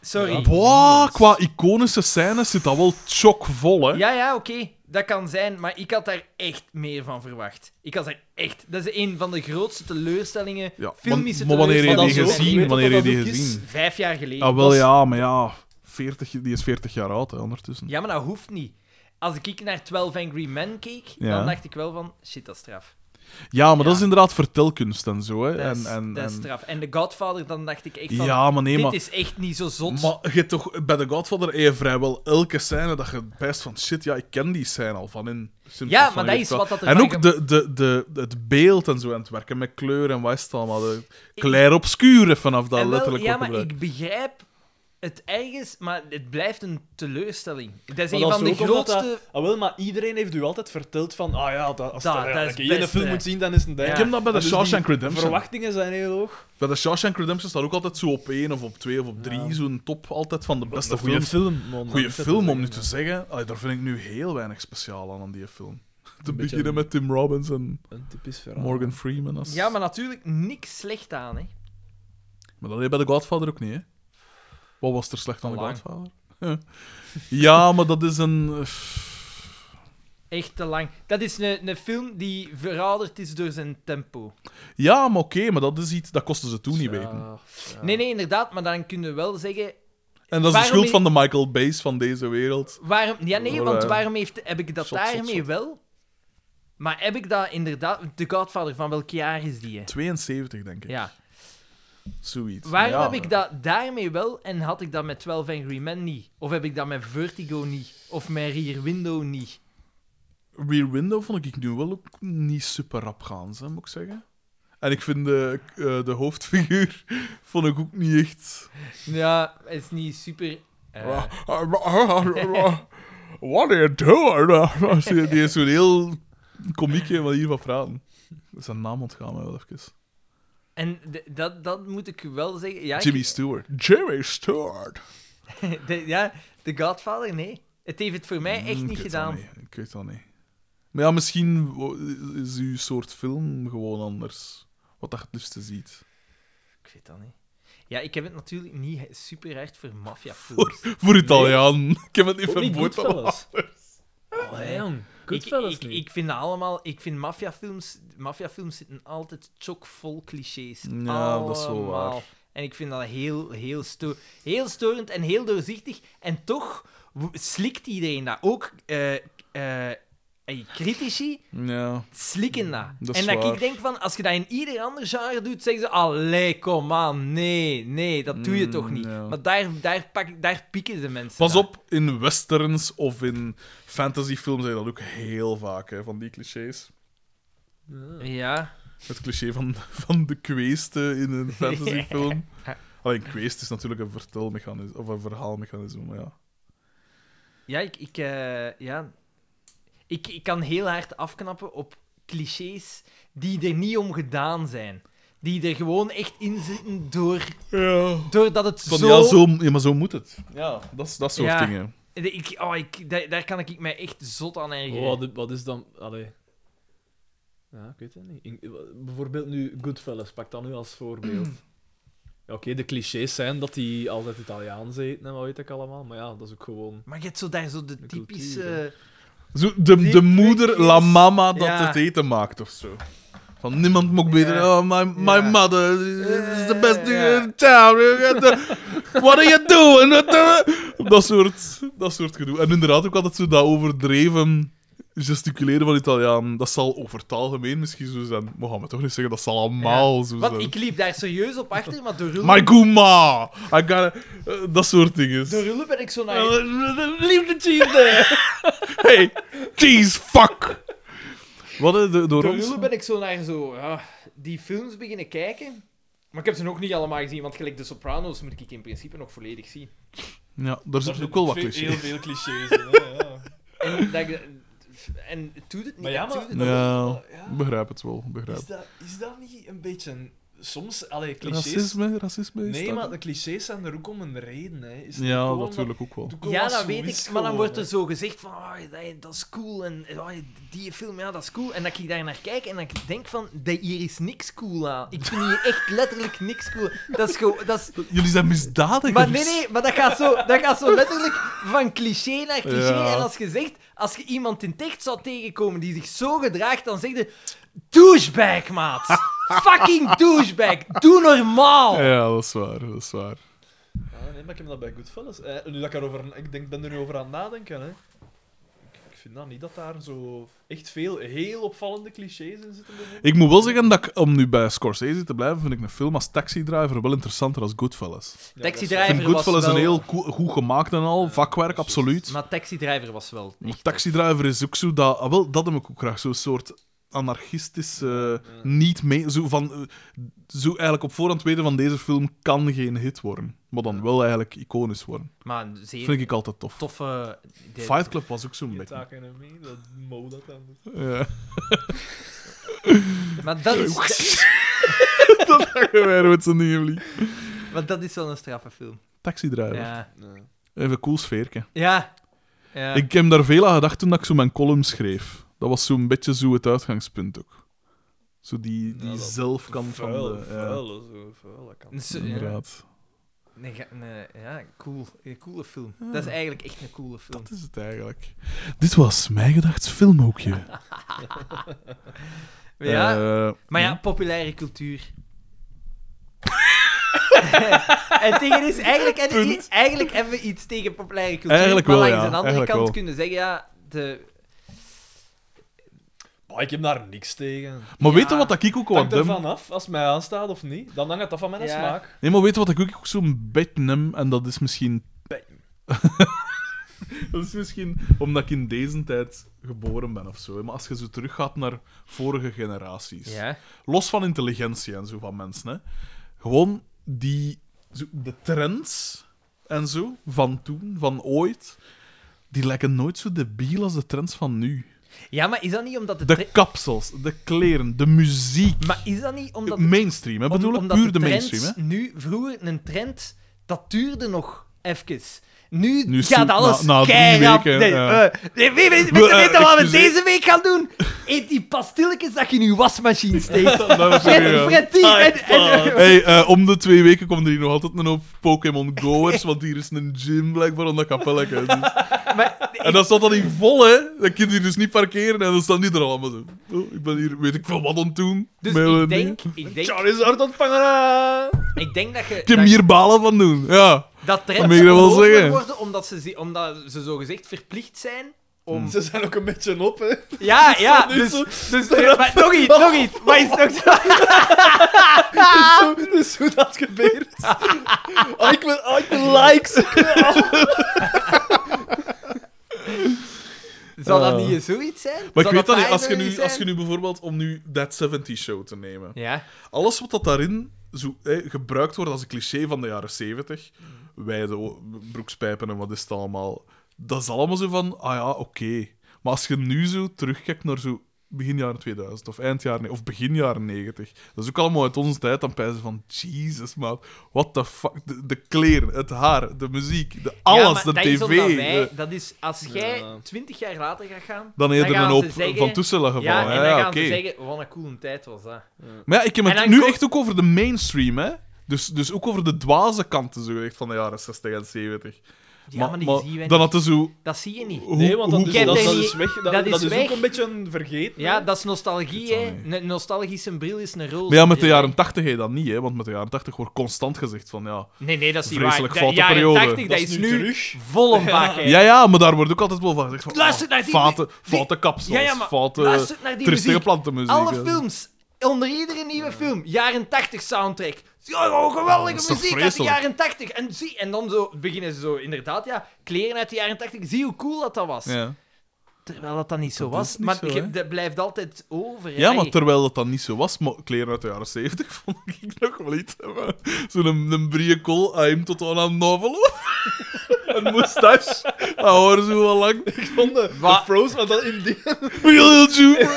Speaker 3: Sorry.
Speaker 4: Ah, Boah, qua iconische scènes zit dat wel chockvol, hè.
Speaker 3: Ja, ja, oké. Dat kan zijn, maar ik had daar echt meer van verwacht. Ik had daar echt... Dat is een van de grootste teleurstellingen,
Speaker 4: Ja,
Speaker 3: filmische
Speaker 4: maar- maar wanneer je
Speaker 2: Maar
Speaker 4: die
Speaker 2: dat is ook-
Speaker 4: gezien-
Speaker 2: weet je
Speaker 4: wanneer
Speaker 2: wat
Speaker 4: je
Speaker 2: dat
Speaker 4: die
Speaker 2: ook is?
Speaker 4: gezien?
Speaker 3: Vijf jaar geleden.
Speaker 4: Ah, wel
Speaker 3: Dat is-
Speaker 4: ja, maar ja, 40, die is 40 jaar oud, hè, ondertussen.
Speaker 3: Ja, maar dat hoeft niet. Als ik naar 12 Angry Men keek,
Speaker 4: Ja.
Speaker 3: dan dacht ik wel van, shit, dat is straf.
Speaker 4: Ja, maar dat
Speaker 3: Ja.
Speaker 4: is inderdaad vertelkunst en zo, hè.
Speaker 3: Dat is,
Speaker 4: En, en,
Speaker 3: dat is
Speaker 4: en...
Speaker 3: straf. En The Godfather, dan dacht ik echt van,
Speaker 4: Ja, maar nee,
Speaker 3: dit
Speaker 4: maar...
Speaker 3: is echt niet zo zot.
Speaker 4: Maar je hebt toch, bij The Godfather heb je vrijwel elke scène dat je bijst van shit, ja, ik ken die scène al van in Simpsons.
Speaker 3: Ja,
Speaker 4: van
Speaker 3: maar
Speaker 4: hier
Speaker 3: dat is
Speaker 4: qua-
Speaker 3: wat dat
Speaker 4: En
Speaker 3: ervan
Speaker 4: ook de, de, de, het beeld en zo aan het werken met kleur en wat is het allemaal. De clair obscure vanaf dat
Speaker 3: En wel,
Speaker 4: letterlijk
Speaker 3: ja,
Speaker 4: wordt
Speaker 3: maar
Speaker 4: gebruikt.
Speaker 3: ik begrijp het ergens, maar het blijft een teleurstelling. Dat is een
Speaker 2: Maar dat
Speaker 3: van de
Speaker 2: is ook omdat dat-
Speaker 3: grootste...
Speaker 2: Ah, wel, maar iedereen heeft u altijd verteld van, ah ja, dat, als
Speaker 3: Dat-
Speaker 2: dat,
Speaker 3: dat is
Speaker 2: je
Speaker 3: best,
Speaker 2: een film
Speaker 3: hè.
Speaker 2: moet zien, dan is het een ding.
Speaker 3: Ik
Speaker 4: heb dat bij de
Speaker 2: Dus die
Speaker 4: Shawshank Redemption.
Speaker 2: Verwachtingen zijn heel hoog.
Speaker 4: Bij de Shawshank Redemption staat ook altijd zo op één of op twee of op drie, zo'n top altijd van de beste
Speaker 2: Een goede
Speaker 4: films.
Speaker 2: film. man.
Speaker 4: Goeie
Speaker 2: Dat is
Speaker 4: film,
Speaker 2: het
Speaker 4: om nu
Speaker 2: ding,
Speaker 4: te zeggen. Allee, daar vind ik nu heel weinig speciaal aan, aan die film. Te
Speaker 2: Een beetje
Speaker 4: beginnen
Speaker 2: een-
Speaker 4: met Tim Robbins en
Speaker 2: hè. Een typisch verhaal.
Speaker 4: Morgan Freeman. Als...
Speaker 3: Ja, maar natuurlijk niks slecht aan, hè.
Speaker 4: Maar dat deed bij The Godfather ook niet, hè? Wat was er slecht aan The
Speaker 3: Lang.
Speaker 4: Godfather? ja, maar dat is een... eh,
Speaker 3: Echt te lang. Dat is een, een film die verouderd is door zijn tempo.
Speaker 4: Ja, maar oké, maar dat is iets... Dat kosten ze toen niet weten.
Speaker 2: Ja, ja.
Speaker 3: Nee, nee, inderdaad, maar dan kunnen we wel zeggen...
Speaker 4: En dat is de
Speaker 3: Waarom
Speaker 4: schuld
Speaker 3: niet-
Speaker 4: van de Michael Bay's van deze wereld.
Speaker 3: Waarom, ja, nee,
Speaker 4: Voilà.
Speaker 3: want waarom heeft, heb ik dat
Speaker 4: Shot, shot,
Speaker 3: daarmee
Speaker 4: shot.
Speaker 3: wel? Maar heb ik dat inderdaad... The Godfather, van welk jaar is die, hè?
Speaker 4: 72, denk ik.
Speaker 3: Ja.
Speaker 4: Zoiets.
Speaker 3: Waarom
Speaker 4: Ja.
Speaker 3: heb ik dat daarmee wel en had ik dat met 12 Angry Men niet? Of heb ik dat met Vertigo niet? Of met Rear Window niet?
Speaker 4: Rear Window vond ik nu wel ook niet super rap gaan, hè, moet ik zeggen. En ik vind de, eh, de hoofdfiguur vond ik ook niet echt...
Speaker 3: Ja, het is niet super... eh,
Speaker 4: Eh. What are you doing? Die is zo'n heel komiekje wat hiervan praten. Zijn naam ontgaan mij wel even.
Speaker 3: En d- dat, dat moet ik wel zeggen. Ja, ik-
Speaker 4: Jimmy Stewart. Jimmy Stewart.
Speaker 3: de, ja, The Godfather, nee. Het heeft het voor mij echt
Speaker 4: Hmm,
Speaker 3: niet
Speaker 4: ik weet dat
Speaker 3: gedaan.
Speaker 4: niet, Ik weet dat niet. Maar ja, misschien wo- is uw soort film gewoon anders. Wat dat je het liefste ziet.
Speaker 3: Ik weet dat niet. Ja, ik heb het natuurlijk niet he- super hard voor maffiafilms.
Speaker 4: Voor Italiaan. Ik heb het niet
Speaker 2: Ook niet
Speaker 4: verboord van
Speaker 2: Goodfellas. Allee, jong.
Speaker 3: Ik,
Speaker 2: Goodfellas
Speaker 3: ik,
Speaker 2: niet.
Speaker 3: ik vind dat allemaal... Ik vind maffiafilms... Maffiafilms zitten altijd chockvol clichés.
Speaker 4: Ja, dat is wel waar.
Speaker 3: Allemaal. En ik vind dat heel, heel, sto heel storend en heel doorzichtig. En toch w- slikt iedereen dat. Ook eh, eh, eh, critici
Speaker 4: Ja.
Speaker 3: slikken dat.
Speaker 4: Dat is
Speaker 3: en dat
Speaker 4: waar.
Speaker 3: ik denk van, als je dat in ieder ander genre doet, zeggen ze, allee, kom aan, nee, nee, dat doe je
Speaker 4: Mm,
Speaker 3: toch niet.
Speaker 4: ja.
Speaker 3: Maar daar, daar, pak, daar pikken de mensen
Speaker 4: Pas
Speaker 3: naar.
Speaker 4: op, in westerns of in fantasyfilms zijn dat ook heel vaak, hè, van die clichés.
Speaker 3: Ja.
Speaker 4: Het cliché van, van de kweeste in een fantasyfilm. Alleen kweest is natuurlijk een vertelmechanisme of een verhaalmechanisme, maar ja.
Speaker 3: Ja, ik, ik, eh, ja. Ik, ik kan heel hard afknappen op clichés die er niet om gedaan zijn. Die er gewoon echt in zitten door, doordat het
Speaker 4: Van,
Speaker 3: zo...
Speaker 4: ja, zo... ja, maar zo moet het. Ja, dat, is- dat soort
Speaker 3: Ja.
Speaker 4: dingen.
Speaker 3: Ik, oh, ik, daar, daar kan ik mij echt zot aan ergeren.
Speaker 2: Oh, wat, wat is dan... Allee. Ja, ik weet het niet. In- bijvoorbeeld nu Goodfellas, pak dat nu als voorbeeld. Ja, Oké, de clichés zijn dat die altijd Italiaans eten en wat weet ik allemaal, maar ja, dat is ook gewoon...
Speaker 3: Maar je hebt zo daar zo de
Speaker 2: De
Speaker 3: typische...
Speaker 2: cultuur,
Speaker 4: Zo, de, de
Speaker 3: Die
Speaker 4: moeder, la
Speaker 3: clichés.
Speaker 4: mama, dat
Speaker 3: Ja.
Speaker 4: het eten maakt of zo. Van niemand mocht beter.
Speaker 3: Ja.
Speaker 4: Oh, my, my
Speaker 3: Ja.
Speaker 4: mother is the
Speaker 3: Ja,
Speaker 4: best
Speaker 3: ja.
Speaker 4: in town. What are you doing? What the- Dat soort, dat soort gedoe. En inderdaad ook altijd zo dat overdreven gesticuleren van Italiaan. Dat zal over het algemeen misschien zo zijn. We gaan maar toch niet zeggen dat zal allemaal zo
Speaker 3: Want
Speaker 4: zijn.
Speaker 3: ik liep daar serieus op achter, maar door
Speaker 4: My
Speaker 3: hulp,
Speaker 4: guma! I gotta- eh, dat soort dingen.
Speaker 3: door hulp ben ik zo naar...
Speaker 2: Liefde cheese there!
Speaker 4: Hey, cheese fuck! Wat eh, de, door
Speaker 3: Door
Speaker 4: ons?
Speaker 3: Rulle ben ik zo naar zo, ja, die films beginnen kijken. Maar ik heb ze nog niet allemaal gezien, want gelijk De Sopranos moet ik in principe nog volledig zien.
Speaker 4: Ja, daar zit ook wel wat
Speaker 2: Heel
Speaker 4: clichés.
Speaker 2: veel clichés in, hè, ja.
Speaker 3: En, dat, ik- en het doet het niet.
Speaker 2: Maar ja,
Speaker 3: het
Speaker 2: maar-
Speaker 3: doet het niet.
Speaker 4: Ja, begrijp het wel. Begrijp.
Speaker 2: Is
Speaker 4: het.
Speaker 2: dat, is dat niet een beetje een soms, allee, clichés...
Speaker 4: Racisme, racisme is
Speaker 2: Nee,
Speaker 4: dat.
Speaker 2: maar de clichés zijn er ook om een reden, hè. Is het niet
Speaker 4: Ja,
Speaker 2: gewoon
Speaker 4: natuurlijk ook wel.
Speaker 2: omdat-
Speaker 3: Ja,
Speaker 2: omdat
Speaker 3: dat
Speaker 2: zo
Speaker 3: weet
Speaker 2: is
Speaker 3: ik. Maar dan
Speaker 2: gewoon,
Speaker 3: wordt er
Speaker 2: hè.
Speaker 3: zo gezegd van, ah, dat- dat is cool en ah, die film, ja, dat is cool. En dat ik daar naar kijk en dat ik denk van, dat hier is niks cool aan. Ik vind hier echt letterlijk niks cool. Dat is gewoon, dat is...
Speaker 4: Jullie zijn misdadigers.
Speaker 3: Maar nee, nee, maar dat gaat zo, dat gaat zo letterlijk van cliché naar cliché.
Speaker 4: Ja.
Speaker 3: En als je zegt, als je iemand in het echt zou tegenkomen die zich zo gedraagt, dan zeg je, douchebag, maat. Fucking douchebag. Doe normaal.
Speaker 4: Ja, dat is waar, dat is waar.
Speaker 2: Ah, nee, maar ik heb dat bij Goodfellas. Eh, nu dat ik, erover, ik denk, ben er nu over aan het nadenken. Hè. Ik, ik vind dat niet dat daar zo echt veel heel opvallende clichés in zitten. bijvoorbeeld.
Speaker 4: Ik moet wel zeggen dat ik, om nu bij Scorsese te blijven, vind ik een film als Taxi Driver wel interessanter als Goodfellas.
Speaker 2: Ja,
Speaker 3: Taxi
Speaker 2: dat is-
Speaker 4: Ik vind
Speaker 3: Driver was
Speaker 4: Goodfellas
Speaker 3: wel-
Speaker 4: een heel koe- goed gemaakt en al, vakwerk, absoluut.
Speaker 3: Maar Taxi Driver was wel
Speaker 4: Maar Taxi Driver is ook zo dat... ah, wel, dat heb ik ook graag. Zo'n soort anarchistisch, eh, niet mee... Zo, van, eh, zo eigenlijk op voorhand weten van deze film kan geen hit worden. Maar dan wel eigenlijk iconisch worden.
Speaker 3: Maar een zeer
Speaker 4: Vind ik altijd tof.
Speaker 3: toffe... de-
Speaker 4: Fight Club was ook zo'n
Speaker 2: Je
Speaker 4: beetje.
Speaker 2: taken en mee, dat Mo dat dan doet.
Speaker 4: Ja.
Speaker 3: Maar dat is,
Speaker 4: dat hangen wij met z'n dingen, lief.
Speaker 3: maar dat is wel een straffe film.
Speaker 4: Taxi Driver.
Speaker 3: Ja.
Speaker 4: Even een cool sfeerke.
Speaker 3: Ja. ja.
Speaker 4: Ik heb daar veel aan gedacht toen ik zo mijn column schreef. Dat was zo'n beetje zo het uitgangspunt ook. Zo die, die
Speaker 2: Ja, dat-
Speaker 4: zelfkant
Speaker 2: Vuil,
Speaker 4: van de... ja,
Speaker 2: vuil, zo, vuil, dat kan.
Speaker 3: Dus, ja.
Speaker 4: inderdaad.
Speaker 3: Nee, ga- nee, ja, cool. Een coole film. Dat is eigenlijk echt een coole film.
Speaker 4: Dat is het eigenlijk. Dit was mijn gedacht filmhoekje.
Speaker 3: Ja.
Speaker 4: Eh,
Speaker 3: maar ja, populaire cultuur. en tegen is eigenlijk, hebben we- eigenlijk hebben we iets tegen populaire cultuur.
Speaker 4: Eigenlijk
Speaker 3: maar
Speaker 4: wel,
Speaker 3: langs
Speaker 4: ja.
Speaker 3: de andere
Speaker 4: Eigenlijk
Speaker 3: kant
Speaker 4: wel.
Speaker 3: kunnen zeggen, ja, de...
Speaker 2: Maar Oh, ik heb daar niks tegen.
Speaker 4: Maar weet je
Speaker 3: Ja.
Speaker 4: wat dat ik ook wat
Speaker 2: Hangt er
Speaker 4: dem?
Speaker 2: vanaf, als het mij aanstaat of niet, dan hangt het af van mijn
Speaker 3: Ja.
Speaker 2: smaak.
Speaker 4: Nee, maar weet je wat ik ook ook zo'n beetje neem? En dat is misschien... dat is misschien omdat ik in deze tijd geboren ben of zo. hè. Maar als je zo teruggaat naar vorige generaties. los van intelligentie en zo van mensen, hè. gewoon die, zo, de trends en zo van toen, van ooit, die lijken nooit zo debiel als de trends van nu.
Speaker 3: ja, maar is dat niet omdat de...
Speaker 4: De
Speaker 3: tre-
Speaker 4: kapsels, de kleren, de muziek.
Speaker 3: Maar is dat niet omdat...
Speaker 4: mainstream, hè,
Speaker 3: Om-
Speaker 4: bedoel ik?
Speaker 3: omdat
Speaker 4: Puur de,
Speaker 3: trends
Speaker 4: mainstream, hè?
Speaker 3: Nu, vroeger, een trend, dat duurde nog even. Nu,
Speaker 4: Nu is
Speaker 3: gaat
Speaker 4: het
Speaker 3: alles
Speaker 4: na- na drie
Speaker 3: keirap.
Speaker 4: weken,
Speaker 3: Nee,
Speaker 4: ja.
Speaker 3: eh, nee, wie weet,
Speaker 4: Eh,
Speaker 3: weet, weet je wat we
Speaker 4: excuseer.
Speaker 3: deze week gaan doen? Eet die pastilletjes dat je in je wasmachine steekt.
Speaker 4: Dat was weer, ja.
Speaker 3: Fred, die- en- en-
Speaker 4: Hey, eh, om de twee weken komt er hier nog altijd een hoop Pokémon Goers, want hier is een gym blijkbaar om dat kapelletje. Dus-
Speaker 3: maar-
Speaker 4: En dat staat dan niet vol, hè? Dat kind hier dus niet parkeren en dan staan die er allemaal zo. Oh, ik ben hier, weet ik veel wat aan het doen.
Speaker 3: Dus
Speaker 4: Met
Speaker 3: ik
Speaker 4: een
Speaker 3: denk,
Speaker 4: ding.
Speaker 3: ik, denk,
Speaker 2: Charizard ontvangen! ah!
Speaker 3: ik denk dat je...
Speaker 4: Ik heb
Speaker 3: dat-
Speaker 4: hier balen van doen. Ja.
Speaker 3: Dat
Speaker 4: Dat
Speaker 3: trends
Speaker 4: mag je wel
Speaker 3: onmogelijk
Speaker 4: zeggen.
Speaker 3: worden omdat ze, zi- omdat ze zogezegd verplicht zijn om...
Speaker 2: Ze zijn ook een beetje op, hè.
Speaker 3: Ja, ja,
Speaker 2: nu
Speaker 3: dus...
Speaker 2: zo-
Speaker 3: dus maar, nog iets, nog iets. Maar is het ook zo...
Speaker 2: Zo, dit is hoe dat gebeurt. Ah, ik, wil, ah, ik wil likes!
Speaker 3: Zou dat niet zoiets zijn?
Speaker 4: Ah. Maar ik
Speaker 3: Zou
Speaker 4: weet dat niet,
Speaker 3: Pfizer
Speaker 4: als je, nu,
Speaker 3: niet
Speaker 4: als je
Speaker 3: zijn?
Speaker 4: nu bijvoorbeeld, om nu That 70 Show te nemen,
Speaker 3: Ja.
Speaker 4: alles wat dat daarin zo, hè, gebruikt wordt als een cliché van de jaren 70, wijde o- broekspijpen en wat is het allemaal, dat is allemaal zo van, ah ja, oké. Maar als je nu zo terugkijkt naar zo begin jaren 2000 of eind jaren ne- of begin jaren 90, dat is ook allemaal uit onze tijd, dan pijzen van, Jesus, maat, what the fuck, de, de kleren, het haar, de muziek, de,
Speaker 3: Ja,
Speaker 4: alles,
Speaker 3: maar
Speaker 4: de
Speaker 3: dat
Speaker 4: tv.
Speaker 3: Is omdat wij,
Speaker 4: de-
Speaker 3: dat is als jij
Speaker 2: Ja.
Speaker 3: twintig jaar later gaat gaan.
Speaker 4: dan
Speaker 3: je
Speaker 4: eerder
Speaker 3: er
Speaker 4: een hoop van toestellen gevallen.
Speaker 3: Ja, en dan
Speaker 4: ja,
Speaker 3: gaan
Speaker 4: oké.
Speaker 3: ze zeggen: wat een coole tijd was dat.
Speaker 4: Maar ja, ik heb
Speaker 3: En
Speaker 4: het
Speaker 3: dan
Speaker 4: nu
Speaker 3: ko-
Speaker 4: echt ook over de mainstream, hè. Dus, dus ook over de dwaze kanten zo gezegd, van de jaren 60 en 70.
Speaker 3: Ja, maar, die zien wij
Speaker 4: dan
Speaker 3: niet.
Speaker 4: hadden ze zo...
Speaker 3: Dat zie je niet.
Speaker 4: Hoe,
Speaker 2: Nee, want dat,
Speaker 4: hoe-
Speaker 2: is,
Speaker 3: Ik heb
Speaker 2: dat,
Speaker 3: er
Speaker 2: dat
Speaker 3: niet-
Speaker 2: is weg. Dat,
Speaker 3: dat
Speaker 2: dat
Speaker 3: is
Speaker 2: is,
Speaker 3: weg.
Speaker 2: ook een beetje vergeten.
Speaker 3: Ja, dat is nostalgie,
Speaker 4: Ik weet
Speaker 3: hè.
Speaker 4: dat
Speaker 3: Een nostalgische bril is een roze.
Speaker 4: Maar ja, met de
Speaker 3: bril.
Speaker 4: jaren 80 heet dat niet, hè. Want met de jaren 80 wordt constant gezegd van, ja...
Speaker 3: Nee, nee, dat is niet
Speaker 4: Vreselijk
Speaker 3: waar.
Speaker 4: foute
Speaker 3: ja,
Speaker 4: periode.
Speaker 3: 80, dat, is nu
Speaker 2: terug.
Speaker 3: vol een bak, hè.
Speaker 4: Ja, ja, maar daar wordt ook altijd wel van gezegd van...
Speaker 3: Luister
Speaker 4: ah,
Speaker 3: naar die-
Speaker 4: Foute,
Speaker 3: die-
Speaker 4: foute kapsels,
Speaker 3: Ja, ja, maar
Speaker 4: foute...
Speaker 3: Luister naar die
Speaker 4: Tristige
Speaker 3: muziek.
Speaker 4: plantenmuziek.
Speaker 3: Alle
Speaker 4: hè.
Speaker 3: films, onder iedere nieuwe film, jaren 80 soundtrack. Ja, oh, geweldige
Speaker 4: Dat is toch
Speaker 3: muziek uit de
Speaker 4: vreselijk?
Speaker 3: jaren 80. En, zie, en dan zo beginnen ze zo, inderdaad, ja, kleren uit de jaren 80. Zie hoe cool dat dat was.
Speaker 4: Ja.
Speaker 3: Terwijl dat dat niet zo was.
Speaker 4: is niet
Speaker 3: maar
Speaker 4: zo,
Speaker 3: je-
Speaker 4: hè?
Speaker 3: dat blijft altijd over. hè.
Speaker 4: Ja, maar
Speaker 3: Allee.
Speaker 4: terwijl dat dan niet zo was, maar kleren uit de jaren 70 vond ik nog wel iets. hebben. Zo'n een briekol, hij hem tot aan een novel. een moustache, dat hoor zo wel lang.
Speaker 2: Ik vond de, de Frozen, want dat in die
Speaker 4: Real Jew.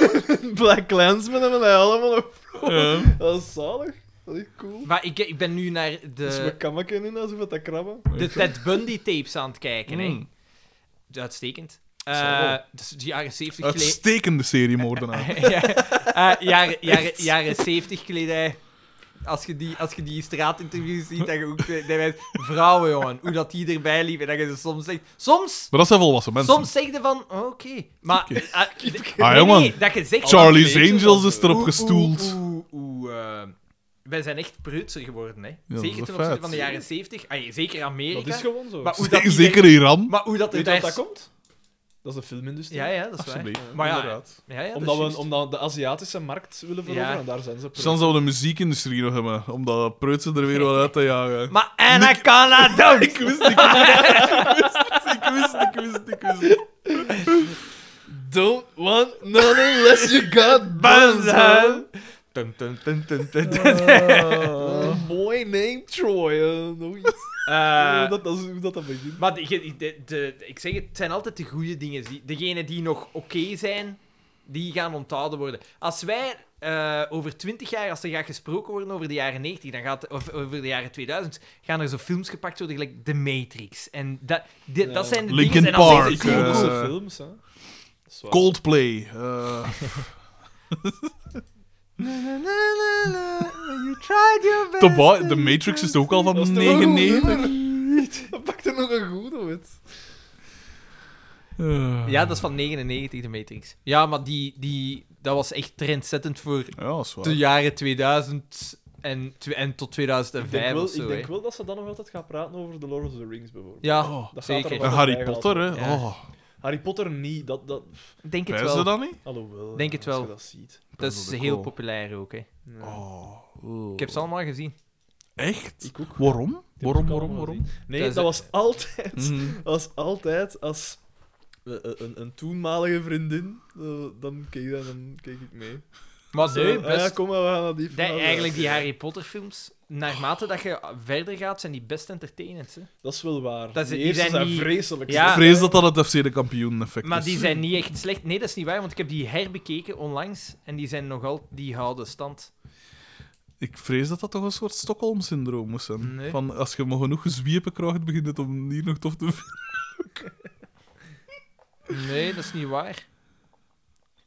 Speaker 2: Black Clansman hebben dat allemaal nog.
Speaker 4: Ja.
Speaker 2: Dat is zalig. Dat Allee, cool.
Speaker 3: Maar ik, ik ben nu naar
Speaker 2: Dus we
Speaker 3: de,
Speaker 2: kamakken in alsof het dat krabben.
Speaker 3: de Ted Bundy tapes aan het kijken.
Speaker 4: Mm.
Speaker 3: Hè. Uitstekend.
Speaker 2: Zo.
Speaker 3: Eh dus de jaren 70 geleden.
Speaker 4: Uitstekende serie moordenaar.
Speaker 3: ja, eh, jaren, jaren, jaren 70 kledij.
Speaker 9: Als je die, als je die straatinterviews ziet, dat je ook... eh, Dat wij, vrouwen, jongen, hoe dat die erbij liep en dat je ze soms zegt... Soms...
Speaker 4: Maar dat zijn volwassen mensen.
Speaker 3: Soms zeg je van, oh, oké. Maar
Speaker 4: Oké.
Speaker 3: eh, eh,
Speaker 4: Ah,
Speaker 3: nee,
Speaker 4: jongen.
Speaker 3: nee, dat je zegt...
Speaker 4: Charlie's
Speaker 2: Weet je
Speaker 4: Angels
Speaker 2: dat?
Speaker 4: is erop
Speaker 3: Hoe-
Speaker 4: gestoeld.
Speaker 3: hoe- hoe- hoe, eh, wij zijn echt preutser geworden, hè.
Speaker 4: dat is
Speaker 3: zeker
Speaker 4: een
Speaker 3: ten opzichte
Speaker 4: feit.
Speaker 3: van de jaren 70. Ah, zeker
Speaker 2: Dat
Speaker 3: Amerika.
Speaker 2: is gewoon zo.
Speaker 3: Maar hoe dat
Speaker 4: Zeker-
Speaker 3: die
Speaker 4: Zeker Iran.
Speaker 3: Maar hoe dat
Speaker 2: Weet
Speaker 3: het
Speaker 2: je waar
Speaker 3: daar...
Speaker 2: dat komt? Dat is de filmindustrie.
Speaker 3: Ja, ja, dat is waar.
Speaker 4: Alsjeblieft.
Speaker 3: Maar ja,
Speaker 4: Inderdaad.
Speaker 3: Ja, ja, dat
Speaker 2: omdat,
Speaker 3: is
Speaker 2: we,
Speaker 3: juist.
Speaker 2: omdat de Aziatische markt willen veroveren
Speaker 3: Ja.
Speaker 2: en daar zijn ze pro.
Speaker 4: Chans dat we de muziekindustrie nog hebben, om dat preutsen er weer wel uit te jagen.
Speaker 3: Maar Anaconda Don't!
Speaker 4: Ik wist, ik wist, ik wist, ik wist, ik wist, ik wist.
Speaker 10: Don't want none unless you got buns, huh?
Speaker 3: Dun, dun, dun, dun, dun, dun.
Speaker 2: Ah.
Speaker 10: Boy named Troy. eh, nog iets.
Speaker 3: Eh,
Speaker 2: dat, dat is hoe dat, dat begint.
Speaker 3: Maar de, de, de- de- ik zeg het, het zijn altijd de goede dingen. Die- Degenen die nog oké zijn, die gaan onthouden worden. Als wij eh, over 20 jaar, als er gaat gesproken worden over de jaren 90, dan gaat, of over de jaren 2000, gaan er zo films gepakt worden, gelijk The Matrix. En dat, dit-
Speaker 2: Ja.
Speaker 3: dat zijn de
Speaker 4: Linkin
Speaker 3: dingen... en dan
Speaker 4: Park,
Speaker 3: zeggen ze,
Speaker 2: Cool,
Speaker 4: eh,
Speaker 2: cool films, hè. Dat is waar.
Speaker 4: Coldplay. eh, The, Boy- The Matrix is ook al
Speaker 2: Dat
Speaker 4: van
Speaker 2: is toch een goed
Speaker 4: 99.
Speaker 2: nummer? Dat pakt er nog een goede met.
Speaker 4: Eh,
Speaker 3: Ja, dat is van 99, The Matrix. Ja, maar die, die, dat was echt trendzettend voor
Speaker 4: ja, dat is
Speaker 3: de
Speaker 4: waar.
Speaker 3: jaren 2000 en, tw- en tot
Speaker 2: Ik
Speaker 3: 2005
Speaker 2: denk, wel,
Speaker 3: of zo.
Speaker 2: ik denk
Speaker 3: hè.
Speaker 2: wel dat ze dan nog altijd gaan praten over The Lord of the Rings, bijvoorbeeld.
Speaker 3: Ja,
Speaker 4: Oh,
Speaker 2: Dat gaat er
Speaker 3: zeker.
Speaker 2: wel.
Speaker 4: En Harry
Speaker 2: Ja.
Speaker 4: Potter, hè?
Speaker 3: Ja.
Speaker 4: Oh,
Speaker 2: Harry Potter niet, dat... dat
Speaker 3: Ik denk het
Speaker 4: wijzen ze
Speaker 3: wel.
Speaker 4: dat niet?
Speaker 2: alhoewel,
Speaker 3: Denk
Speaker 2: ja,
Speaker 3: het wel.
Speaker 2: als je dat ziet.
Speaker 3: Dat
Speaker 4: Prince
Speaker 3: is
Speaker 4: of the
Speaker 3: heel
Speaker 4: Call.
Speaker 3: populair ook, hè.
Speaker 2: Nee.
Speaker 4: Oh.
Speaker 3: Ik heb ze allemaal gezien.
Speaker 4: Echt?
Speaker 2: Ik ook.
Speaker 4: Waarom?
Speaker 2: Ik heb
Speaker 4: Waarom,
Speaker 2: ze ook
Speaker 4: waarom,
Speaker 2: allemaal
Speaker 4: waarom?
Speaker 2: gezien. Nee,
Speaker 3: Dat
Speaker 2: dat,
Speaker 3: is-
Speaker 2: was altijd...
Speaker 3: Mm.
Speaker 4: Mhm.
Speaker 2: was altijd als... eh, eh, Een, een toenmalige vriendin, eh, dan keek, ik- dan keek ik mee.
Speaker 3: Maar nee,
Speaker 2: Zo, ah ja,
Speaker 3: best...
Speaker 2: kom maar, we gaan naar die
Speaker 3: Die-
Speaker 2: film.
Speaker 3: eigenlijk die Harry Potter films, naarmate dat je verder gaat, zijn die best entertainend. Hè?
Speaker 2: Dat is wel waar.
Speaker 3: Dat is-
Speaker 2: die
Speaker 3: die
Speaker 2: eerste
Speaker 3: zijn
Speaker 2: zijn,
Speaker 3: niet-
Speaker 2: vreselijk. Eh,
Speaker 3: Ja. eh,
Speaker 4: Ik vrees dat dat het FC de kampioen effect
Speaker 3: Maar
Speaker 4: is.
Speaker 3: die zijn niet echt slecht. Nee, dat is niet waar, want ik heb die herbekeken onlangs en die zijn nogal... Die houden stand.
Speaker 4: Ik vrees dat dat toch een soort Stockholm-syndroom moet zijn.
Speaker 3: Nee.
Speaker 4: Van als je maar genoeg gezwiepen krijgt, begint het om hier nog tof te vinden.
Speaker 3: Nee, dat is niet waar.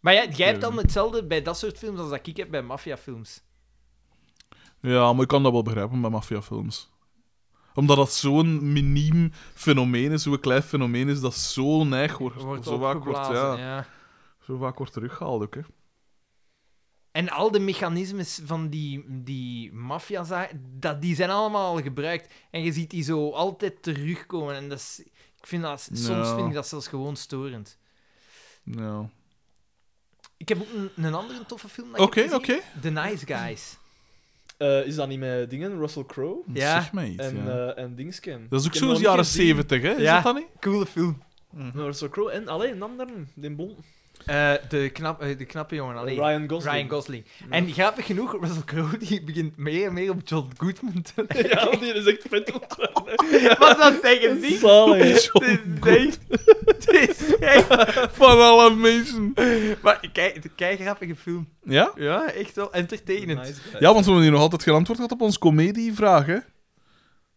Speaker 3: Maar ja, jij hebt dan hetzelfde bij dat soort films als dat ik heb bij maffiafilms.
Speaker 4: Ja, maar ik kan dat wel begrijpen bij maffiafilms. Omdat dat zo'n miniem fenomeen is, zo'n klein fenomeen is, dat zo neig wordt.
Speaker 3: Wordt
Speaker 4: zo, vaak wordt
Speaker 3: opgeblazen,
Speaker 4: ja,
Speaker 3: ja.
Speaker 4: zo vaak wordt teruggehaald ook, hè.
Speaker 3: En al de mechanismes van die, die maffia, dat- die zijn allemaal al gebruikt. En je ziet die zo altijd terugkomen. En dat is, ik vind dat, soms
Speaker 4: Ja.
Speaker 3: vind ik dat zelfs gewoon storend.
Speaker 4: Ja.
Speaker 3: Ik heb ook een, een andere toffe film dat ik
Speaker 4: Oké,
Speaker 3: heb gezien.
Speaker 4: oké.
Speaker 3: The Nice Guys.
Speaker 2: Eh, is dat niet met dingen? Russell Crowe
Speaker 4: Dat
Speaker 3: Ja,
Speaker 4: Zeg mij iets,
Speaker 2: en,
Speaker 4: ja.
Speaker 2: eh en Dingsken.
Speaker 4: Dat is ook
Speaker 2: Ik heb
Speaker 4: zo'n
Speaker 2: nog niet
Speaker 4: jaren
Speaker 2: gezien.
Speaker 4: zeventig, hè? Is
Speaker 3: Ja.
Speaker 4: dat dan niet?
Speaker 3: Coole film.
Speaker 2: Nou, Russell Crowe en alleen een ander, den Bon.
Speaker 3: de, knap, eh, de knappe jongen, alleen. Ryan
Speaker 2: Ryan Gosling.
Speaker 3: Gosling. En grappig genoeg, Russell Crowe die begint meer en meer op John Goodman te lijken.
Speaker 2: Ja, want die is echt vet ontworpen.
Speaker 3: Wat dat zeggen? Zie?
Speaker 2: Zalig.
Speaker 3: Het is echt... Het is echt...
Speaker 4: Van alle mensen.
Speaker 3: Maar kijk, kijk grappige film.
Speaker 4: Ja?
Speaker 3: Ja, echt wel entertainend.
Speaker 4: Ja, want we hebben hier nog altijd geen antwoord gehad op onze comedievraag, hè?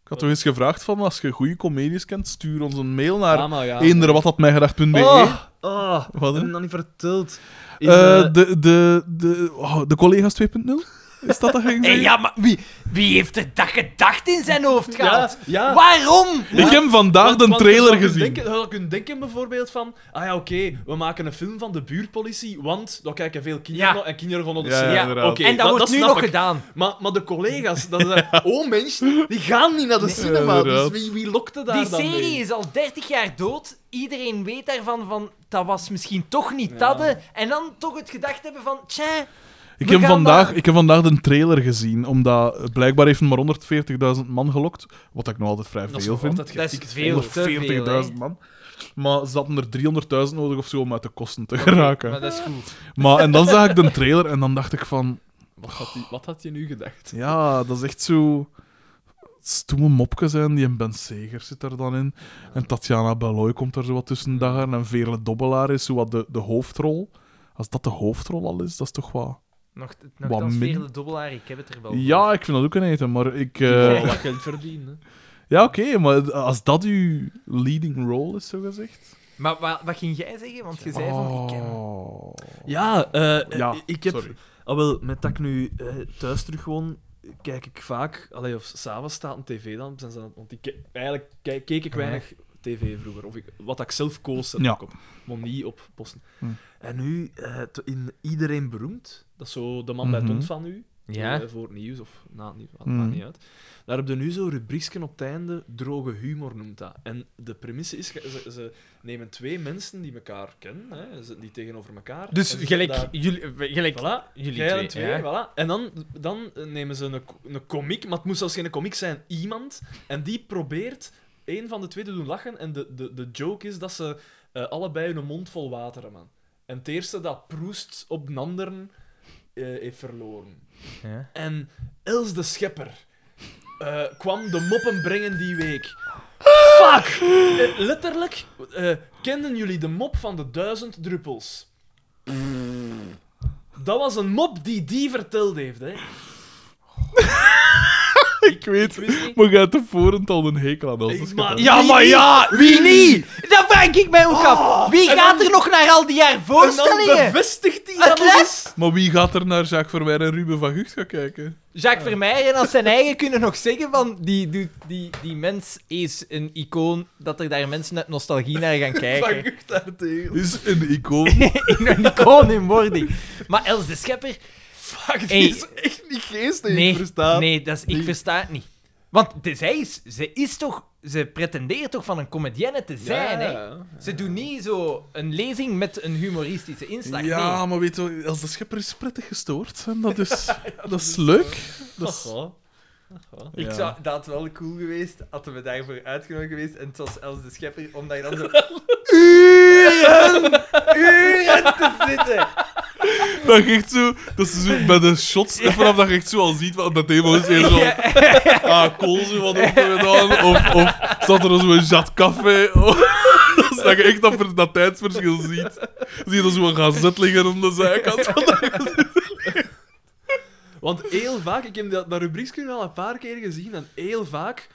Speaker 4: Ik had toch eens gevraagd van, als je goede comedies kent, stuur ons een mail naar
Speaker 2: Ah, maar ja.
Speaker 4: eender wat dat mijgedacht.be.
Speaker 2: Oh, oh,
Speaker 4: Wat, hè?
Speaker 2: heb ik nog niet verteld. In,
Speaker 4: Eh,
Speaker 2: eh,
Speaker 4: de, de, de, oh, de collega's 2.0? Is dat dat ging
Speaker 3: Hé,
Speaker 4: zeggen?
Speaker 3: ja, maar wie, wie heeft er dat gedacht in zijn hoofd
Speaker 2: ja,
Speaker 3: gehad?
Speaker 2: ja.
Speaker 3: Waarom?
Speaker 4: Ik heb vandaag
Speaker 2: Want-
Speaker 4: de
Speaker 2: want je
Speaker 4: trailer
Speaker 2: zou kunnen
Speaker 4: gezien.
Speaker 2: Denken, je zou kunnen denken bijvoorbeeld van, ah ja, oké, we maken een film van de buurtpolitie, want dan kijken veel kinderen
Speaker 3: Ja.
Speaker 2: nog- en kinderen gaan naar de
Speaker 4: Ja,
Speaker 2: cinema.
Speaker 4: inderdaad.
Speaker 2: Oké,
Speaker 3: en dat,
Speaker 2: dat-
Speaker 3: wordt
Speaker 2: dat
Speaker 3: nu
Speaker 2: snap
Speaker 3: nog
Speaker 2: ik.
Speaker 3: gedaan.
Speaker 2: Maar, maar de collega's, dat zijn oh mensen, die gaan niet naar de cinema, dus
Speaker 4: inderdaad.
Speaker 2: wie, wie lokte daar
Speaker 3: Die
Speaker 2: dan mee?
Speaker 3: serie is al 30 jaar dood. Iedereen weet daarvan van, dat was misschien toch niet dat. hè. En dan toch het gedacht hebben van, tja,
Speaker 4: Ik
Speaker 3: We
Speaker 4: heb,
Speaker 3: gaan
Speaker 4: vandaag,
Speaker 3: maar-
Speaker 4: ik heb vandaag de trailer gezien, omdat eh, blijkbaar heeft maar 140.000 man gelokt. Wat ik nog altijd vrij
Speaker 2: Dat is
Speaker 4: veel
Speaker 2: nog
Speaker 4: vind.
Speaker 2: altijd
Speaker 3: dat is
Speaker 2: getikt.
Speaker 3: veel te veel. hè.
Speaker 4: 140.000 man. Maar ze hadden er 300.000 nodig of zo om uit de kosten te geraken.
Speaker 3: Maar dat is goed.
Speaker 4: Maar, en dan zag ik de trailer en dan dacht ik van...
Speaker 2: Wat had, die, wat had je nu gedacht?
Speaker 4: Ja, dat is echt zo... Stoeme mopjes zijn, die en Ben Seger zit er dan in. En Tatjana Beloy komt er zo wat tussen dagen. En Veerle Dobbelaar is zo wat de, de hoofdrol. Als dat de hoofdrol al is, dat is toch wat...
Speaker 11: Nog,
Speaker 4: Wat
Speaker 11: nog
Speaker 4: min-
Speaker 11: vele dobbelaar, ik heb het
Speaker 3: Oh,
Speaker 11: er wel voor.
Speaker 4: Ja, ik vind dat ook een eten, maar ik... eh,
Speaker 12: wel wat geld verdienen. hè.
Speaker 4: Ja, oké, maar als dat uw leading role is, zo gezegd.
Speaker 11: Maar wat, wat ging jij zeggen? Want je zei van, ik ken...
Speaker 4: Oh.
Speaker 2: Ja, eh,
Speaker 4: Ja,
Speaker 2: eh, ik heb...
Speaker 4: sorry.
Speaker 2: Ah, wel, met dat ik nu eh, thuis terug woon, eh, kijk ik vaak... Allee, of s'avonds staat een tv dan. zijn ze aan- Want ik, ke- eigenlijk ke- keek ik weinig tv vroeger. Of ik, wat ik zelf koos, zet
Speaker 4: Ja.
Speaker 2: ik op. Maar niet op posten.
Speaker 4: Hm.
Speaker 2: En nu, eh, t- in Iedereen Beroemd, dat is zo de man bij
Speaker 4: Mhm.
Speaker 2: Tont van u.
Speaker 11: Ja. Hmm.
Speaker 2: eh, voor het nieuws of na het nieuws, maakt
Speaker 4: Mhm.
Speaker 2: niet uit. Daar heb je nu zo'n rubriekje op het einde, droge humor noemt dat. En de premisse is, ge- ze, ze nemen twee mensen die elkaar kennen, hè, ze- die tegenover elkaar.
Speaker 11: Dus
Speaker 2: en ze-
Speaker 11: gelijk,
Speaker 2: daar-
Speaker 11: jullie, eh, gelijk
Speaker 2: Voilà,
Speaker 11: jullie
Speaker 2: jij
Speaker 11: twee.
Speaker 2: en twee,
Speaker 11: ja.
Speaker 2: voilà. En dan, dan nemen ze een, co- een komiek, maar het moest zelfs geen komiek zijn, iemand. En die probeert een van de twee te doen lachen. En de, de, de joke is dat ze eh, allebei hun mond vol water hebben. En het eerste dat proest op een ander eh, heeft verloren.
Speaker 11: Ja.
Speaker 2: En Els de Schepper eh, kwam de moppen brengen die week. Fuck! Eh, letterlijk, eh, kenden jullie de mop van de duizend druppels? Dat was een mop die die verteld heeft, hè?
Speaker 4: Ik weet,
Speaker 2: wist niet.
Speaker 4: maar je hebt tevoren al een hekel aan
Speaker 2: Ik-
Speaker 4: als
Speaker 2: maar-
Speaker 3: Ja, maar ja! Wie niet? Dat vraag ik mij ook af. Wie
Speaker 2: en
Speaker 3: gaat
Speaker 2: dan-
Speaker 3: er nog naar al die jaar
Speaker 2: En dan
Speaker 3: voorstellingen?
Speaker 2: bevestigt hij
Speaker 3: Het
Speaker 2: dat nog eens.
Speaker 3: les?
Speaker 4: Maar wie gaat er naar Jacques Verweer en Ruben van Gucht gaan kijken?
Speaker 3: Jacques
Speaker 11: Vermeijeren
Speaker 3: als zijn eigen kunnen nog zeggen van die, die, die, die mens is een icoon, dat er daar mensen uit nostalgie naar gaan kijken.
Speaker 2: Van Gucht daartegen.
Speaker 4: Is een icoon.
Speaker 3: een icoon in wording. Maar Els de Schepper...
Speaker 2: Fuck, die
Speaker 3: Hey.
Speaker 2: is echt niet geestig.
Speaker 3: nee,
Speaker 2: verstaan.
Speaker 3: nee dat is, ik versta het niet. Want dus zij is, ze is toch... Ze pretendeert toch van een comedienne te zijn, hè? Ze doen niet zo een lezing met een humoristische inslag.
Speaker 4: Ja, maar weet je, als de schepper is prettig gestoord. En dat is, dat is leuk. Dat is-
Speaker 2: Aha.
Speaker 3: nee.
Speaker 4: Ja.
Speaker 3: Ik zou, dat had wel cool geweest, hadden we daarvoor uitgenodigd geweest. En het was Els de Schepper, om daar dan zo... uren, uren te zitten.
Speaker 4: Dat je echt zo... Dat ze zo bij de shots... En vanaf dat je echt zo al ziet wat dat thema is. Eerder zo... Ah, kool zo wat op gedaan. Of, of zat er zo'n jat café. Of, dat is dat je echt dat, ver- dat tijdsverschil ziet. Zie je dan zo'n gazet liggen om de zijkant. van de-
Speaker 2: Want heel vaak, ik heb dat, dat rubriekje al een paar keer gezien, en heel vaak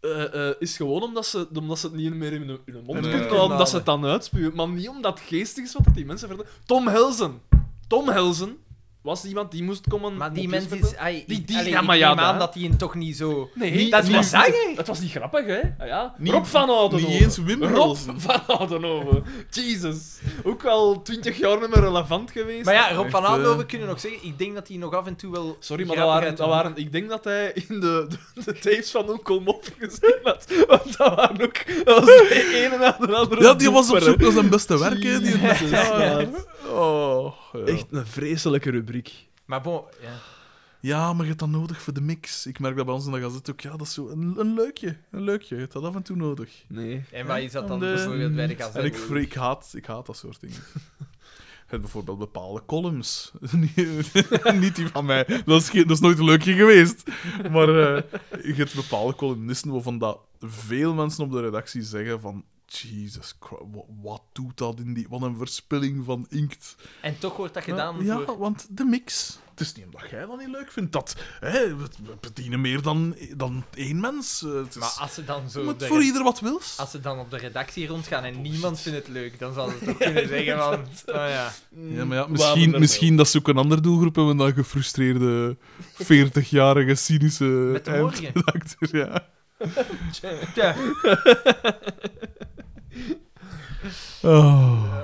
Speaker 2: eh, eh, is gewoon omdat ze, omdat ze het niet meer in hun, in hun mond
Speaker 4: Nee.
Speaker 2: kunnen houden, dat ze het dan uitspuwen. Maar niet omdat het geestig is wat die mensen vertellen. Tom Helzen. Tom Helzen was iemand die moest komen...
Speaker 3: Maar die
Speaker 2: mopjes
Speaker 3: mens is...
Speaker 2: vertellen.
Speaker 3: Ai,
Speaker 2: Die-
Speaker 3: ik-
Speaker 2: die-
Speaker 3: allee,
Speaker 2: ja,
Speaker 3: ik
Speaker 2: maar ja,
Speaker 3: neem aan
Speaker 2: dat-
Speaker 3: dat die hem toch niet zo...
Speaker 2: Nee,
Speaker 3: niet- dat is
Speaker 2: niet-
Speaker 3: wat zeggen.
Speaker 2: Het was niet grappig, hè? Ah, ja.
Speaker 4: Niet-
Speaker 2: Rob van Oudenhoven.
Speaker 4: Niet eens Wim
Speaker 2: Rob
Speaker 4: Helsen.
Speaker 2: van Oudenhoven. Jesus. Ook al twintig jaar niet meer relevant geweest.
Speaker 3: Maar ja, Rob
Speaker 4: Echt,
Speaker 3: van
Speaker 4: eh.
Speaker 3: Aandoven kunnen nog zeggen, ik denk dat hij nog af en toe wel...
Speaker 2: Sorry, maar dat
Speaker 3: grappig
Speaker 2: waren,
Speaker 3: uit-
Speaker 2: dat waren... Ik denk dat hij in de, de, de tapes van Onkel Mop gezien had. Want dat waren ook... Dat was de ene na de andere.
Speaker 4: Ja, die was op
Speaker 2: doeper,
Speaker 4: zoek naar zijn beste werken. Die
Speaker 2: hè. Jezus,
Speaker 4: ja,
Speaker 2: maat.
Speaker 4: oh, ja.
Speaker 2: Echt een vreselijke rubriek.
Speaker 3: Maar bon, ja.
Speaker 4: ja, maar je hebt dat nodig voor de mix. Ik merk dat bij ons in de gazet ook. Ja, dat is zo een, een leukje. Een leukje. Je hebt dat af en toe nodig.
Speaker 2: Nee.
Speaker 3: En wat is dat dan
Speaker 4: De-
Speaker 3: bijvoorbeeld bij de gazette?
Speaker 4: En ik, vre- ik, haat, ik haat dat soort dingen. Het bijvoorbeeld bepaalde columns. Niet- Niet die van mij. Dat is, geen- dat is nooit een leukje geweest. Maar eh, je hebt bepaalde columnisten waarvan dat veel mensen op de redactie zeggen van... Jesus Christ, wat, wat doet dat in die... Wat een verspilling van inkt.
Speaker 3: En toch wordt dat gedaan
Speaker 4: ja,
Speaker 3: voor...
Speaker 4: want de mix. Het is niet omdat jij dat niet leuk vindt. Dat, hè, we, we bedienen meer dan, dan één mens. Eh, Het is,
Speaker 3: Maar als ze dan
Speaker 4: je
Speaker 3: zo...
Speaker 4: moet
Speaker 3: de
Speaker 4: voor
Speaker 3: re-
Speaker 4: ieder Oh, wat wils.
Speaker 3: Als ze dan op de redactie rondgaan en niemand vindt het leuk, dan zal ze toch kunnen zeggen van... Oh ja.
Speaker 4: Ja, maar ja,
Speaker 2: Waar we
Speaker 4: misschien,
Speaker 2: er
Speaker 4: misschien dat ze ook een andere doelgroep hebben dan gefrustreerde 40-jarige cynische
Speaker 3: Met de morgen.
Speaker 4: eindredacteur, Ja.
Speaker 3: Tja.
Speaker 4: Oh.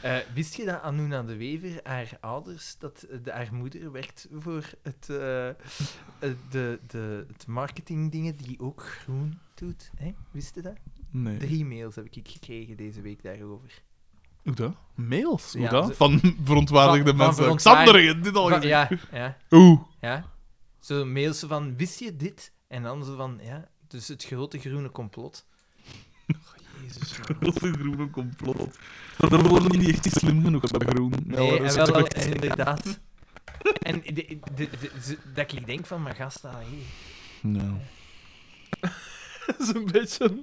Speaker 3: Eh, wist je dat Anuna de Wever, haar ouders, dat eh, de, haar moeder werkt voor het, eh, eh, de, de, het marketingdingen die ook groen doet? Hè? Wist je dat?
Speaker 4: Nee.
Speaker 3: Drie mails heb ik gekregen deze week daarover.
Speaker 4: Hoe dat? Mails? Hoe
Speaker 3: Ja,
Speaker 4: dat?
Speaker 3: ze-
Speaker 4: Van verontwaardigde
Speaker 3: Van- van
Speaker 4: mensen.
Speaker 3: verontwaardigd-
Speaker 4: Xander, je hebt dit al
Speaker 3: Van-
Speaker 4: gezien.
Speaker 3: ja, ja,
Speaker 4: Oeh.
Speaker 3: ja. Zo mails zo van, wist je dit? En dan zo van, ja, dus het grote groene complot.
Speaker 2: Oh, Jezus.
Speaker 4: Dat is een groene complot. Dat worden niet echt slim genoeg bij groen.
Speaker 3: Nee,
Speaker 4: Nou, dat
Speaker 3: en
Speaker 4: is
Speaker 3: wel, eh, wel,
Speaker 4: correct.
Speaker 3: en inderdaad. En de, de, de- de- ze- dat ik denk van, maar gast, ah, hey.
Speaker 4: Nou.
Speaker 2: is een beetje, een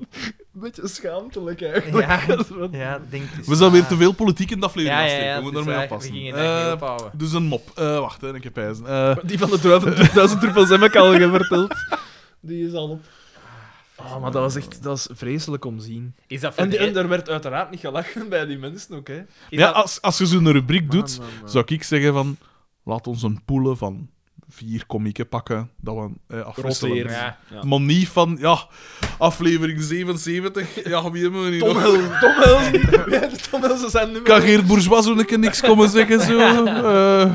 Speaker 2: beetje schaamtelijk eigenlijk.
Speaker 3: Ja,
Speaker 2: Dat is wat-
Speaker 3: ja denk het.
Speaker 4: We zijn weer te veel politiek in de aflevering.
Speaker 3: Ja, ja,
Speaker 4: Astrid.
Speaker 3: ja,
Speaker 4: we moeten
Speaker 3: het is
Speaker 4: daarmee
Speaker 3: waar.
Speaker 4: afpassen.
Speaker 3: We gingen daar niet
Speaker 4: Eh,
Speaker 3: ophouden.
Speaker 4: dus een mop. Eh, wacht, hè, ik heb pijzen. Eh,
Speaker 2: Die van de duizend, duizend druppels heb ik al verteld. Die is al op. Ah, maar dat was echt dat is vreselijk om te zien.
Speaker 3: Is dat
Speaker 2: En,
Speaker 3: voor
Speaker 2: die, en
Speaker 3: de... e-
Speaker 2: er werd uiteraard niet gelachen bij die mensen ook, hè.
Speaker 3: is
Speaker 4: ja,
Speaker 3: dat-
Speaker 4: als, als je zo'n rubriek
Speaker 2: Man,
Speaker 4: doet,
Speaker 2: man, man.
Speaker 4: zou ik zeggen van... Laat ons een poelen van vier komieken pakken, dat we eh, afwisselen.
Speaker 2: Roteert.
Speaker 3: Ja.
Speaker 2: Ja.
Speaker 4: Maar niet van, ja, aflevering 77, ja, wie hebben we niet
Speaker 2: Tom
Speaker 4: nog?
Speaker 2: Hel- Tom Helsen. Ja, de Tom Helsen zijn nummer...
Speaker 4: Kan Geert Bourgeois zo een keer niks komen zeggen, zo? Eh,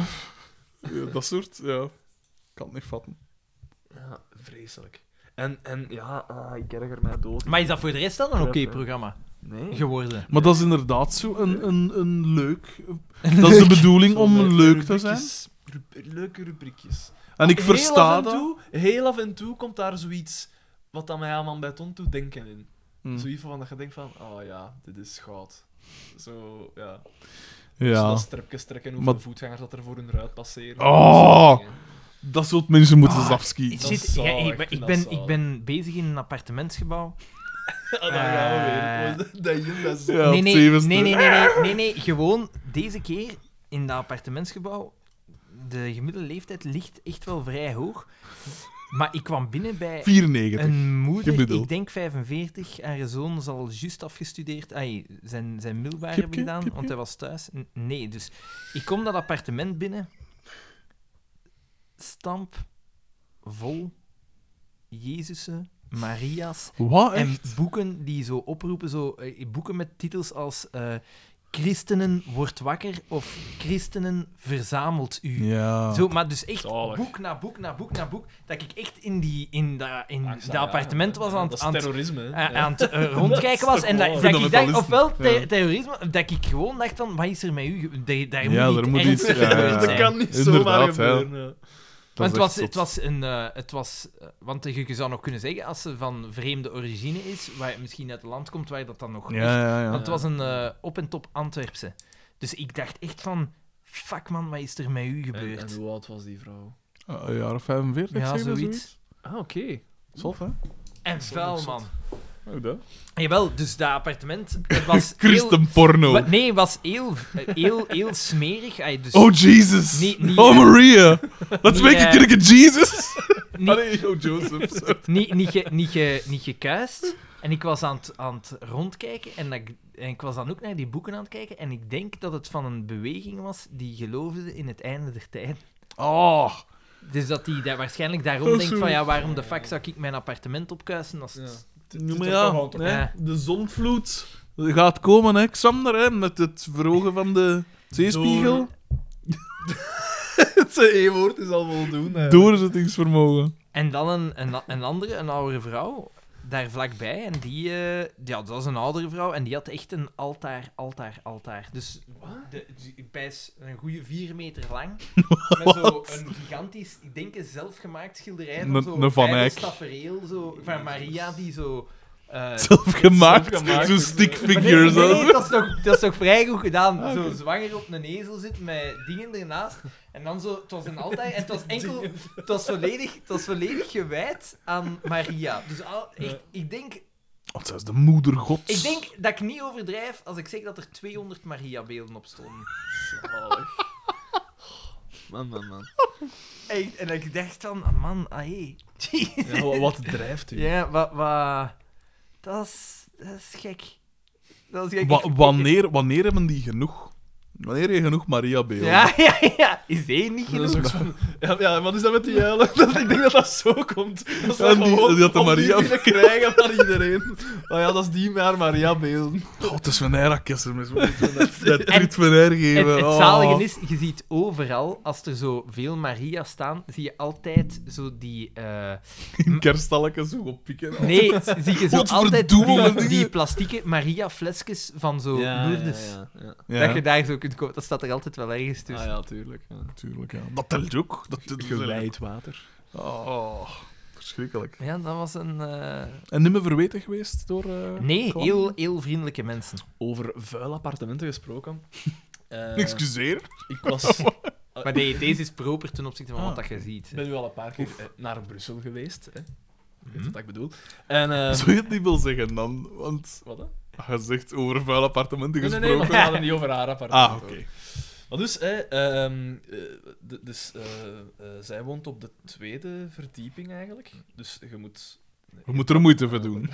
Speaker 4: ja, dat soort, ja. Kan het niet vatten.
Speaker 2: Ja, vreselijk. En, en ja, ah, ik erger mij dood.
Speaker 3: Maar is dat voor de rest dan een oké
Speaker 2: Ja, ja.
Speaker 3: programma
Speaker 2: Nee.
Speaker 3: geworden?
Speaker 4: Maar dat is inderdaad zo een, een, een leuk... Dat is de bedoeling om leuk te zijn.
Speaker 2: leuke rubriekjes.
Speaker 4: En ik
Speaker 2: heel
Speaker 4: versta
Speaker 2: af en
Speaker 4: dat.
Speaker 2: toe, Heel af en toe komt daar zoiets wat dan mij aan man bij Ton toe denken in.
Speaker 4: Hmm.
Speaker 2: Zoiets van dat je denkt van, oh ja, dit is goud. Zo, ja. Dus
Speaker 4: Ja.
Speaker 2: dat stripjes trekken, hoeveel
Speaker 4: Maar-
Speaker 2: voetgangers dat er voor hun ruit passeren.
Speaker 4: Oh!
Speaker 2: Dat soort dingen.
Speaker 4: Dat soort mensen moeten
Speaker 3: Ah,
Speaker 4: eens afschieten.
Speaker 3: Ik,
Speaker 2: Dat
Speaker 3: zit,
Speaker 2: is
Speaker 3: ja,
Speaker 2: zalig,
Speaker 3: ik, ben, ik,
Speaker 2: dat
Speaker 3: ben,
Speaker 2: is
Speaker 3: ik ben bezig in een appartementsgebouw.
Speaker 2: Ah, daar gaan
Speaker 3: Eh.
Speaker 2: we weer. Dat is- Dat is
Speaker 4: Ja,
Speaker 3: nee,
Speaker 4: op
Speaker 3: nee, nee,
Speaker 4: zevenste.
Speaker 3: nee, nee, nee, nee, nee, gewoon deze keer in dat appartementsgebouw. De gemiddelde leeftijd ligt echt wel vrij hoog. Maar ik kwam binnen bij
Speaker 4: 94.
Speaker 3: een moeder,
Speaker 4: gemiddeld.
Speaker 3: ik denk 45. Haar zoon zal juist afgestudeerd. Ai, zijn, zijn middelbaar
Speaker 4: Kipke,
Speaker 3: hebben gedaan,
Speaker 4: kipke.
Speaker 3: want hij was thuis. N- nee, dus ik kom dat appartement binnen. Stamp vol Jezusen, Maria's,
Speaker 4: Wat?
Speaker 3: en
Speaker 4: echt?
Speaker 3: boeken die zo oproepen, zo, eh, boeken met titels als eh, Christenen wordt wakker of Christenen verzamelt u.
Speaker 4: Ja.
Speaker 3: Zo, maar dus echt
Speaker 2: Zalig.
Speaker 3: boek na boek na boek na boek, dat ik echt in, die, in dat in
Speaker 2: Angst
Speaker 3: dat
Speaker 2: aan,
Speaker 3: appartement
Speaker 2: ja.
Speaker 3: was aan,
Speaker 2: Dat
Speaker 3: het-
Speaker 2: is
Speaker 3: aan, het-
Speaker 2: terrorisme. hè.
Speaker 3: eh,
Speaker 2: Ja.
Speaker 3: aan het eh, rondkijken was. En dat, dat ik dacht,
Speaker 4: Fundamentalisten.
Speaker 3: ofwel ter-
Speaker 4: Ja.
Speaker 3: terrorisme, dat ik gewoon dacht van, wat is er met u? ge- Daar, daar
Speaker 4: Ja,
Speaker 3: moet
Speaker 4: daar
Speaker 3: iets
Speaker 4: moet iets-
Speaker 3: ernstigs gebeurd
Speaker 4: ja.
Speaker 2: Dat
Speaker 3: zijn.
Speaker 2: kan niet zomaar
Speaker 4: Inderdaad, hè.
Speaker 2: gebeuren. ja.
Speaker 4: Dat
Speaker 3: Want
Speaker 4: is
Speaker 3: het
Speaker 4: echt
Speaker 3: was,
Speaker 4: zot.
Speaker 3: het was een. eh, het was, eh, want je je zou nog kunnen zeggen, als ze van vreemde origine is, waar misschien uit het land komt waar dat dan nog.
Speaker 4: Ja,
Speaker 3: echt-
Speaker 4: ja, ja.
Speaker 3: Want het was een eh, op en top Antwerpse. Dus ik dacht echt van. Fuck man, wat is er met u
Speaker 2: En,
Speaker 3: gebeurd?
Speaker 2: en hoe oud was die vrouw?
Speaker 4: Ah, Een jaar of 45,
Speaker 3: ja,
Speaker 4: zeg maar,
Speaker 3: zoiets.
Speaker 2: Ah, oké.
Speaker 4: Zot, hè?
Speaker 3: En vuil man.
Speaker 4: Oh, dat.
Speaker 3: Jawel, dus dat appartement het was. heel,
Speaker 4: Christenporno.
Speaker 3: wa- nee, was heel, eh, heel, heel smerig. Ay, dus
Speaker 4: Oh, Jesus.
Speaker 3: Niet- niet- eh,
Speaker 4: oh, Maria. Let's
Speaker 3: Niet,
Speaker 4: make
Speaker 3: eh,
Speaker 4: a kick at Jesus.
Speaker 3: niet-
Speaker 4: Allee, oh, Joseph. sorry.
Speaker 3: niet, niet, ge, niet, ge, niet gekuist. En ik was aan het, aan het rondkijken en, dat ik, en ik was dan ook naar die boeken aan het kijken. En ik denk dat het van een beweging was die geloofde in het einde der tijd.
Speaker 4: Oh.
Speaker 3: Dus dat die daar waarschijnlijk daarom
Speaker 4: Oh,
Speaker 3: denkt
Speaker 4: zo.
Speaker 3: van ja, waarom de fuck zou ik mijn appartement opkuisen als het-
Speaker 4: Noem
Speaker 2: Het
Speaker 4: maar
Speaker 2: is
Speaker 4: ja,
Speaker 2: toch gewoon toch-
Speaker 4: hè,
Speaker 3: Ja.
Speaker 4: de zonvloed gaat komen, hè, Xander, hè, met het verhogen van de zeespiegel.
Speaker 2: Het E-woord is al voldoende. hè.
Speaker 4: Doorzettingsvermogen.
Speaker 3: En dan een, een, een andere, een oudere vrouw, daar vlakbij. En die, eh, ja, dat was een oudere vrouw. En die had echt een altaar, altaar, altaar. Dus de, die- bij is een goede vier meter lang. met zo een gigantisch, ik denk een zelfgemaakt schilderij van
Speaker 4: Een-
Speaker 3: zo
Speaker 4: een Van
Speaker 3: vrij
Speaker 4: Eyck.
Speaker 3: tafereel, zo van Maria die zo... eh,
Speaker 4: Zelfgemaakt.
Speaker 2: zelfgemaakt.
Speaker 4: Zo'n stick
Speaker 3: maar nee, nee,
Speaker 4: figures.
Speaker 3: nee,
Speaker 4: hè.
Speaker 3: dat, is toch, dat is toch vrij goed gedaan. Zo zwanger op een ezel zit met dingen ernaast. En dan zo, het was een altijd. En het was enkel, het was volledig, het was volledig gewijd aan Maria. Dus al, echt, ik, denk,
Speaker 4: Want zij is de moeder gods.
Speaker 3: ik denk dat ik niet overdrijf als ik zeg dat er 200 Maria-beelden op stonden.
Speaker 2: Man, man, man.
Speaker 3: Echt, en ik dacht dan, ah, man, ah hé.
Speaker 2: Ja, wa- wat drijft u?
Speaker 3: Ja, wat. wat dat, is, dat is gek. Dat is gek.
Speaker 4: Wa-
Speaker 3: Ik-
Speaker 4: wanneer, wanneer hebben die genoeg? Wanneer heb je genoeg Maria beelden?
Speaker 3: Ja, ja, ja. Is één niet
Speaker 2: Dat is
Speaker 3: genoeg?
Speaker 2: ook zo- ja, ja, wat is dat met die huilen? Dat, ik denk dat dat zo komt. Dat ze
Speaker 4: Ja, die-
Speaker 2: gewoon
Speaker 4: die had de
Speaker 2: opnieuw
Speaker 4: Maria-
Speaker 2: willen krijgen van iedereen. Maar ja, dat is die maar Maria beelden.
Speaker 4: Oh, het is van Eyrakesser. Dat trit van haar geven.
Speaker 3: Het, het
Speaker 4: oh.
Speaker 3: zalige is, je ziet overal, als er zo veel Maria staan, zie je altijd zo die... eh,
Speaker 4: In kerstalletjes zo Oh, op pikken.
Speaker 3: nee, zie je zo altijd
Speaker 4: Godverdomme,
Speaker 3: die,
Speaker 4: dingen.
Speaker 3: die plastieke Maria-flesjes van zo Lourdes.
Speaker 4: Ja,
Speaker 3: Dat je daar zo kunt kopen. Dat staat er altijd wel ergens tussen.
Speaker 2: Ah, ja, tuurlijk. Ja.
Speaker 4: natuurlijk. Ja. Dat telt ook. Dat telt
Speaker 2: Gewijd water.
Speaker 4: Oh, verschrikkelijk.
Speaker 3: ja. dat was een... eh,
Speaker 4: En niet meer verweten geweest door...
Speaker 6: Oh,
Speaker 4: eh,
Speaker 3: Nee,
Speaker 4: Kon?
Speaker 3: heel, heel vriendelijke mensen.
Speaker 2: Over vuil appartementen gesproken. Eh,
Speaker 4: Excuseer.
Speaker 2: ik was,
Speaker 3: Maar nee, deze is proper ten opzichte van
Speaker 4: Ah.
Speaker 3: wat dat je ziet. hè.
Speaker 2: ben nu al een paar keer eh, naar Brussel geweest. Hè. weet
Speaker 3: Mhm.
Speaker 4: Mhm.
Speaker 2: wat ik bedoel. En, eh,
Speaker 4: Zou je het niet wil zeggen dan? Want
Speaker 2: wat? hè?
Speaker 4: je zegt over vuil appartementen
Speaker 2: Nee, nee,
Speaker 4: gesproken.
Speaker 2: nee, maar we hadden niet over haar apart.
Speaker 4: Ah, oké.
Speaker 2: Maar dus, hè, ehm, eh, d- dus eh, eh, zij woont op de tweede verdieping eigenlijk. Dus je moet.
Speaker 4: We moeten er moeite voor doen.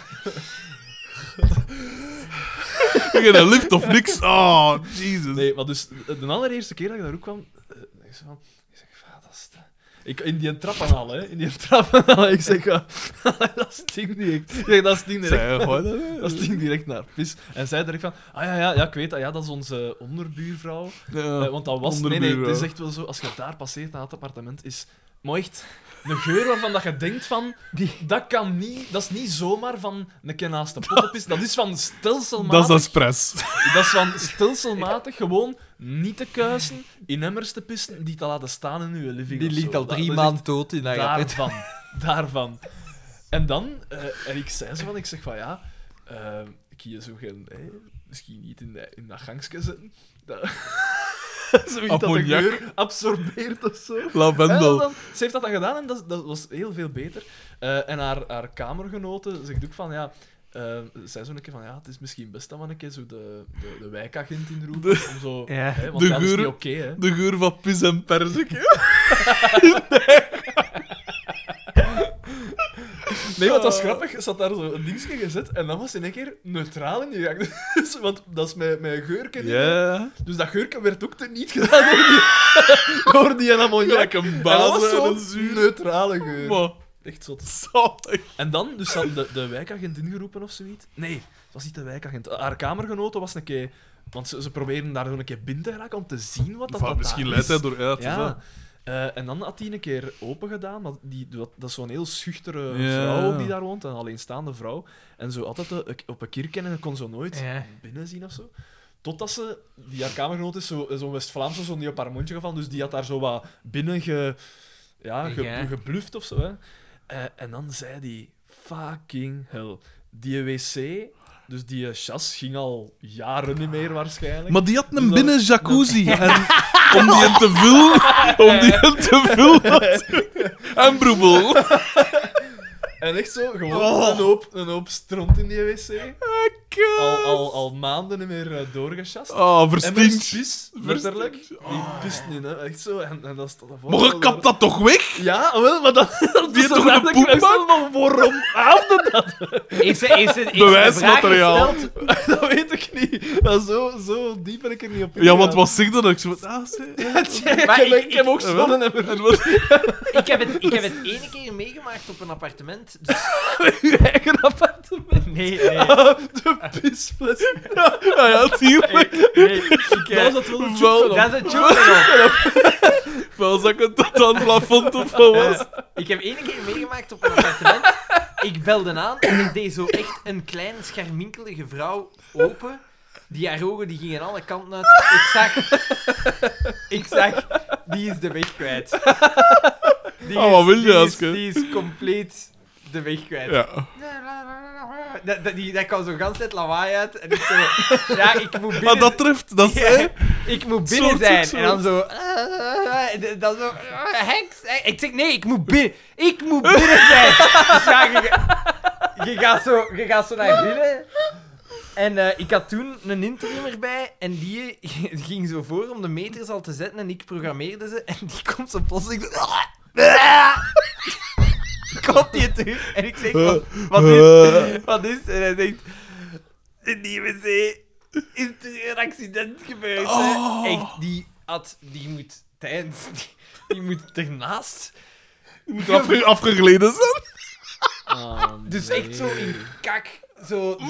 Speaker 4: Ik heb een lift of niks. Oh, Jesus.
Speaker 2: Nee, maar dus de allereerste keer dat ik daar ook kwam, eh, ik zei van, ik zeg, "Va, dat is te-" Ik, in die trappenhal, hè. In die trappenhal. Ik zeg, "Va, dat stinkt niet echt. Ik zeg, dat stinkt niet echt.
Speaker 4: Zij, gooi dat, hè?
Speaker 2: Dat stinkt direct naar pis. En zij direct van, ah ja, ja, ja ik weet dat, ja, dat is onze onderbuurvrouw.
Speaker 4: Ja.
Speaker 2: Eh, want dat was... Nee, nee,
Speaker 4: onderbuurvrouw.
Speaker 2: het is echt wel zo, als je daar passeert, aan het appartement, is... Maar echt, een geur waarvan dat je denkt van, dat kan niet, dat is niet zomaar van een ken naast de pot op is, dat is van
Speaker 4: Dat is
Speaker 2: stelselmatig, dat is,
Speaker 4: expres.
Speaker 2: van stelselmatig gewoon niet te kuisen, in emmers te pissen, die te laten staan in uw living
Speaker 6: Die
Speaker 2: of zo.
Speaker 6: ligt al
Speaker 2: Dat-
Speaker 6: drie
Speaker 2: dat is echt-
Speaker 6: maanden dood in haar appartement.
Speaker 2: Daarvan. Daarvan. En dan, eh, en ik zei ze van, ik zeg van ja, eh, ik hier zo geen, eh, misschien niet in, de, in dat gangstje zitten. Dat, zoiets dat de
Speaker 4: Ammoniak.
Speaker 2: geur absorbeert of zo. En
Speaker 4: Lavendel.
Speaker 2: dan- ze heeft dat dan gedaan en dat, dat was heel veel beter. Eh, en haar, haar kamergenoten zegt ook van ja. eh zei zo een keer van ja, het is misschien best dat we een keer zo de, de, de wijkagent inroepen. Om zo,
Speaker 6: Ja.
Speaker 2: hè, want
Speaker 4: De
Speaker 2: dat is
Speaker 4: geur-
Speaker 2: niet oké. hè.
Speaker 4: De geur van pis en perzik.
Speaker 2: Nee, want dat
Speaker 4: Eh.
Speaker 2: is grappig. Ze had daar zo een dingetje gezet en dan was ze in één keer neutraal in die gang. Dus, want dat is mijn, mijn geurken. in.
Speaker 4: Ja.
Speaker 2: Dus dat geurken werd ook teniet gedaan door die, door die ammoniak.
Speaker 4: Gelijk een
Speaker 2: En dat was
Speaker 4: baas en een
Speaker 2: zo'n
Speaker 4: zuur.
Speaker 2: neutrale geur.
Speaker 4: Maar,
Speaker 2: Echt zot.
Speaker 4: zalig.
Speaker 2: En dan, dus ze hadden de, de wijkagent ingeroepen of zoiets. Nee, het was niet de wijkagent. Haar kamergenoten was een keer... Want ze, ze probeerden daar zo een keer binnen te geraken om te zien wat dat,
Speaker 4: Van,
Speaker 2: dat
Speaker 4: misschien
Speaker 2: daar
Speaker 4: leidt
Speaker 2: is.
Speaker 4: hij door uit.
Speaker 2: Ja. Eh, en dan had hij een keer open gedaan. want die, dat, dat is zo'n heel schuchtere
Speaker 4: Ja.
Speaker 2: vrouw ook die daar woont, een alleenstaande vrouw. En zo altijd eh, op een kerk kennen en kon zo nooit
Speaker 3: Ja.
Speaker 2: binnen zien of zo. Totdat ze, die haar kamergenoot is zo- zo'n West-Vlaamse, zo'n die op haar mondje gevallen, dus die had daar zo wat binnen ge, ja, ge,
Speaker 3: Ja.
Speaker 2: gebluft of zo. Hè. Eh, en dan zei die, fucking hell, die wc, dus die eh, chas ging al jaren niet meer waarschijnlijk.
Speaker 4: Maar die had
Speaker 2: Dus
Speaker 4: een
Speaker 2: dat-
Speaker 4: binnen jacuzzi. En om die hem te vullen. Om die hem te vullen. En broebel.
Speaker 2: En echt zo, gewoon
Speaker 4: Oh.
Speaker 2: een, hoop, een hoop stront in die wc. Al, al, al maanden niet meer eh, doorgesjast.
Speaker 4: Oh,
Speaker 2: en met
Speaker 4: verstinkt. Oh.
Speaker 2: pis, letterlijk. Die pist nu, hè. Echt zo. En, en dat is dat
Speaker 4: Maar je kapt dat toch weg?
Speaker 2: Ja, wel, maar dat... Oh, dat
Speaker 4: Die
Speaker 2: is
Speaker 4: toch een
Speaker 2: eigenlijk-
Speaker 4: poepbak?
Speaker 2: dat is allemaal Waarom haalde dat?
Speaker 3: Is ze, is ze, is ze
Speaker 4: Bewijsmateriaal.
Speaker 3: de vraag gesteld?
Speaker 2: Dat weet ik niet. Maar zo, zo diep ben ik er niet op
Speaker 4: Ja, want wat zeg dat? Ik zo van, ah, zeg.
Speaker 3: Maar
Speaker 2: Maar ik,
Speaker 3: ik-
Speaker 2: heb- ik heb ook zonnen en
Speaker 4: En wat-
Speaker 3: Ik heb, het, ik heb het ene keer meegemaakt op een appartement. Dus-
Speaker 2: uw eigen appartement. Oh,
Speaker 3: Nee, nee.
Speaker 2: De pisfles.
Speaker 4: Ja, ja, tuurlijk.
Speaker 3: nee ik, eh,
Speaker 2: Daar zat wel een
Speaker 4: Wel-
Speaker 2: tjoepel op.
Speaker 3: dat is het joke.
Speaker 4: Wel zag het dat aan het plafond of wat was.
Speaker 3: Ik heb één keer meegemaakt op een appartement. Ik belde aan en er deed zo echt een kleine, scharminkelige vrouw open. Die haar ogen die gingen alle kanten uit. Ik zag... Ik zag... Die is de weg kwijt. Die
Speaker 4: Ah, wat wil je,
Speaker 3: die is,
Speaker 4: Aske?
Speaker 3: die is compleet de weg kwijt.
Speaker 4: Ja.
Speaker 3: Dat, dat, die, dat kwam zo gans het lawaai uit. En ik zo... Ja, ik moet binnen...
Speaker 4: Maar dat treft, dat
Speaker 3: Ja,
Speaker 4: is...
Speaker 3: ik moet binnen
Speaker 4: Soort
Speaker 3: zijn.
Speaker 4: zoek,
Speaker 3: En dan zo... eh, eh, eh, en dan zo... eh, heks, eh. ik zeg, nee, ik moet binnen. Ik moet binnen zijn. Dus ja, je, je gaat zo, je gaat zo naar binnen. En eh, ik had toen een interimmer bij. En die ging zo voor om de meters al te zetten. En ik programmeerde ze. En die komt zo plotseling zo... Komt die terug? En ik zeg, wat, wat is... Wat is? En hij zegt... In die wc is er een accident gebeurd. hè.
Speaker 2: Oh.
Speaker 3: Echt, die had, die moet tijdens, die, die moet ernaast.
Speaker 4: Je moet afge- afgegleden zijn.
Speaker 2: Ah,
Speaker 3: Dus echt zo in kak, zo de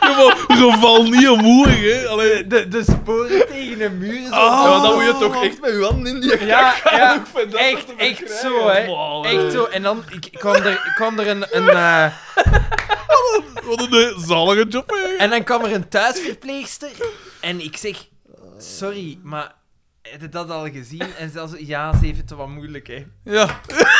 Speaker 4: Ja, maar geval niet omhoog, hè. Allee,
Speaker 3: de, de sporen tegen een muur. Zo.
Speaker 4: Ah.
Speaker 2: Ja, maar dan moet je toch echt met je handen in die
Speaker 3: Ja, ja,
Speaker 2: Oh, Ik vind dat
Speaker 3: echt,
Speaker 2: te
Speaker 3: echt
Speaker 2: verkrijgen.
Speaker 3: zo, hè.
Speaker 2: Wow,
Speaker 3: Echt zo. En dan ik, kwam er, kwam er een... een eh,
Speaker 4: wat een eh, zalige job, hè.
Speaker 3: en dan kwam er een thuisverpleegster. En ik zeg... Sorry, maar... Heb je dat al gezien? En zelfs... Ja, ze heeft het wat moeilijk, hè.
Speaker 4: Ja.
Speaker 2: Eh,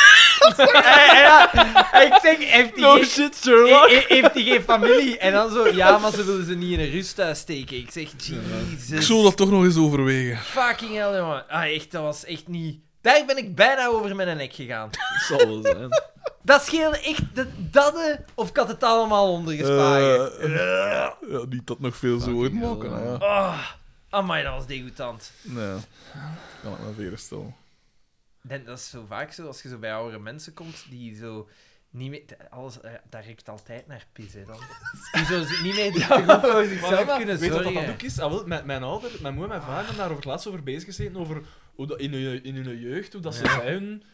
Speaker 3: En, en dan- en ik zeg... Heeft die geen-
Speaker 2: shit,
Speaker 3: He- he- heeft hij geen familie? En dan zo, ja, maar ze willen ze niet in een rusthuis steken. Ik zeg,
Speaker 4: Ik
Speaker 3: Jesus.
Speaker 4: zou dat toch nog eens overwegen.
Speaker 3: Fucking hell, jongen. Ah, echt, dat was echt niet... Daar ben ik bijna over mijn nek gegaan.
Speaker 2: Dat zal wel zijn.
Speaker 3: Dat scheelde echt de dadden, of ik had het allemaal ondergeslagen.
Speaker 4: Eh, eh, ja, niet dat nog veel zo ooit maken. hè, Ja.
Speaker 3: Ah, amai, dat was degoutant.
Speaker 4: Nee. Kan ik me weer stellen.
Speaker 3: Dat, dat is zo vaak zo, als je zo bij oude mensen komt, die zo niet meer... Alles, eh, dat ruikt altijd naar pis, hè, dan. Die zo z- niet meer goed voor zichzelf kunnen
Speaker 2: Weet je wat dat dan
Speaker 3: zorgen.
Speaker 2: ook is? Ah, wel, mijn, mijn ouder, mijn moeder en mijn vader hebben daar over het laatst over bezig gezeten, over hoe dat in, hun, in hun jeugd, hoe dat ze zij hun...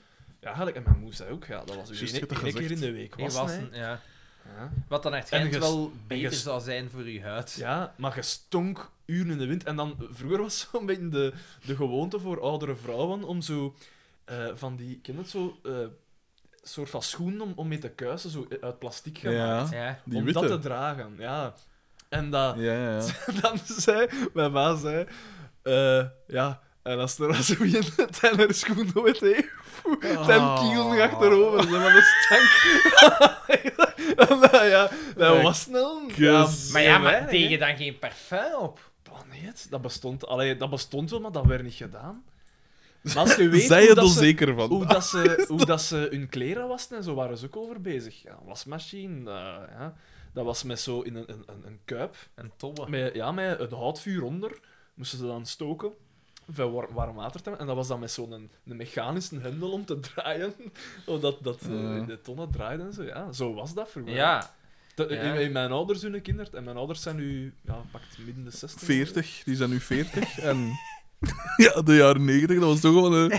Speaker 2: Ja, eigenlijk, en mijn moeder zei ook, ja, dat was
Speaker 4: Juist, je
Speaker 2: één
Speaker 4: hebt dat
Speaker 2: één keer in
Speaker 4: gezegd.
Speaker 2: de week.
Speaker 3: Ik
Speaker 2: Was,
Speaker 3: was
Speaker 2: hè.
Speaker 3: een- ja.
Speaker 2: Ja.
Speaker 3: Wat dan waarschijnlijk
Speaker 2: En ges-
Speaker 3: wel
Speaker 2: en
Speaker 3: beter
Speaker 2: ges-
Speaker 3: zou zijn voor je huid.
Speaker 2: Ja, maar je stonk uren in de wind. En dan, vroeger was zo'n beetje de, de gewoonte voor oudere vrouwen om zo eh, van die, ken je het zo, eh, soort van schoenen om, om mee te kuisen, zo uit plastic gemaakt.
Speaker 4: Ja,
Speaker 3: Ja.
Speaker 4: die
Speaker 2: om
Speaker 4: witte.
Speaker 2: dat te dragen, ja. En dat,
Speaker 4: Ja, ja, ja.
Speaker 2: dan zei, mijn ma zei, eh, ja, en als er als wie in de tenner schoen nooit heeft,
Speaker 4: Oh.
Speaker 2: ten kielen achterover, zeg maar, dat stank. En dat, ja, dat was snel. Ja,
Speaker 4: Kus.
Speaker 3: Maar ja,
Speaker 2: weinig,
Speaker 3: maar
Speaker 2: hè.
Speaker 3: tegen dan geen parfum op.
Speaker 2: Oh, nee, het- dat bestond, allee, dat bestond wel, maar dat werd niet gedaan. Maar als je weet
Speaker 4: Zij
Speaker 2: hoe,
Speaker 4: het
Speaker 2: dat
Speaker 4: al
Speaker 2: ze,
Speaker 4: zeker van.
Speaker 2: hoe, dat ze, hoe dat ze hun kleren wasten en zo waren ze ook over bezig. Ja, wasmachine, eh, ja. dat was met zo in een, een, een, een kuip.
Speaker 3: En tobbe.
Speaker 2: Met, ja, met het houtvuur onder moesten ze dan stoken. Van warm, warm water te maken. En dat was dan met zo'n een, mechanische hendel om te draaien. Omdat dat eh,
Speaker 4: Ja.
Speaker 2: de tonnen draaiden en zo. Ja, zo was dat vroeger.
Speaker 3: Ja.
Speaker 2: Te- in-
Speaker 3: ja.
Speaker 2: in mijn ouders hun kinderen. En mijn ouders zijn nu, ja, pakt midden de 60.
Speaker 4: 40, die zijn nu 40. En ja, de jaren 90, dat was toch wel een,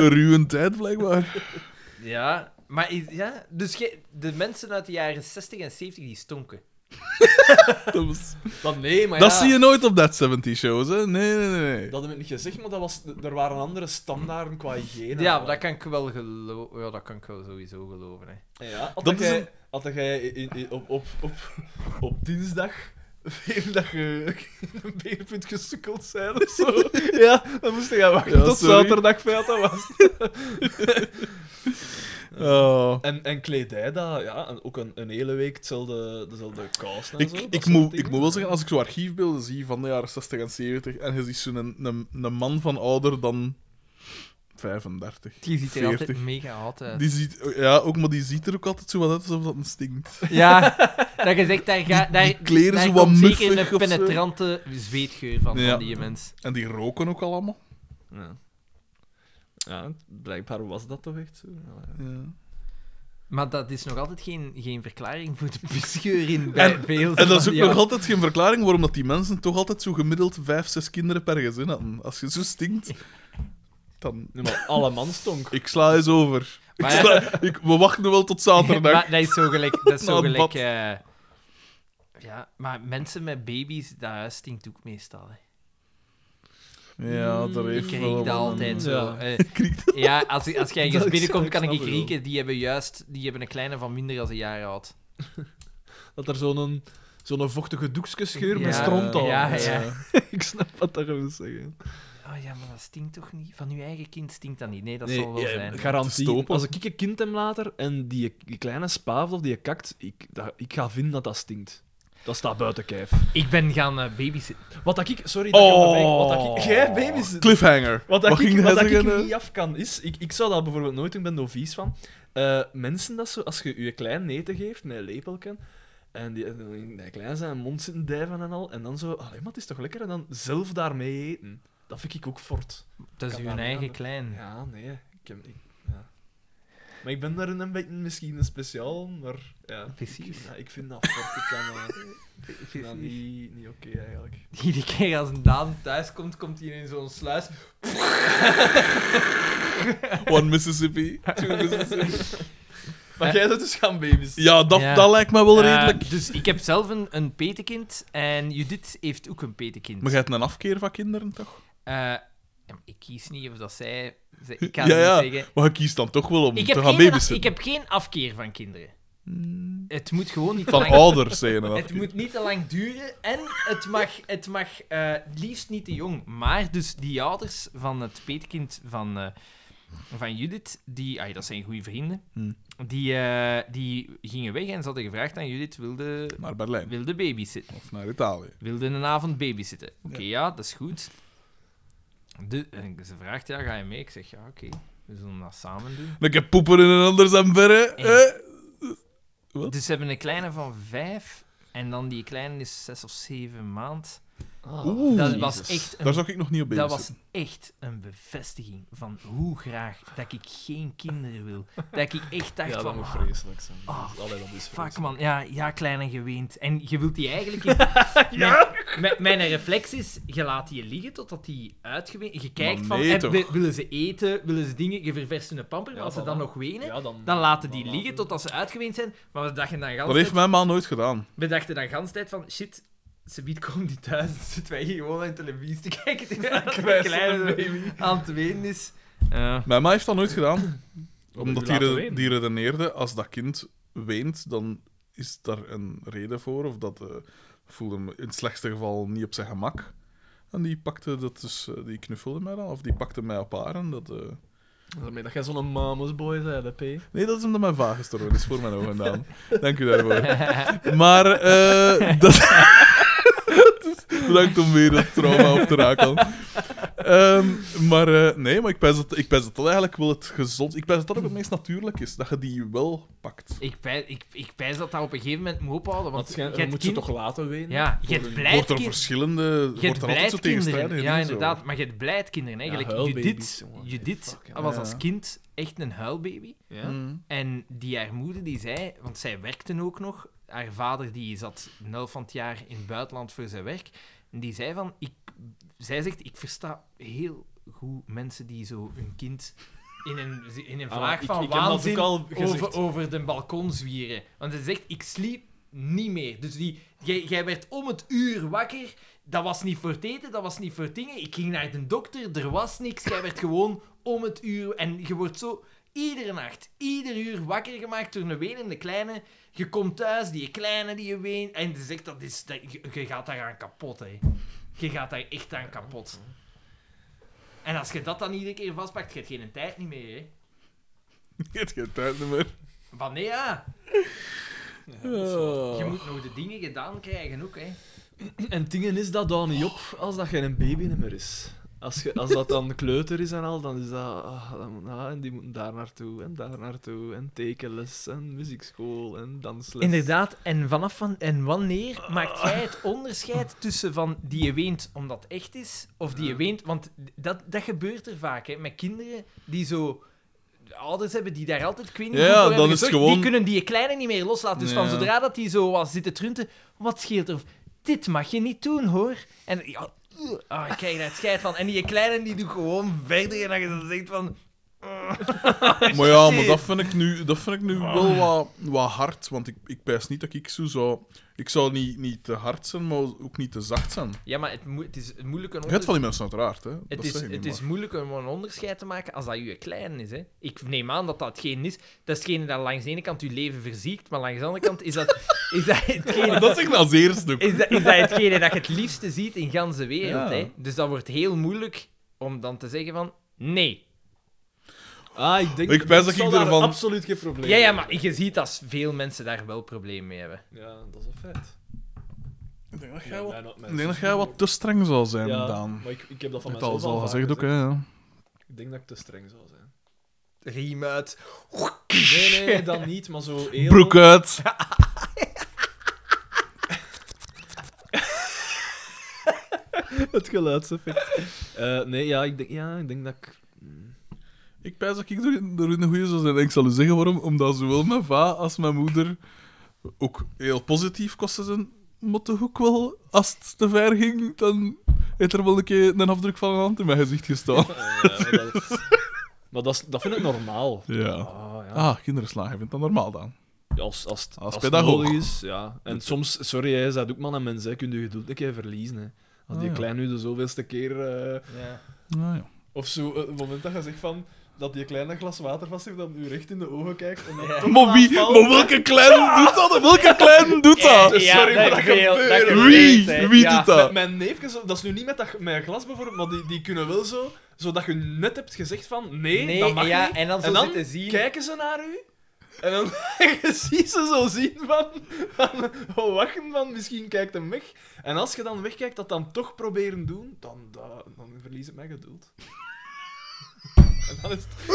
Speaker 4: een ruwe tijd, blijkbaar.
Speaker 3: Ja. Maar i- ja, dus ge- de mensen uit de jaren 60 en 70 die stonken.
Speaker 4: Dat, was-
Speaker 2: Dat, nee, maar
Speaker 4: dat
Speaker 2: ja,
Speaker 4: zie je nooit op dat 70 shows, hè? Nee, nee, nee. nee.
Speaker 2: Dat heb ik niet gezegd, maar dat was, er waren andere standaarden qua hygiëne.
Speaker 3: Ja, maar dat kan ik wel geloven. Ja, dat kan ik wel sowieso geloven. Hè.
Speaker 2: Ja, had
Speaker 4: Dat is
Speaker 2: jij,
Speaker 4: een-
Speaker 2: had jij in- in- op, op, op, op dinsdag weer dat je in een beerpunt gesukkeld zijn of zo? Ja, dan moest je gaan wachten
Speaker 4: Ja,
Speaker 2: tot
Speaker 4: sorry.
Speaker 2: zaterdag vijf dat was.
Speaker 4: Oh.
Speaker 2: En, en kledij, dat, ja, en ook een, een hele week hetzelfde, dezelfde kous en
Speaker 4: Ik,
Speaker 2: zo. dat
Speaker 4: ik,
Speaker 2: soort
Speaker 4: moet, ik
Speaker 2: dingen.
Speaker 4: moet wel zeggen, als ik zo archiefbeelden zie van de jaren 60 en 70, en je ziet zo'n een, een, een man van ouder dan 35.
Speaker 3: Die ziet er
Speaker 4: 40.
Speaker 3: altijd mega hot uit.
Speaker 4: Die ziet, ja, ook, maar die ziet er ook altijd zo wat uit alsof dat een stinkt.
Speaker 3: Ja, dat je zegt, daar, ga, daar,
Speaker 4: die kleren
Speaker 3: daar
Speaker 4: zo wat
Speaker 3: komt zeker
Speaker 4: muffig
Speaker 3: een
Speaker 4: of zo.
Speaker 3: penetrante zweetgeur van,
Speaker 4: Ja.
Speaker 3: van die mens.
Speaker 4: En die roken ook allemaal.
Speaker 2: Ja. ja, blijkbaar was dat toch echt zo. Ja, ja.
Speaker 4: Ja.
Speaker 3: Maar dat is nog altijd geen, geen verklaring voor de pisgeur in bij veel
Speaker 4: En dat is
Speaker 3: van
Speaker 4: ook
Speaker 3: die
Speaker 4: nog
Speaker 3: oude-
Speaker 4: altijd geen verklaring waarom dat die mensen toch altijd zo gemiddeld vijf, zes kinderen per gezin hadden. Als je zo stinkt, dan...
Speaker 2: Nee, maar alle man stonk.
Speaker 4: Ik sla eens over. Ik
Speaker 3: Maar ja.
Speaker 4: sla- ik, we wachten wel tot zaterdag.
Speaker 3: Maar dat is zo gelijk... Dat
Speaker 4: Na
Speaker 3: is zo
Speaker 4: het
Speaker 3: gelijk
Speaker 4: bad.
Speaker 3: eh, ja, maar mensen met baby's, dat huis stinkt ook meestal. Hè.
Speaker 4: Ja, daar
Speaker 3: Ik
Speaker 4: heeft
Speaker 3: kreeg
Speaker 4: wel...
Speaker 3: dat altijd zo.
Speaker 2: Ja.
Speaker 3: eh, ja, als, als jij ergens
Speaker 2: Dat is-
Speaker 3: binnenkomt,
Speaker 2: ik
Speaker 3: kan ik
Speaker 2: snap het wel.
Speaker 3: rieken. Die hebben juist... Die hebben een kleine van minder dan een jaar oud.
Speaker 2: Dat er zo'n zo'n vochtige doekskesgeur
Speaker 3: Ja,
Speaker 2: met stront al.
Speaker 3: ja, ja.
Speaker 2: Ik snap wat dat wil zeggen.
Speaker 3: Oh ja, maar dat stinkt toch niet? Van uw eigen kind stinkt dat niet. Nee, dat zal wel
Speaker 2: ja,
Speaker 3: zijn.
Speaker 2: Garantie.
Speaker 4: Te stopen.
Speaker 2: Als ik een kind heb later en die, die kleine spaaf of die kakt, ik, dat, ik ga vinden dat dat stinkt. Dat staat buiten kijf.
Speaker 3: Ik ben gaan eh, babysitten.
Speaker 2: Wat dat ik... Sorry, dat ik onderbreek, Wat dat
Speaker 4: Oh.
Speaker 3: Oh.
Speaker 2: ik... Jij baby's...
Speaker 4: baby's. Cliffhanger.
Speaker 2: Wat, dat ik,
Speaker 4: ging
Speaker 2: wat
Speaker 4: hij
Speaker 2: dat ik
Speaker 4: zeggen?
Speaker 2: niet af kan, is... Ik, ik zou dat bijvoorbeeld nooit doen, ik ben er vies van. Eh, mensen dat zo... Als je je klein eten geeft, met een lepelken, en die, en die- die klein zijn mond zitten dijven en al, en dan zo... Allee, maar het is toch lekker? En dan zelf daarmee eten. Dat vind ik ook fort.
Speaker 3: Dat is
Speaker 2: Kan
Speaker 3: uw
Speaker 2: daar niet
Speaker 3: eigen
Speaker 2: aan doen.
Speaker 3: klein.
Speaker 2: Ja, nee. Ik heb, ik, ja. Maar ik ben daar een beetje misschien een speciaal, maar ja.
Speaker 3: Precies.
Speaker 2: Ik, ja, ik vind dat fort. Ik kan eh, ik vind dat niet, niet oké eigenlijk.
Speaker 3: Iedere keer als een Daan thuis komt, komt hij in zo'n sluis.
Speaker 4: One Mississippi. Two Mississippi.
Speaker 2: Maar jij bent dus gaan baby's.
Speaker 4: Ja, dat,
Speaker 3: Ja.
Speaker 4: dat lijkt me wel redelijk.
Speaker 3: Eh, dus ik heb zelf een, een petekind en Judith heeft ook een petekind.
Speaker 4: Maar jij hebt een afkeer van kinderen, toch?
Speaker 3: Eh, ja, maar ik kies niet of dat zij... zij- ik kan
Speaker 4: ja,
Speaker 3: het
Speaker 4: ja.
Speaker 3: niet zeggen.
Speaker 4: Maar je kiest dan toch wel om
Speaker 3: Ik
Speaker 4: te
Speaker 3: heb,
Speaker 4: gaan
Speaker 3: geen, af-
Speaker 4: babysitten.
Speaker 3: ik heb geen afkeer van kinderen.
Speaker 4: Hmm.
Speaker 3: Het moet gewoon niet te
Speaker 4: Van
Speaker 3: lang...
Speaker 4: ouders, zijn dat.
Speaker 3: Het moet niet te lang duren en het mag, het mag eh, liefst niet te jong. Maar dus die ouders van het peetkind van, eh, van Judith, die, ah, dat zijn goede vrienden,
Speaker 4: Hmm.
Speaker 3: die, eh, die gingen weg en ze hadden gevraagd aan Judith, wilde,
Speaker 4: Naar Berlijn.
Speaker 3: wilde babysitten?
Speaker 4: Of naar Italië.
Speaker 3: Wilde een avond babysitten? Oké, ja. dat is goed. De, en ze vraagt, ja, ga je mee? Ik zeg, ja, oké. We zullen dat samen doen.
Speaker 4: Een keer poepen in een ander zijn verre. hè? Wat?
Speaker 3: Dus ze hebben een kleine van vijf. En dan die kleine is zes of zeven maand.
Speaker 4: Oeh,
Speaker 3: Ah. dat was echt een
Speaker 4: daar zag ik nog niet op bezig.
Speaker 3: Dat was echt een bevestiging van hoe graag dat ik geen kinderen wil. Dat ik echt dacht
Speaker 2: Ja, dat
Speaker 3: van...
Speaker 2: moet
Speaker 3: ah,
Speaker 2: vreselijk zijn.
Speaker 3: Ah,
Speaker 2: Allee, dat is
Speaker 3: Fuck
Speaker 2: vreselijk.
Speaker 3: man, ja, ja kleine geweend. En je wilt die eigenlijk... in- mijn, mijn- mijn reflex is, je laat die liggen totdat die uitgeweend... Je kijkt
Speaker 4: Maar
Speaker 3: van,
Speaker 4: nee,
Speaker 3: eh,
Speaker 4: toch?
Speaker 3: wi- willen ze eten, willen ze dingen... Je ververst hun pamper, maar
Speaker 2: Ja,
Speaker 3: als ze
Speaker 2: voilà.
Speaker 3: dan nog wenen...
Speaker 2: Ja, dan,
Speaker 3: Dan laten die
Speaker 2: dan
Speaker 3: liggen totdat ze uitgeweend zijn. Maar we dachten dan gans
Speaker 4: Dat heeft
Speaker 3: tijd,
Speaker 4: mijn ma nooit gedaan.
Speaker 3: we dachten dan gans tijd van... Shit, ze biedt komt die thuis. Dan zitten wij hier gewoon aan televisie te kijken. tegen een kleine aan het wenen is.
Speaker 4: Mijn ma heeft dat nooit gedaan. Omdat
Speaker 2: u
Speaker 4: die,
Speaker 2: laten
Speaker 4: re-
Speaker 2: wenen.
Speaker 4: die redeneerde, als dat kind weent, dan is daar een reden voor. Of dat eh, voelde hem in het slechtste geval niet op zijn gemak. En die pakte dat dus, eh, die knuffelde mij dan, of die pakte mij op haar. En dat, eh,
Speaker 2: Daarmee dat jij zo'n mamusboy zei, hè, P.
Speaker 4: Nee, dat is omdat mijn vaag gestorven is voor mijn ogen dan. Dank u daarvoor. Maar eh dat. Dus Bedankt om weer dat trauma op te raken. Ehm, maar eh, nee, maar ik pijs dat, ik pijs dat dat eigenlijk wel het gezond. Ik pijs dat dat ook het meest natuurlijk is, dat je die wel pakt.
Speaker 3: Ik pijs, ik, ik pijs dat dat op een gegeven moment moet ophouden.
Speaker 2: Want
Speaker 3: Want je
Speaker 2: schijn- dat
Speaker 3: hebt
Speaker 2: moet je
Speaker 3: kind-
Speaker 2: toch laten weten?
Speaker 3: Ja, je hebt blijd
Speaker 4: Wordt er
Speaker 3: kind-
Speaker 4: verschillende.
Speaker 3: je hebt
Speaker 4: Wordt er altijd zo
Speaker 3: blijd kinderen.
Speaker 4: tegenstrijdig
Speaker 3: Ja, inderdaad. Maar je hebt blijd kinderen.
Speaker 2: Ja,
Speaker 3: Eigenlijk,
Speaker 2: huilbaby's,
Speaker 3: Judith,
Speaker 2: jongen.
Speaker 3: Judith
Speaker 2: Fuck, ja.
Speaker 3: was
Speaker 4: Ja.
Speaker 3: als kind echt een huilbaby.
Speaker 2: Ja?
Speaker 4: Mm.
Speaker 3: En die haar moeder, die zei... Want zij werkte ook nog. Haar vader die zat een helft van het jaar in het buitenland voor zijn werk. En die zei van... Ik, zij zegt, ik versta heel goed mensen die zo hun kind... In een, in een
Speaker 2: Ah,
Speaker 3: vlaag
Speaker 2: ik-
Speaker 3: van
Speaker 2: ik heb dat ook
Speaker 3: waanzin
Speaker 2: al gezegd.
Speaker 3: over, over de balkon zwieren. Want ze zegt, ik sliep niet meer. Dus die, jij, jij werd om het uur wakker. Dat was niet voor het eten, dat was niet voor het dingen. Ik ging naar de dokter, er was niks. Jij werd gewoon om het uur. En je wordt zo iedere nacht, ieder uur wakker gemaakt door een wenende kleine. Je komt thuis, die kleine die je weent. En ze zegt, dat is, dat, je, je gaat daaraan kapot, hè. Je gaat daar echt aan kapot. En als je dat dan iedere keer vastpakt, je hebt geen tijd niet meer, hè.
Speaker 4: Je hebt geen tijd meer.
Speaker 3: Van nee, ja.
Speaker 2: Oh.
Speaker 3: Je moet nog de dingen gedaan krijgen ook, hè.
Speaker 2: En dingen is dat dan niet op als dat geen baby meer is. Als, je, als dat dan kleuter is en al, dan is dat... ah, dat moet- ah, en die moeten daar naartoe en daar naartoe en tekenles en muziekschool en dansles.
Speaker 3: Inderdaad, en vanaf van, en wanneer maakt jij het onderscheid tussen van die je weent omdat het echt is, of die je weent, want dat, dat gebeurt er vaak, hè, met kinderen die zo ouders hebben die daar altijd, ik weet niet
Speaker 4: Ja,
Speaker 3: hoe voor
Speaker 4: dan
Speaker 3: hebben
Speaker 4: is het
Speaker 3: gezorgd,
Speaker 4: gewoon-
Speaker 3: die kunnen die kleine niet meer loslaten. Dus van
Speaker 4: Ja.
Speaker 3: zodra dat die zo was zitten trunten, wat scheelt er? Dit mag je niet doen, hoor. En ja, ugh, ah, ik krijg daar het scheid van. En die kleine die doet gewoon verder en dan je zo zegt van...
Speaker 4: Maar ja, maar dat vind ik nu, dat vind ik nu wel wat, wat hard. Want ik, ik pijs niet dat ik zo zou... Ik zou niet, niet te hard zijn, maar ook niet te zacht zijn.
Speaker 3: Ja, maar het, moet het is moeilijk een
Speaker 4: Je hebt van die mensen uiteraard, hè.
Speaker 3: Het,
Speaker 4: dat
Speaker 3: is,
Speaker 4: zeg ik niet,
Speaker 3: het is
Speaker 4: maar.
Speaker 3: moeilijk om een onderscheid te maken als dat je klein is. Hè. Ik neem aan dat dat hetgeen is. Dat is hetgene dat langs de ene kant je leven verziekt, maar langs de andere kant is dat, is dat, hetgene,
Speaker 4: Maar dat zeg ik als eerste ook.
Speaker 3: is dat, is dat hetgene dat je het liefste ziet in ganse wereld.
Speaker 4: Ja.
Speaker 3: Hè. Dus dat wordt heel moeilijk om dan te zeggen van... Nee.
Speaker 2: Ah, ik denk...
Speaker 4: Ik pijs dat
Speaker 2: zal
Speaker 4: ik
Speaker 2: daar
Speaker 4: ervan-
Speaker 2: absoluut geen probleem
Speaker 3: Ja, ja,
Speaker 2: hebben.
Speaker 3: maar je ziet dat veel mensen daar wel problemen mee hebben.
Speaker 2: Ja, dat is een feit.
Speaker 4: Ik denk dat
Speaker 2: Ja,
Speaker 4: jij wat,
Speaker 2: bijna- mijn
Speaker 4: ik denk dat
Speaker 2: zus
Speaker 4: jij
Speaker 2: ook.
Speaker 4: wat te streng zou zijn,
Speaker 2: Ja,
Speaker 4: Daan.
Speaker 2: maar ik, ik heb dat
Speaker 4: Je
Speaker 2: van
Speaker 4: hebt
Speaker 2: mezelf
Speaker 4: al
Speaker 2: al
Speaker 4: al gezegd ook,
Speaker 2: gezegd.
Speaker 4: hè. ja.
Speaker 2: Ik denk dat ik te streng zou zijn.
Speaker 3: Riem uit.
Speaker 2: Nee, nee, nee, dan niet, maar zo heel...
Speaker 4: Broek uit.
Speaker 2: Het geluidseffect. Eh, nee, ja ik, denk, ja, ik denk dat ik...
Speaker 4: Ik pijs dat ik er, er in de goede zou zijn. En ik zal u zeggen waarom. Omdat zowel mijn va als mijn moeder ook heel positief kosten zijn. Maar toch ook wel, als het te ver ging, dan heeft er wel een keer een afdruk van een hand in mijn gezicht gestaan.
Speaker 2: eh, maar dat, maar dat, is- dat vind ik normaal.
Speaker 4: Ja.
Speaker 2: Ah, ja.
Speaker 4: Ah, kinderen slagen. Vindt dat normaal, Daan?
Speaker 2: Ja, Als, als, het-
Speaker 4: Als
Speaker 2: als
Speaker 4: pedagoog.
Speaker 2: het nodig is, ja. En soms, sorry, hij zei ook man en mensen, hè, kun je geduld een keer verliezen. Hè. Als die
Speaker 4: Ah, ja.
Speaker 2: klein nu de zoveelste keer... eh,
Speaker 4: Nou ja.
Speaker 2: of zo, eh, het moment dat je zegt van... Dat die kleine glas water vast heeft, dat u recht in de ogen kijkt. En dat toch
Speaker 4: Maar, wie,
Speaker 2: laat vallen.
Speaker 4: maar welke klein doet dat? Welke klein doet dus dat?
Speaker 2: Sorry, maar dat gebeurt.
Speaker 4: Wie? Wie doet dat?
Speaker 2: Met mijn neefjes, dat is nu niet met dat, mijn glas bijvoorbeeld, maar die, die kunnen wel zo, zodat je net hebt gezegd van nee,
Speaker 13: Nee,
Speaker 2: dat mag
Speaker 13: ja,
Speaker 2: niet.
Speaker 13: en dan zo
Speaker 2: en dan
Speaker 13: zitten zien.
Speaker 2: kijken ze naar u en dan je ziet ze zo zien van, van oh, wacht van, misschien kijkt hem weg. En als je dan wegkijkt, dat dan toch proberen doen, dan, dan, dan verlies ik mijn geduld. En dan is het...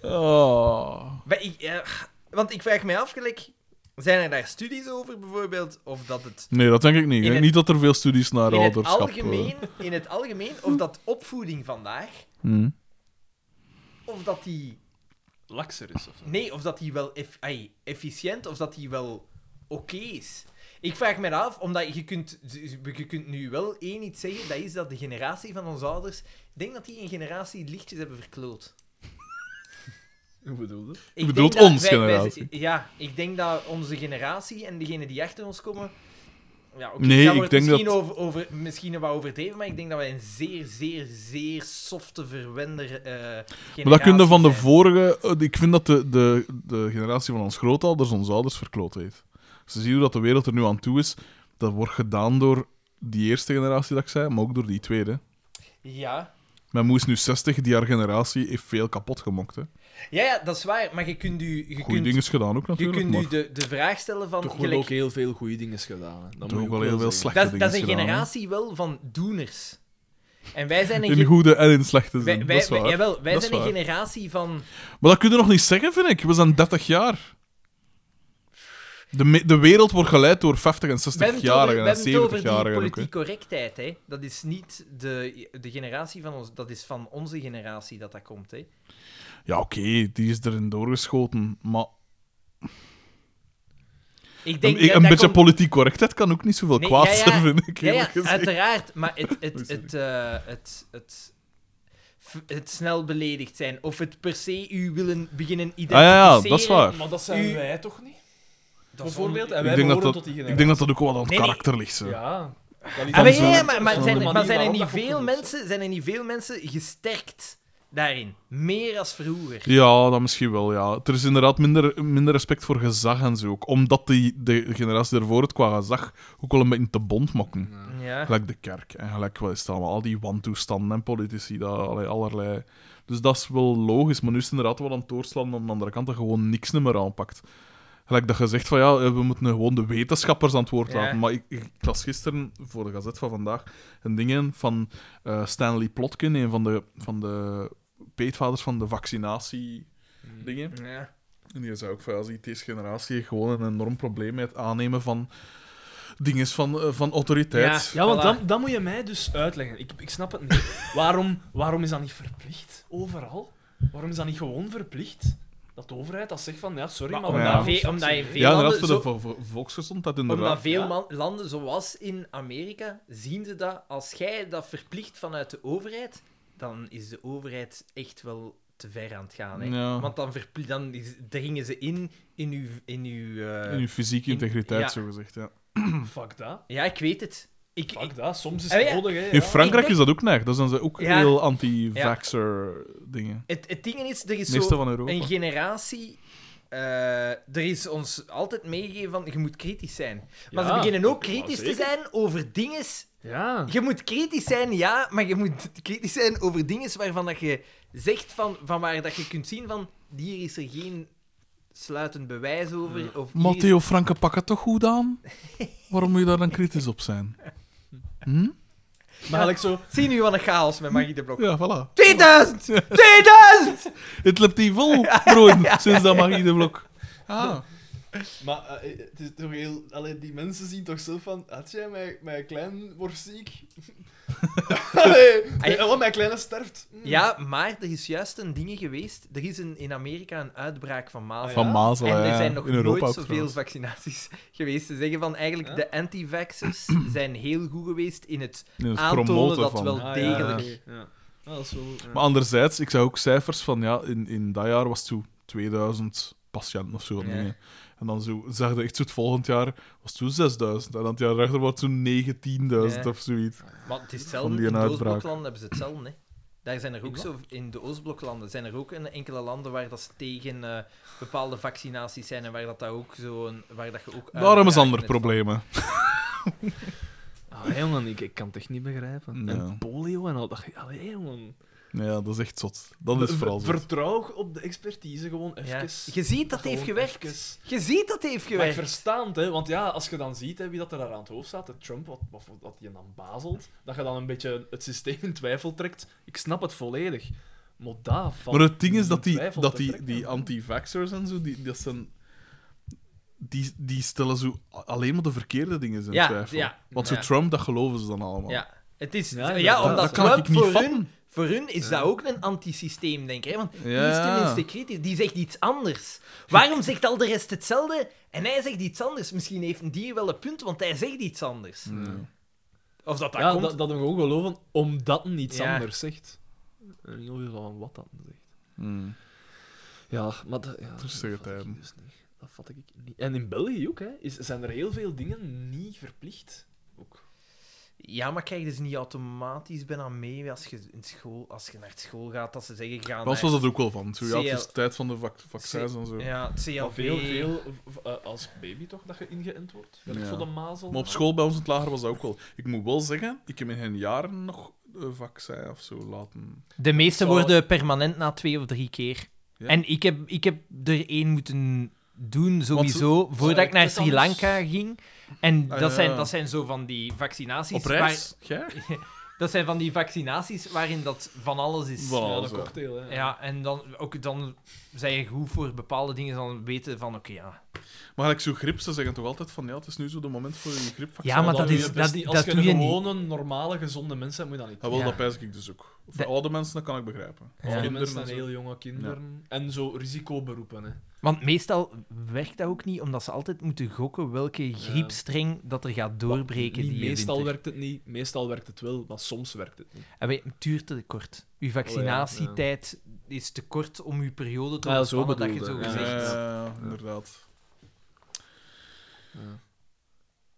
Speaker 4: Oh.
Speaker 3: Maar ik, eh, want ik vraag mij af, gelijk, zijn er daar studies over bijvoorbeeld? Of dat het
Speaker 4: Nee, dat denk ik niet. Ik
Speaker 3: In
Speaker 4: denk
Speaker 3: het-
Speaker 4: niet dat er veel studies naar
Speaker 3: in het,
Speaker 4: ouderschap... eh,
Speaker 3: algemeen, in het algemeen, of dat opvoeding vandaag,
Speaker 4: hm.
Speaker 3: of dat die...
Speaker 2: Lakser is of zo.
Speaker 3: Nee, of dat die wel eff- ai, efficiënt, of dat die wel oké is. Ik vraag me af, omdat je kunt, je kunt nu wel één iets zeggen, dat is dat de generatie van onze ouders, ik denk dat die een generatie lichtjes hebben verkloot.
Speaker 2: Hoe bedoel je?
Speaker 3: Ik
Speaker 4: bedoelt
Speaker 3: denk dat
Speaker 4: ons generatie?
Speaker 3: ja, ik denk dat onze generatie en degenen die achter ons komen. Ja, oké,
Speaker 4: Nee,
Speaker 3: daar
Speaker 4: ik
Speaker 3: wordt
Speaker 4: denk
Speaker 3: misschien
Speaker 4: dat-
Speaker 3: Over, over, misschien wat overdreven, maar ik denk dat wij een zeer, zeer, zeer softe verwender. eh generatie
Speaker 4: Maar dat kun je van de
Speaker 3: zijn.
Speaker 4: vorige... eh, Ik vind dat de, de, de generatie van ons grootouders onze ouders verkloot heeft. Ze zien hoe dat de wereld er nu aan toe is. Dat wordt gedaan door die eerste generatie dat ik zei, maar ook door die tweede.
Speaker 3: Ja.
Speaker 4: Mijn moes nu 60, die haar generatie heeft veel kapot gemokt. Hè.
Speaker 3: Ja, ja, dat is waar, maar je kunt u. Je
Speaker 4: Goeie
Speaker 3: kunt,
Speaker 4: dingen gedaan ook
Speaker 3: je
Speaker 4: natuurlijk,
Speaker 3: kunt u
Speaker 4: maar
Speaker 3: de, de vraag stellen van.
Speaker 2: Toch
Speaker 3: gelijk-
Speaker 2: worden ook heel veel goede dingen gedaan. Hè. Dat
Speaker 4: toch ook wel heel veel slechte
Speaker 3: dat, is-
Speaker 4: dingen
Speaker 3: dat is een
Speaker 4: gedaan, hè.
Speaker 3: generatie wel van doeners. En wij zijn een.
Speaker 4: In
Speaker 3: ge-
Speaker 4: goede en in slechte zin,
Speaker 3: wij,
Speaker 4: dat is
Speaker 3: wij-
Speaker 4: waar.
Speaker 3: jawel, wij
Speaker 4: Dat is
Speaker 3: zijn een
Speaker 4: waar.
Speaker 3: generatie van.
Speaker 4: Maar dat kun je nog niet zeggen, vind ik. We zijn 30 jaar. De, me- de wereld wordt geleid door 50 en
Speaker 3: We hebben het
Speaker 4: 60-jarigen
Speaker 3: over-
Speaker 4: en
Speaker 3: we hebben het over die
Speaker 4: 70-jarigen. ook, hè.
Speaker 3: politiek correctheid, hè. Dat is niet de, de generatie van ons... Dat is van onze generatie dat dat komt, hè.
Speaker 4: Ja, oké, die is erin doorgeschoten. Maar
Speaker 3: Ik denk,
Speaker 4: een, een
Speaker 3: dat- dat
Speaker 4: beetje
Speaker 3: komt-
Speaker 4: politiek correctheid kan ook niet zoveel
Speaker 3: Nee,
Speaker 4: kwaad
Speaker 3: ja, ja.
Speaker 4: zijn, vind ik.
Speaker 3: Ja,
Speaker 4: eerlijk
Speaker 3: ja,
Speaker 4: gezegd.
Speaker 3: uiteraard. Maar het... het,
Speaker 4: sorry.
Speaker 3: het, eh, het, het f- het snel beledigd zijn, of het per se u willen beginnen
Speaker 4: Ah,
Speaker 3: identificeren. Ah,
Speaker 4: ja, ja, dat is waar.
Speaker 2: Maar dat zijn
Speaker 3: U-
Speaker 2: wij toch niet?
Speaker 3: Dat is
Speaker 2: Bijvoorbeeld,
Speaker 3: on-
Speaker 2: en
Speaker 4: Ik
Speaker 2: wij
Speaker 4: denk, dat
Speaker 2: behoren
Speaker 4: dat,
Speaker 2: tot die
Speaker 4: ik
Speaker 2: generatie.
Speaker 4: denk dat dat ook wel aan het
Speaker 3: Nee, nee.
Speaker 4: karakter ligt. Zo.
Speaker 2: Ja.
Speaker 3: Ah, maar,
Speaker 4: Van
Speaker 3: ja,
Speaker 4: zo'n-
Speaker 3: maar, maar
Speaker 2: eh, zo'n
Speaker 3: zijn, er-
Speaker 2: manier
Speaker 3: maar zijn, er
Speaker 2: waarop
Speaker 3: niet
Speaker 2: dat
Speaker 3: veel
Speaker 2: gekoppeld is,
Speaker 3: mensen, zijn er niet veel mensen gesterkt daarin? Meer als vroeger.
Speaker 4: Ja, dat misschien wel, ja. Er is inderdaad minder, minder respect voor gezag en zo. Ook omdat die, de generatie daarvoor het qua gezag ook wel een beetje te bond mokken.
Speaker 3: Ja.
Speaker 4: Gelijk de kerk en gelijk wat is het allemaal, al die wantoestanden en politici, dat, allee, allerlei. Dus dat is wel logisch, maar nu is het inderdaad wel aan het doorslaan aan de andere kant dat gewoon niks meer aanpakt. Gelijk dat je zegt van ja, eh, we moeten gewoon de wetenschappers aan het woord
Speaker 3: Ja.
Speaker 4: laten. Maar ik, ik las gisteren voor de gazet van vandaag een ding in van eh, Stanley Plotkin, een van de, van de peetvaders van de vaccinatie-dingen.
Speaker 3: Ja.
Speaker 4: En die zei ook van, als deze generatie heeft gewoon een enorm probleem met het aannemen van dingen van, eh, van autoriteit.
Speaker 2: Ja, want
Speaker 3: Voilà.
Speaker 2: dan, dan moet je mij dus uitleggen. Ik, ik snap het niet. Waarom, waarom is dat niet verplicht? Overal? Waarom is dat niet gewoon verplicht? Dat de overheid dat zegt van, ja, sorry, maar,
Speaker 3: Maar
Speaker 2: we
Speaker 4: ja.
Speaker 2: gaan
Speaker 3: omdat,
Speaker 2: ons
Speaker 3: ve- omdat in veel
Speaker 4: Ja, inderdaad,
Speaker 3: landen
Speaker 4: voor
Speaker 3: zo-
Speaker 4: de vo- vo- volksgezondheid inderdaad.
Speaker 3: Omdat veel
Speaker 2: Ja.
Speaker 3: man- landen, zoals in Amerika, zien ze dat als jij dat verplicht vanuit de overheid, dan is de overheid echt wel te ver aan het gaan. Hè?
Speaker 4: Ja.
Speaker 3: Want dan, verpli- dan is- dringen ze in in uw. In uw eh,
Speaker 4: In je fysieke
Speaker 3: in-
Speaker 4: integriteit,
Speaker 3: ja.
Speaker 4: zogezegd, ja.
Speaker 2: Fuck dat.
Speaker 3: Ja, ik weet het. Ik, ik-
Speaker 2: Fuck dat. Soms is
Speaker 3: Ah,
Speaker 2: het
Speaker 3: ja.
Speaker 2: nodig, hè.
Speaker 4: In
Speaker 2: ja.
Speaker 4: Frankrijk
Speaker 3: denk-
Speaker 4: is dat ook neig. Dat zijn ze ook
Speaker 3: Ja.
Speaker 4: heel anti-vaxxer dingen.
Speaker 3: het, het ding is, er is
Speaker 4: Meeste
Speaker 3: zo
Speaker 4: van Europa.
Speaker 3: een generatie. eh, er is ons altijd meegegeven van je moet kritisch zijn. Maar
Speaker 2: Ja.
Speaker 3: ze beginnen ook
Speaker 2: Ja,
Speaker 3: kritisch te
Speaker 2: zeker.
Speaker 3: zijn over dingen
Speaker 2: Ja.
Speaker 3: Je moet kritisch zijn, ja, maar je moet kritisch zijn over dingen waarvan dat je zegt van, van waar dat je kunt zien van hier is er geen sluitend bewijs over. Of hier is-
Speaker 4: Matteo Franke, pak het toch goed aan? Waarom moet je daar dan kritisch op zijn? Hm?
Speaker 2: Maar eigenlijk zo...
Speaker 3: Zie nu wat een chaos met Magie de Blok.
Speaker 4: Ja, voilà.
Speaker 3: 2000! 2000!
Speaker 4: Het loopt hier vol, brood, sinds dat Magie de Blok. Ah.
Speaker 14: Maar eh, eh, het is toch heel... Allee, die mensen zien toch zelf van... Had jij mijn, mijn klein wordt ziek? Allee,
Speaker 3: Ai-
Speaker 14: eh, oh, mijn kleine sterft. Mm.
Speaker 3: Ja, maar er is juist een ding geweest. Er is een, in Amerika een uitbraak van mazelen.
Speaker 4: Van Mazel,
Speaker 3: En
Speaker 4: Ah, ja,
Speaker 3: er
Speaker 4: ja.
Speaker 3: zijn nog
Speaker 4: in Europa
Speaker 3: nooit
Speaker 4: ook
Speaker 3: zoveel
Speaker 4: trouwens.
Speaker 3: vaccinaties geweest. Ze zeggen van eigenlijk
Speaker 14: Ja?
Speaker 3: de anti-vaxxers zijn heel goed geweest in het
Speaker 4: In het
Speaker 3: aantonen
Speaker 4: promoten
Speaker 3: dat
Speaker 4: van.
Speaker 14: Ah,
Speaker 3: wel
Speaker 14: ja,
Speaker 3: degelijk.
Speaker 14: oké, ja. Ah, dat is wel... ja.
Speaker 4: Maar anderzijds, ik zag ook cijfers van ja, in, in dat jaar was het zo 2000 patiënten of zo.
Speaker 3: Ja.
Speaker 4: nee. En dan zo, zag je echt zo het volgend jaar was het zo 6000. En dan het jaar erachter wordt het zo'n 19.000
Speaker 3: Ja.
Speaker 4: of zoiets.
Speaker 3: Maar het is
Speaker 4: Van
Speaker 3: hetzelfde.
Speaker 4: die
Speaker 3: In de
Speaker 4: uitbraak.
Speaker 3: Oostbloklanden hebben ze hetzelfde. Hè. Daar zijn er ook zo, in de Oostbloklanden zijn er ook een enkele landen waar dat ze tegen eh, bepaalde vaccinaties zijn en waar dat, dat ook zo een, waar dat je ook.
Speaker 4: Daarom is
Speaker 3: uitbraak
Speaker 4: ander
Speaker 3: met-
Speaker 4: problemen.
Speaker 2: Ah, jongen, ik, ik kan het echt niet begrijpen.
Speaker 4: Ja.
Speaker 2: En polio en al dat... Allee, jongen.
Speaker 4: Ja, dat is echt zot. Dat is vooral zot.
Speaker 2: Vertrouw op de expertise gewoon even.
Speaker 3: Ja. Je ziet dat hij heeft
Speaker 2: Gewoon
Speaker 3: gewerkt.
Speaker 2: even.
Speaker 3: Je ziet dat hij heeft
Speaker 2: Maar ik
Speaker 3: gewerkt.
Speaker 2: verstaan het, hè, want ja, als je dan ziet hè, wie dat er daar aan het hoofd staat, de Trump, wat, wat, dat hij dan bazelt, dat je dan een beetje het systeem in twijfel trekt. Ik snap het volledig. Maar daar valt
Speaker 4: Maar het ding is
Speaker 2: in
Speaker 4: dat die,
Speaker 2: twijfel
Speaker 4: dat
Speaker 2: te
Speaker 4: die,
Speaker 2: trekken.
Speaker 4: die anti-vaxxers en zo, die, dat zijn, die, die stellen zo alleen maar de verkeerde dingen in
Speaker 3: Ja,
Speaker 4: twijfel.
Speaker 3: ja.
Speaker 4: Want zo
Speaker 3: Ja.
Speaker 4: Trump, dat geloven ze dan allemaal.
Speaker 3: Ja. Het is,
Speaker 2: Ja,
Speaker 3: ja,
Speaker 2: inderdaad.
Speaker 4: Dat,
Speaker 3: omdat
Speaker 4: dat kan ik
Speaker 3: Trump
Speaker 4: niet
Speaker 3: voor hun,
Speaker 4: vatten.
Speaker 3: voor hun is dat ook een antisysteem, denk ik. hè, Want die is
Speaker 4: Ja.
Speaker 3: tenminste kritisch. Die zegt iets anders. Waarom zegt al de rest hetzelfde en hij zegt iets anders? Misschien heeft die wel een punt, want hij zegt iets anders. Of dat dat
Speaker 2: ja,
Speaker 3: komt...
Speaker 2: dat, dat hem gewoon geloven omdat hem iets
Speaker 3: Ja.
Speaker 2: anders zegt. En ik weet wel van wat dat zegt.
Speaker 4: Hmm.
Speaker 2: Ja, maar dat, ja, dat
Speaker 4: Rustige
Speaker 2: vat ik
Speaker 4: tijden.
Speaker 2: dus niet. Dat vat ik niet. En in België ook, hè, is, zijn er heel veel dingen niet verplicht. Ook.
Speaker 3: Ja, maar krijg je dus niet automatisch bijna mee als je, in school, als je naar school gaat, dat ze zeggen... Gaan
Speaker 4: Pas was dat ook wel van. Zo, ja, het is
Speaker 3: CL.
Speaker 4: tijd van dus de vac- vaccins en zo.
Speaker 3: Ja, het CLV.
Speaker 2: Maar veel, veel v- eh, als baby toch dat je ingeënt wordt. Werkt
Speaker 4: Ja.
Speaker 2: voor de mazel.
Speaker 4: Maar op school bij ons in het lager was dat ook wel. Ik moet wel zeggen, ik heb in geen jaren nog een vaccin of zo laten.
Speaker 3: De meeste
Speaker 2: Zal-
Speaker 3: worden permanent na twee of drie keer.
Speaker 4: Ja.
Speaker 3: En ik heb, ik heb er één moeten doen, sowieso, voordat ik naar Sri Lanka ging. En
Speaker 4: Ah,
Speaker 3: dat,
Speaker 4: ja.
Speaker 3: zijn, dat zijn zo van die vaccinaties...
Speaker 4: Op reis? Jij?
Speaker 3: waar- dat zijn van die vaccinaties waarin dat van alles is.
Speaker 4: Voilà,
Speaker 2: Ja, de
Speaker 4: zo.
Speaker 2: cocktail, hè.
Speaker 3: Ja, en dan, ook, dan zijn je goed voor bepaalde dingen, dan weten van, oké, ja.
Speaker 4: Maar ik zo grip, ze zeggen toch altijd van ja, het is nu zo de moment voor je gripvaccin.
Speaker 3: Ja, maar
Speaker 2: Dan
Speaker 3: dat
Speaker 2: doe je
Speaker 3: is-
Speaker 2: het best
Speaker 3: dat-
Speaker 2: niet.
Speaker 3: dat
Speaker 2: Als je
Speaker 3: doe je
Speaker 2: een
Speaker 3: niet.
Speaker 2: gewone, normale, gezonde mens bent, moet je dat niet
Speaker 4: Ja, wel,
Speaker 3: Ja.
Speaker 4: dat pijs ik dus ook. Voor
Speaker 3: De-
Speaker 4: oude mensen, dat kan ik begrijpen.
Speaker 3: Ja.
Speaker 2: Oude
Speaker 4: Kinderen
Speaker 2: mensen
Speaker 4: en
Speaker 2: en
Speaker 4: zo.
Speaker 2: heel jonge kinderen. En zo risicoberoepen. Hè.
Speaker 3: Want meestal werkt dat ook niet, omdat ze altijd moeten gokken welke griepstreng dat er gaat doorbreken
Speaker 2: Niet
Speaker 3: die
Speaker 2: meestal
Speaker 3: winter.
Speaker 2: werkt het niet, meestal werkt het wel, maar soms werkt het niet.
Speaker 3: En wij- het duurt te kort. Uw vaccinatietijd is te kort om uw periode te
Speaker 2: Ah, ja, zo
Speaker 3: ontspannen, dat je
Speaker 2: bedoelde.
Speaker 3: zo
Speaker 2: Ja,
Speaker 4: Ja,
Speaker 3: gezegd...
Speaker 4: ja, inderdaad.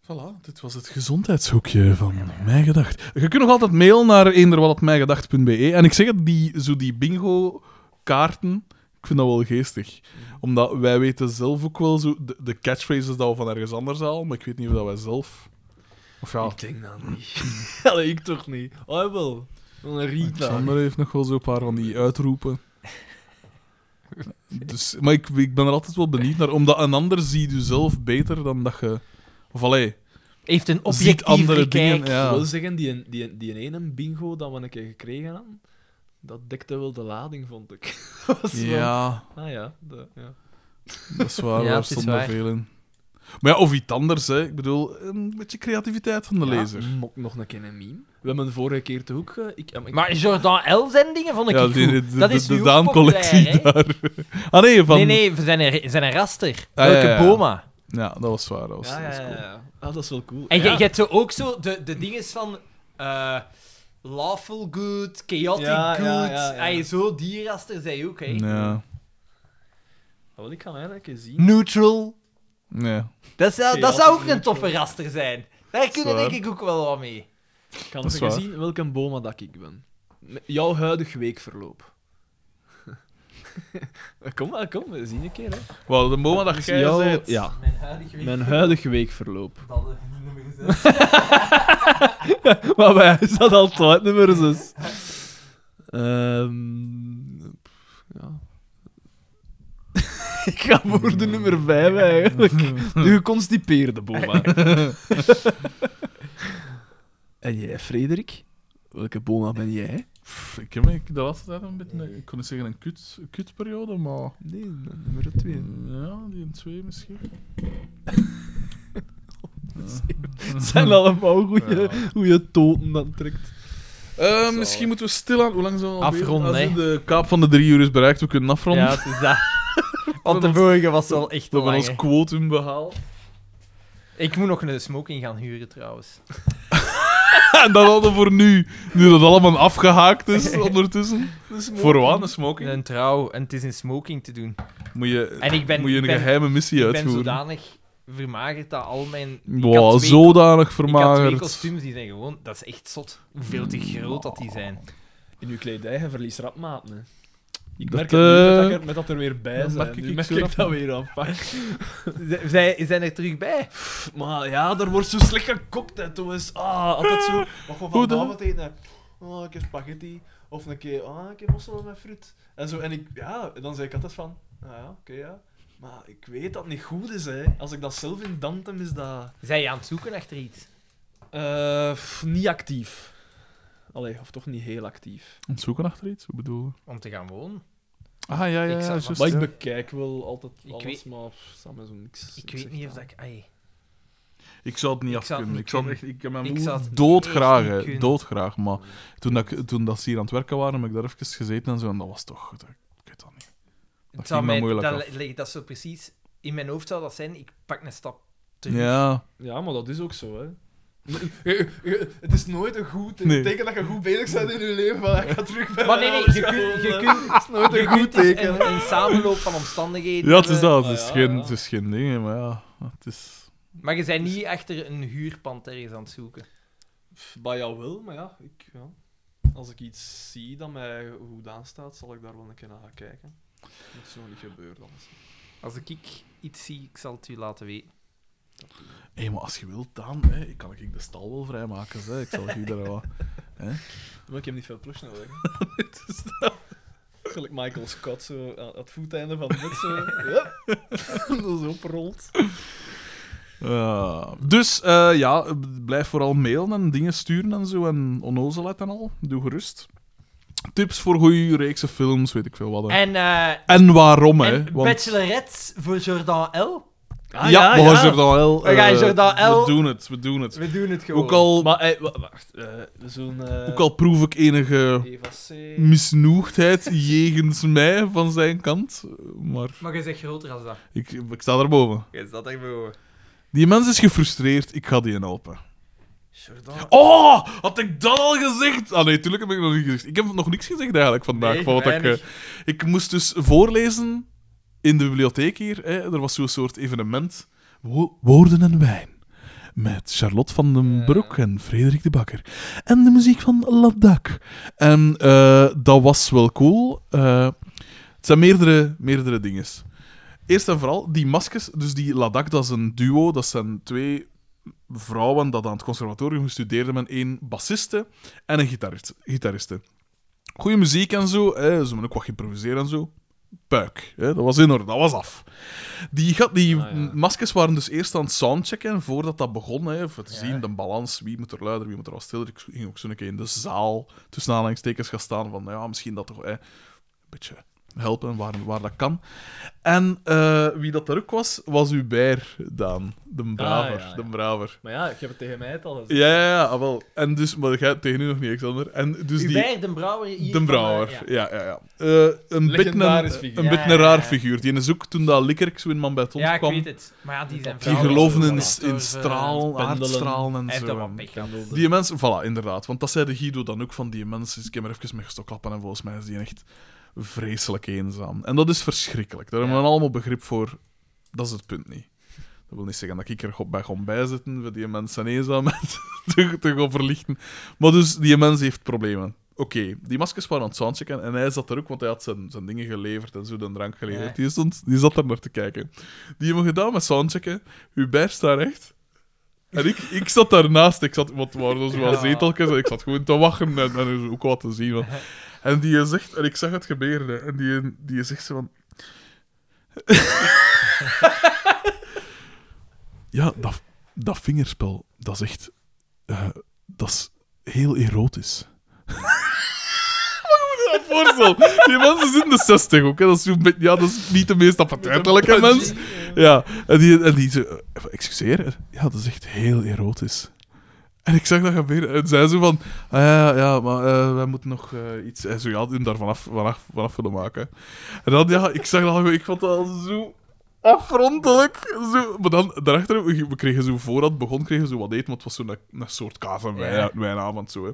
Speaker 4: Voilà, dit was het gezondheidshoekje van Mij Gedacht. Je kunt nog altijd mailen naar eenderwalatmijgedacht.be. En ik zeg het, die, zo die bingo-kaarten, ik vind dat wel geestig. Omdat wij weten zelf ook wel zo... De, de catchphrases dat we van ergens anders halen, maar ik weet niet of dat wij zelf... Of ja,
Speaker 2: Ik denk dat niet. Allee, ik toch niet. Oh, wel. Een Rita.
Speaker 4: Alexander heeft nog wel zo'n paar van die uitroepen. Dus, maar ik, ik ben er altijd wel benieuwd naar, omdat een ander ziet u zelf beter dan dat je... Of allee,
Speaker 3: Heeft een
Speaker 4: ziet andere
Speaker 3: objectieve kijk.
Speaker 4: dingen.
Speaker 3: Dingen,
Speaker 2: Ik wil
Speaker 4: Ja.
Speaker 2: zeggen, die, die, die ene bingo dat we een keer gekregen hadden, dat dekte wel de lading, vond ik. Was wel-
Speaker 4: ja,
Speaker 2: Ah ja, de- ja.
Speaker 4: dat is waar,
Speaker 3: Ja,
Speaker 4: daar
Speaker 3: het is
Speaker 4: stonden
Speaker 3: waar.
Speaker 4: veel in. Maar ja, of iets anders, hè. Ik bedoel, een beetje creativiteit van de
Speaker 2: Ja,
Speaker 4: lezer.
Speaker 2: Nog, nog een keer een meme. We hebben vorige keer te hoek... eh, Ik, eh, ik-
Speaker 3: Maar Jordan L. zijn dingen vond ik
Speaker 4: Ja,
Speaker 3: goed.
Speaker 4: die- die- die-
Speaker 3: dat is
Speaker 4: de
Speaker 3: nu ook
Speaker 4: Daan-collectie
Speaker 3: populair, hè?
Speaker 4: daar. Ah nee, van...
Speaker 3: Nee, nee, we zijn een, zijn een raster.
Speaker 4: Ah,
Speaker 3: Welke
Speaker 4: ja, ja, ja.
Speaker 3: Boma.
Speaker 4: Ja, dat was waar. Dat was,
Speaker 2: ja,
Speaker 4: dat
Speaker 2: ja,
Speaker 4: was
Speaker 2: ja,
Speaker 4: cool.
Speaker 2: ja. Ah, dat is wel cool.
Speaker 3: En je
Speaker 2: ja.
Speaker 3: je hebt zo ook zo de, de dingen van... eh, lawful good, chaotic
Speaker 2: Ja,
Speaker 3: good.
Speaker 2: ja, ja, ja.
Speaker 3: Ay, zo die raster zei ook, hè.
Speaker 4: Ja,
Speaker 2: Ah, wel, ik ga mij eigenlijk eens zien.
Speaker 3: Neutral.
Speaker 4: nee.
Speaker 3: Dat zou, dat
Speaker 2: Chaotic
Speaker 3: zou ook een
Speaker 2: neutral.
Speaker 3: toffe raster zijn. Daar kunnen
Speaker 4: waar.
Speaker 3: denk ik ook wel wat mee.
Speaker 2: Ik kan
Speaker 4: dat is
Speaker 2: eens
Speaker 4: waar.
Speaker 2: zien welke boma dat ik ben. Met Jouw huidig weekverloop. kom maar, kom. We zien een keer, hè.
Speaker 4: Wel, de moment dat jij
Speaker 2: Jouw-
Speaker 4: zei...
Speaker 2: Ja,
Speaker 3: Mijn huidige week.
Speaker 2: mijn huidig weekverloop.
Speaker 15: Dat eh, nummer gezet.
Speaker 2: maar bij is dat altijd nummer 6. Ehm, ja. ik ga voor de nummer 5 eigenlijk. De geconstipeerde boma. en jij, Frederik? Welke boma ben jij?
Speaker 4: Pff, Ik heb me de laatste tijd een beetje, een- ik kon niet zeggen een kut, een kutperiode, maar Mm,
Speaker 2: Nee, nummer 2.
Speaker 4: ja, die in twee misschien.
Speaker 2: Het zijn allemaal goede
Speaker 4: Ja.
Speaker 2: goeie toten dat trekt.
Speaker 4: Eh, misschien moeten we stilaan. Hoe lang zijn we al bezig?
Speaker 3: Afronden,
Speaker 4: Als
Speaker 3: hè.
Speaker 4: de kaap van de drie uur is bereikt, we kunnen afronden.
Speaker 3: Ja, het is dat. Want de vorige was wel echt
Speaker 4: we
Speaker 3: te
Speaker 4: hebben
Speaker 3: lang.
Speaker 4: ons quotum behaald.
Speaker 3: hè. Ik moet nog een smoking gaan huren trouwens.
Speaker 4: en dat hadden we voor nu, nu dat allemaal afgehaakt is ondertussen. Voor wat? Een smoking?
Speaker 3: Een trouw en het is in smoking te doen.
Speaker 4: Moet je,
Speaker 3: En ik ben,
Speaker 4: moet je een
Speaker 3: ik ben,
Speaker 4: geheime missie
Speaker 3: ik ben
Speaker 4: uitvoeren.
Speaker 3: zodanig vermagerd dat al mijn. ik had
Speaker 4: Wow,
Speaker 3: twee-
Speaker 4: zodanig
Speaker 3: Ik had twee
Speaker 4: vermagerd.
Speaker 3: kostuums die zijn gewoon. Dat is echt zot. Hoeveel te groot dat die zijn.
Speaker 2: In uw kledij, je verliest rap maat, hè. Ik
Speaker 4: Dat,
Speaker 2: merk het nu dat,
Speaker 4: eh,
Speaker 2: ik er, met dat er weer bij
Speaker 4: dat
Speaker 2: zijn.
Speaker 4: merk ik
Speaker 2: nu
Speaker 4: ook
Speaker 2: merk
Speaker 4: zo
Speaker 2: ik
Speaker 4: rap.
Speaker 2: dat weer aan. Fuck.
Speaker 3: Z- Zij zijn er terug bij.
Speaker 2: Maar ja, er wordt zo slecht gekokt, hè, Thomas. Ah, altijd zo... Wat we
Speaker 4: Hoe dan?
Speaker 2: vanavond eten, hè.
Speaker 14: oh, ik heb spaghetti. Of een keer, oh, ik heb mosselen met fruit. En zo, en ik, ja, en dan zei ik altijd van, ah ja, oké, ja. Maar ik weet dat het niet goed is, hè. Als ik dat zelf in dantem, is dat...
Speaker 3: Zijn je aan het zoeken achter iets?
Speaker 14: eh, pff, niet actief. Allee, of toch niet heel actief.
Speaker 4: Aan het eh, zoeken achter iets? Wat bedoel je?
Speaker 3: Om te gaan wonen?
Speaker 4: Ah, ja, ja, ja.
Speaker 3: Ik zou-
Speaker 4: juist,
Speaker 14: Maar
Speaker 4: ja.
Speaker 14: ik bekijk wel altijd
Speaker 3: Ik
Speaker 14: alles,
Speaker 3: weet-
Speaker 14: maar pff, staat mij zo niks.
Speaker 3: Ik
Speaker 14: niks
Speaker 3: weet
Speaker 14: echt
Speaker 3: niet of
Speaker 14: aan.
Speaker 3: dat ik... ai.
Speaker 4: Ik zou het niet
Speaker 3: Ik zou het
Speaker 4: afkunnen.
Speaker 3: niet
Speaker 4: Ik zou het echt...
Speaker 3: kunnen.
Speaker 4: Ik heb mijn
Speaker 3: Ik
Speaker 4: moeder
Speaker 3: zou het
Speaker 4: doodgraag,
Speaker 3: echt niet
Speaker 4: hè.
Speaker 3: kunnen.
Speaker 4: Doodgraag. Maar toen, dat, ik- toen dat ze hier aan het werken waren, heb ik daar even gezeten en zo. En dat was toch... Dat, ik weet dat niet.
Speaker 3: Het
Speaker 4: ging
Speaker 3: zou
Speaker 4: me
Speaker 3: mij,
Speaker 4: moeilijk
Speaker 3: dat,
Speaker 4: af.
Speaker 3: li- ligt- dat zo precies... In mijn hoofd zou dat zijn, ik pak een stap terug.
Speaker 4: Ja.
Speaker 14: Ja, maar dat is ook zo, hè. het is nooit een goed
Speaker 4: Nee.
Speaker 14: teken dat je goed bezig bent in je leven, maar dat gaat terug bij
Speaker 3: Maar nee, nee, je kunt... Je kunt
Speaker 14: nooit
Speaker 3: je kunt dus een, een samenloop van omstandigheden.
Speaker 4: Ja, het is dat.
Speaker 14: Ah,
Speaker 4: Het is
Speaker 14: ja,
Speaker 4: geen,
Speaker 14: ja.
Speaker 4: het is geen ding, hè, maar ja. Het is...
Speaker 3: Maar je bent niet achter een huurpand ergens aan het zoeken.
Speaker 14: Bij jou wel, maar ja, ik, ja. Als ik iets zie dat mij goed aanstaat, zal ik daar wel een keer naar gaan kijken. Dat is nog niet gebeurd, anders.
Speaker 3: Als ik ik iets zie, ik zal het u laten weten.
Speaker 4: Hé, maar als je wilt, dan hè, ik kan ik de stal wel vrijmaken. Hè. Ik zal je daar wel...
Speaker 14: Maar ik heb niet veel plus nodig. Gelijk Michael Scott, zo aan het voeteinde van het bed, zo. Hup. dat is oprolt.
Speaker 4: Eh, dus eh, ja, blijf vooral mailen en dingen sturen en zo. En onnozelheid en al. Doe gerust. Tips voor goede reekse films, weet ik veel wat. hè. En,
Speaker 3: En, eh
Speaker 4: waarom, hè?
Speaker 3: en Ah, bachelorettes voor Jordan L.
Speaker 4: ja, we gaan Jordan L.
Speaker 3: We gaan
Speaker 4: eh,
Speaker 3: Jordan L.
Speaker 4: We doen het, we doen het.
Speaker 3: We doen het gewoon.
Speaker 4: Ook al,
Speaker 14: Maar, hey, wa- wacht. eh, we zullen... eh,
Speaker 4: ook al Mm. proef ik enige
Speaker 14: Eva C.
Speaker 4: misnoegdheid jegens mij van zijn kant. Maar
Speaker 3: Maar je zegt groter als dat.
Speaker 4: ik, ik sta daarboven.
Speaker 6: Je zat echt boven.
Speaker 4: Die mens is gefrustreerd, ik ga die helpen.
Speaker 3: Jordan
Speaker 4: Oh, had ik dat al gezegd? Ah nee, tuurlijk heb ik nog niet gezegd. Ik heb nog niks gezegd eigenlijk vandaag.
Speaker 6: Nee,
Speaker 4: van wat ik,
Speaker 6: weinig.
Speaker 4: eh, ik moest dus voorlezen in de bibliotheek hier. Hè. Er was zo'n soort evenement. Wo- Woorden en wijn. Met Charlotte van den Broek en Frederik de Bakker. En de muziek van Labdak. En eh, dat was wel cool. Eh, het zijn meerdere, meerdere dingen. Eerst en vooral, die maskers. Dus die Ladak, dat is een duo. Dat zijn twee vrouwen dat aan het conservatorium studeerden met één bassiste en een gitarist, gitariste. Goeie muziek en zo, hè, ze moeten ook wat improviseren en zo. Puik, hè, dat was in orde, dat was af. Die, ga- die m- maskers waren dus eerst aan het soundchecken voordat dat begon. Hè, voor te zien de balans, wie moet er luider, wie moet er wat stiller. Ik ging ook zo'n keer in de zaal tussen aanhalingstekens gaan staan van, nou ja, misschien dat toch hè, een beetje helpen waar, waar dat kan. En eh, wie dat daar ook was, was Hubert Daan, de
Speaker 3: Ah,
Speaker 4: braver,
Speaker 14: ja, ja.
Speaker 4: de braver.
Speaker 14: Maar ja, ik heb het tegen mij het al gezegd.
Speaker 4: Ja, ja, ja, ah, wel. En dus, maar jij tegen u nog niet, Alexander. En dus die.
Speaker 3: Hubert Den Brouwer hier.
Speaker 4: De Brouwer.
Speaker 3: van, eh, ja.
Speaker 4: Ja, ja, ja. Eh, een beetje een, een
Speaker 14: Legendarisch figuur.
Speaker 4: beetje
Speaker 3: Ja,
Speaker 4: een
Speaker 3: ja, ja.
Speaker 4: raar figuur. Die is ook toen dat Likkerk zo in Man bij het Ons
Speaker 3: Ja, ik
Speaker 4: kwam.
Speaker 3: weet het. Maar ja, die zijn
Speaker 4: Die
Speaker 3: vrouwen
Speaker 4: geloven
Speaker 3: zijn
Speaker 4: in,
Speaker 3: zo
Speaker 4: in
Speaker 3: wat
Speaker 4: stralen,
Speaker 14: pendelen.
Speaker 4: aardstralen
Speaker 3: eh, Hij
Speaker 4: en
Speaker 3: heeft
Speaker 4: zo.
Speaker 3: dat wel
Speaker 4: en-
Speaker 3: pech gehad.
Speaker 4: Die mensen, voilà, inderdaad. Want dat zei de Guido dan ook van die mensen. Ik heb er even mee gestoklappen en volgens mij is die echt vreselijk eenzaam. En dat is verschrikkelijk. Daar hebben we allemaal begrip voor. Dat is het punt niet. Dat wil niet zeggen dat ik er go- bij kon bijzitten, voor die mensen eenzaamheid te, te gaan verlichten. Maar dus, die mens heeft problemen. Oké, die maskers waren aan het soundchecken en hij zat er ook, want hij had zijn, zijn dingen geleverd en zo, de drank geleverd. Die, stond, die zat er naar te kijken. Die hebben gedaan met soundchecken. Hubert staat recht. En ik, ik zat daarnaast, ik zat, wat waren er zo wat zeteltjes, en ik zat gewoon te wachten en, en er is ook wat te zien. want- En die zegt, en ik zag het gebeuren, hè, en die, die zegt zo van... ja, dat, dat vingerspel, dat is echt... eh, dat is heel erotisch. Maar je moet je dat voorstellen. Die mensen zijn in de 60 ook. Hè. Dat, is zo'n beetje- ja, dat is niet de meest appetijtelijke mens. Ja, en die, en die zo, eh, excuseer, ja, dat is echt heel erotisch. En ik zag dat gebeuren. En zij zo van, ah, ja, ja, maar eh, wij moeten nog eh, iets... En zo, ja, hem daar vanaf, vanaf, vanaf willen maken. En dan, ja, ik zag dat, ik vond dat zo afrondelijk. Zo. Maar dan, daarachter, we we kregen zo, voordat het begon, kregen we zo wat eten, want het was zo'n een soort kaas en wijn, wijnavond, zo, hè.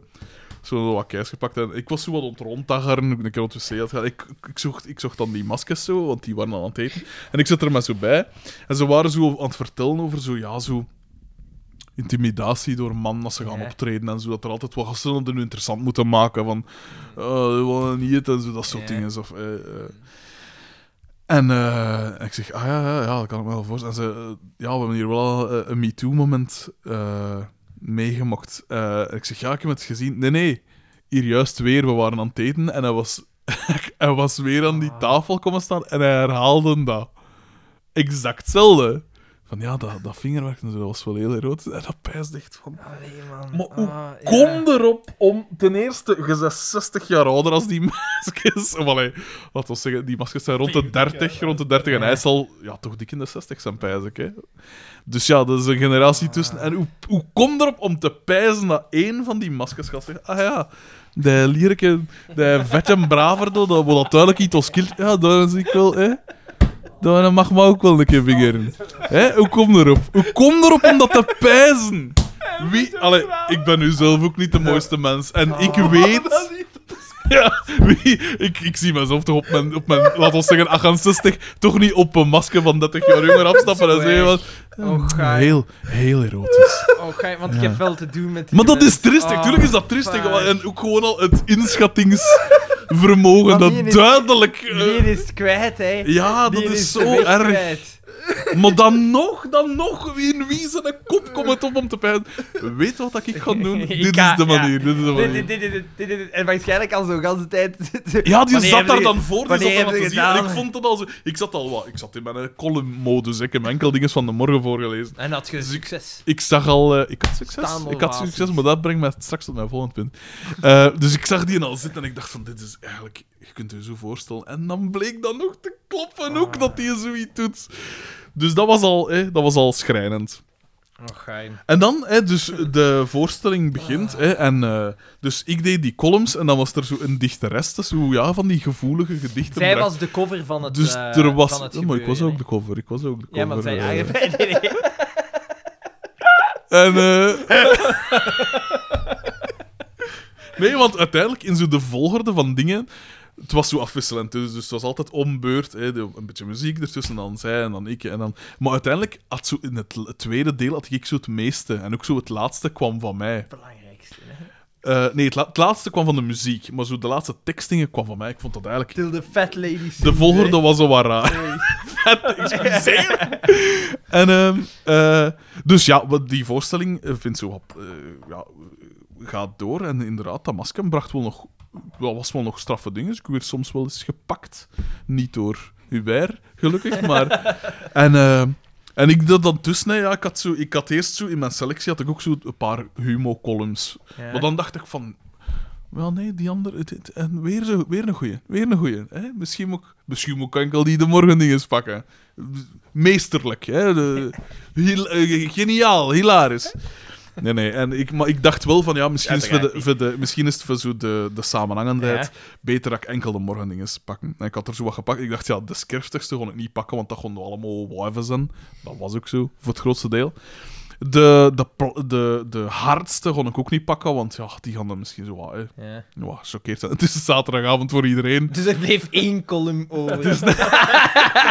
Speaker 4: Zo wat keis gepakt. En ik was zo wat ontrondtaggeren, ook een keer op het wc had gehad. Ik, ik, zocht, ik zocht dan die maskers zo, want die waren al aan het eten. En ik zat er maar zo bij. En ze waren zo aan het vertellen over zo, ja, zo... Intimidatie door mannen als ze gaan optreden en zo. Dat er altijd wat gasten het nu interessant moeten maken. Van, eh wat niet en zo, dat soort dingen. Of, eh, eh. En eh, ik zeg, ah ja, ja, ja, dat kan ik me wel voorstellen. En ze, eh, ja, we hebben hier wel eh, een MeToo-moment eh meegemaakt. Eh, ik zeg, ja, ik heb het gezien. Nee, nee, hier juist weer, we waren aan het eten en hij was, hij was weer aan die tafel komen staan en hij herhaalde dat. Exact hetzelfde. Van ja, dat, dat vingerwerk en zo, dat was wel heel erotisch. En dat pijst echt van...
Speaker 3: Allee, man.
Speaker 4: Maar hoe
Speaker 3: Ah, ja.
Speaker 4: kom erop om ten eerste, je bent 60 jaar ouder als die maskers. Of allee, laten we zeggen, die maskers zijn rond de 30, rond de 30 en hij zal ja, toch dik in de 60 zijn, pijs ik. Hè? Dus ja, dat is een generatie tussen. En hoe, hoe kom erop om te pijzen dat één van die maskers gaat zeggen: Ah ja, de lierke, de vetje braverdo, dat wil dat duidelijk iets als kind. Ja, daar zie ik wel, hè? Daar mag me ook wel een keer vingeren. Hè? Hoe kom erop? Hoe kom erop om dat te pijzen? Wie? Allee, ik ben nu zelf ook niet de mooiste mens. En
Speaker 3: Oh,
Speaker 4: ik weet. Ja, wie, ik, ik zie mezelf toch op mijn, op mijn laten we zeggen, 68, toch niet op een masker van 30 jaar jonger afstappen en zeggen van...
Speaker 3: Oh, gaai.
Speaker 4: heel, heel erotisch.
Speaker 3: Oh, ga je- want ik heb wel te doen met die
Speaker 4: Maar dat is
Speaker 3: mensen.
Speaker 4: triestig,
Speaker 3: Ah,
Speaker 4: tuurlijk is dat triestig.
Speaker 3: fuck.
Speaker 4: En ook gewoon al het inschattingsvermogen
Speaker 3: Maar
Speaker 4: dat
Speaker 3: die is-
Speaker 4: duidelijk... eh,
Speaker 3: Die is het kwijt, hè.
Speaker 4: ja, dat
Speaker 3: Die
Speaker 4: is
Speaker 3: het
Speaker 4: zo
Speaker 3: echt
Speaker 4: erg.
Speaker 3: kwijt.
Speaker 4: Maar dan nog, dan nog, in wie zijn een kop komt het op om te pijn. Weet wat dat ik ga doen?
Speaker 3: Ik
Speaker 4: dit,
Speaker 3: ga-
Speaker 4: is de
Speaker 3: ja.
Speaker 4: manier, dit is de
Speaker 6: Dit,
Speaker 4: manier.
Speaker 6: dit, dit, dit, dit, dit, dit. En waarschijnlijk al zo'n ganse tijd.
Speaker 4: Ja, die
Speaker 6: Wanneer
Speaker 4: zat
Speaker 6: hebben
Speaker 4: daar
Speaker 6: die-
Speaker 4: dan voor. Die
Speaker 6: wanneer
Speaker 4: zat daar aan
Speaker 6: hebben
Speaker 4: te
Speaker 6: die
Speaker 4: zien. En ik
Speaker 6: gedaan?
Speaker 4: vond dat al zo... Ik zat al wat... Ik zat in mijn column-modus. Ik heb mijn enkel dingen van de morgen voorgelezen.
Speaker 3: En had je succes.
Speaker 4: Dus Ik zag al... eh, ik had succes.
Speaker 3: Staande
Speaker 4: Ik had
Speaker 3: ovaties.
Speaker 4: succes, maar dat brengt mij straks tot mijn volgend punt. Eh, dus ik zag die al zitten en ik dacht van... Dit is eigenlijk... Je kunt je zo voorstellen. En dan bleek dat nog te
Speaker 3: Ah.
Speaker 4: kloppen ook, dat hij zoiets doet. Dus dat was al, eh, dat was al schrijnend.
Speaker 3: Oh, gein.
Speaker 4: En dan, hè, dus de voorstelling begint. Hè, en, eh, dus ik deed die columns en dan was er zo een dichteres. Dus hoe, ja, van die gevoelige gedichten.
Speaker 3: Zij
Speaker 4: bracht.
Speaker 3: was de cover van het
Speaker 4: dus
Speaker 3: eh,
Speaker 4: er was.
Speaker 3: van
Speaker 4: ja,
Speaker 3: het
Speaker 4: maar ik
Speaker 3: gebeuren,
Speaker 4: was
Speaker 3: hè.
Speaker 4: ook de cover. Ik was ook de cover.
Speaker 6: Ja, maar zij
Speaker 4: eh.
Speaker 6: eigenlijk... Nee, nee.
Speaker 4: En, eh, nee, want uiteindelijk in zo de volgorde van dingen. Het was zo afwisselend, dus, dus het was altijd om beurt. Hè, de- een beetje muziek ertussen, dan zij en dan ik. En dan... Maar uiteindelijk had zo in het, l- het tweede deel had ik zo het meeste. En ook zo het laatste kwam van mij.
Speaker 6: Belangrijkste.
Speaker 4: Eh, nee, het, la- het laatste kwam van de muziek, maar zo de laatste tekstingen kwam van mij. Ik vond dat eigenlijk...
Speaker 6: Till the fat ladies.
Speaker 4: De volgorde was al wat raar. Vet, excuseer. en, ehm, eh, dus ja, wat die voorstelling eh, vindt zo wat... eh, ja, eh, gaat door. En inderdaad, dat masker bracht wel nog... Wel, was wel nog straffe dingen. Dus ik werd soms wel eens gepakt. Niet door Hubert, gelukkig, maar... en... ehm, en ik dat dan tussen, hè, ja, ik had, zo, ik had eerst zo in mijn selectie had ik ook zo een paar humo-columns. Maar dan dacht ik van, wel nee, die andere. het- het- en weer, zo, weer een goeie. Weer een goeie. Hè? Misschien, moet, ik- misschien moet ik enkel die de morgen eens pakken. Meesterlijk. Hè? De- hil- eh, geniaal, hilarisch. Nee, nee. En ik, maar ik dacht wel van ja, misschien, is, het voor de, voor de, misschien is het voor zo de, de samenhangendheid beter dat ik enkel de morgen eens pakken. En ik had er zo wat gepakt. Ik dacht ja, de skerftigste kon ik niet pakken, want dat konden we allemaal wijven zijn. Dat was ook zo, voor het grootste deel. De, de, pl- de, de hardste kon ik ook niet pakken, want ja, die gaan dan misschien zo wat, hè,
Speaker 3: Ja.
Speaker 4: ja, choqueerd zijn. Het is een zaterdagavond voor iedereen.
Speaker 3: Dus er bleef één column over.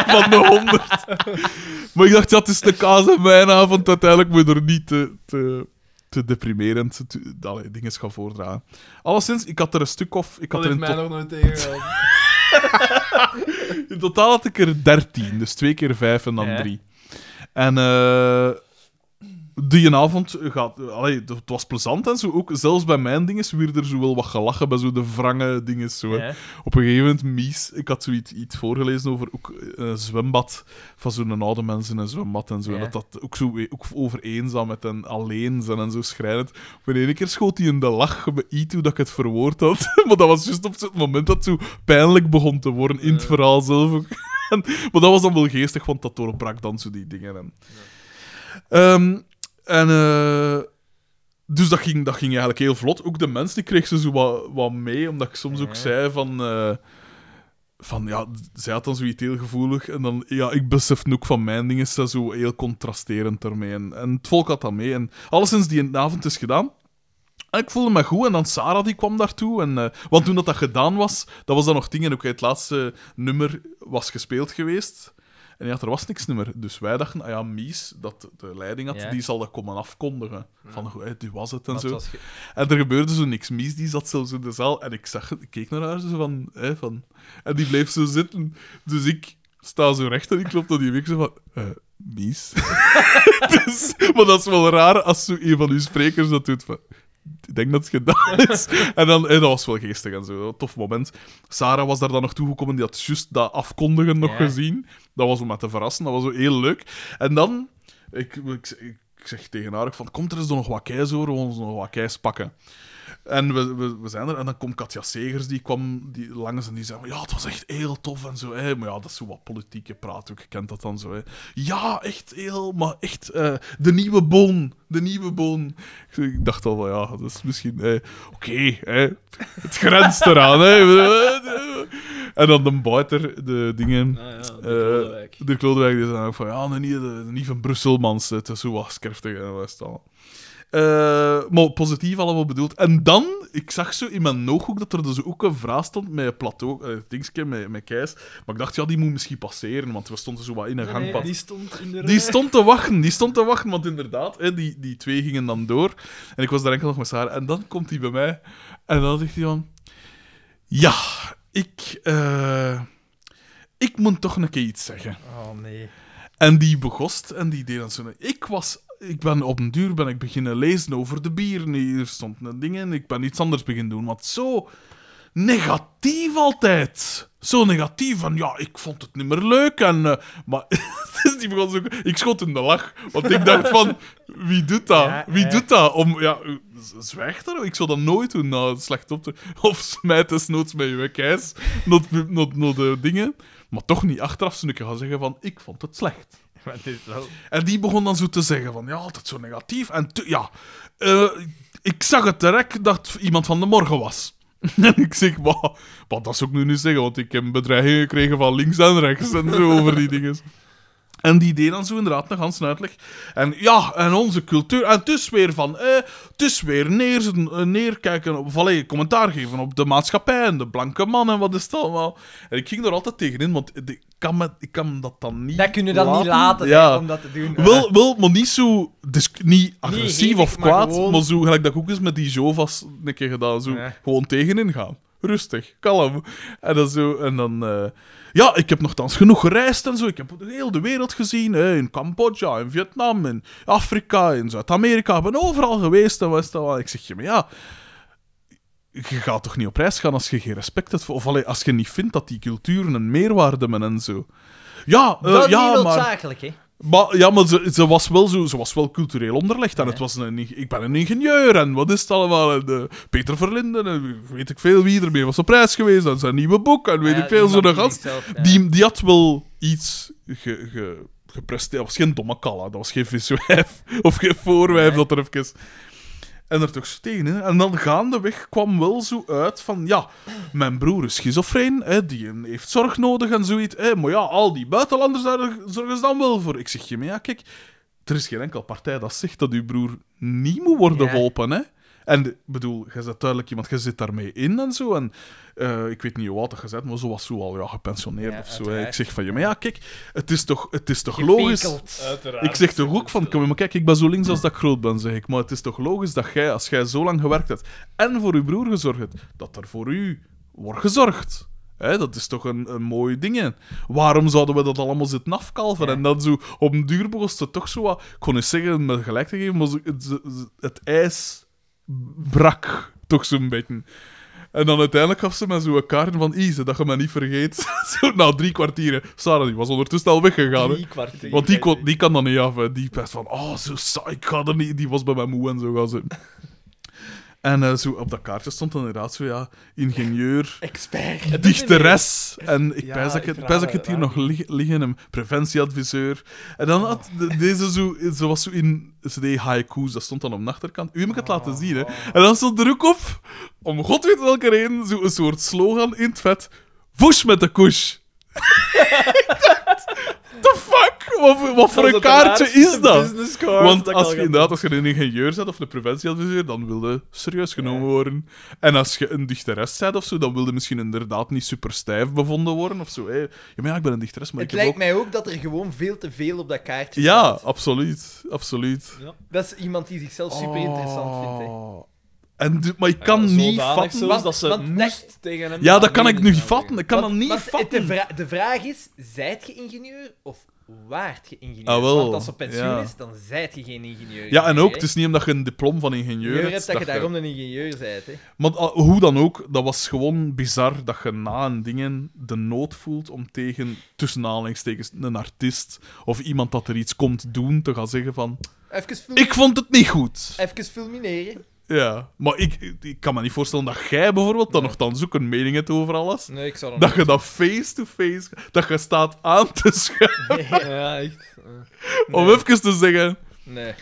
Speaker 4: Van de 100. Maar ik dacht, ja, het is de kaas en wijnavond. Uiteindelijk moet je er niet te, te, te deprimerend te- allee, dingen gaan voordragen. Alleszins, ik had er een stuk of... Ik had er in,
Speaker 14: mij
Speaker 4: to-
Speaker 14: nog nooit tegengehouden.
Speaker 4: in totaal had ik er 13. Dus twee keer vijf en dan
Speaker 3: Ja.
Speaker 4: drie. En eh die avond gaat... Allee, het was plezant en zo. Ook zelfs bij mijn dingen werd er zo wel wat gelachen. Bij zo de wrange dingen. Zo, hè.
Speaker 3: Ja.
Speaker 4: Op een gegeven moment, Mies, ik had zoiets iets voorgelezen over ook eh, een zwembad van zo'n oude mensen in een zwembad en zo. En
Speaker 3: Ja.
Speaker 4: dat dat ook zo eh, ook over eenzaamheid en alleen zijn en zo schrijnend. Maar in één keer schoot hij in de lach bij Itu dat ik het verwoord had. maar dat was juist op het moment dat het zo pijnlijk begon te worden in het verhaal zelf ook. En- maar dat was dan wel geestig, want dat doorbrak dan zo die dingen. En, Ehm, en eh, dus dat ging, dat ging eigenlijk heel vlot. Ook de mensen die kregen ze zo wat, wat mee, omdat ik soms ook zei van... eh, van ja, zij had dan zoiets heel gevoelig. En dan, ja, ik besef nu ook van mijn dingen, is dat zo heel contrasterend daarmee. En, en het volk had dat mee. En alleszins die avond is gedaan. En ik voelde me goed. En dan Sarah die kwam daartoe. En, eh, want toen dat, dat gedaan was, dat was dan nog dingen. Ook het laatste nummer was gespeeld geweest. En ja, er was niks nummer. Dus wij dachten, ah ja, Mies, dat de leiding had,
Speaker 3: Ja.
Speaker 4: die zal dat komen afkondigen. Van, goh, hey, dit was het en
Speaker 3: Dat
Speaker 4: zo.
Speaker 3: was ge-
Speaker 4: En er gebeurde zo niks. Mies die zat zelfs in de zaal en ik, zag, ik keek naar haar zo van, hè, van... En die bleef zo zitten. Dus ik sta zo recht en ik klop naar die week zo van... eh, Mies? dus, maar dat is wel raar als zo een van uw sprekers dat doet van... ik denk dat het gedaan is. En dan, en dat was wel geestig en zo. Een tof moment. Sarah was daar dan nog toegekomen, die had juist dat afkondigen nog
Speaker 3: Ja.
Speaker 4: gezien. Dat was om me te verrassen, dat was zo heel leuk. En dan, ik, ik, ik zeg tegen haar ook van, komt er eens nog wat keis over, we gaan ons nog wat keis pakken. En we, we, we zijn er, en dan komt Katja Segers, die kwam die langs en die zei: van, Ja, het was echt heel tof en zo. Hè. Maar ja, dat is zo wat politieke praat ook, je kent dat dan zo. Hè. Ja, echt heel, maar echt eh, de nieuwe boon. De nieuwe boon. Ik- Ik dacht al van ja, dat is misschien. eh, Oké, hè, het grenst eraan. Hè. En dan de buiter, de dingen.
Speaker 14: Ah, ja, de
Speaker 4: Eh,
Speaker 14: Lodewijk.
Speaker 4: de Klodewijk die zei ook van ja, nee, niet, de, niet van Brusselmans, het is zo wat skerftig en wat is het allemaal. Eh, maar positief allemaal bedoeld. En dan, ik zag zo in mijn ooghoek dat er dus ook een vraag stond met een plateau, eh dingetje, met, met Keis. Maar ik dacht, ja, die moet misschien passeren, want we stonden zo wat in een gangpad.
Speaker 14: Die stond in de
Speaker 4: Die stond te wachten, die stond te wachten, want inderdaad, hè, die, die twee gingen dan door. En ik was daar enkel nog met Sarah. En dan komt hij bij mij en dan zegt hij van... Ja, ik... eh, ik moet toch een keer iets zeggen.
Speaker 3: Oh nee.
Speaker 4: En die begost en die deed dan zo... Ik was... Ik ben op een duur ben ik beginnen lezen over de bieren. Hier stond een ding en ik ben iets anders beginnen doen. Want zo negatief altijd. Zo negatief van, ja, ik vond het niet meer leuk. En, eh, maar dus die begon zo, ik schot in de lach. Want ik dacht van, wie doet dat?
Speaker 3: Ja,
Speaker 4: wie
Speaker 3: ja.
Speaker 4: doet dat? Om, ja, z- zwijg daar. Ik zou dat nooit doen, nou, het slecht op te... Of smijt desnoods met je ijs. Not, not, not eh, dingen. Maar toch niet achteraf zou ik gaan zeggen van, ik vond het slecht.
Speaker 3: Maar het is wel...
Speaker 4: En die begon dan zo te zeggen van, ja, altijd zo negatief. En tu- ja, eh, ik zag het direct dat iemand van de morgen was. En ik zeg, wat, wat dat zou ik nu niet zeggen, want ik heb bedreigingen gekregen van links en rechts en zo over die dingen. En die deed dan zo inderdaad een ganse uitleg. En ja, en onze cultuur. En het is weer van, eh, het is weer neer, eh, neerkijken, of allee, commentaar geven op de maatschappij en de blanke man en wat is dat allemaal. En ik ging er altijd tegenin, want ik kan, me, ik kan dat dan niet
Speaker 6: Dat kun je dan niet laten
Speaker 4: Ja.
Speaker 6: hè, om dat te doen.
Speaker 4: wel, wel, maar niet zo dus, niet agressief
Speaker 6: hevig,
Speaker 4: of
Speaker 6: maar
Speaker 4: kwaad, maar,
Speaker 6: gewoon-
Speaker 4: zo gelijk dat ik ook eens met die Jovas een keer gedaan zo
Speaker 3: Ja.
Speaker 4: gewoon tegenin gaan. Rustig, kalm. En dan zo, en dan... eh, ja, ik heb nogthans genoeg gereisd en zo. Ik heb heel de wereld gezien. Hè, in Cambodja, in Vietnam, in Afrika, in Zuid-Amerika. Ik ben overal geweest en was dat wel. Ik zeg je, maar ja... Je gaat toch niet op reis gaan als je geen respect hebt voor... Of allee, als je niet vindt dat die culturen een meerwaarde hebben en zo. Ja, eh,
Speaker 3: Dat is
Speaker 4: ja
Speaker 3: niet
Speaker 4: maar...
Speaker 3: noodzakelijk, hè.
Speaker 4: Maar, ja, maar ze, ze, was wel zo, ze was wel cultureel onderlegd. En het was een, ing- ik ben een ingenieur en wat is het allemaal? En, eh, Peter Verlinden en weet ik veel wie ermee was op reis geweest. En zijn nieuwe boek en weet
Speaker 6: Ja,
Speaker 4: ik veel.
Speaker 6: iemand
Speaker 4: Zo'n
Speaker 6: die
Speaker 4: gast.
Speaker 6: zichzelf, ja.
Speaker 4: Die, die had wel iets ge, ge, gepresteerd. Dat was geen domme kalla. Dat was geen viswijf of geen voorwijf dat er even... En er toch stenen. En dan gaandeweg kwam wel zo uit van... Ja, mijn broer is schizofreen. Hè, die heeft zorg nodig en zoiets. Hè, maar ja, al die buitenlanders daar zorgen ze dan wel voor. Ik zeg je, maar ja, kijk... Er is geen enkel partij dat zegt dat uw broer niet moet worden
Speaker 3: Ja.
Speaker 4: geholpen, hè. En ik bedoel, je zet duidelijk iemand, je zit daarmee in en zo. En eh, ik weet niet hoe oud dat gezet, maar zo was zo al ja, gepensioneerd
Speaker 3: Ja,
Speaker 4: of zo. hè.
Speaker 3: uiteraard.
Speaker 4: Ik zeg van ja, maar ja, kijk, het is toch, het is toch logisch. Ik zeg toch ook van, kom maar kijk, ik ben zo links als dat ik groot ben, zeg ik. Maar het is toch logisch dat jij, als jij zo lang gewerkt hebt en voor uw broer gezorgd hebt, dat er voor u wordt gezorgd. Hè, dat is toch een, een mooi ding. hè. Waarom zouden we dat allemaal zitten afkalven? En dan zo op een duur begon ze toch zo wat... Ik kon niet zeggen met gelijk te geven, maar zo- het, het, het ijs brak toch zo'n beetje. En dan uiteindelijk gaf ze me zo een kaart van Ise, dat je me niet vergeet. zo na drie kwartieren. Sarah die was ondertussen al weggegaan. hè.
Speaker 14: Drie kwartier.
Speaker 4: Want die, kon, die kan dan niet af. hè. Die best van, oh, zo saai, ik ga er niet. Die was bij mijn moe en zo gaan zitten. En eh, zo op dat kaartje stond dan inderdaad zo, ja, ingenieur,
Speaker 6: Expert.
Speaker 4: dichteres. En ik
Speaker 6: Ja,
Speaker 4: pijs dat ik
Speaker 6: ik
Speaker 4: het- pijs dat ik
Speaker 6: raad
Speaker 4: het hier
Speaker 6: het
Speaker 4: nog lig- liggen hem, preventieadviseur. En dan had de- deze zo, ze was zo in CD haiku's, dat stond dan op de achterkant. U heb ik het laten zien, hè. En dan stond er ook op, om god weet welke reden, zo een soort slogan in het vet. Voes met de koes. The fuck? Wat, wat voor een kaartje is dat? Want als je, inderdaad, als je een ingenieur bent of een preventieadviseur, dan wilde serieus genomen worden. En als je een dichteres bent of zo, dan wilde misschien inderdaad niet super stijf bevonden worden of zo. Hé, Ja, maar ja, ik ben een dichteres, maar
Speaker 6: Het
Speaker 4: ik heb
Speaker 6: lijkt
Speaker 4: ook...
Speaker 6: mij ook dat er gewoon veel te veel op dat kaartje
Speaker 4: Ja,
Speaker 6: staat.
Speaker 4: absoluut. Absoluut.
Speaker 6: Dat is iemand die zichzelf super interessant vindt. Hè.
Speaker 4: Oh. En, d- maar ik kan niet vatten...
Speaker 14: Zelfs dat ze
Speaker 6: want-
Speaker 14: moest tegen hem
Speaker 4: Ja, dat kan ik nu
Speaker 14: niet
Speaker 4: niet vatten. Ik kan
Speaker 6: Want-
Speaker 4: dat niet
Speaker 6: want het-
Speaker 4: vatten.
Speaker 6: De, vra- de vraag is, zijt je ingenieur of
Speaker 3: waard je ingenieur.
Speaker 4: Ah, wel,
Speaker 3: Want als ze op pensioen
Speaker 4: ja.
Speaker 3: is, dan zijt je geen ingenieur.
Speaker 4: Ja, en
Speaker 3: meer,
Speaker 4: ook,
Speaker 3: hè.
Speaker 4: het is niet omdat je een diploma van ingenieur
Speaker 3: ingenieur
Speaker 4: hebt.
Speaker 3: hebt dat je daarom een ingenieur bent. Hè.
Speaker 4: Maar ah, hoe dan ook, dat was gewoon bizar dat je na een dingen de nood voelt om tegen, tussen aanhalingstekens, een artiest of iemand dat er iets komt doen, te gaan zeggen van...
Speaker 3: Even, fil-
Speaker 4: Ik vond het niet goed.
Speaker 3: even filmineren.
Speaker 4: Ja, maar ik, ik kan me niet voorstellen dat jij bijvoorbeeld dan nogthans ook een mening hebt over alles.
Speaker 3: Nee, ik zou dat
Speaker 4: Dat je dat face-to-face... Dat je staat aan te schuiven
Speaker 2: Ja, echt.
Speaker 4: om even te zeggen...
Speaker 3: Nee.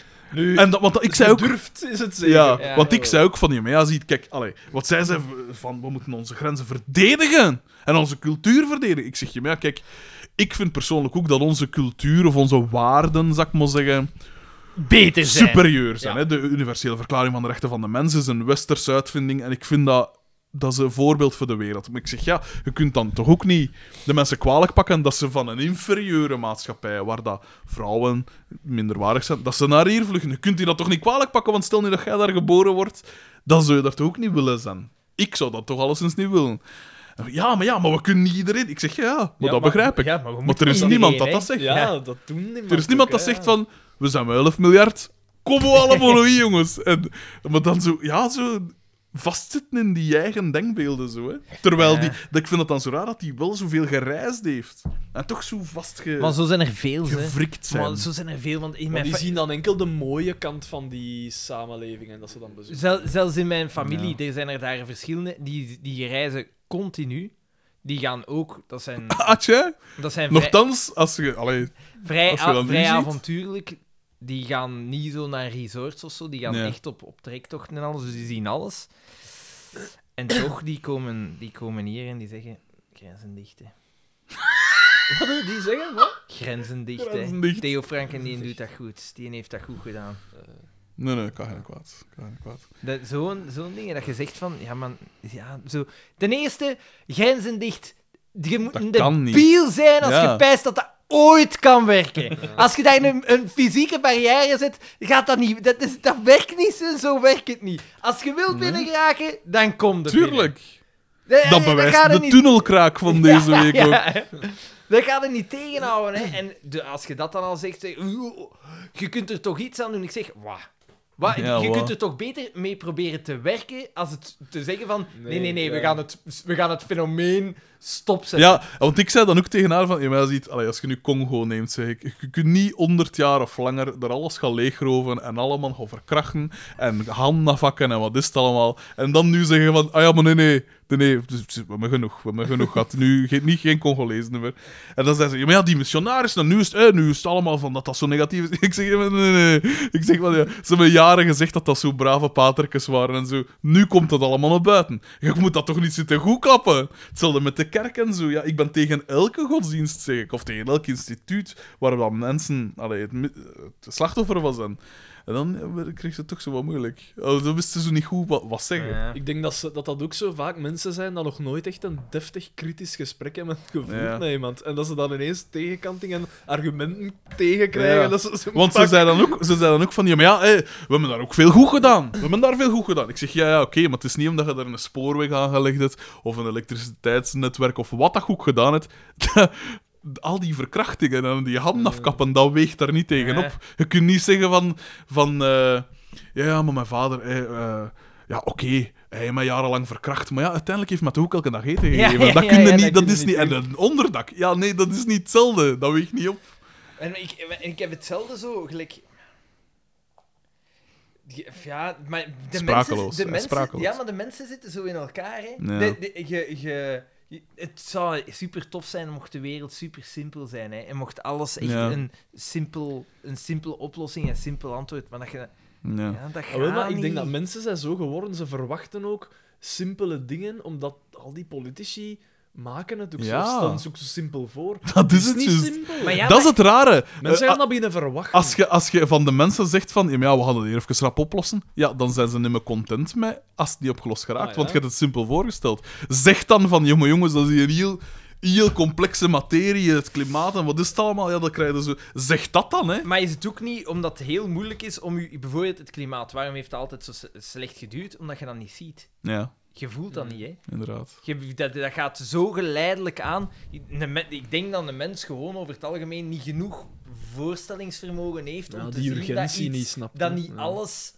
Speaker 4: En dat, want ik zei ook...
Speaker 2: Durft is het zeker.
Speaker 4: Ja,
Speaker 3: Ja.
Speaker 4: want ik zei ook van je, maar ja, ziet, kijk, allee, wat zij zei van we moeten onze grenzen verdedigen en onze cultuur verdedigen. Ik zeg je, maar ja, kijk, ik vind persoonlijk ook dat onze cultuur of onze waarden, zou ik maar zeggen,
Speaker 3: Beter
Speaker 4: superieur zijn.
Speaker 3: Ja.
Speaker 4: Hè? De universele verklaring van de rechten van de mens is een westerse uitvinding en ik vind dat. Dat is een voorbeeld voor de wereld. Maar ik zeg, ja, je kunt dan toch ook niet de mensen kwalijk pakken dat ze van een inferieure maatschappij, waar dat vrouwen minderwaardig zijn, dat ze naar hier vluchten. Je kunt die dat toch niet kwalijk pakken, want stel nu dat jij daar geboren wordt, dan zou je dat toch ook niet willen zijn. Ik zou dat toch alleszins niet willen. En Ja, maar ja, maar we kunnen niet iedereen... Ik zeg, ja, maar dat begrijp ik.
Speaker 3: Ja, maar we
Speaker 4: maar
Speaker 3: moeten
Speaker 4: er is
Speaker 3: iedereen,
Speaker 4: niemand dat
Speaker 3: hè.
Speaker 4: dat zegt.
Speaker 2: Ja, dat doen niemand.
Speaker 4: Er is niemand
Speaker 2: ook,
Speaker 4: dat
Speaker 2: hè.
Speaker 4: zegt van, we zijn wel 11 miljard, kom we allemaal hier, jongens. En, maar dan zo, ja, zo vastzitten in die eigen denkbeelden zo, hè. Terwijl die, dat, ik vind het dan zo raar dat hij wel zoveel gereisd heeft. En toch zo vastge...
Speaker 3: Maar zo zijn er veel, hè.
Speaker 4: Gefrikt zijn.
Speaker 3: Maar zo zijn er veel, want in
Speaker 2: Maar
Speaker 3: mijn
Speaker 2: die
Speaker 3: fa-
Speaker 2: zien dan enkel de mooie kant van die samenleving en dat ze dan bezoeken.
Speaker 3: Zel- zelfs in mijn familie, er zijn er daar verschillende, die, die reizen continu. Die gaan ook, dat zijn,
Speaker 4: Had jij?
Speaker 3: dat zijn vrij,
Speaker 4: Nochtans, als je... Allee,
Speaker 3: vrij,
Speaker 4: als je
Speaker 3: a-
Speaker 4: dat nu
Speaker 3: vrij
Speaker 4: ziet.
Speaker 3: avontuurlijk. Die gaan niet zo naar resorts of zo, die gaan
Speaker 4: Ja.
Speaker 3: echt op, op trektochten en alles, dus die zien alles. En toch, die komen, die komen hier en die zeggen, grenzen dicht, hè.
Speaker 2: Wat doen die zeggen? Wat?
Speaker 3: Grenzen dicht,
Speaker 4: Grenzen
Speaker 3: hè.
Speaker 4: dicht.
Speaker 3: Theo Franken, die doet dat goed. Die heeft dat goed gedaan.
Speaker 4: nee, nee, kan geen kwaad. Kan geen kwaad.
Speaker 3: Dat- Zo'n zo'n ding, dat je zegt van, ja man, ja, zo. Ten eerste, grenzen dicht. Je moet
Speaker 4: Dat
Speaker 3: een
Speaker 4: kan
Speaker 3: debiel zijn als
Speaker 4: Ja.
Speaker 3: je pijst dat dat ooit kan werken. Als je daar een, een fysieke barrière zet, gaat dat niet. Dat, is, dat werkt niet, zo, zo werkt het niet. Als je wilt binnen geraken, dan kom je
Speaker 4: Tuurlijk.
Speaker 3: binnen.
Speaker 4: Dat
Speaker 3: gaat
Speaker 4: bewijst
Speaker 3: er
Speaker 4: de
Speaker 3: niet-
Speaker 4: tunnelkraak van deze
Speaker 3: Ja,
Speaker 4: week ook.
Speaker 3: ja. Dat gaat er niet tegenhouden. Hè. En de- als je dat dan al zegt, eh, oeh, je kunt er toch iets aan doen. Ik zeg, wa. Wa,
Speaker 4: Ja,
Speaker 3: je
Speaker 4: wa.
Speaker 3: kunt er toch beter mee proberen te werken als het te zeggen van nee, nee, nee, we,
Speaker 2: ja.
Speaker 3: gaan het, we gaan het fenomeen stopzetten.
Speaker 4: Ja, want ik zei dan ook tegen haar van, ja, maar als, je iets- allee, als je nu Congo neemt, zeg ik, je kunt niet 100 jaar of langer er alles gaan leegroven en allemaal gaan verkrachten en handen vakken en wat is het allemaal. En dan nu zeggen van, ah ja, maar nee, nee, nee, nee, dus- dus we hebben genoeg, we hebben genoeg gehad. Nu geen, niet, geen Congolezen meer. En dan zei ze, ja, maar ja, die missionaris, nou, nu, is het, eh, nu is het allemaal van dat dat zo negatief is. Ik zeg, ja, maar nee, nee, nee. Ik zeg, van, ja, ze hebben jaren gezegd dat dat zo brave paterkes waren en zo. Nu komt dat allemaal naar buiten. Je moet dat toch niet zitten goedklappen? Hetzelfde met de kerk en zo. Ja, ik ben tegen elke godsdienst, zeg ik, of tegen elk instituut waar dan mensen allee, het, mi- het slachtoffer van zijn. En dan ja, kreeg ze het toch zo wat moeilijk. Oh, dan wisten ze niet goed wat, wat zeggen.
Speaker 2: Ik denk dat, ze, dat dat ook zo vaak mensen zijn dat nog nooit echt een deftig kritisch gesprek hebben gevoerd
Speaker 4: Ja.
Speaker 2: met iemand. En dat ze dan ineens tegenkanting en argumenten tegenkrijgen.
Speaker 4: Ja.
Speaker 2: Dat ze, ze
Speaker 4: Want ze zei, dan ook, ze zei dan ook van, ja, maar ja, hé, we hebben daar ook veel goed gedaan. We hebben daar veel goed gedaan. Ik zeg, ja, ja, oké, maar het is niet omdat je daar een spoorweg aangelegd hebt, of een elektriciteitsnetwerk, of wat dat goed gedaan hebt. Al die verkrachtingen en die handen afkappen, dat weegt daar niet tegen op. Je kunt niet zeggen van, van eh, ja, ja, maar mijn vader, hé, eh, ja, oké, hij heeft mij jarenlang verkracht, maar ja, uiteindelijk heeft mij toch ook elke dag eten gegeven.
Speaker 3: ja,
Speaker 4: dat
Speaker 3: ja,
Speaker 4: kun je
Speaker 3: ja,
Speaker 4: niet,
Speaker 3: dat
Speaker 4: dat,
Speaker 3: kun je
Speaker 4: is niet... En een onderdak, ja, nee, dat is niet hetzelfde. Dat weegt niet op.
Speaker 3: En ik, en ik heb hetzelfde zo, gelijk... Die- Ja, maar de
Speaker 4: Sprakeloos,
Speaker 3: mensen,
Speaker 4: hè,
Speaker 3: de mensen,
Speaker 4: sprakeloos.
Speaker 3: Ja, maar de mensen zitten zo in elkaar, hè.
Speaker 4: Ja.
Speaker 3: De- de- je- je- je- het zou super tof zijn mocht de wereld super simpel zijn, hè. En mocht alles echt
Speaker 4: Ja.
Speaker 3: een, simpel, een simpele oplossing en een simpel antwoord... Maar dat je...
Speaker 4: Ja.
Speaker 3: Ja, dat
Speaker 2: Ah, wel,
Speaker 3: gaat
Speaker 2: maar ik denk
Speaker 3: niet.
Speaker 2: dat mensen zijn zo geworden, ze verwachten ook simpele dingen, omdat al die politici maken het ook
Speaker 4: Ja.
Speaker 2: zo, stellen het ook zo simpel voor.
Speaker 4: Dat is
Speaker 2: Het
Speaker 4: het
Speaker 2: is niet
Speaker 4: juist.
Speaker 2: simpel.
Speaker 3: Maar ja,
Speaker 4: dat is het rare.
Speaker 2: Mensen
Speaker 4: Eh,
Speaker 2: gaan dat binnen verwachten.
Speaker 4: als, je, als je van de mensen zegt van, ja, maar ja, we gaan het hier even rap oplossen, ja, dan zijn ze niet meer content mee als het niet opgelost geraakt,
Speaker 2: Ah, ja.
Speaker 4: want je hebt het simpel voorgesteld. Zeg dan van, jongen, jongens, dat is hier heel, heel complexe materie, het klimaat en wat is het allemaal, ja, dat krijgen ze... Zeg dat dan, hè.
Speaker 3: Maar is het ook niet omdat het heel moeilijk is om u... Bijvoorbeeld het klimaat. Waarom heeft het altijd zo s- slecht geduurd? Omdat je dat niet ziet.
Speaker 4: Ja.
Speaker 3: Je voelt dat niet, hè?
Speaker 4: Inderdaad.
Speaker 3: Je, dat, dat gaat zo geleidelijk aan. Een men- ik denk dat een mens gewoon over het algemeen niet genoeg voorstellingsvermogen heeft om
Speaker 14: Ja,
Speaker 3: te
Speaker 14: die
Speaker 3: zien
Speaker 14: urgentie
Speaker 3: dat, iets,
Speaker 14: niet snapt,
Speaker 3: dat
Speaker 14: hè.
Speaker 3: niet
Speaker 14: Ja.
Speaker 3: alles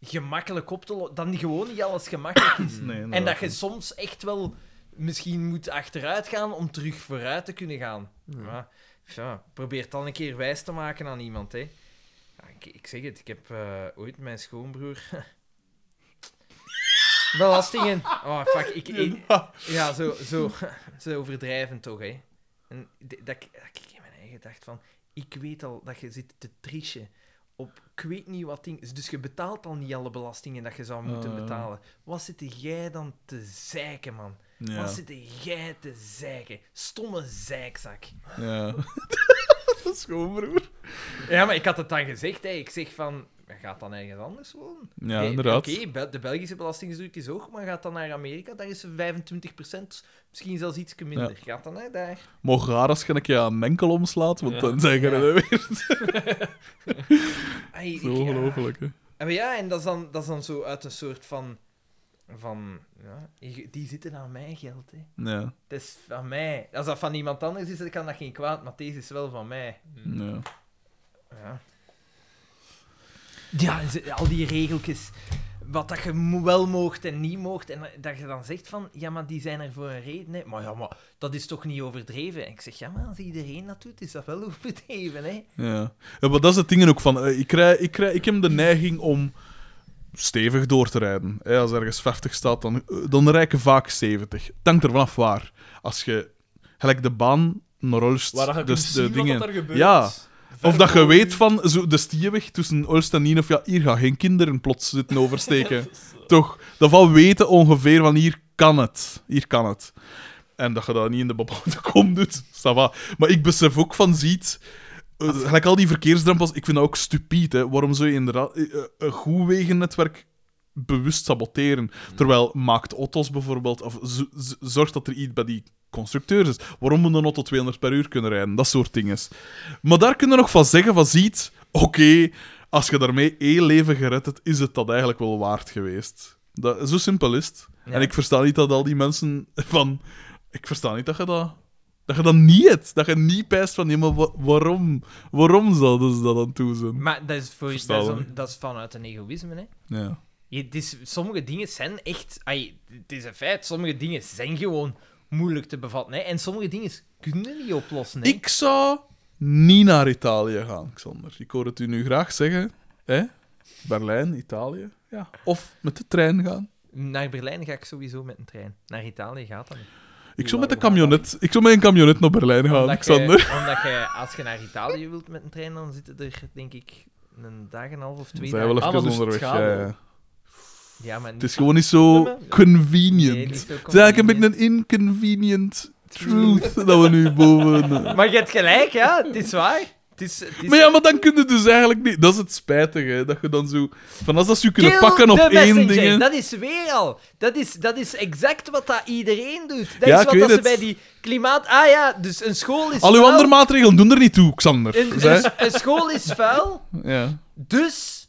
Speaker 3: gemakkelijk op te lossen. Dat niet- gewoon niet alles gemakkelijk is.
Speaker 4: Nee,
Speaker 3: Hmm. en
Speaker 4: inderdaad.
Speaker 3: dat je soms echt wel misschien moet achteruit gaan om terug vooruit te kunnen gaan. Ja. Ja, probeer dan een keer wijs te maken aan iemand. Hè. Ja, ik, ik zeg het, ik heb eh, ooit mijn schoonbroer. Belastingen. Oh, fuck. Ik, ik- ja, zo, zo, zo overdrijven toch, hè. En d- dat, ik- dat ik in mijn eigen dacht van... Ik weet al dat je zit te trichen op ik weet niet wat ding. Dus je betaalt al niet alle belastingen dat je zou moeten
Speaker 4: Ah, ja.
Speaker 3: betalen. Wat zit jij dan te zeiken, man?
Speaker 4: Ja.
Speaker 3: Wat zit jij te zeiken? Stomme zeikzak.
Speaker 4: ja. dat is gewoon, broer.
Speaker 3: Ja, maar ik had het dan gezegd, hè. Ik zeg van... Gaat dan ergens anders wonen?
Speaker 4: Ja,
Speaker 3: Oké,
Speaker 4: inderdaad.
Speaker 3: Oké, Bel- de Belgische belastingdruk is hoog, maar gaat dan naar Amerika, daar is ze 25%, misschien zelfs iets minder. Gaat dan naar daar.
Speaker 4: Mocht raar als je een keer aan menkel omslaat, want
Speaker 2: Ja.
Speaker 4: dan zijn je
Speaker 3: Ja.
Speaker 4: er weer.
Speaker 3: Ai, ik-
Speaker 4: Zo ongelooflijk, hè.
Speaker 3: Ja, maar ja, en dat is, dan, dat is dan zo uit een soort van... van ja, je- die zitten aan mijn geld, hè.
Speaker 4: Ja.
Speaker 3: Het is van mij. Als dat van iemand anders is, dan kan dat geen kwaad, maar deze is wel van mij.
Speaker 4: ja.
Speaker 3: Ja, ja en ze- al die regeltjes. Wat dat je mo- wel moogt en niet moogt. En dat je dan zegt van, ja, maar die zijn er voor een reden. Hè. Maar ja, maar dat is toch niet overdreven? En ik zeg, ja, maar als iedereen dat doet, is dat wel overdreven, hè?
Speaker 4: Ja. ja, maar dat is het ding ook van. eh, Ik, krijg, ik, krijg, ik heb de neiging om stevig door te rijden. hè. Als ergens 50 staat, dan, eh, dan rijk ik vaak 70. Het hangt er vanaf waar. Als je gelijk de baan naar Ulst,
Speaker 2: Waar je
Speaker 4: dus
Speaker 2: dus
Speaker 4: de
Speaker 2: zien
Speaker 4: dingen.
Speaker 2: wat er gebeurt.
Speaker 4: Ja. Of dat je weet van zo, de stieweg tussen Ulst en Nienhof, ja, hier gaan geen kinderen plots zitten oversteken. Toch? Dat van weten ongeveer van hier kan het. Hier kan het. En dat je dat niet in de bepaalde kom doet, ça va. Maar ik besef ook van, ziet... eh, gelijk al die verkeersdrempels, ik vind dat ook stupid. Hè. Waarom zou je inderdaad eh, eh, een goed wegennetwerk bewust saboteren? Terwijl maakt auto's bijvoorbeeld, of z- z- zorgt dat er iets bij die constructeurs is. Waarom moet een auto 200 per uur kunnen rijden? Dat soort dingen. Maar daar kunnen we nog van zeggen van, ziet, oké, als je daarmee één leven gered hebt, is het dat eigenlijk wel waard geweest. Dat, zo simpel is het.
Speaker 3: Ja.
Speaker 4: En ik versta niet dat al die mensen van... Ik versta niet dat je dat... Dat je dat niet hebt. Dat je niet pijst van, ja, maar wa- waarom? Waarom zouden ze dat aan toe zijn?
Speaker 3: Maar dat is, voor, dat is,
Speaker 4: Verstaan,
Speaker 3: dan-
Speaker 4: hè?
Speaker 3: dat is vanuit een egoïsme, hè?
Speaker 4: Ja.
Speaker 3: Je, het is, sommige dingen zijn echt... ai, het is een feit, sommige dingen zijn gewoon moeilijk te bevatten, hè? En sommige dingen kunnen niet oplossen, hè?
Speaker 4: Ik zou niet naar Italië gaan, Xander. Ik hoor het u nu graag zeggen. Hè? Berlijn, Italië. Ja. Of met de trein gaan.
Speaker 3: Naar Berlijn ga ik sowieso met een trein. Naar Italië gaat dat niet.
Speaker 4: Ik zou met een camionet, ik zou met een camionet naar Berlijn gaan,
Speaker 3: Omdat je,
Speaker 4: Xander.
Speaker 3: omdat je, als je naar Italië wilt met een trein, dan zitten er, denk ik, een dag en een half of
Speaker 4: We
Speaker 3: twee
Speaker 4: zijn wel
Speaker 3: dagen.
Speaker 4: even
Speaker 2: Ah, maar dus het
Speaker 4: onderweg.
Speaker 2: gaat
Speaker 4: ja,
Speaker 2: wel.
Speaker 4: ja.
Speaker 3: Ja, maar
Speaker 4: Het
Speaker 3: niet-
Speaker 4: is gewoon niet zo convenient.
Speaker 3: Nee, niet zo
Speaker 4: Het is eigenlijk een beetje
Speaker 3: convenient.
Speaker 4: een inconvenient truth dat we nu boven...
Speaker 3: Maar je hebt gelijk, ja. Het is waar. Het is, het is...
Speaker 4: Maar ja, maar dan kun je dus eigenlijk niet... Dat is het spijtige, hè, dat je dan zo... Van als dat ze je kunnen
Speaker 3: Kill
Speaker 4: pakken op
Speaker 3: the
Speaker 4: één
Speaker 3: messenger.
Speaker 4: ding...
Speaker 3: Dat is weer al. Dat is, dat is exact wat dat iedereen doet. Dat
Speaker 4: Ja,
Speaker 3: is
Speaker 4: ik
Speaker 3: wat
Speaker 4: weet
Speaker 3: dat ze
Speaker 4: het.
Speaker 3: bij die klimaat... Ah ja, dus een school is
Speaker 4: Al uw
Speaker 3: vuil.
Speaker 4: andere maatregelen doen er niet toe, Xander.
Speaker 3: Een-
Speaker 4: Zij-
Speaker 3: een, een school is vuil,
Speaker 4: Ja.
Speaker 3: dus...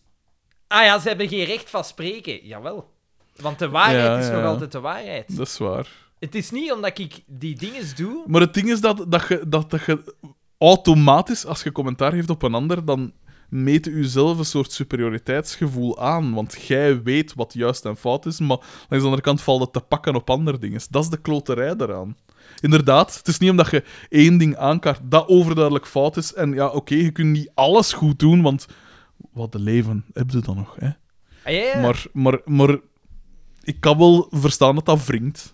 Speaker 3: Ah ja, ze hebben geen recht van spreken. Jawel. Want de waarheid
Speaker 4: Ja,
Speaker 3: is
Speaker 4: ja,
Speaker 3: nog
Speaker 4: ja.
Speaker 3: altijd de waarheid.
Speaker 4: Dat is waar.
Speaker 3: Het is niet omdat ik die dingen doe.
Speaker 4: Maar het ding is dat, dat, je, dat, dat je automatisch, als je commentaar geeft op een ander, dan meet u zelf een soort superioriteitsgevoel aan. Want jij weet wat juist en fout is, maar langs de andere kant valt het te pakken op andere dingen. Dat is de kloterij daaraan. Inderdaad, het is niet omdat je één ding aankaart dat overduidelijk fout is. En ja, oké, je kunt niet alles goed doen, want wat een leven heb je dan nog, hè?
Speaker 3: Ah, ja, ja.
Speaker 4: Maar, maar, maar ik kan wel verstaan dat dat wringt.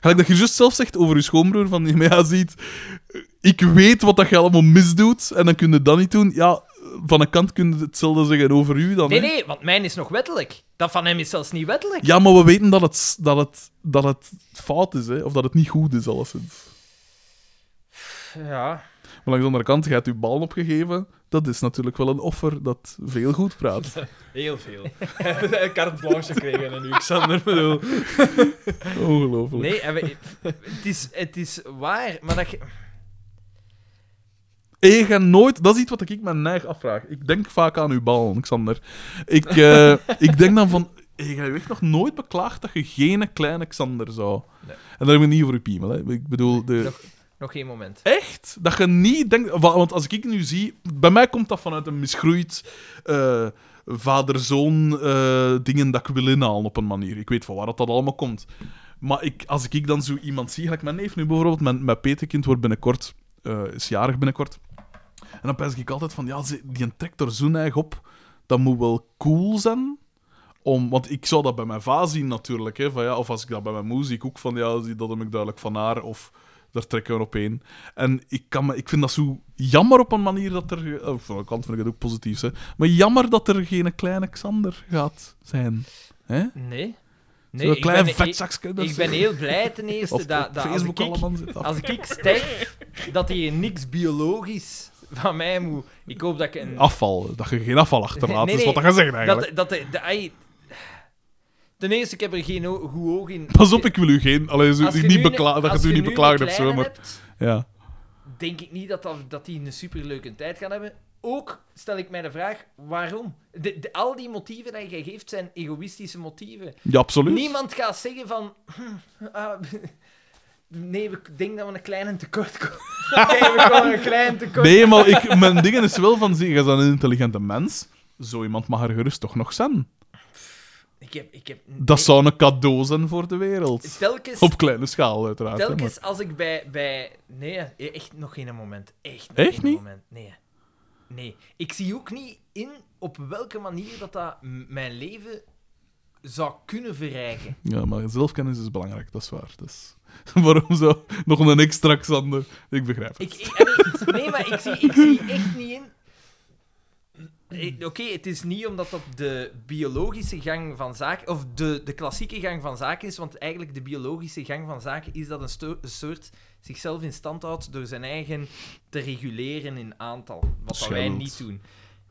Speaker 4: Gelijk dat je juist zelf zegt over je schoonbroer, van ja, maar ja, ziet, ik weet wat dat je allemaal misdoet, en dan kun je dat niet doen. Ja, van een kant kun je hetzelfde zeggen over u dan.
Speaker 3: nee,
Speaker 4: hè.
Speaker 3: nee, want mijn is nog wettelijk. Dat van hem is zelfs niet wettelijk.
Speaker 4: Ja, maar we weten dat het, dat het, dat het fout is, hè, of dat het niet goed is, alleszins.
Speaker 3: Ja.
Speaker 4: Maar langs de andere kant, je hebt je bal opgegeven, dat is natuurlijk wel een offer dat veel goed praat.
Speaker 2: Heel veel. Een carte blanche gekregen en nu Xander bedoel.
Speaker 4: Ongelooflijk.
Speaker 3: Nee, en we- het, is, het is waar, maar dat... je-
Speaker 4: En je gaat nooit... Dat is iets wat ik mijn neig afvraag. Ik denk vaak aan uw bal, Xander. Ik, eh, ik denk dan van... Ik heb je echt nog nooit beklaagd dat je geen kleine Xander zou. En daar heb ik niet voor je piemel. Hè. Ik bedoel, de...
Speaker 3: Nog- Nog geen moment.
Speaker 4: echt dat je niet denkt. wa- Want als ik nu zie. Bij mij komt dat vanuit een misgroeid. eh, Vader-zoon eh, dingen dat ik wil inhalen op een manier. Ik weet van waar dat, dat allemaal komt. Maar ik, als ik dan zo iemand zie, gelijk mijn neef nu bijvoorbeeld, mijn, mijn petekind wordt binnenkort, eh, is jarig binnenkort. En dan pens ik altijd van, ja, ze- die trekt er zo'n eigen op. Dat moet wel cool zijn. Om, want ik zou dat bij mijn va zien natuurlijk. Hè, van, ja, of als ik dat bij mijn moe zie, ik ook van, ja, zie, dat heb ik duidelijk van haar. Of daar trekken we op één. En ik, kan me, ik vind dat zo jammer op een manier dat er... eh, Van de kant vind ik het ook positief, hè. Maar jammer dat er geen kleine Xander gaat zijn. Hè?
Speaker 3: Nee.
Speaker 4: Nee,
Speaker 3: Nee,
Speaker 4: Zo'n
Speaker 3: ik
Speaker 4: klein
Speaker 3: ben, ik,
Speaker 4: vetzakje. dat
Speaker 3: ik
Speaker 4: ze-
Speaker 3: ben heel blij ten
Speaker 4: Of
Speaker 3: eerste dat,
Speaker 4: op
Speaker 3: dat als,
Speaker 4: Facebook
Speaker 3: ik,
Speaker 4: allemaal zit af.
Speaker 3: als ik sterf, dat hier niks biologisch van mij moet. Ik hoop dat ik een...
Speaker 4: Afval. Dat je geen afval achterlaat,
Speaker 3: Nee,
Speaker 4: is wat
Speaker 3: nee.
Speaker 4: dat gaat zeggen eigenlijk.
Speaker 3: Dat, dat, de, de- ai- ten eerste, ik heb er geen o- goed oog in.
Speaker 4: Pas op, ik wil u geen... Allee, zo,
Speaker 3: Als je
Speaker 4: niet
Speaker 3: nu een-
Speaker 4: bekla- dat
Speaker 3: als
Speaker 4: je het u niet
Speaker 3: nu een
Speaker 4: beklaagd hebt, zo,
Speaker 3: kleine
Speaker 4: maar...
Speaker 3: hebt,
Speaker 4: Ja.
Speaker 3: denk ik niet dat, dat, dat die een superleuke tijd gaan hebben. Ook stel ik mij de vraag, waarom? De, de- al die motieven die jij geeft zijn egoïstische motieven.
Speaker 4: ja, absoluut.
Speaker 3: Niemand gaat zeggen van... "Hm, ah, nee, ik denk dat we een klein tekort komen. Nee, we komen een klein tekort.
Speaker 4: Nee, maar ik, mijn dingen is wel van... Zie, je bent een intelligente mens. Zo iemand mag er gerust toch nog zijn.
Speaker 3: Ik heb... Ik heb
Speaker 4: Dat zou een cadeau zijn voor de wereld.
Speaker 3: Telkens,
Speaker 4: Op kleine schaal, uiteraard. hè, maar-
Speaker 3: telkens als ik bij, bij... Nee, e- echt nog geen moment. Echt, nog
Speaker 4: Echt
Speaker 3: geen
Speaker 4: niet?
Speaker 3: moment. Nee. Nee. Ik zie ook niet in op welke manier dat, dat m- mijn leven zou kunnen verrijken.
Speaker 4: Ja, maar zelfkennis is belangrijk, dat is waar. Dat is- Waarom zo? Nog een extra Xander. Ik begrijp het.
Speaker 3: Ik, ik- allee, nee, maar ik zie, ik zie echt niet in. Eh, Oké, het is niet omdat dat de biologische gang van zaken, of de, de klassieke gang van zaken is, want eigenlijk de biologische gang van zaken is dat een, sto- een soort zichzelf in stand houdt door zijn eigen te reguleren in aantal, wat dat wij
Speaker 4: Scheld.
Speaker 3: niet doen.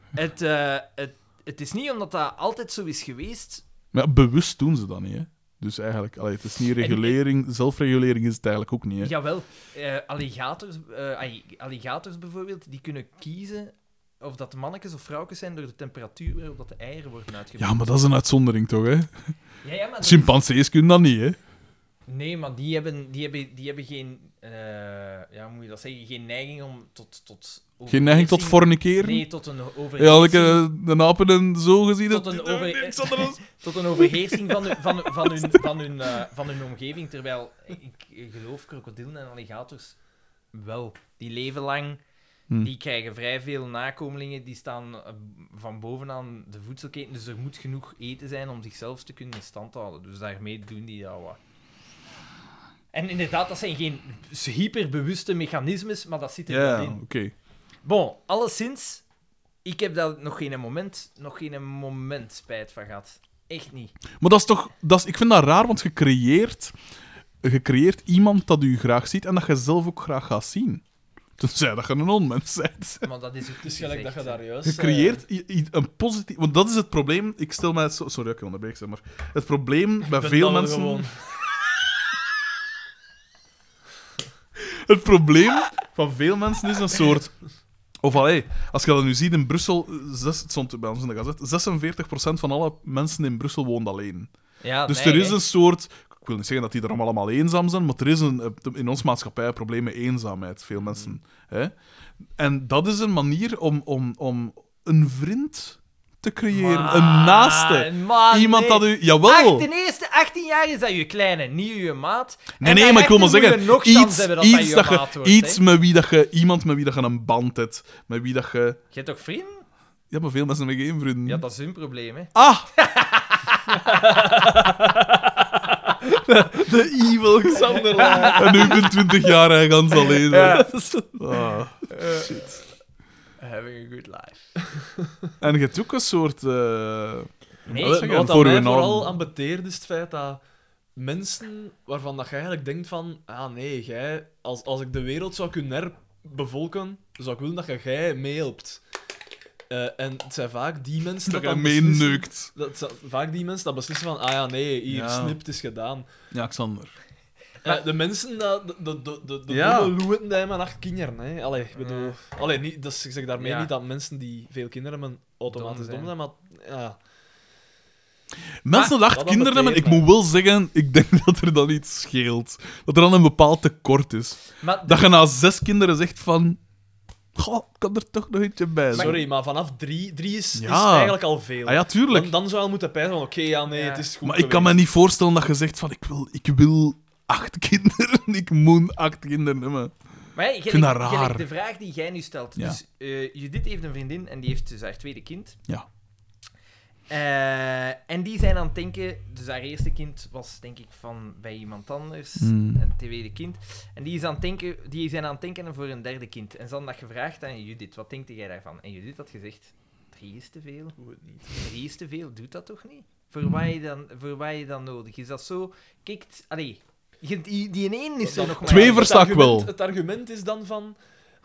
Speaker 3: Het, eh, het, het is niet omdat dat altijd zo is geweest.
Speaker 4: Maar ja, bewust doen ze dat niet, hè? Dus eigenlijk, allee, het is niet regulering, zelfregulering is het eigenlijk ook niet. Hè?
Speaker 3: Jawel, eh, alligators, eh, ai- alligators bijvoorbeeld, die kunnen kiezen of dat mannetjes of vrouwtjes zijn door de temperatuur waarop dat de eieren worden uitgebracht.
Speaker 4: Ja, maar dat is een uitzondering toch, hè?
Speaker 3: Ja, ja, maar dat
Speaker 4: Chimpansees kunnen dat niet, hè?
Speaker 3: is- Nee, maar die hebben, die hebben, die hebben geen, eh, ja, hoe moet je dat zeggen, geen neiging om tot... tot
Speaker 4: Geen neiging tot
Speaker 3: overheersing-
Speaker 4: forniceren?
Speaker 3: Nee, tot een overheersing.
Speaker 4: ja, had ik eh, de apen en zo gezien.
Speaker 3: Tot
Speaker 4: dat-
Speaker 3: een over-
Speaker 4: Nee, Xander, dat is-
Speaker 3: Tot een overheersing van, hun- van, van, hun, van, hun, eh, van hun omgeving. Terwijl, ik geloof, krokodillen en alligators wel. Die leven lang,
Speaker 4: Hm.
Speaker 3: die krijgen vrij veel nakomelingen, die staan eh, van bovenaan de voedselketen. Dus er moet genoeg eten zijn om zichzelf te kunnen in stand houden. Dus daarmee doen die dat wat. En inderdaad, dat zijn geen hyperbewuste mechanismes, maar dat zit er wel
Speaker 4: Ja,
Speaker 3: in.
Speaker 4: oké.
Speaker 3: Bon, alleszins, ik heb daar nog geen moment, nog geen moment spijt van gehad. Echt niet.
Speaker 4: Maar dat is toch... Dat is, ik vind dat raar, want je creëert, je creëert iemand dat u graag ziet en dat je zelf ook graag gaat zien. Tenzij dat je een onmens bent.
Speaker 3: Maar dat is ook
Speaker 14: Het is
Speaker 3: niet
Speaker 14: gelijk dat je
Speaker 3: gezegd,
Speaker 14: daar
Speaker 3: hè.
Speaker 14: juist...
Speaker 4: Je
Speaker 2: eh,
Speaker 4: creëert
Speaker 3: eh,
Speaker 4: i- i- een positief... Want dat is het probleem. Ik stel mij... zo- Sorry, dat ik onderbreek, zeg maar. Het probleem bij veel mensen... Het probleem van veel mensen is een soort... Of allee, als je dat nu ziet in Brussel, eh, zes, het stond bij ons in de gazette, 46% van alle mensen in Brussel woont alleen.
Speaker 3: Ja,
Speaker 4: Dus
Speaker 3: Ah, nee,
Speaker 4: er is
Speaker 3: hè.
Speaker 4: een soort. Ik wil niet zeggen dat die er allemaal eenzaam zijn, maar er is een, eh, in onze maatschappij een probleem met eenzaamheid.
Speaker 3: Hmm.
Speaker 4: Veel mensen. Hè? En dat is een manier om, om, om een vriend te creëren, een naaste.
Speaker 3: Maar
Speaker 4: Iemand
Speaker 3: nee.
Speaker 4: dat u. Jawel!
Speaker 3: Ach, ten eerste, 18 jaar is dat je kleine, niet je maat.
Speaker 4: Nee,
Speaker 3: En
Speaker 4: nee, maar ik wil maar
Speaker 3: daarachter moet
Speaker 4: zeggen,
Speaker 3: je nog kans
Speaker 4: iets,
Speaker 3: hebben dat
Speaker 4: iets,
Speaker 3: dat
Speaker 4: dat
Speaker 3: je maat
Speaker 4: je,
Speaker 3: wordt,
Speaker 4: iets
Speaker 3: hè.
Speaker 4: met wie dat je, iemand met wie dat je een band hebt, met wie dat je...
Speaker 3: Je hebt toch vrienden?
Speaker 4: Ja, maar veel mensen hebben geen vrienden.
Speaker 3: Ja, dat is hun probleem, hè.
Speaker 4: Ah! De evil Xander. En nu ben 20 jaar en gans alleen. Ah.
Speaker 3: Having a good life.
Speaker 4: En je hebt ook een soort... eh,
Speaker 3: Nee,
Speaker 4: wat
Speaker 14: Wat,
Speaker 4: zeg je,
Speaker 14: wat aan
Speaker 4: voor
Speaker 14: mij
Speaker 4: uw norm.
Speaker 14: vooral aan beteert is het feit dat mensen waarvan dat je eigenlijk denkt van... Ah nee, jij, als, als ik de wereld zou kunnen herbevolken, zou ik willen dat je jij meehelpt. Eh, en het zijn vaak die mensen
Speaker 4: dat
Speaker 14: dat,
Speaker 4: je
Speaker 14: dan beslissen...
Speaker 4: meeneukt.
Speaker 14: Dat, zijn vaak die mensen dat beslissen van... Ah ja, nee, hier,
Speaker 4: Ja.
Speaker 14: snipt is gedaan.
Speaker 4: Ja, Xander.
Speaker 14: Eh, de mensen, dat, de, de, de, de, de
Speaker 4: Ja.
Speaker 14: domme loeten die hebben acht kinderen. Hè. Allee, ik bedoel... Allee, niet, dus ik zeg daarmee
Speaker 3: Ja.
Speaker 14: niet dat mensen die veel kinderen hebben automatisch dom
Speaker 3: Dom
Speaker 14: zijn,
Speaker 3: zijn.
Speaker 14: maar... Ja.
Speaker 3: Ah,
Speaker 4: Mensen dat echt
Speaker 2: dat
Speaker 4: kinderen hebben, ik
Speaker 2: betekent-
Speaker 4: moet wel zeggen, ik denk dat er dan iets scheelt. Dat er dan een bepaald tekort is.
Speaker 3: Maar
Speaker 4: Dat je na zes kinderen zegt van... Goh, ik kan er toch nog eentje bij zijn.
Speaker 2: Eh, Sorry, maar vanaf drie, drie is, is
Speaker 4: Ja.
Speaker 2: eigenlijk al veel.
Speaker 4: Ah ja, tuurlijk.
Speaker 2: dan, dan zou je al moeten pijzen van, oké, ja, nee,
Speaker 3: Ja.
Speaker 2: het is goed
Speaker 4: Maar ik kan me niet voorstellen dat je zegt van... Ik wil, ik wil acht kinderen. Ik moet acht kinderen hebben.
Speaker 3: Maar hey,
Speaker 4: vind
Speaker 3: gelijk-
Speaker 4: dat
Speaker 3: gelijk
Speaker 4: raar.
Speaker 3: de vraag die jij nu stelt.
Speaker 4: Ja.
Speaker 3: Dus eh, Judith heeft een vriendin en die heeft dus haar tweede kind.
Speaker 4: Ja.
Speaker 3: Eh, en die zijn aan het denken... Dus haar eerste kind was denk ik van bij iemand anders.
Speaker 4: Hmm.
Speaker 3: Een tweede kind. En die, is aan het denken, die zijn aan het denken voor een derde kind. En ze hadden dat gevraagd aan Judith. Wat denkt jij daarvan? En Judith had gezegd... Drie is te veel. Drie is te veel. Doet dat toch niet?
Speaker 4: Hmm.
Speaker 3: Voor wat je dan, voor wat je dan nodig is. Dat zo... Kijk... t- Allee... je- Die, die in één is er nog maar...
Speaker 4: Twee versta ik wel.
Speaker 2: Het argument is dan van...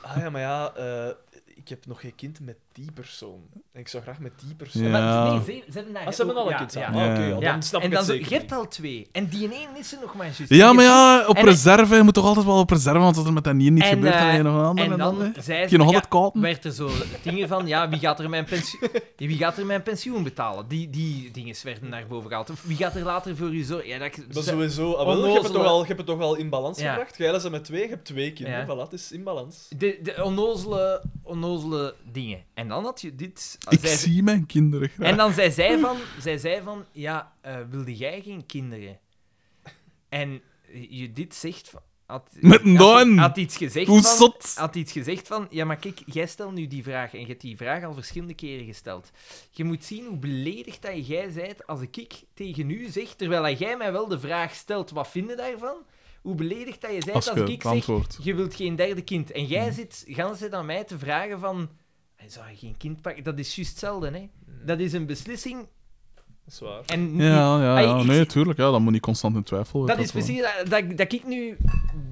Speaker 2: Ah ja, maar ja, eh, ik heb nog geen kind met die persoon. En ik zou graag met die persoon...
Speaker 4: Ja.
Speaker 3: Maar, nee, ze, ze hebben daar
Speaker 2: Ah, ze hebben
Speaker 3: ook-
Speaker 2: al een
Speaker 3: ja,
Speaker 2: kind
Speaker 3: ja.
Speaker 2: samen. Ah, oké, ja,
Speaker 3: Ja,
Speaker 2: dan snap
Speaker 3: en
Speaker 2: ik
Speaker 3: dan
Speaker 2: het
Speaker 3: zo-
Speaker 2: zeker
Speaker 3: Je hebt
Speaker 2: niet.
Speaker 3: al twee. En die in één is er nog maar juist.
Speaker 4: Ja, maar ja, op
Speaker 3: En-
Speaker 4: reserve. Je moet toch altijd wel op reserve, want als er met dat niet, niet
Speaker 3: En,
Speaker 4: gebeurt, dan
Speaker 3: eh,
Speaker 4: je nog een ander.
Speaker 3: En dan
Speaker 4: hè.
Speaker 3: zei
Speaker 4: Heb je
Speaker 3: ze,
Speaker 4: nog
Speaker 3: ja,
Speaker 4: altijd kopen?
Speaker 3: werd er zo dingen van, ja, wie gaat er mijn pensioen, wie gaat er mijn pensioen betalen? Die, die dingen werden naar boven gehaald. Of wie gaat er later voor u zorgen? Ja, dat,
Speaker 2: Dat
Speaker 3: ze-
Speaker 2: is sowieso... Ah, wel, je, hebt het toch
Speaker 3: Onnozele-
Speaker 2: al, je hebt het toch al in balans
Speaker 3: Ja.
Speaker 2: gebracht? Jij ze met twee, je hebt twee kinderen.
Speaker 3: Ja.
Speaker 2: Voilà, het is in balans.
Speaker 3: de, de onnozele, onnozele dingen. En dan had je dit...
Speaker 4: Ik
Speaker 3: zei ze-
Speaker 4: zie mijn kinderen graag.
Speaker 3: En dan zei zij van, zij zei van ja, eh, wilde jij geen kinderen? En Judith zegt van... Had,
Speaker 4: Met een
Speaker 3: had,
Speaker 4: doorn.
Speaker 3: had iets gezegd
Speaker 4: Hoe
Speaker 3: van...
Speaker 4: zot.
Speaker 3: Had iets gezegd van, ja, maar kijk, jij stelt nu die vraag en je hebt die vraag al verschillende keren gesteld. Je moet zien hoe beledigd dat jij zijt als ik, ik tegen u zeg, terwijl dat jij mij wel de vraag stelt, wat vinden daarvan? Hoe beledigd dat je zijt
Speaker 4: Als
Speaker 3: als,
Speaker 4: je
Speaker 3: ik
Speaker 4: het
Speaker 3: zeg,
Speaker 4: antwoord. Mhm.
Speaker 3: je wilt geen derde kind. En jij zit gans tijd aan mij te vragen van... Zou je geen kind pakken? Dat is juist hetzelfde, hè. Dat is een beslissing.
Speaker 2: Dat is waar.
Speaker 3: En
Speaker 4: Ja, ja,
Speaker 3: Ai,
Speaker 4: ja.
Speaker 3: ik-
Speaker 4: Nee, tuurlijk. Ja, dat moet niet constant in twijfel.
Speaker 3: dat is
Speaker 4: wel.
Speaker 3: precies eh, dat, dat, dat ik nu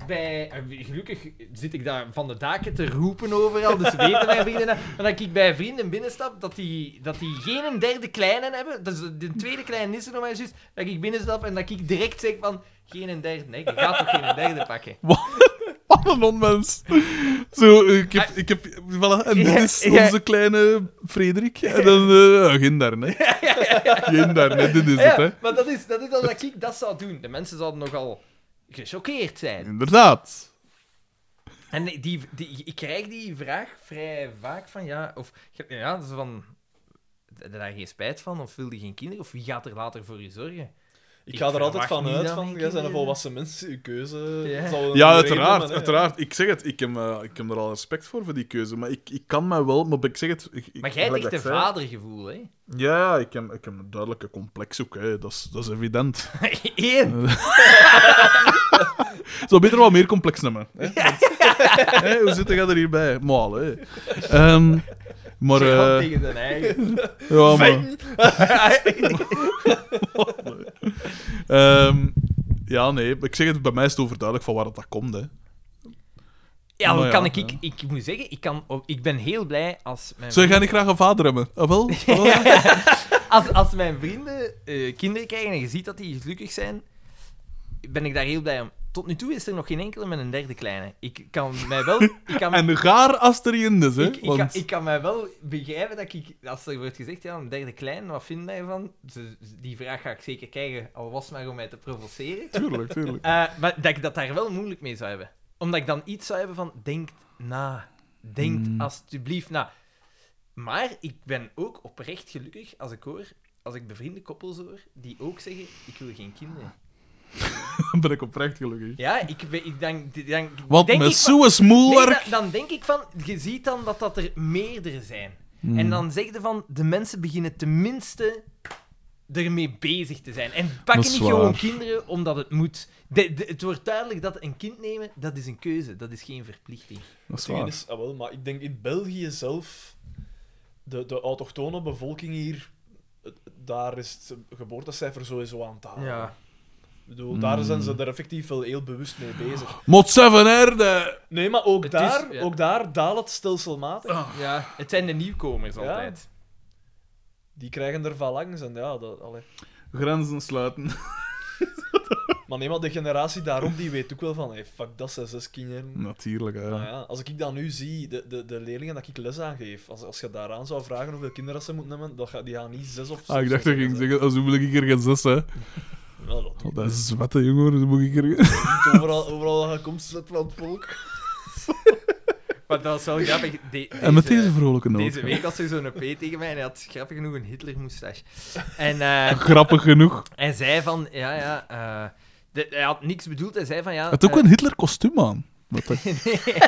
Speaker 3: bij... eh, Gelukkig zit ik daar van de daken te roepen overal, dus weten mijn vrienden dat. Maar dat ik bij vrienden binnenstap, dat die, dat die geen derde kleine hebben. Dus de tweede kleine is er nog maar juist. Dat ik binnenstap en dat ik direct zeg van... Geen een derde, nee, je gaat toch geen een derde pakken?
Speaker 4: Wat een onmens. Zo, ik heb... Ik heb voilà, en dit is
Speaker 3: Ja, ja.
Speaker 4: onze kleine Frederik. En dan... eh, ja, geen daarnet. Geen daarnet, dit is het, hè.
Speaker 3: Ja, maar dat is, dat is als dat ik dat zou doen. De mensen zouden nogal gechoqueerd zijn.
Speaker 4: Inderdaad.
Speaker 3: En die, die, ik krijg die vraag vrij vaak van, ja, of, ja, dus van, heb je daar geen spijt van, of wil je geen kinderen, of wie gaat er later voor je zorgen?
Speaker 2: Ik
Speaker 3: Ik
Speaker 2: ga er altijd
Speaker 3: verwacht
Speaker 2: van
Speaker 3: niet
Speaker 2: uit
Speaker 3: dat
Speaker 2: van,
Speaker 3: mijn
Speaker 2: jij bent een
Speaker 3: kinderen-
Speaker 2: volwassen mens, je keuze
Speaker 3: Ja.
Speaker 2: zal wel een
Speaker 4: Ja,
Speaker 2: reden
Speaker 4: uiteraard.
Speaker 2: hebben, hè.
Speaker 4: uiteraard. Ik zeg het, ik heb, eh, ik heb er al respect voor, voor die keuze. Maar ik, ik kan mij wel... Maar ik zeg het... Ik, ik-
Speaker 3: Maar jij hebt
Speaker 4: gelijk
Speaker 3: echt een
Speaker 4: dat ik zei.
Speaker 3: vadergevoel, hè?
Speaker 4: Ja, ja, ik heb, ik heb een duidelijke complex ook. Hè. Dat, is, dat is evident.
Speaker 3: Eén.
Speaker 4: Zo beter wat meer complex nemen. Hè. Want- hè, hoe zit jij er hierbij? Maal, hè. Ehm, maar... eh,
Speaker 3: Gewoon tegen zijn eigen.
Speaker 4: Ja, maar... Ehm, ja, nee. Ik zeg het, bij mij is het overduidelijk van waar dat, dat komt. Hè.
Speaker 3: Ja,
Speaker 4: Maar
Speaker 3: hoe
Speaker 4: ja,
Speaker 3: kan ik,
Speaker 4: ja.
Speaker 3: ik, ik moet zeggen, ik, kan, oh, ik ben heel blij als mijn,
Speaker 4: Zou jij niet graag een vader hebben? Ah, wel? Ah, wel?
Speaker 3: als, als mijn vrienden eh, kinderen krijgen en je ziet dat die gelukkig zijn, ben ik daar heel blij om. Tot nu toe is er nog geen enkele met een derde kleine. Ik kan mij wel... Ik kan
Speaker 4: En gaar als er in is, hè?
Speaker 3: Ik, ik, kan,
Speaker 4: Want-
Speaker 3: ik kan mij wel begrijpen dat ik, als er wordt gezegd, ja, een derde klein, wat vind jij ervan? Ze- Die vraag ga ik zeker krijgen, al was het maar om mij te provoceren.
Speaker 4: Tuurlijk, tuurlijk.
Speaker 3: Eh, maar dat ik dat daar wel moeilijk mee zou hebben. Omdat ik dan iets zou hebben van, denk na. Denk
Speaker 4: Hmm.
Speaker 3: alstublieft na. Maar ik ben ook oprecht gelukkig als ik hoor, als ik bevriende koppels hoor, die ook zeggen, ik wil geen kinderen.
Speaker 4: Dan ben ik oprecht gelukkig.
Speaker 3: Ja, ik, ben- ik denk... ik denk
Speaker 4: Want
Speaker 3: denk
Speaker 4: met
Speaker 3: ik van-
Speaker 4: zo'n
Speaker 3: Nee,
Speaker 4: smoelwerk...
Speaker 3: dan, dan denk ik van, je ziet dan dat dat er meerdere zijn.
Speaker 4: Hmm,
Speaker 3: En dan zeg je van, de mensen beginnen tenminste ermee bezig te zijn. En pakken
Speaker 4: is
Speaker 3: niet
Speaker 4: waar.
Speaker 3: gewoon kinderen omdat het moet. De- de- het wordt duidelijk dat een kind nemen, dat is een keuze, dat is geen verplichting.
Speaker 4: Dat
Speaker 2: Het
Speaker 4: is
Speaker 2: ding
Speaker 4: waar.
Speaker 2: is, ah, wel, maar ik denk in België zelf, de, de autochtone bevolking hier, eh, daar is het geboortecijfer sowieso aan te halen. Ik bedoel, daar zijn
Speaker 4: Mm.
Speaker 2: ze er effectief wel heel bewust mee bezig.
Speaker 4: Mot 7 herde!
Speaker 2: Nee, maar ook,
Speaker 3: Het is-
Speaker 2: daar,
Speaker 3: ja.
Speaker 2: ook daar daalt het stelselmatig.
Speaker 3: Ah. ja. Het zijn de nieuwkomers
Speaker 2: Ja.
Speaker 3: altijd.
Speaker 2: Die krijgen er van langs en ja, dat... Allee.
Speaker 4: Grenzen sluiten.
Speaker 2: Maar nee, maar de generatie daarom die weet ook wel van, hey, fuck dat, zijn zes kinderen.
Speaker 4: Natuurlijk, hè.
Speaker 3: Ah,
Speaker 2: Maar ja, als ik dat nu zie, de, de, de leerlingen dat ik les aangeef, als, als je daaraan zou vragen hoeveel kinderen dat ze moeten hebben, dat ga, die gaan niet zes of
Speaker 4: Ah, ik
Speaker 2: zes
Speaker 4: dacht dat je ging zeggen, als hoe wil ik er geen zes, hè.
Speaker 2: Nou, dat
Speaker 4: Oh, dat is zwette, jongen, dan moet ik er...
Speaker 2: niet overal, overal dat je komt, slet van het volk.
Speaker 3: Maar dat was wel grappig. De-
Speaker 4: En met deze vrolijke noot.
Speaker 3: Deze
Speaker 4: ja.
Speaker 3: week had hij zo'n P tegen mij en hij had grappig genoeg een Hitler-moustache. En, eh,
Speaker 4: Grappig genoeg.
Speaker 3: hij zei van, ja, ja... eh, de- hij had niks bedoeld, hij zei van, ja...
Speaker 4: Hij had ook
Speaker 3: eh,
Speaker 4: een Hitler-kostuum aan. Wat toch,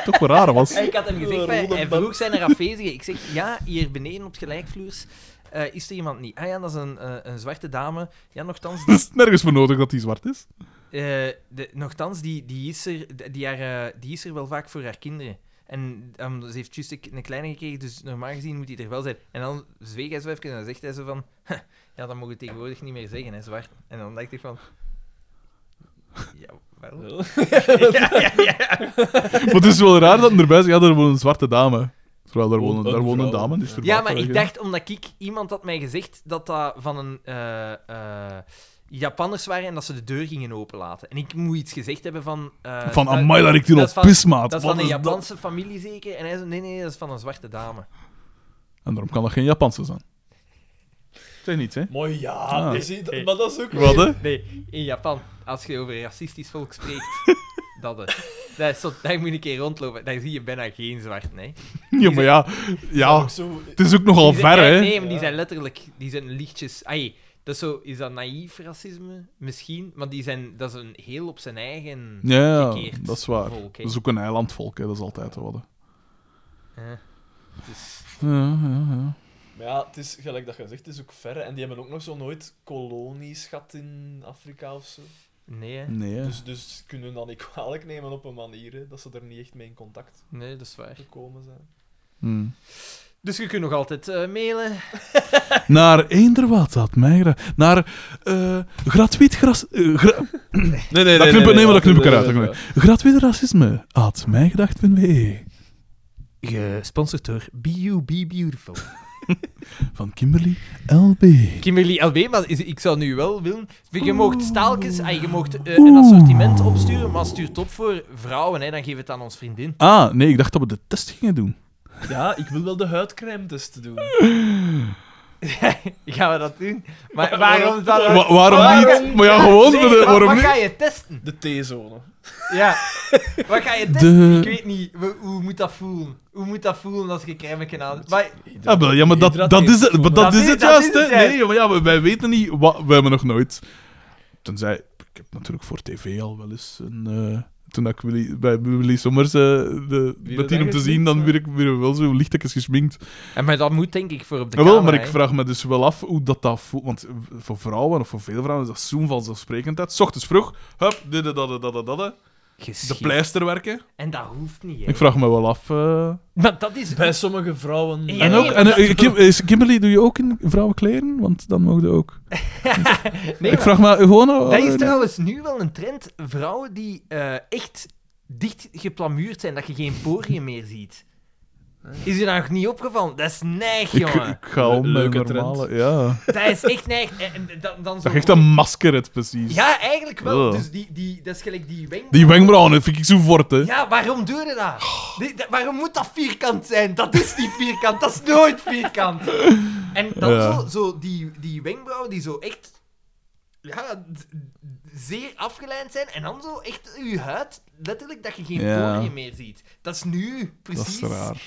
Speaker 4: toch wel raar was.
Speaker 3: ik had hem gezegd,
Speaker 2: Een
Speaker 3: van,
Speaker 2: rode
Speaker 3: hij
Speaker 2: band.
Speaker 3: vroeg zijn er afwezigen. Ik zeg, ja, hier beneden op het gelijkvloers eh, is er iemand niet. Ah ja, dat is een, eh, een zwarte dame. Ja, nochtans,
Speaker 4: Het is nergens voor nodig dat hij zwart is.
Speaker 3: Eh, de, nochtans, die, die, is er, d- die, haar, eh, die is er wel vaak voor haar kinderen. En ehm, ze heeft juist een, k- een kleine gekregen, dus normaal gezien moet die er wel zijn. En dan zweeg hij zo even en dan zegt hij zo van... "Huh, Ja, dat mogen we tegenwoordig niet meer zeggen, hè, zwart. En dan dacht ik van... Ja, waarom?
Speaker 4: Maar het is wel raar dat hij erbij zegt, ja, daar woont een zwarte dame. Terwijl daar
Speaker 16: Woont
Speaker 4: wonen, daar
Speaker 16: een
Speaker 4: wonen
Speaker 16: vrouw.
Speaker 4: dames. Dus
Speaker 3: Ja,
Speaker 4: verbaast
Speaker 3: maar
Speaker 4: dat
Speaker 3: ik
Speaker 4: je-
Speaker 3: dacht, omdat ik... Iemand had mij gezegd dat dat van een... eh, eh, Japanners waren en dat ze de deur gingen openlaten. En ik moet iets gezegd hebben van... eh,
Speaker 4: Van,
Speaker 3: dat-
Speaker 4: amai, daar ik die
Speaker 3: dat
Speaker 4: op
Speaker 3: is van-
Speaker 4: pismaat.
Speaker 3: Dat is
Speaker 4: Wat
Speaker 3: van een
Speaker 4: is dat?
Speaker 3: Japanse familie zeker? En hij zei, nee, nee, dat is van een zwarte dame.
Speaker 4: En daarom kan dat geen Japanse zijn. Zeg niets, hè.
Speaker 2: Mooi, ja.
Speaker 4: Ah.
Speaker 2: je ziet, Maar dat is ook...
Speaker 4: Wat, hè?
Speaker 3: Nee, in Japan, als je over racistisch volk spreekt, dat is. Dat is zo, daar moet je een keer rondlopen. Daar zie je bijna geen zwart, nee.
Speaker 4: Ja, maar ja. Ja,
Speaker 2: ook zo...
Speaker 4: het is ook nogal
Speaker 3: Die zijn-
Speaker 4: ver,
Speaker 3: ja,
Speaker 4: hè.
Speaker 3: Nee, maar die zijn letterlijk, die zijn lichtjes... Ai, dat is, zo, is dat naïef racisme? Misschien. Maar die zijn, dat is een heel op zijn eigen
Speaker 4: Ja,
Speaker 3: gekeerd
Speaker 4: dat is waar.
Speaker 3: volk, hè.
Speaker 4: Dat is ook een eilandvolk, hè. Dat is altijd wat, hè.
Speaker 3: Ja. Het is-
Speaker 4: Ja, ja, ja.
Speaker 2: Maar ja, het is, gelijk dat je zegt, het is ook verre. En die hebben ook nog zo nooit kolonies gehad in Afrika of zo.
Speaker 3: nee, hè.
Speaker 4: Nee, hè.
Speaker 2: Dus, dus kunnen hun dan niet kwalijk nemen op een manier, hè, dat ze er niet echt mee in contact
Speaker 3: nee, dat is waar.
Speaker 2: gekomen zijn.
Speaker 4: Hm.
Speaker 3: Dus je kunt nog altijd eh, mailen.
Speaker 4: Naar eender wat dat mij gra- Naar eh gratuit gras... eh, gra-
Speaker 16: Nee, nee,
Speaker 4: dat knip, nee, maar dat knip ik eruit. dat knip ik eruit. Gratuit racisme. At mijgedacht.be
Speaker 3: Gesponsord door BU Be Beautiful.
Speaker 4: Van Kimberly LB.
Speaker 3: Kimberly LB, maar is- ik zou nu wel willen. Je mocht staaltjes, ah, je mocht eh, een assortiment opsturen, maar stuur het op voor vrouwen, hè, dan geef het aan ons vriendin.
Speaker 4: Ah, nee, ik dacht dat we de test gingen doen.
Speaker 2: Ja, ik wil wel de huidcrème test doen.
Speaker 3: Gaan we dat doen? Maar waarom zou dat...
Speaker 4: Wa- waarom niet? Maar ja, gewoon
Speaker 3: Nee,
Speaker 4: voor de...
Speaker 3: maar
Speaker 4: Waarom
Speaker 3: wat
Speaker 4: niet?
Speaker 3: ga je testen?
Speaker 2: De T-zone.
Speaker 3: Ja. Wat ga je testen?
Speaker 4: De-
Speaker 3: Ik weet niet. Hoe, hoe moet dat voelen? Hoe moet dat voelen als je crème aan... Maar
Speaker 4: Ja, Ah, wel, ja, maar dat, dat, is, het, maar dat
Speaker 3: Dat
Speaker 4: is
Speaker 3: is-
Speaker 4: het
Speaker 3: dat
Speaker 4: juist,
Speaker 3: is het
Speaker 4: hè?
Speaker 3: juist.
Speaker 4: Nee, maar ja, maar wij weten niet... Wat, we hebben nog nooit... Tenzij... Ik heb natuurlijk voor tv al wel eens een... eh, toen ik Willy, bij Willy Sommers... eh, de,
Speaker 16: dat
Speaker 4: met die om te zien, dan werd ik weer wel zo lichtekjes gesminkt.
Speaker 3: En maar dat moet denk ik voor op de
Speaker 4: Ja, wel, maar
Speaker 3: camera,
Speaker 4: ik
Speaker 3: hè.
Speaker 4: vraag me dus wel af hoe dat, dat voelt. Want eh, voor vrouwen of voor veel vrouwen is dat zo'n vanzelfsprekendheid. 's ochtends vroeg, hup, dit, dat, dat, dat, dat, dat. De
Speaker 3: Geschikt.
Speaker 4: pleister werken.
Speaker 3: En dat hoeft niet, hè.
Speaker 4: Ik vraag me wel af. eh.
Speaker 3: Maar dat is...
Speaker 2: Bij sommige vrouwen...
Speaker 3: Ja,
Speaker 4: En
Speaker 3: nee,
Speaker 4: ook,
Speaker 3: maar
Speaker 4: en,
Speaker 3: dat-
Speaker 4: eh, Kim- is- Kimberly, doe je ook in vrouwenkleren? Want dan mogen we ook.
Speaker 3: Nee,
Speaker 4: ik
Speaker 3: maar-
Speaker 4: vraag me gewoon. eh,
Speaker 3: Dat is trouwens nu wel een trend. Vrouwen die eh, echt dicht geplamuurd zijn, dat je geen poriën meer ziet. Is je dat nog niet opgevallen? Dat is neig,
Speaker 4: ik,
Speaker 3: jongen.
Speaker 4: ik ga om mijn
Speaker 16: Leuke
Speaker 4: normale. Ja.
Speaker 3: Dat is echt neig. En, en dan, dan zo
Speaker 4: Dat je echt een masker hebt, precies.
Speaker 3: Ja, eigenlijk wel.
Speaker 4: Oh.
Speaker 3: Dus die, die, dat is gelijk die weng.
Speaker 4: Die wenkbrauwen dat vind ik zo fort, hè.
Speaker 3: Ja, waarom doe je dat? Die- dat- waarom moet dat vierkant zijn? Dat is niet vierkant, dat is nooit vierkant. En dan
Speaker 4: Ja.
Speaker 3: zo, zo die, die wenkbrauwen die zo echt ja, d- d- zeer afgeleid zijn. En dan zo echt je huid, letterlijk dat je geen
Speaker 4: Ja.
Speaker 3: poriën meer ziet. Dat is nu
Speaker 4: Dat
Speaker 3: precies.
Speaker 4: is raar.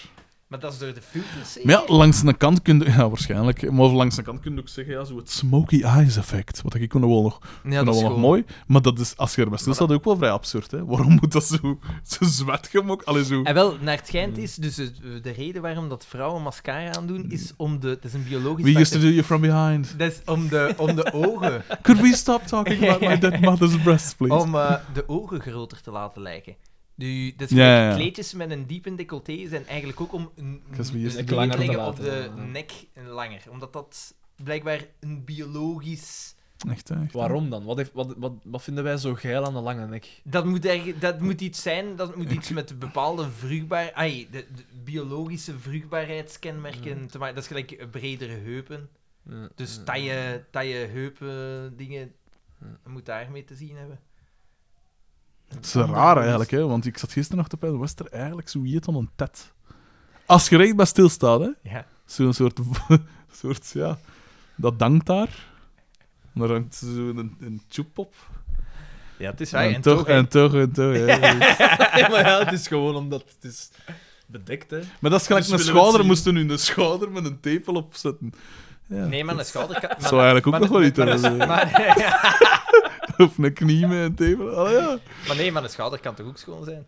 Speaker 3: Maar dat is door de filters. zeker?
Speaker 4: Maar ja, langs de kant kun je... Ja, waarschijnlijk. Maar langs de kant kun je ook zeggen, ja, zo het smoky eyes effect. Wat ik kon wel nog
Speaker 3: Ja,
Speaker 4: dat is nog
Speaker 3: gewoon-
Speaker 4: mooi. Maar dat is, als je erbij stilstaat, ook wel vrij absurd. Hè? Waarom moet dat zo, zo zwart gemokt? Allee, zo...
Speaker 3: En wel, naar het schijnt is, dus het- de reden waarom dat vrouwen mascara aandoen, is om de... Dat is een biologisch...
Speaker 4: We used to
Speaker 3: factor.
Speaker 4: do you from behind.
Speaker 3: Dat is om de, om de ogen...
Speaker 4: Could we stop talking about my dead mother's breast, please?
Speaker 3: Om eh, de ogen groter te laten lijken. Nu, dat is
Speaker 4: Ja,
Speaker 3: gelijk
Speaker 4: ja, ja.
Speaker 3: kleedjes met een diepe decolleté zijn eigenlijk ook om een,
Speaker 4: Dat is wie is
Speaker 3: een
Speaker 4: het?
Speaker 3: link
Speaker 2: Langer te
Speaker 3: leggen op
Speaker 2: laten,
Speaker 3: de
Speaker 2: ja.
Speaker 3: nek langer. Omdat dat blijkbaar een biologisch...
Speaker 4: Echt, hè, echt.
Speaker 2: Waarom dan? Wat, heeft, wat, wat, wat vinden wij zo geil aan de lange nek?
Speaker 3: Dat moet, erg- dat moet iets zijn, dat moet iets met bepaalde vruchtbaar... Ai, de, de biologische vruchtbaarheidskenmerken te maken. Dat is gelijk eh, bredere heupen.
Speaker 2: Ja, Eh, Mm.
Speaker 3: Dus taille, taille heupen dingen moet daarmee te zien hebben.
Speaker 4: Het is raar eigenlijk, hè, want ik zat gisteren nog te pijlen. Was er eigenlijk zo iets aan een tet? Als je recht bij stilstaat, hè?
Speaker 17: Ja.
Speaker 4: Zo'n soort, soort, ja, dat dankt daar. En daar hangt zo'n een, een tjoep op.
Speaker 17: Ja, het is waar.
Speaker 4: En toch, en toch, en toch. hè.
Speaker 2: Ja, maar ja, het is gewoon omdat het is bedekt, hè.
Speaker 4: Maar dat is gelijk
Speaker 2: Dus
Speaker 4: een
Speaker 2: willen we het
Speaker 4: schouder,
Speaker 2: zien?
Speaker 4: moesten nu een schouder met een tepel opzetten. Ja.
Speaker 3: Nee, maar een schouder kan...
Speaker 4: Dat zou eigenlijk ook nog wel iets hebben.
Speaker 3: Maar,
Speaker 4: Of een knie met een tepel. Ah, ja,
Speaker 3: maar nee, maar een schouder kan toch ook schoon zijn?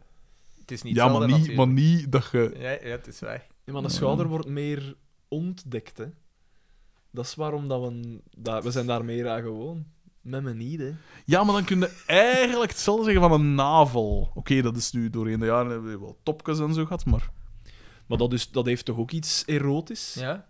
Speaker 3: Het is niet
Speaker 4: ja maar,
Speaker 3: hetzelfde,
Speaker 4: niet, maar
Speaker 3: natuurlijk.
Speaker 4: niet dat je...
Speaker 3: Ja, ja, het is waar.
Speaker 2: Ja, maar een schouder wordt meer ontdekt, hè. Dat is waarom dat we... Dat, we zijn daar meer aan gewoon. Met me niet, hè.
Speaker 4: Ja, maar dan kun je eigenlijk hetzelfde zeggen van een navel. Oké, dat is nu doorheen de jaren hebben we wel topjes en zo gehad, maar...
Speaker 2: Maar dat, is, dat heeft toch ook iets erotisch?
Speaker 3: Ja?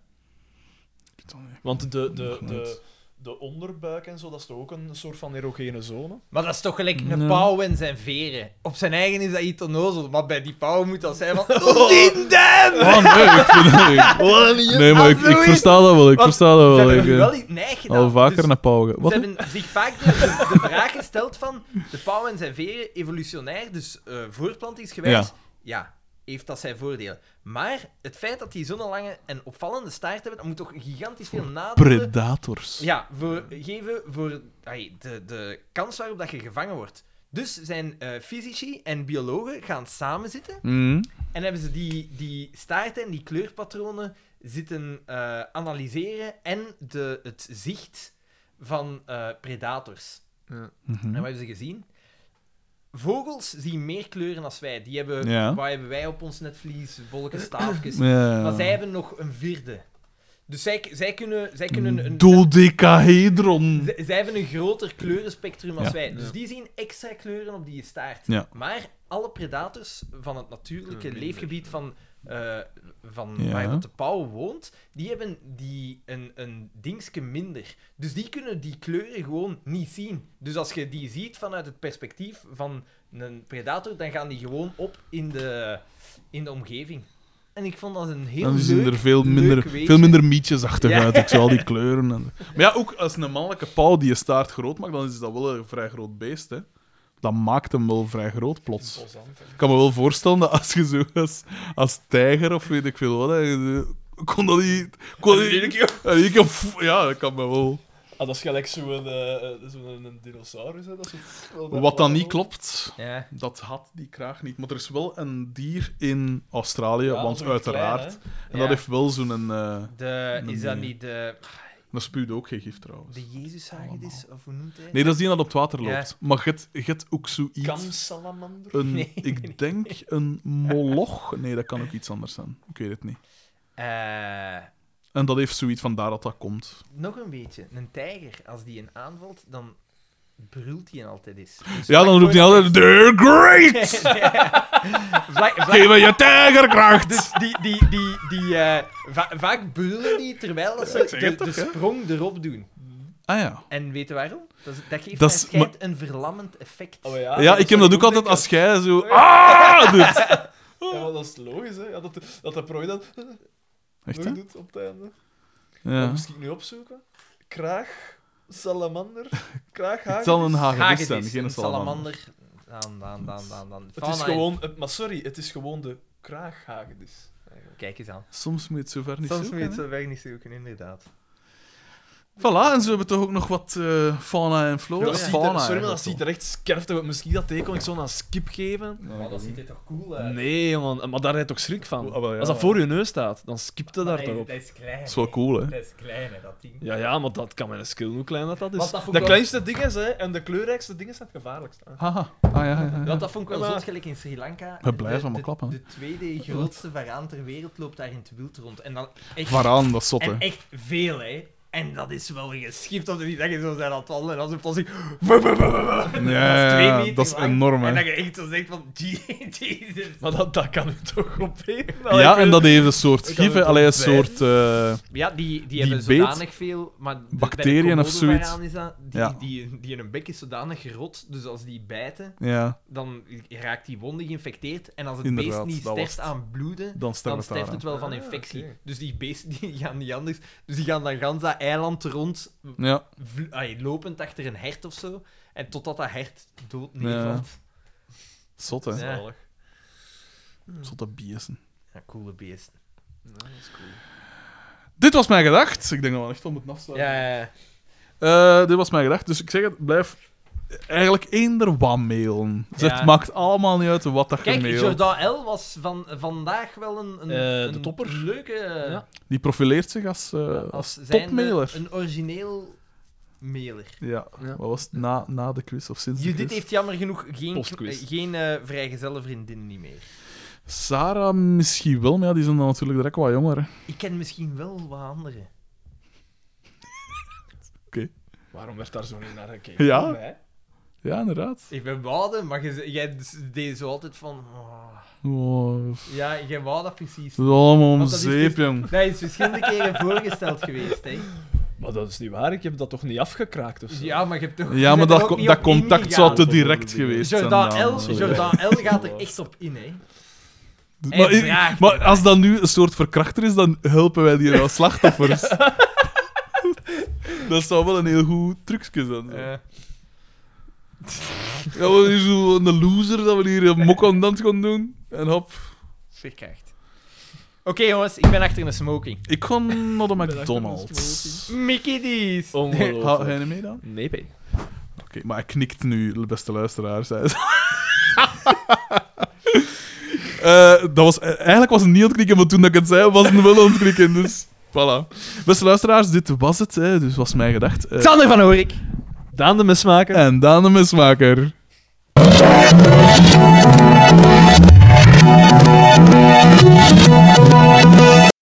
Speaker 2: Want de, de, de,
Speaker 4: Goed.
Speaker 2: de onderbuik en zo, dat is toch ook een soort van erogene zone?
Speaker 3: Maar dat is toch gelijk een
Speaker 4: Ja.
Speaker 3: pauw en zijn veren. Op zijn eigen is dat iets onnozel, maar bij die pauw moet dat zijn van... Oh, die damn!
Speaker 4: Oh nee, ik vind Nee, maar ik, ik versta dat wel, ik
Speaker 3: Want
Speaker 4: versta dat
Speaker 3: Ze
Speaker 4: wel.
Speaker 3: hebben
Speaker 4: Ik,
Speaker 3: hun
Speaker 4: eh,
Speaker 3: wel iets neig gedaan.
Speaker 4: al vaker
Speaker 3: Dus
Speaker 4: naar pauwen. Wat?
Speaker 3: Ze hebben zich vaak de, de- de vraag gesteld van... De pauw en zijn veren, evolutionair, dus eh, voortplantingsgewijs...
Speaker 4: Ja.
Speaker 3: Ja. heeft dat zijn voordelen. Maar het feit dat die zo'n lange en opvallende staart hebben, dat moet toch gigantisch veel nadelen...
Speaker 4: Predators.
Speaker 3: Ja, voor, geven voor ai, de, de kans waarop dat je gevangen wordt. Dus zijn eh, fysici en biologen gaan samen zitten
Speaker 4: Mhm.
Speaker 3: en hebben ze die, die staarten en die kleurpatronen zitten eh, analyseren en de, het zicht van eh, predators.
Speaker 4: Mhm.
Speaker 3: En wat hebben ze gezien? Vogels zien meer kleuren dan wij. Die hebben,
Speaker 4: Ja.
Speaker 3: Wat hebben wij op ons netvlies? Wolken, staafjes.
Speaker 4: Ja.
Speaker 3: Maar zij hebben nog een vierde. Dus zij, zij kunnen, zij kunnen een,
Speaker 4: Dodecahedron.
Speaker 3: Z- zij hebben een groter kleurenspectrum als
Speaker 4: Ja.
Speaker 3: wij. Dus die zien extra kleuren op die staart.
Speaker 4: Ja.
Speaker 3: Maar alle predators van het natuurlijke leefgebied van, eh, van
Speaker 4: Ja.
Speaker 3: waar dat de pauw woont, die hebben die een, een dingske minder. Dus die kunnen die kleuren gewoon niet zien. Dus als je die ziet vanuit het perspectief van een predator, dan gaan die gewoon op in de, in de omgeving. En ik vond dat een heel
Speaker 4: Dan zien
Speaker 3: leuk,
Speaker 4: er veel
Speaker 3: leuk
Speaker 4: minder,
Speaker 3: weetje.
Speaker 4: veel minder mietjes achteruit. Ik zie al die kleuren. En... Maar ja, ook als een mannelijke pauw die je staart groot maakt, dan is dat wel een vrij groot beest. Hè. Dat maakt hem wel vrij groot plots. Ik kan me wel voorstellen dat als je zo als, als tijger of weet ik veel wat, hè, je zo- kon dat niet. Kon dat niet En ik heb- ja, dat kan me wel.
Speaker 2: Ah, dat is gelijk zo'n eh, zo'n een dinosaurus, hè. Dat is zo-
Speaker 4: Wat dan niet klopt,
Speaker 3: Ja.
Speaker 4: dat had die kraag niet. Maar er is wel een dier in Australië,
Speaker 2: Ja,
Speaker 4: want
Speaker 2: zo'n
Speaker 4: uiteraard.
Speaker 2: klein,
Speaker 4: en dat
Speaker 3: Ja.
Speaker 4: heeft wel zo'n. eh
Speaker 3: De, is dat
Speaker 4: Nee.
Speaker 3: niet de,
Speaker 4: dat spuwt ook geen gif trouwens.
Speaker 3: de Jezushagedis? dus, Of hoe noemt hij?
Speaker 4: Nee, dat is die dat op het water
Speaker 3: Ja.
Speaker 4: loopt. Maar je hebt- je hebt ook zoiets.
Speaker 2: Kamsalamander?
Speaker 4: Een,
Speaker 3: Nee.
Speaker 4: Ik denk een moloch. Nee, dat kan ook iets anders zijn. Ik weet het niet.
Speaker 3: Eh,
Speaker 4: En dat heeft zoiets van daar dat dat komt.
Speaker 3: nog een beetje. Een tijger, als die een aanvalt, dan brult hij altijd eens. Dus
Speaker 4: Ja, dan roept hij altijd: They're great! Geef me je tijgerkracht!
Speaker 3: Dus die, die, die, die, eh, va- vaak brullen die terwijl dat ze
Speaker 4: ik zeg
Speaker 3: de,
Speaker 4: het toch,
Speaker 3: de
Speaker 4: hè?
Speaker 3: sprong erop doen.
Speaker 4: Ah ja.
Speaker 3: En weet je waarom? Dat, is- dat geeft
Speaker 4: Dat
Speaker 3: dat
Speaker 4: is-
Speaker 3: een verlammend effect.
Speaker 2: Oh ja,
Speaker 4: ja, ik heb dat ook altijd als jij zo. Ah! Doet.
Speaker 2: Ja, maar dat is logisch, hè. Ja, dat, de- dat de prooi dan
Speaker 4: Echt hè?
Speaker 2: nog doet op het einde. Ja.
Speaker 4: Ja.
Speaker 2: Moest ik nu opzoeken? Kraag, salamander, kraag,
Speaker 4: Het zal een hagedis
Speaker 3: Hagedis,
Speaker 4: zijn, geen
Speaker 3: een
Speaker 4: salamander.
Speaker 3: salamander. Dan, dan, dan, dan, dan.
Speaker 2: Het is
Speaker 3: Fauna-
Speaker 2: gewoon... het- Maar sorry, het is gewoon de kraaghagedis.
Speaker 3: Kijk eens aan.
Speaker 4: Soms moet je het zover niet
Speaker 3: Soms moet
Speaker 4: zoeken,
Speaker 3: je het
Speaker 4: hè.
Speaker 3: zo weg niet zoeken, inderdaad.
Speaker 4: Voilà, en zo hebben we toch ook nog wat eh, fauna en flora.
Speaker 2: Dat
Speaker 4: is
Speaker 2: ziet er-
Speaker 4: fauna,
Speaker 2: sorry, maar dat
Speaker 4: eigenlijk
Speaker 2: ziet er echt skerftig uit. Misschien dat teken ik zo aan skip geven.
Speaker 3: Maar dat ziet er toch cool uit?
Speaker 2: Nee, man. Maar daar heb je toch schrik van?
Speaker 4: Ah, wel, ja,
Speaker 2: Als dat
Speaker 4: ja.
Speaker 2: voor je neus staat, dan skipt het daar
Speaker 3: dat,
Speaker 2: toch
Speaker 3: is,
Speaker 2: op.
Speaker 3: dat is klein.
Speaker 4: Dat is wel cool, hè?
Speaker 3: Dat is klein, hè, dat ding.
Speaker 2: Ja, ja, maar dat kan met een skill hoe klein dat, dat is.
Speaker 3: Want dat vond ik
Speaker 2: de
Speaker 3: wel-
Speaker 2: kleinste dingen hè, en de kleurrijkste dingen zijn het gevaarlijkst.
Speaker 4: Haha. Ah ja, ja, ja.
Speaker 3: Want dat vond ik wel
Speaker 2: Ja, maar-
Speaker 3: zot, gelijk in Sri Lanka.
Speaker 4: We blijven
Speaker 3: De-
Speaker 4: allemaal
Speaker 3: de-
Speaker 4: klappen, hè.
Speaker 3: De tweede grootste varaan ter wereld loopt daar in het wild rond. En dan echt,
Speaker 4: Waaraan, dat is zot, hè.
Speaker 3: en echt veel, hè. En dat is wel geschikt op de die dat je zo zijn aan het wandelen en als een plotsing...
Speaker 4: Ja,
Speaker 3: twee
Speaker 4: ja,
Speaker 3: meter
Speaker 4: dat is
Speaker 3: lang.
Speaker 4: enorm,
Speaker 3: En
Speaker 4: hè.
Speaker 3: dat je echt zo zegt van... "Gee, Jezus.
Speaker 2: Maar dat, dat kan u toch opeten?
Speaker 4: Ja, en dat heeft een soort gif, hè. Allee, een
Speaker 2: het ontwijken.
Speaker 4: soort... eh,
Speaker 3: Ja, die, die,
Speaker 4: Die
Speaker 3: hebben
Speaker 4: beet
Speaker 3: zodanig veel... Maar de-
Speaker 4: bacteriën
Speaker 3: bij de
Speaker 4: of zoiets.
Speaker 3: komodovaraan Is dat, die,
Speaker 4: Ja.
Speaker 3: die, die in een bek is zodanig gerot, dus als die bijten...
Speaker 4: Ja,
Speaker 3: dan raakt die wonde geïnfecteerd. En als het
Speaker 4: Inderdaad,
Speaker 3: beest niet
Speaker 4: dat was
Speaker 3: sterft
Speaker 4: het.
Speaker 3: aan bloeden,
Speaker 4: dan
Speaker 3: dan
Speaker 4: sterft het
Speaker 3: sterft
Speaker 4: daar,
Speaker 3: het wel
Speaker 2: Ah,
Speaker 3: van infectie. Dus die beesten die gaan niet anders. Dus die gaan dan gans dat eiland rond,
Speaker 4: hè. Ja,
Speaker 3: vl- ai, lopend achter een hert of zo. En totdat dat hert dood
Speaker 4: Ja.
Speaker 3: neervalt.
Speaker 4: Zot, hè?
Speaker 3: Ja.
Speaker 2: Zalig.
Speaker 4: Zotte biezen.
Speaker 3: Ja, coole beesten.
Speaker 4: Dit was mijn gedacht. Ik denk dat we echt al moeten afsluiten.
Speaker 3: Ja, ja, ja.
Speaker 4: Eh, dit was mijn gedacht. Dus ik zeg het, blijf eigenlijk eender wat mailen. Dus
Speaker 3: Ja.
Speaker 4: Het maakt allemaal niet uit wat dat je
Speaker 3: Kijk,
Speaker 4: mailt.
Speaker 3: Jordan L. was van, vandaag wel een, een,
Speaker 2: Eh, de
Speaker 3: een
Speaker 2: topper.
Speaker 3: leuke... eh,
Speaker 2: Ja.
Speaker 4: Die profileert zich als, eh, als
Speaker 3: Als zijnde
Speaker 4: topmailer.
Speaker 3: Een origineel mailer.
Speaker 4: Ja.
Speaker 2: Ja.
Speaker 4: wat was het? Na, na de quiz of sinds de
Speaker 3: Judith
Speaker 4: quiz?
Speaker 3: heeft jammer genoeg geen,
Speaker 4: Postquiz.
Speaker 3: eh, geen eh vrijgezelle vriendin niet meer.
Speaker 4: Sarah misschien wel, maar ja, die zijn dan natuurlijk direct wat jonger. hè.
Speaker 3: Ik ken misschien wel wat anderen.
Speaker 2: Waarom werd daar zo niet naar gekeken?
Speaker 4: Ja? Ja, inderdaad.
Speaker 3: Ik ben wouden, maar je- jij deed zo altijd van... oh.
Speaker 4: Oh, pff,
Speaker 3: Ja, jij wou dat precies.
Speaker 4: het is allemaal om
Speaker 3: Want dat is
Speaker 4: zeep,
Speaker 3: dus-
Speaker 4: jong.
Speaker 3: Dat is verschillende keren voorgesteld geweest, hè.
Speaker 2: Maar dat is niet waar, ik heb dat toch niet afgekraakt of zo?
Speaker 3: Ja, maar je hebt toch...
Speaker 4: Ja, maar dat, dat contact zou te direct
Speaker 2: Jordan
Speaker 4: geweest zijn.
Speaker 3: Jordan
Speaker 4: dan.
Speaker 3: L,
Speaker 4: Sorry.
Speaker 3: Jordan L gaat er echt op in, hè. Hij
Speaker 4: Maar,
Speaker 3: vraagt
Speaker 4: maar
Speaker 3: erbij.
Speaker 4: als dat nu een soort verkrachter is, dan helpen wij die wel slachtoffers. Dat zou wel een heel goed trucje zijn. zo.
Speaker 3: Eh,
Speaker 4: Ja, we hier zo een loser dat we hier een mok aan dans gaan doen. En hop.
Speaker 3: verkracht. Eh, Oké, jongens, ik ben achter een smoking.
Speaker 4: Ik ga naar de McDonald's.
Speaker 3: Mickey D's.
Speaker 4: Ga
Speaker 2: Ongelooflijk.
Speaker 4: jij niet mee dan?
Speaker 2: Nee, P.
Speaker 4: Oké, maar hij knikt nu, beste luisteraars. Hij is- Eh, dat was, eh, eigenlijk was het niet aan het knikken, maar toen dat ik het zei, was het wel aan het knikken. Dus, voilà. Beste luisteraars, dit was het. Hè, dus was mijn gedacht. Eh,
Speaker 3: Sander van Horik.
Speaker 2: Daan de mesmaker.
Speaker 4: en Daan de Mesmaker.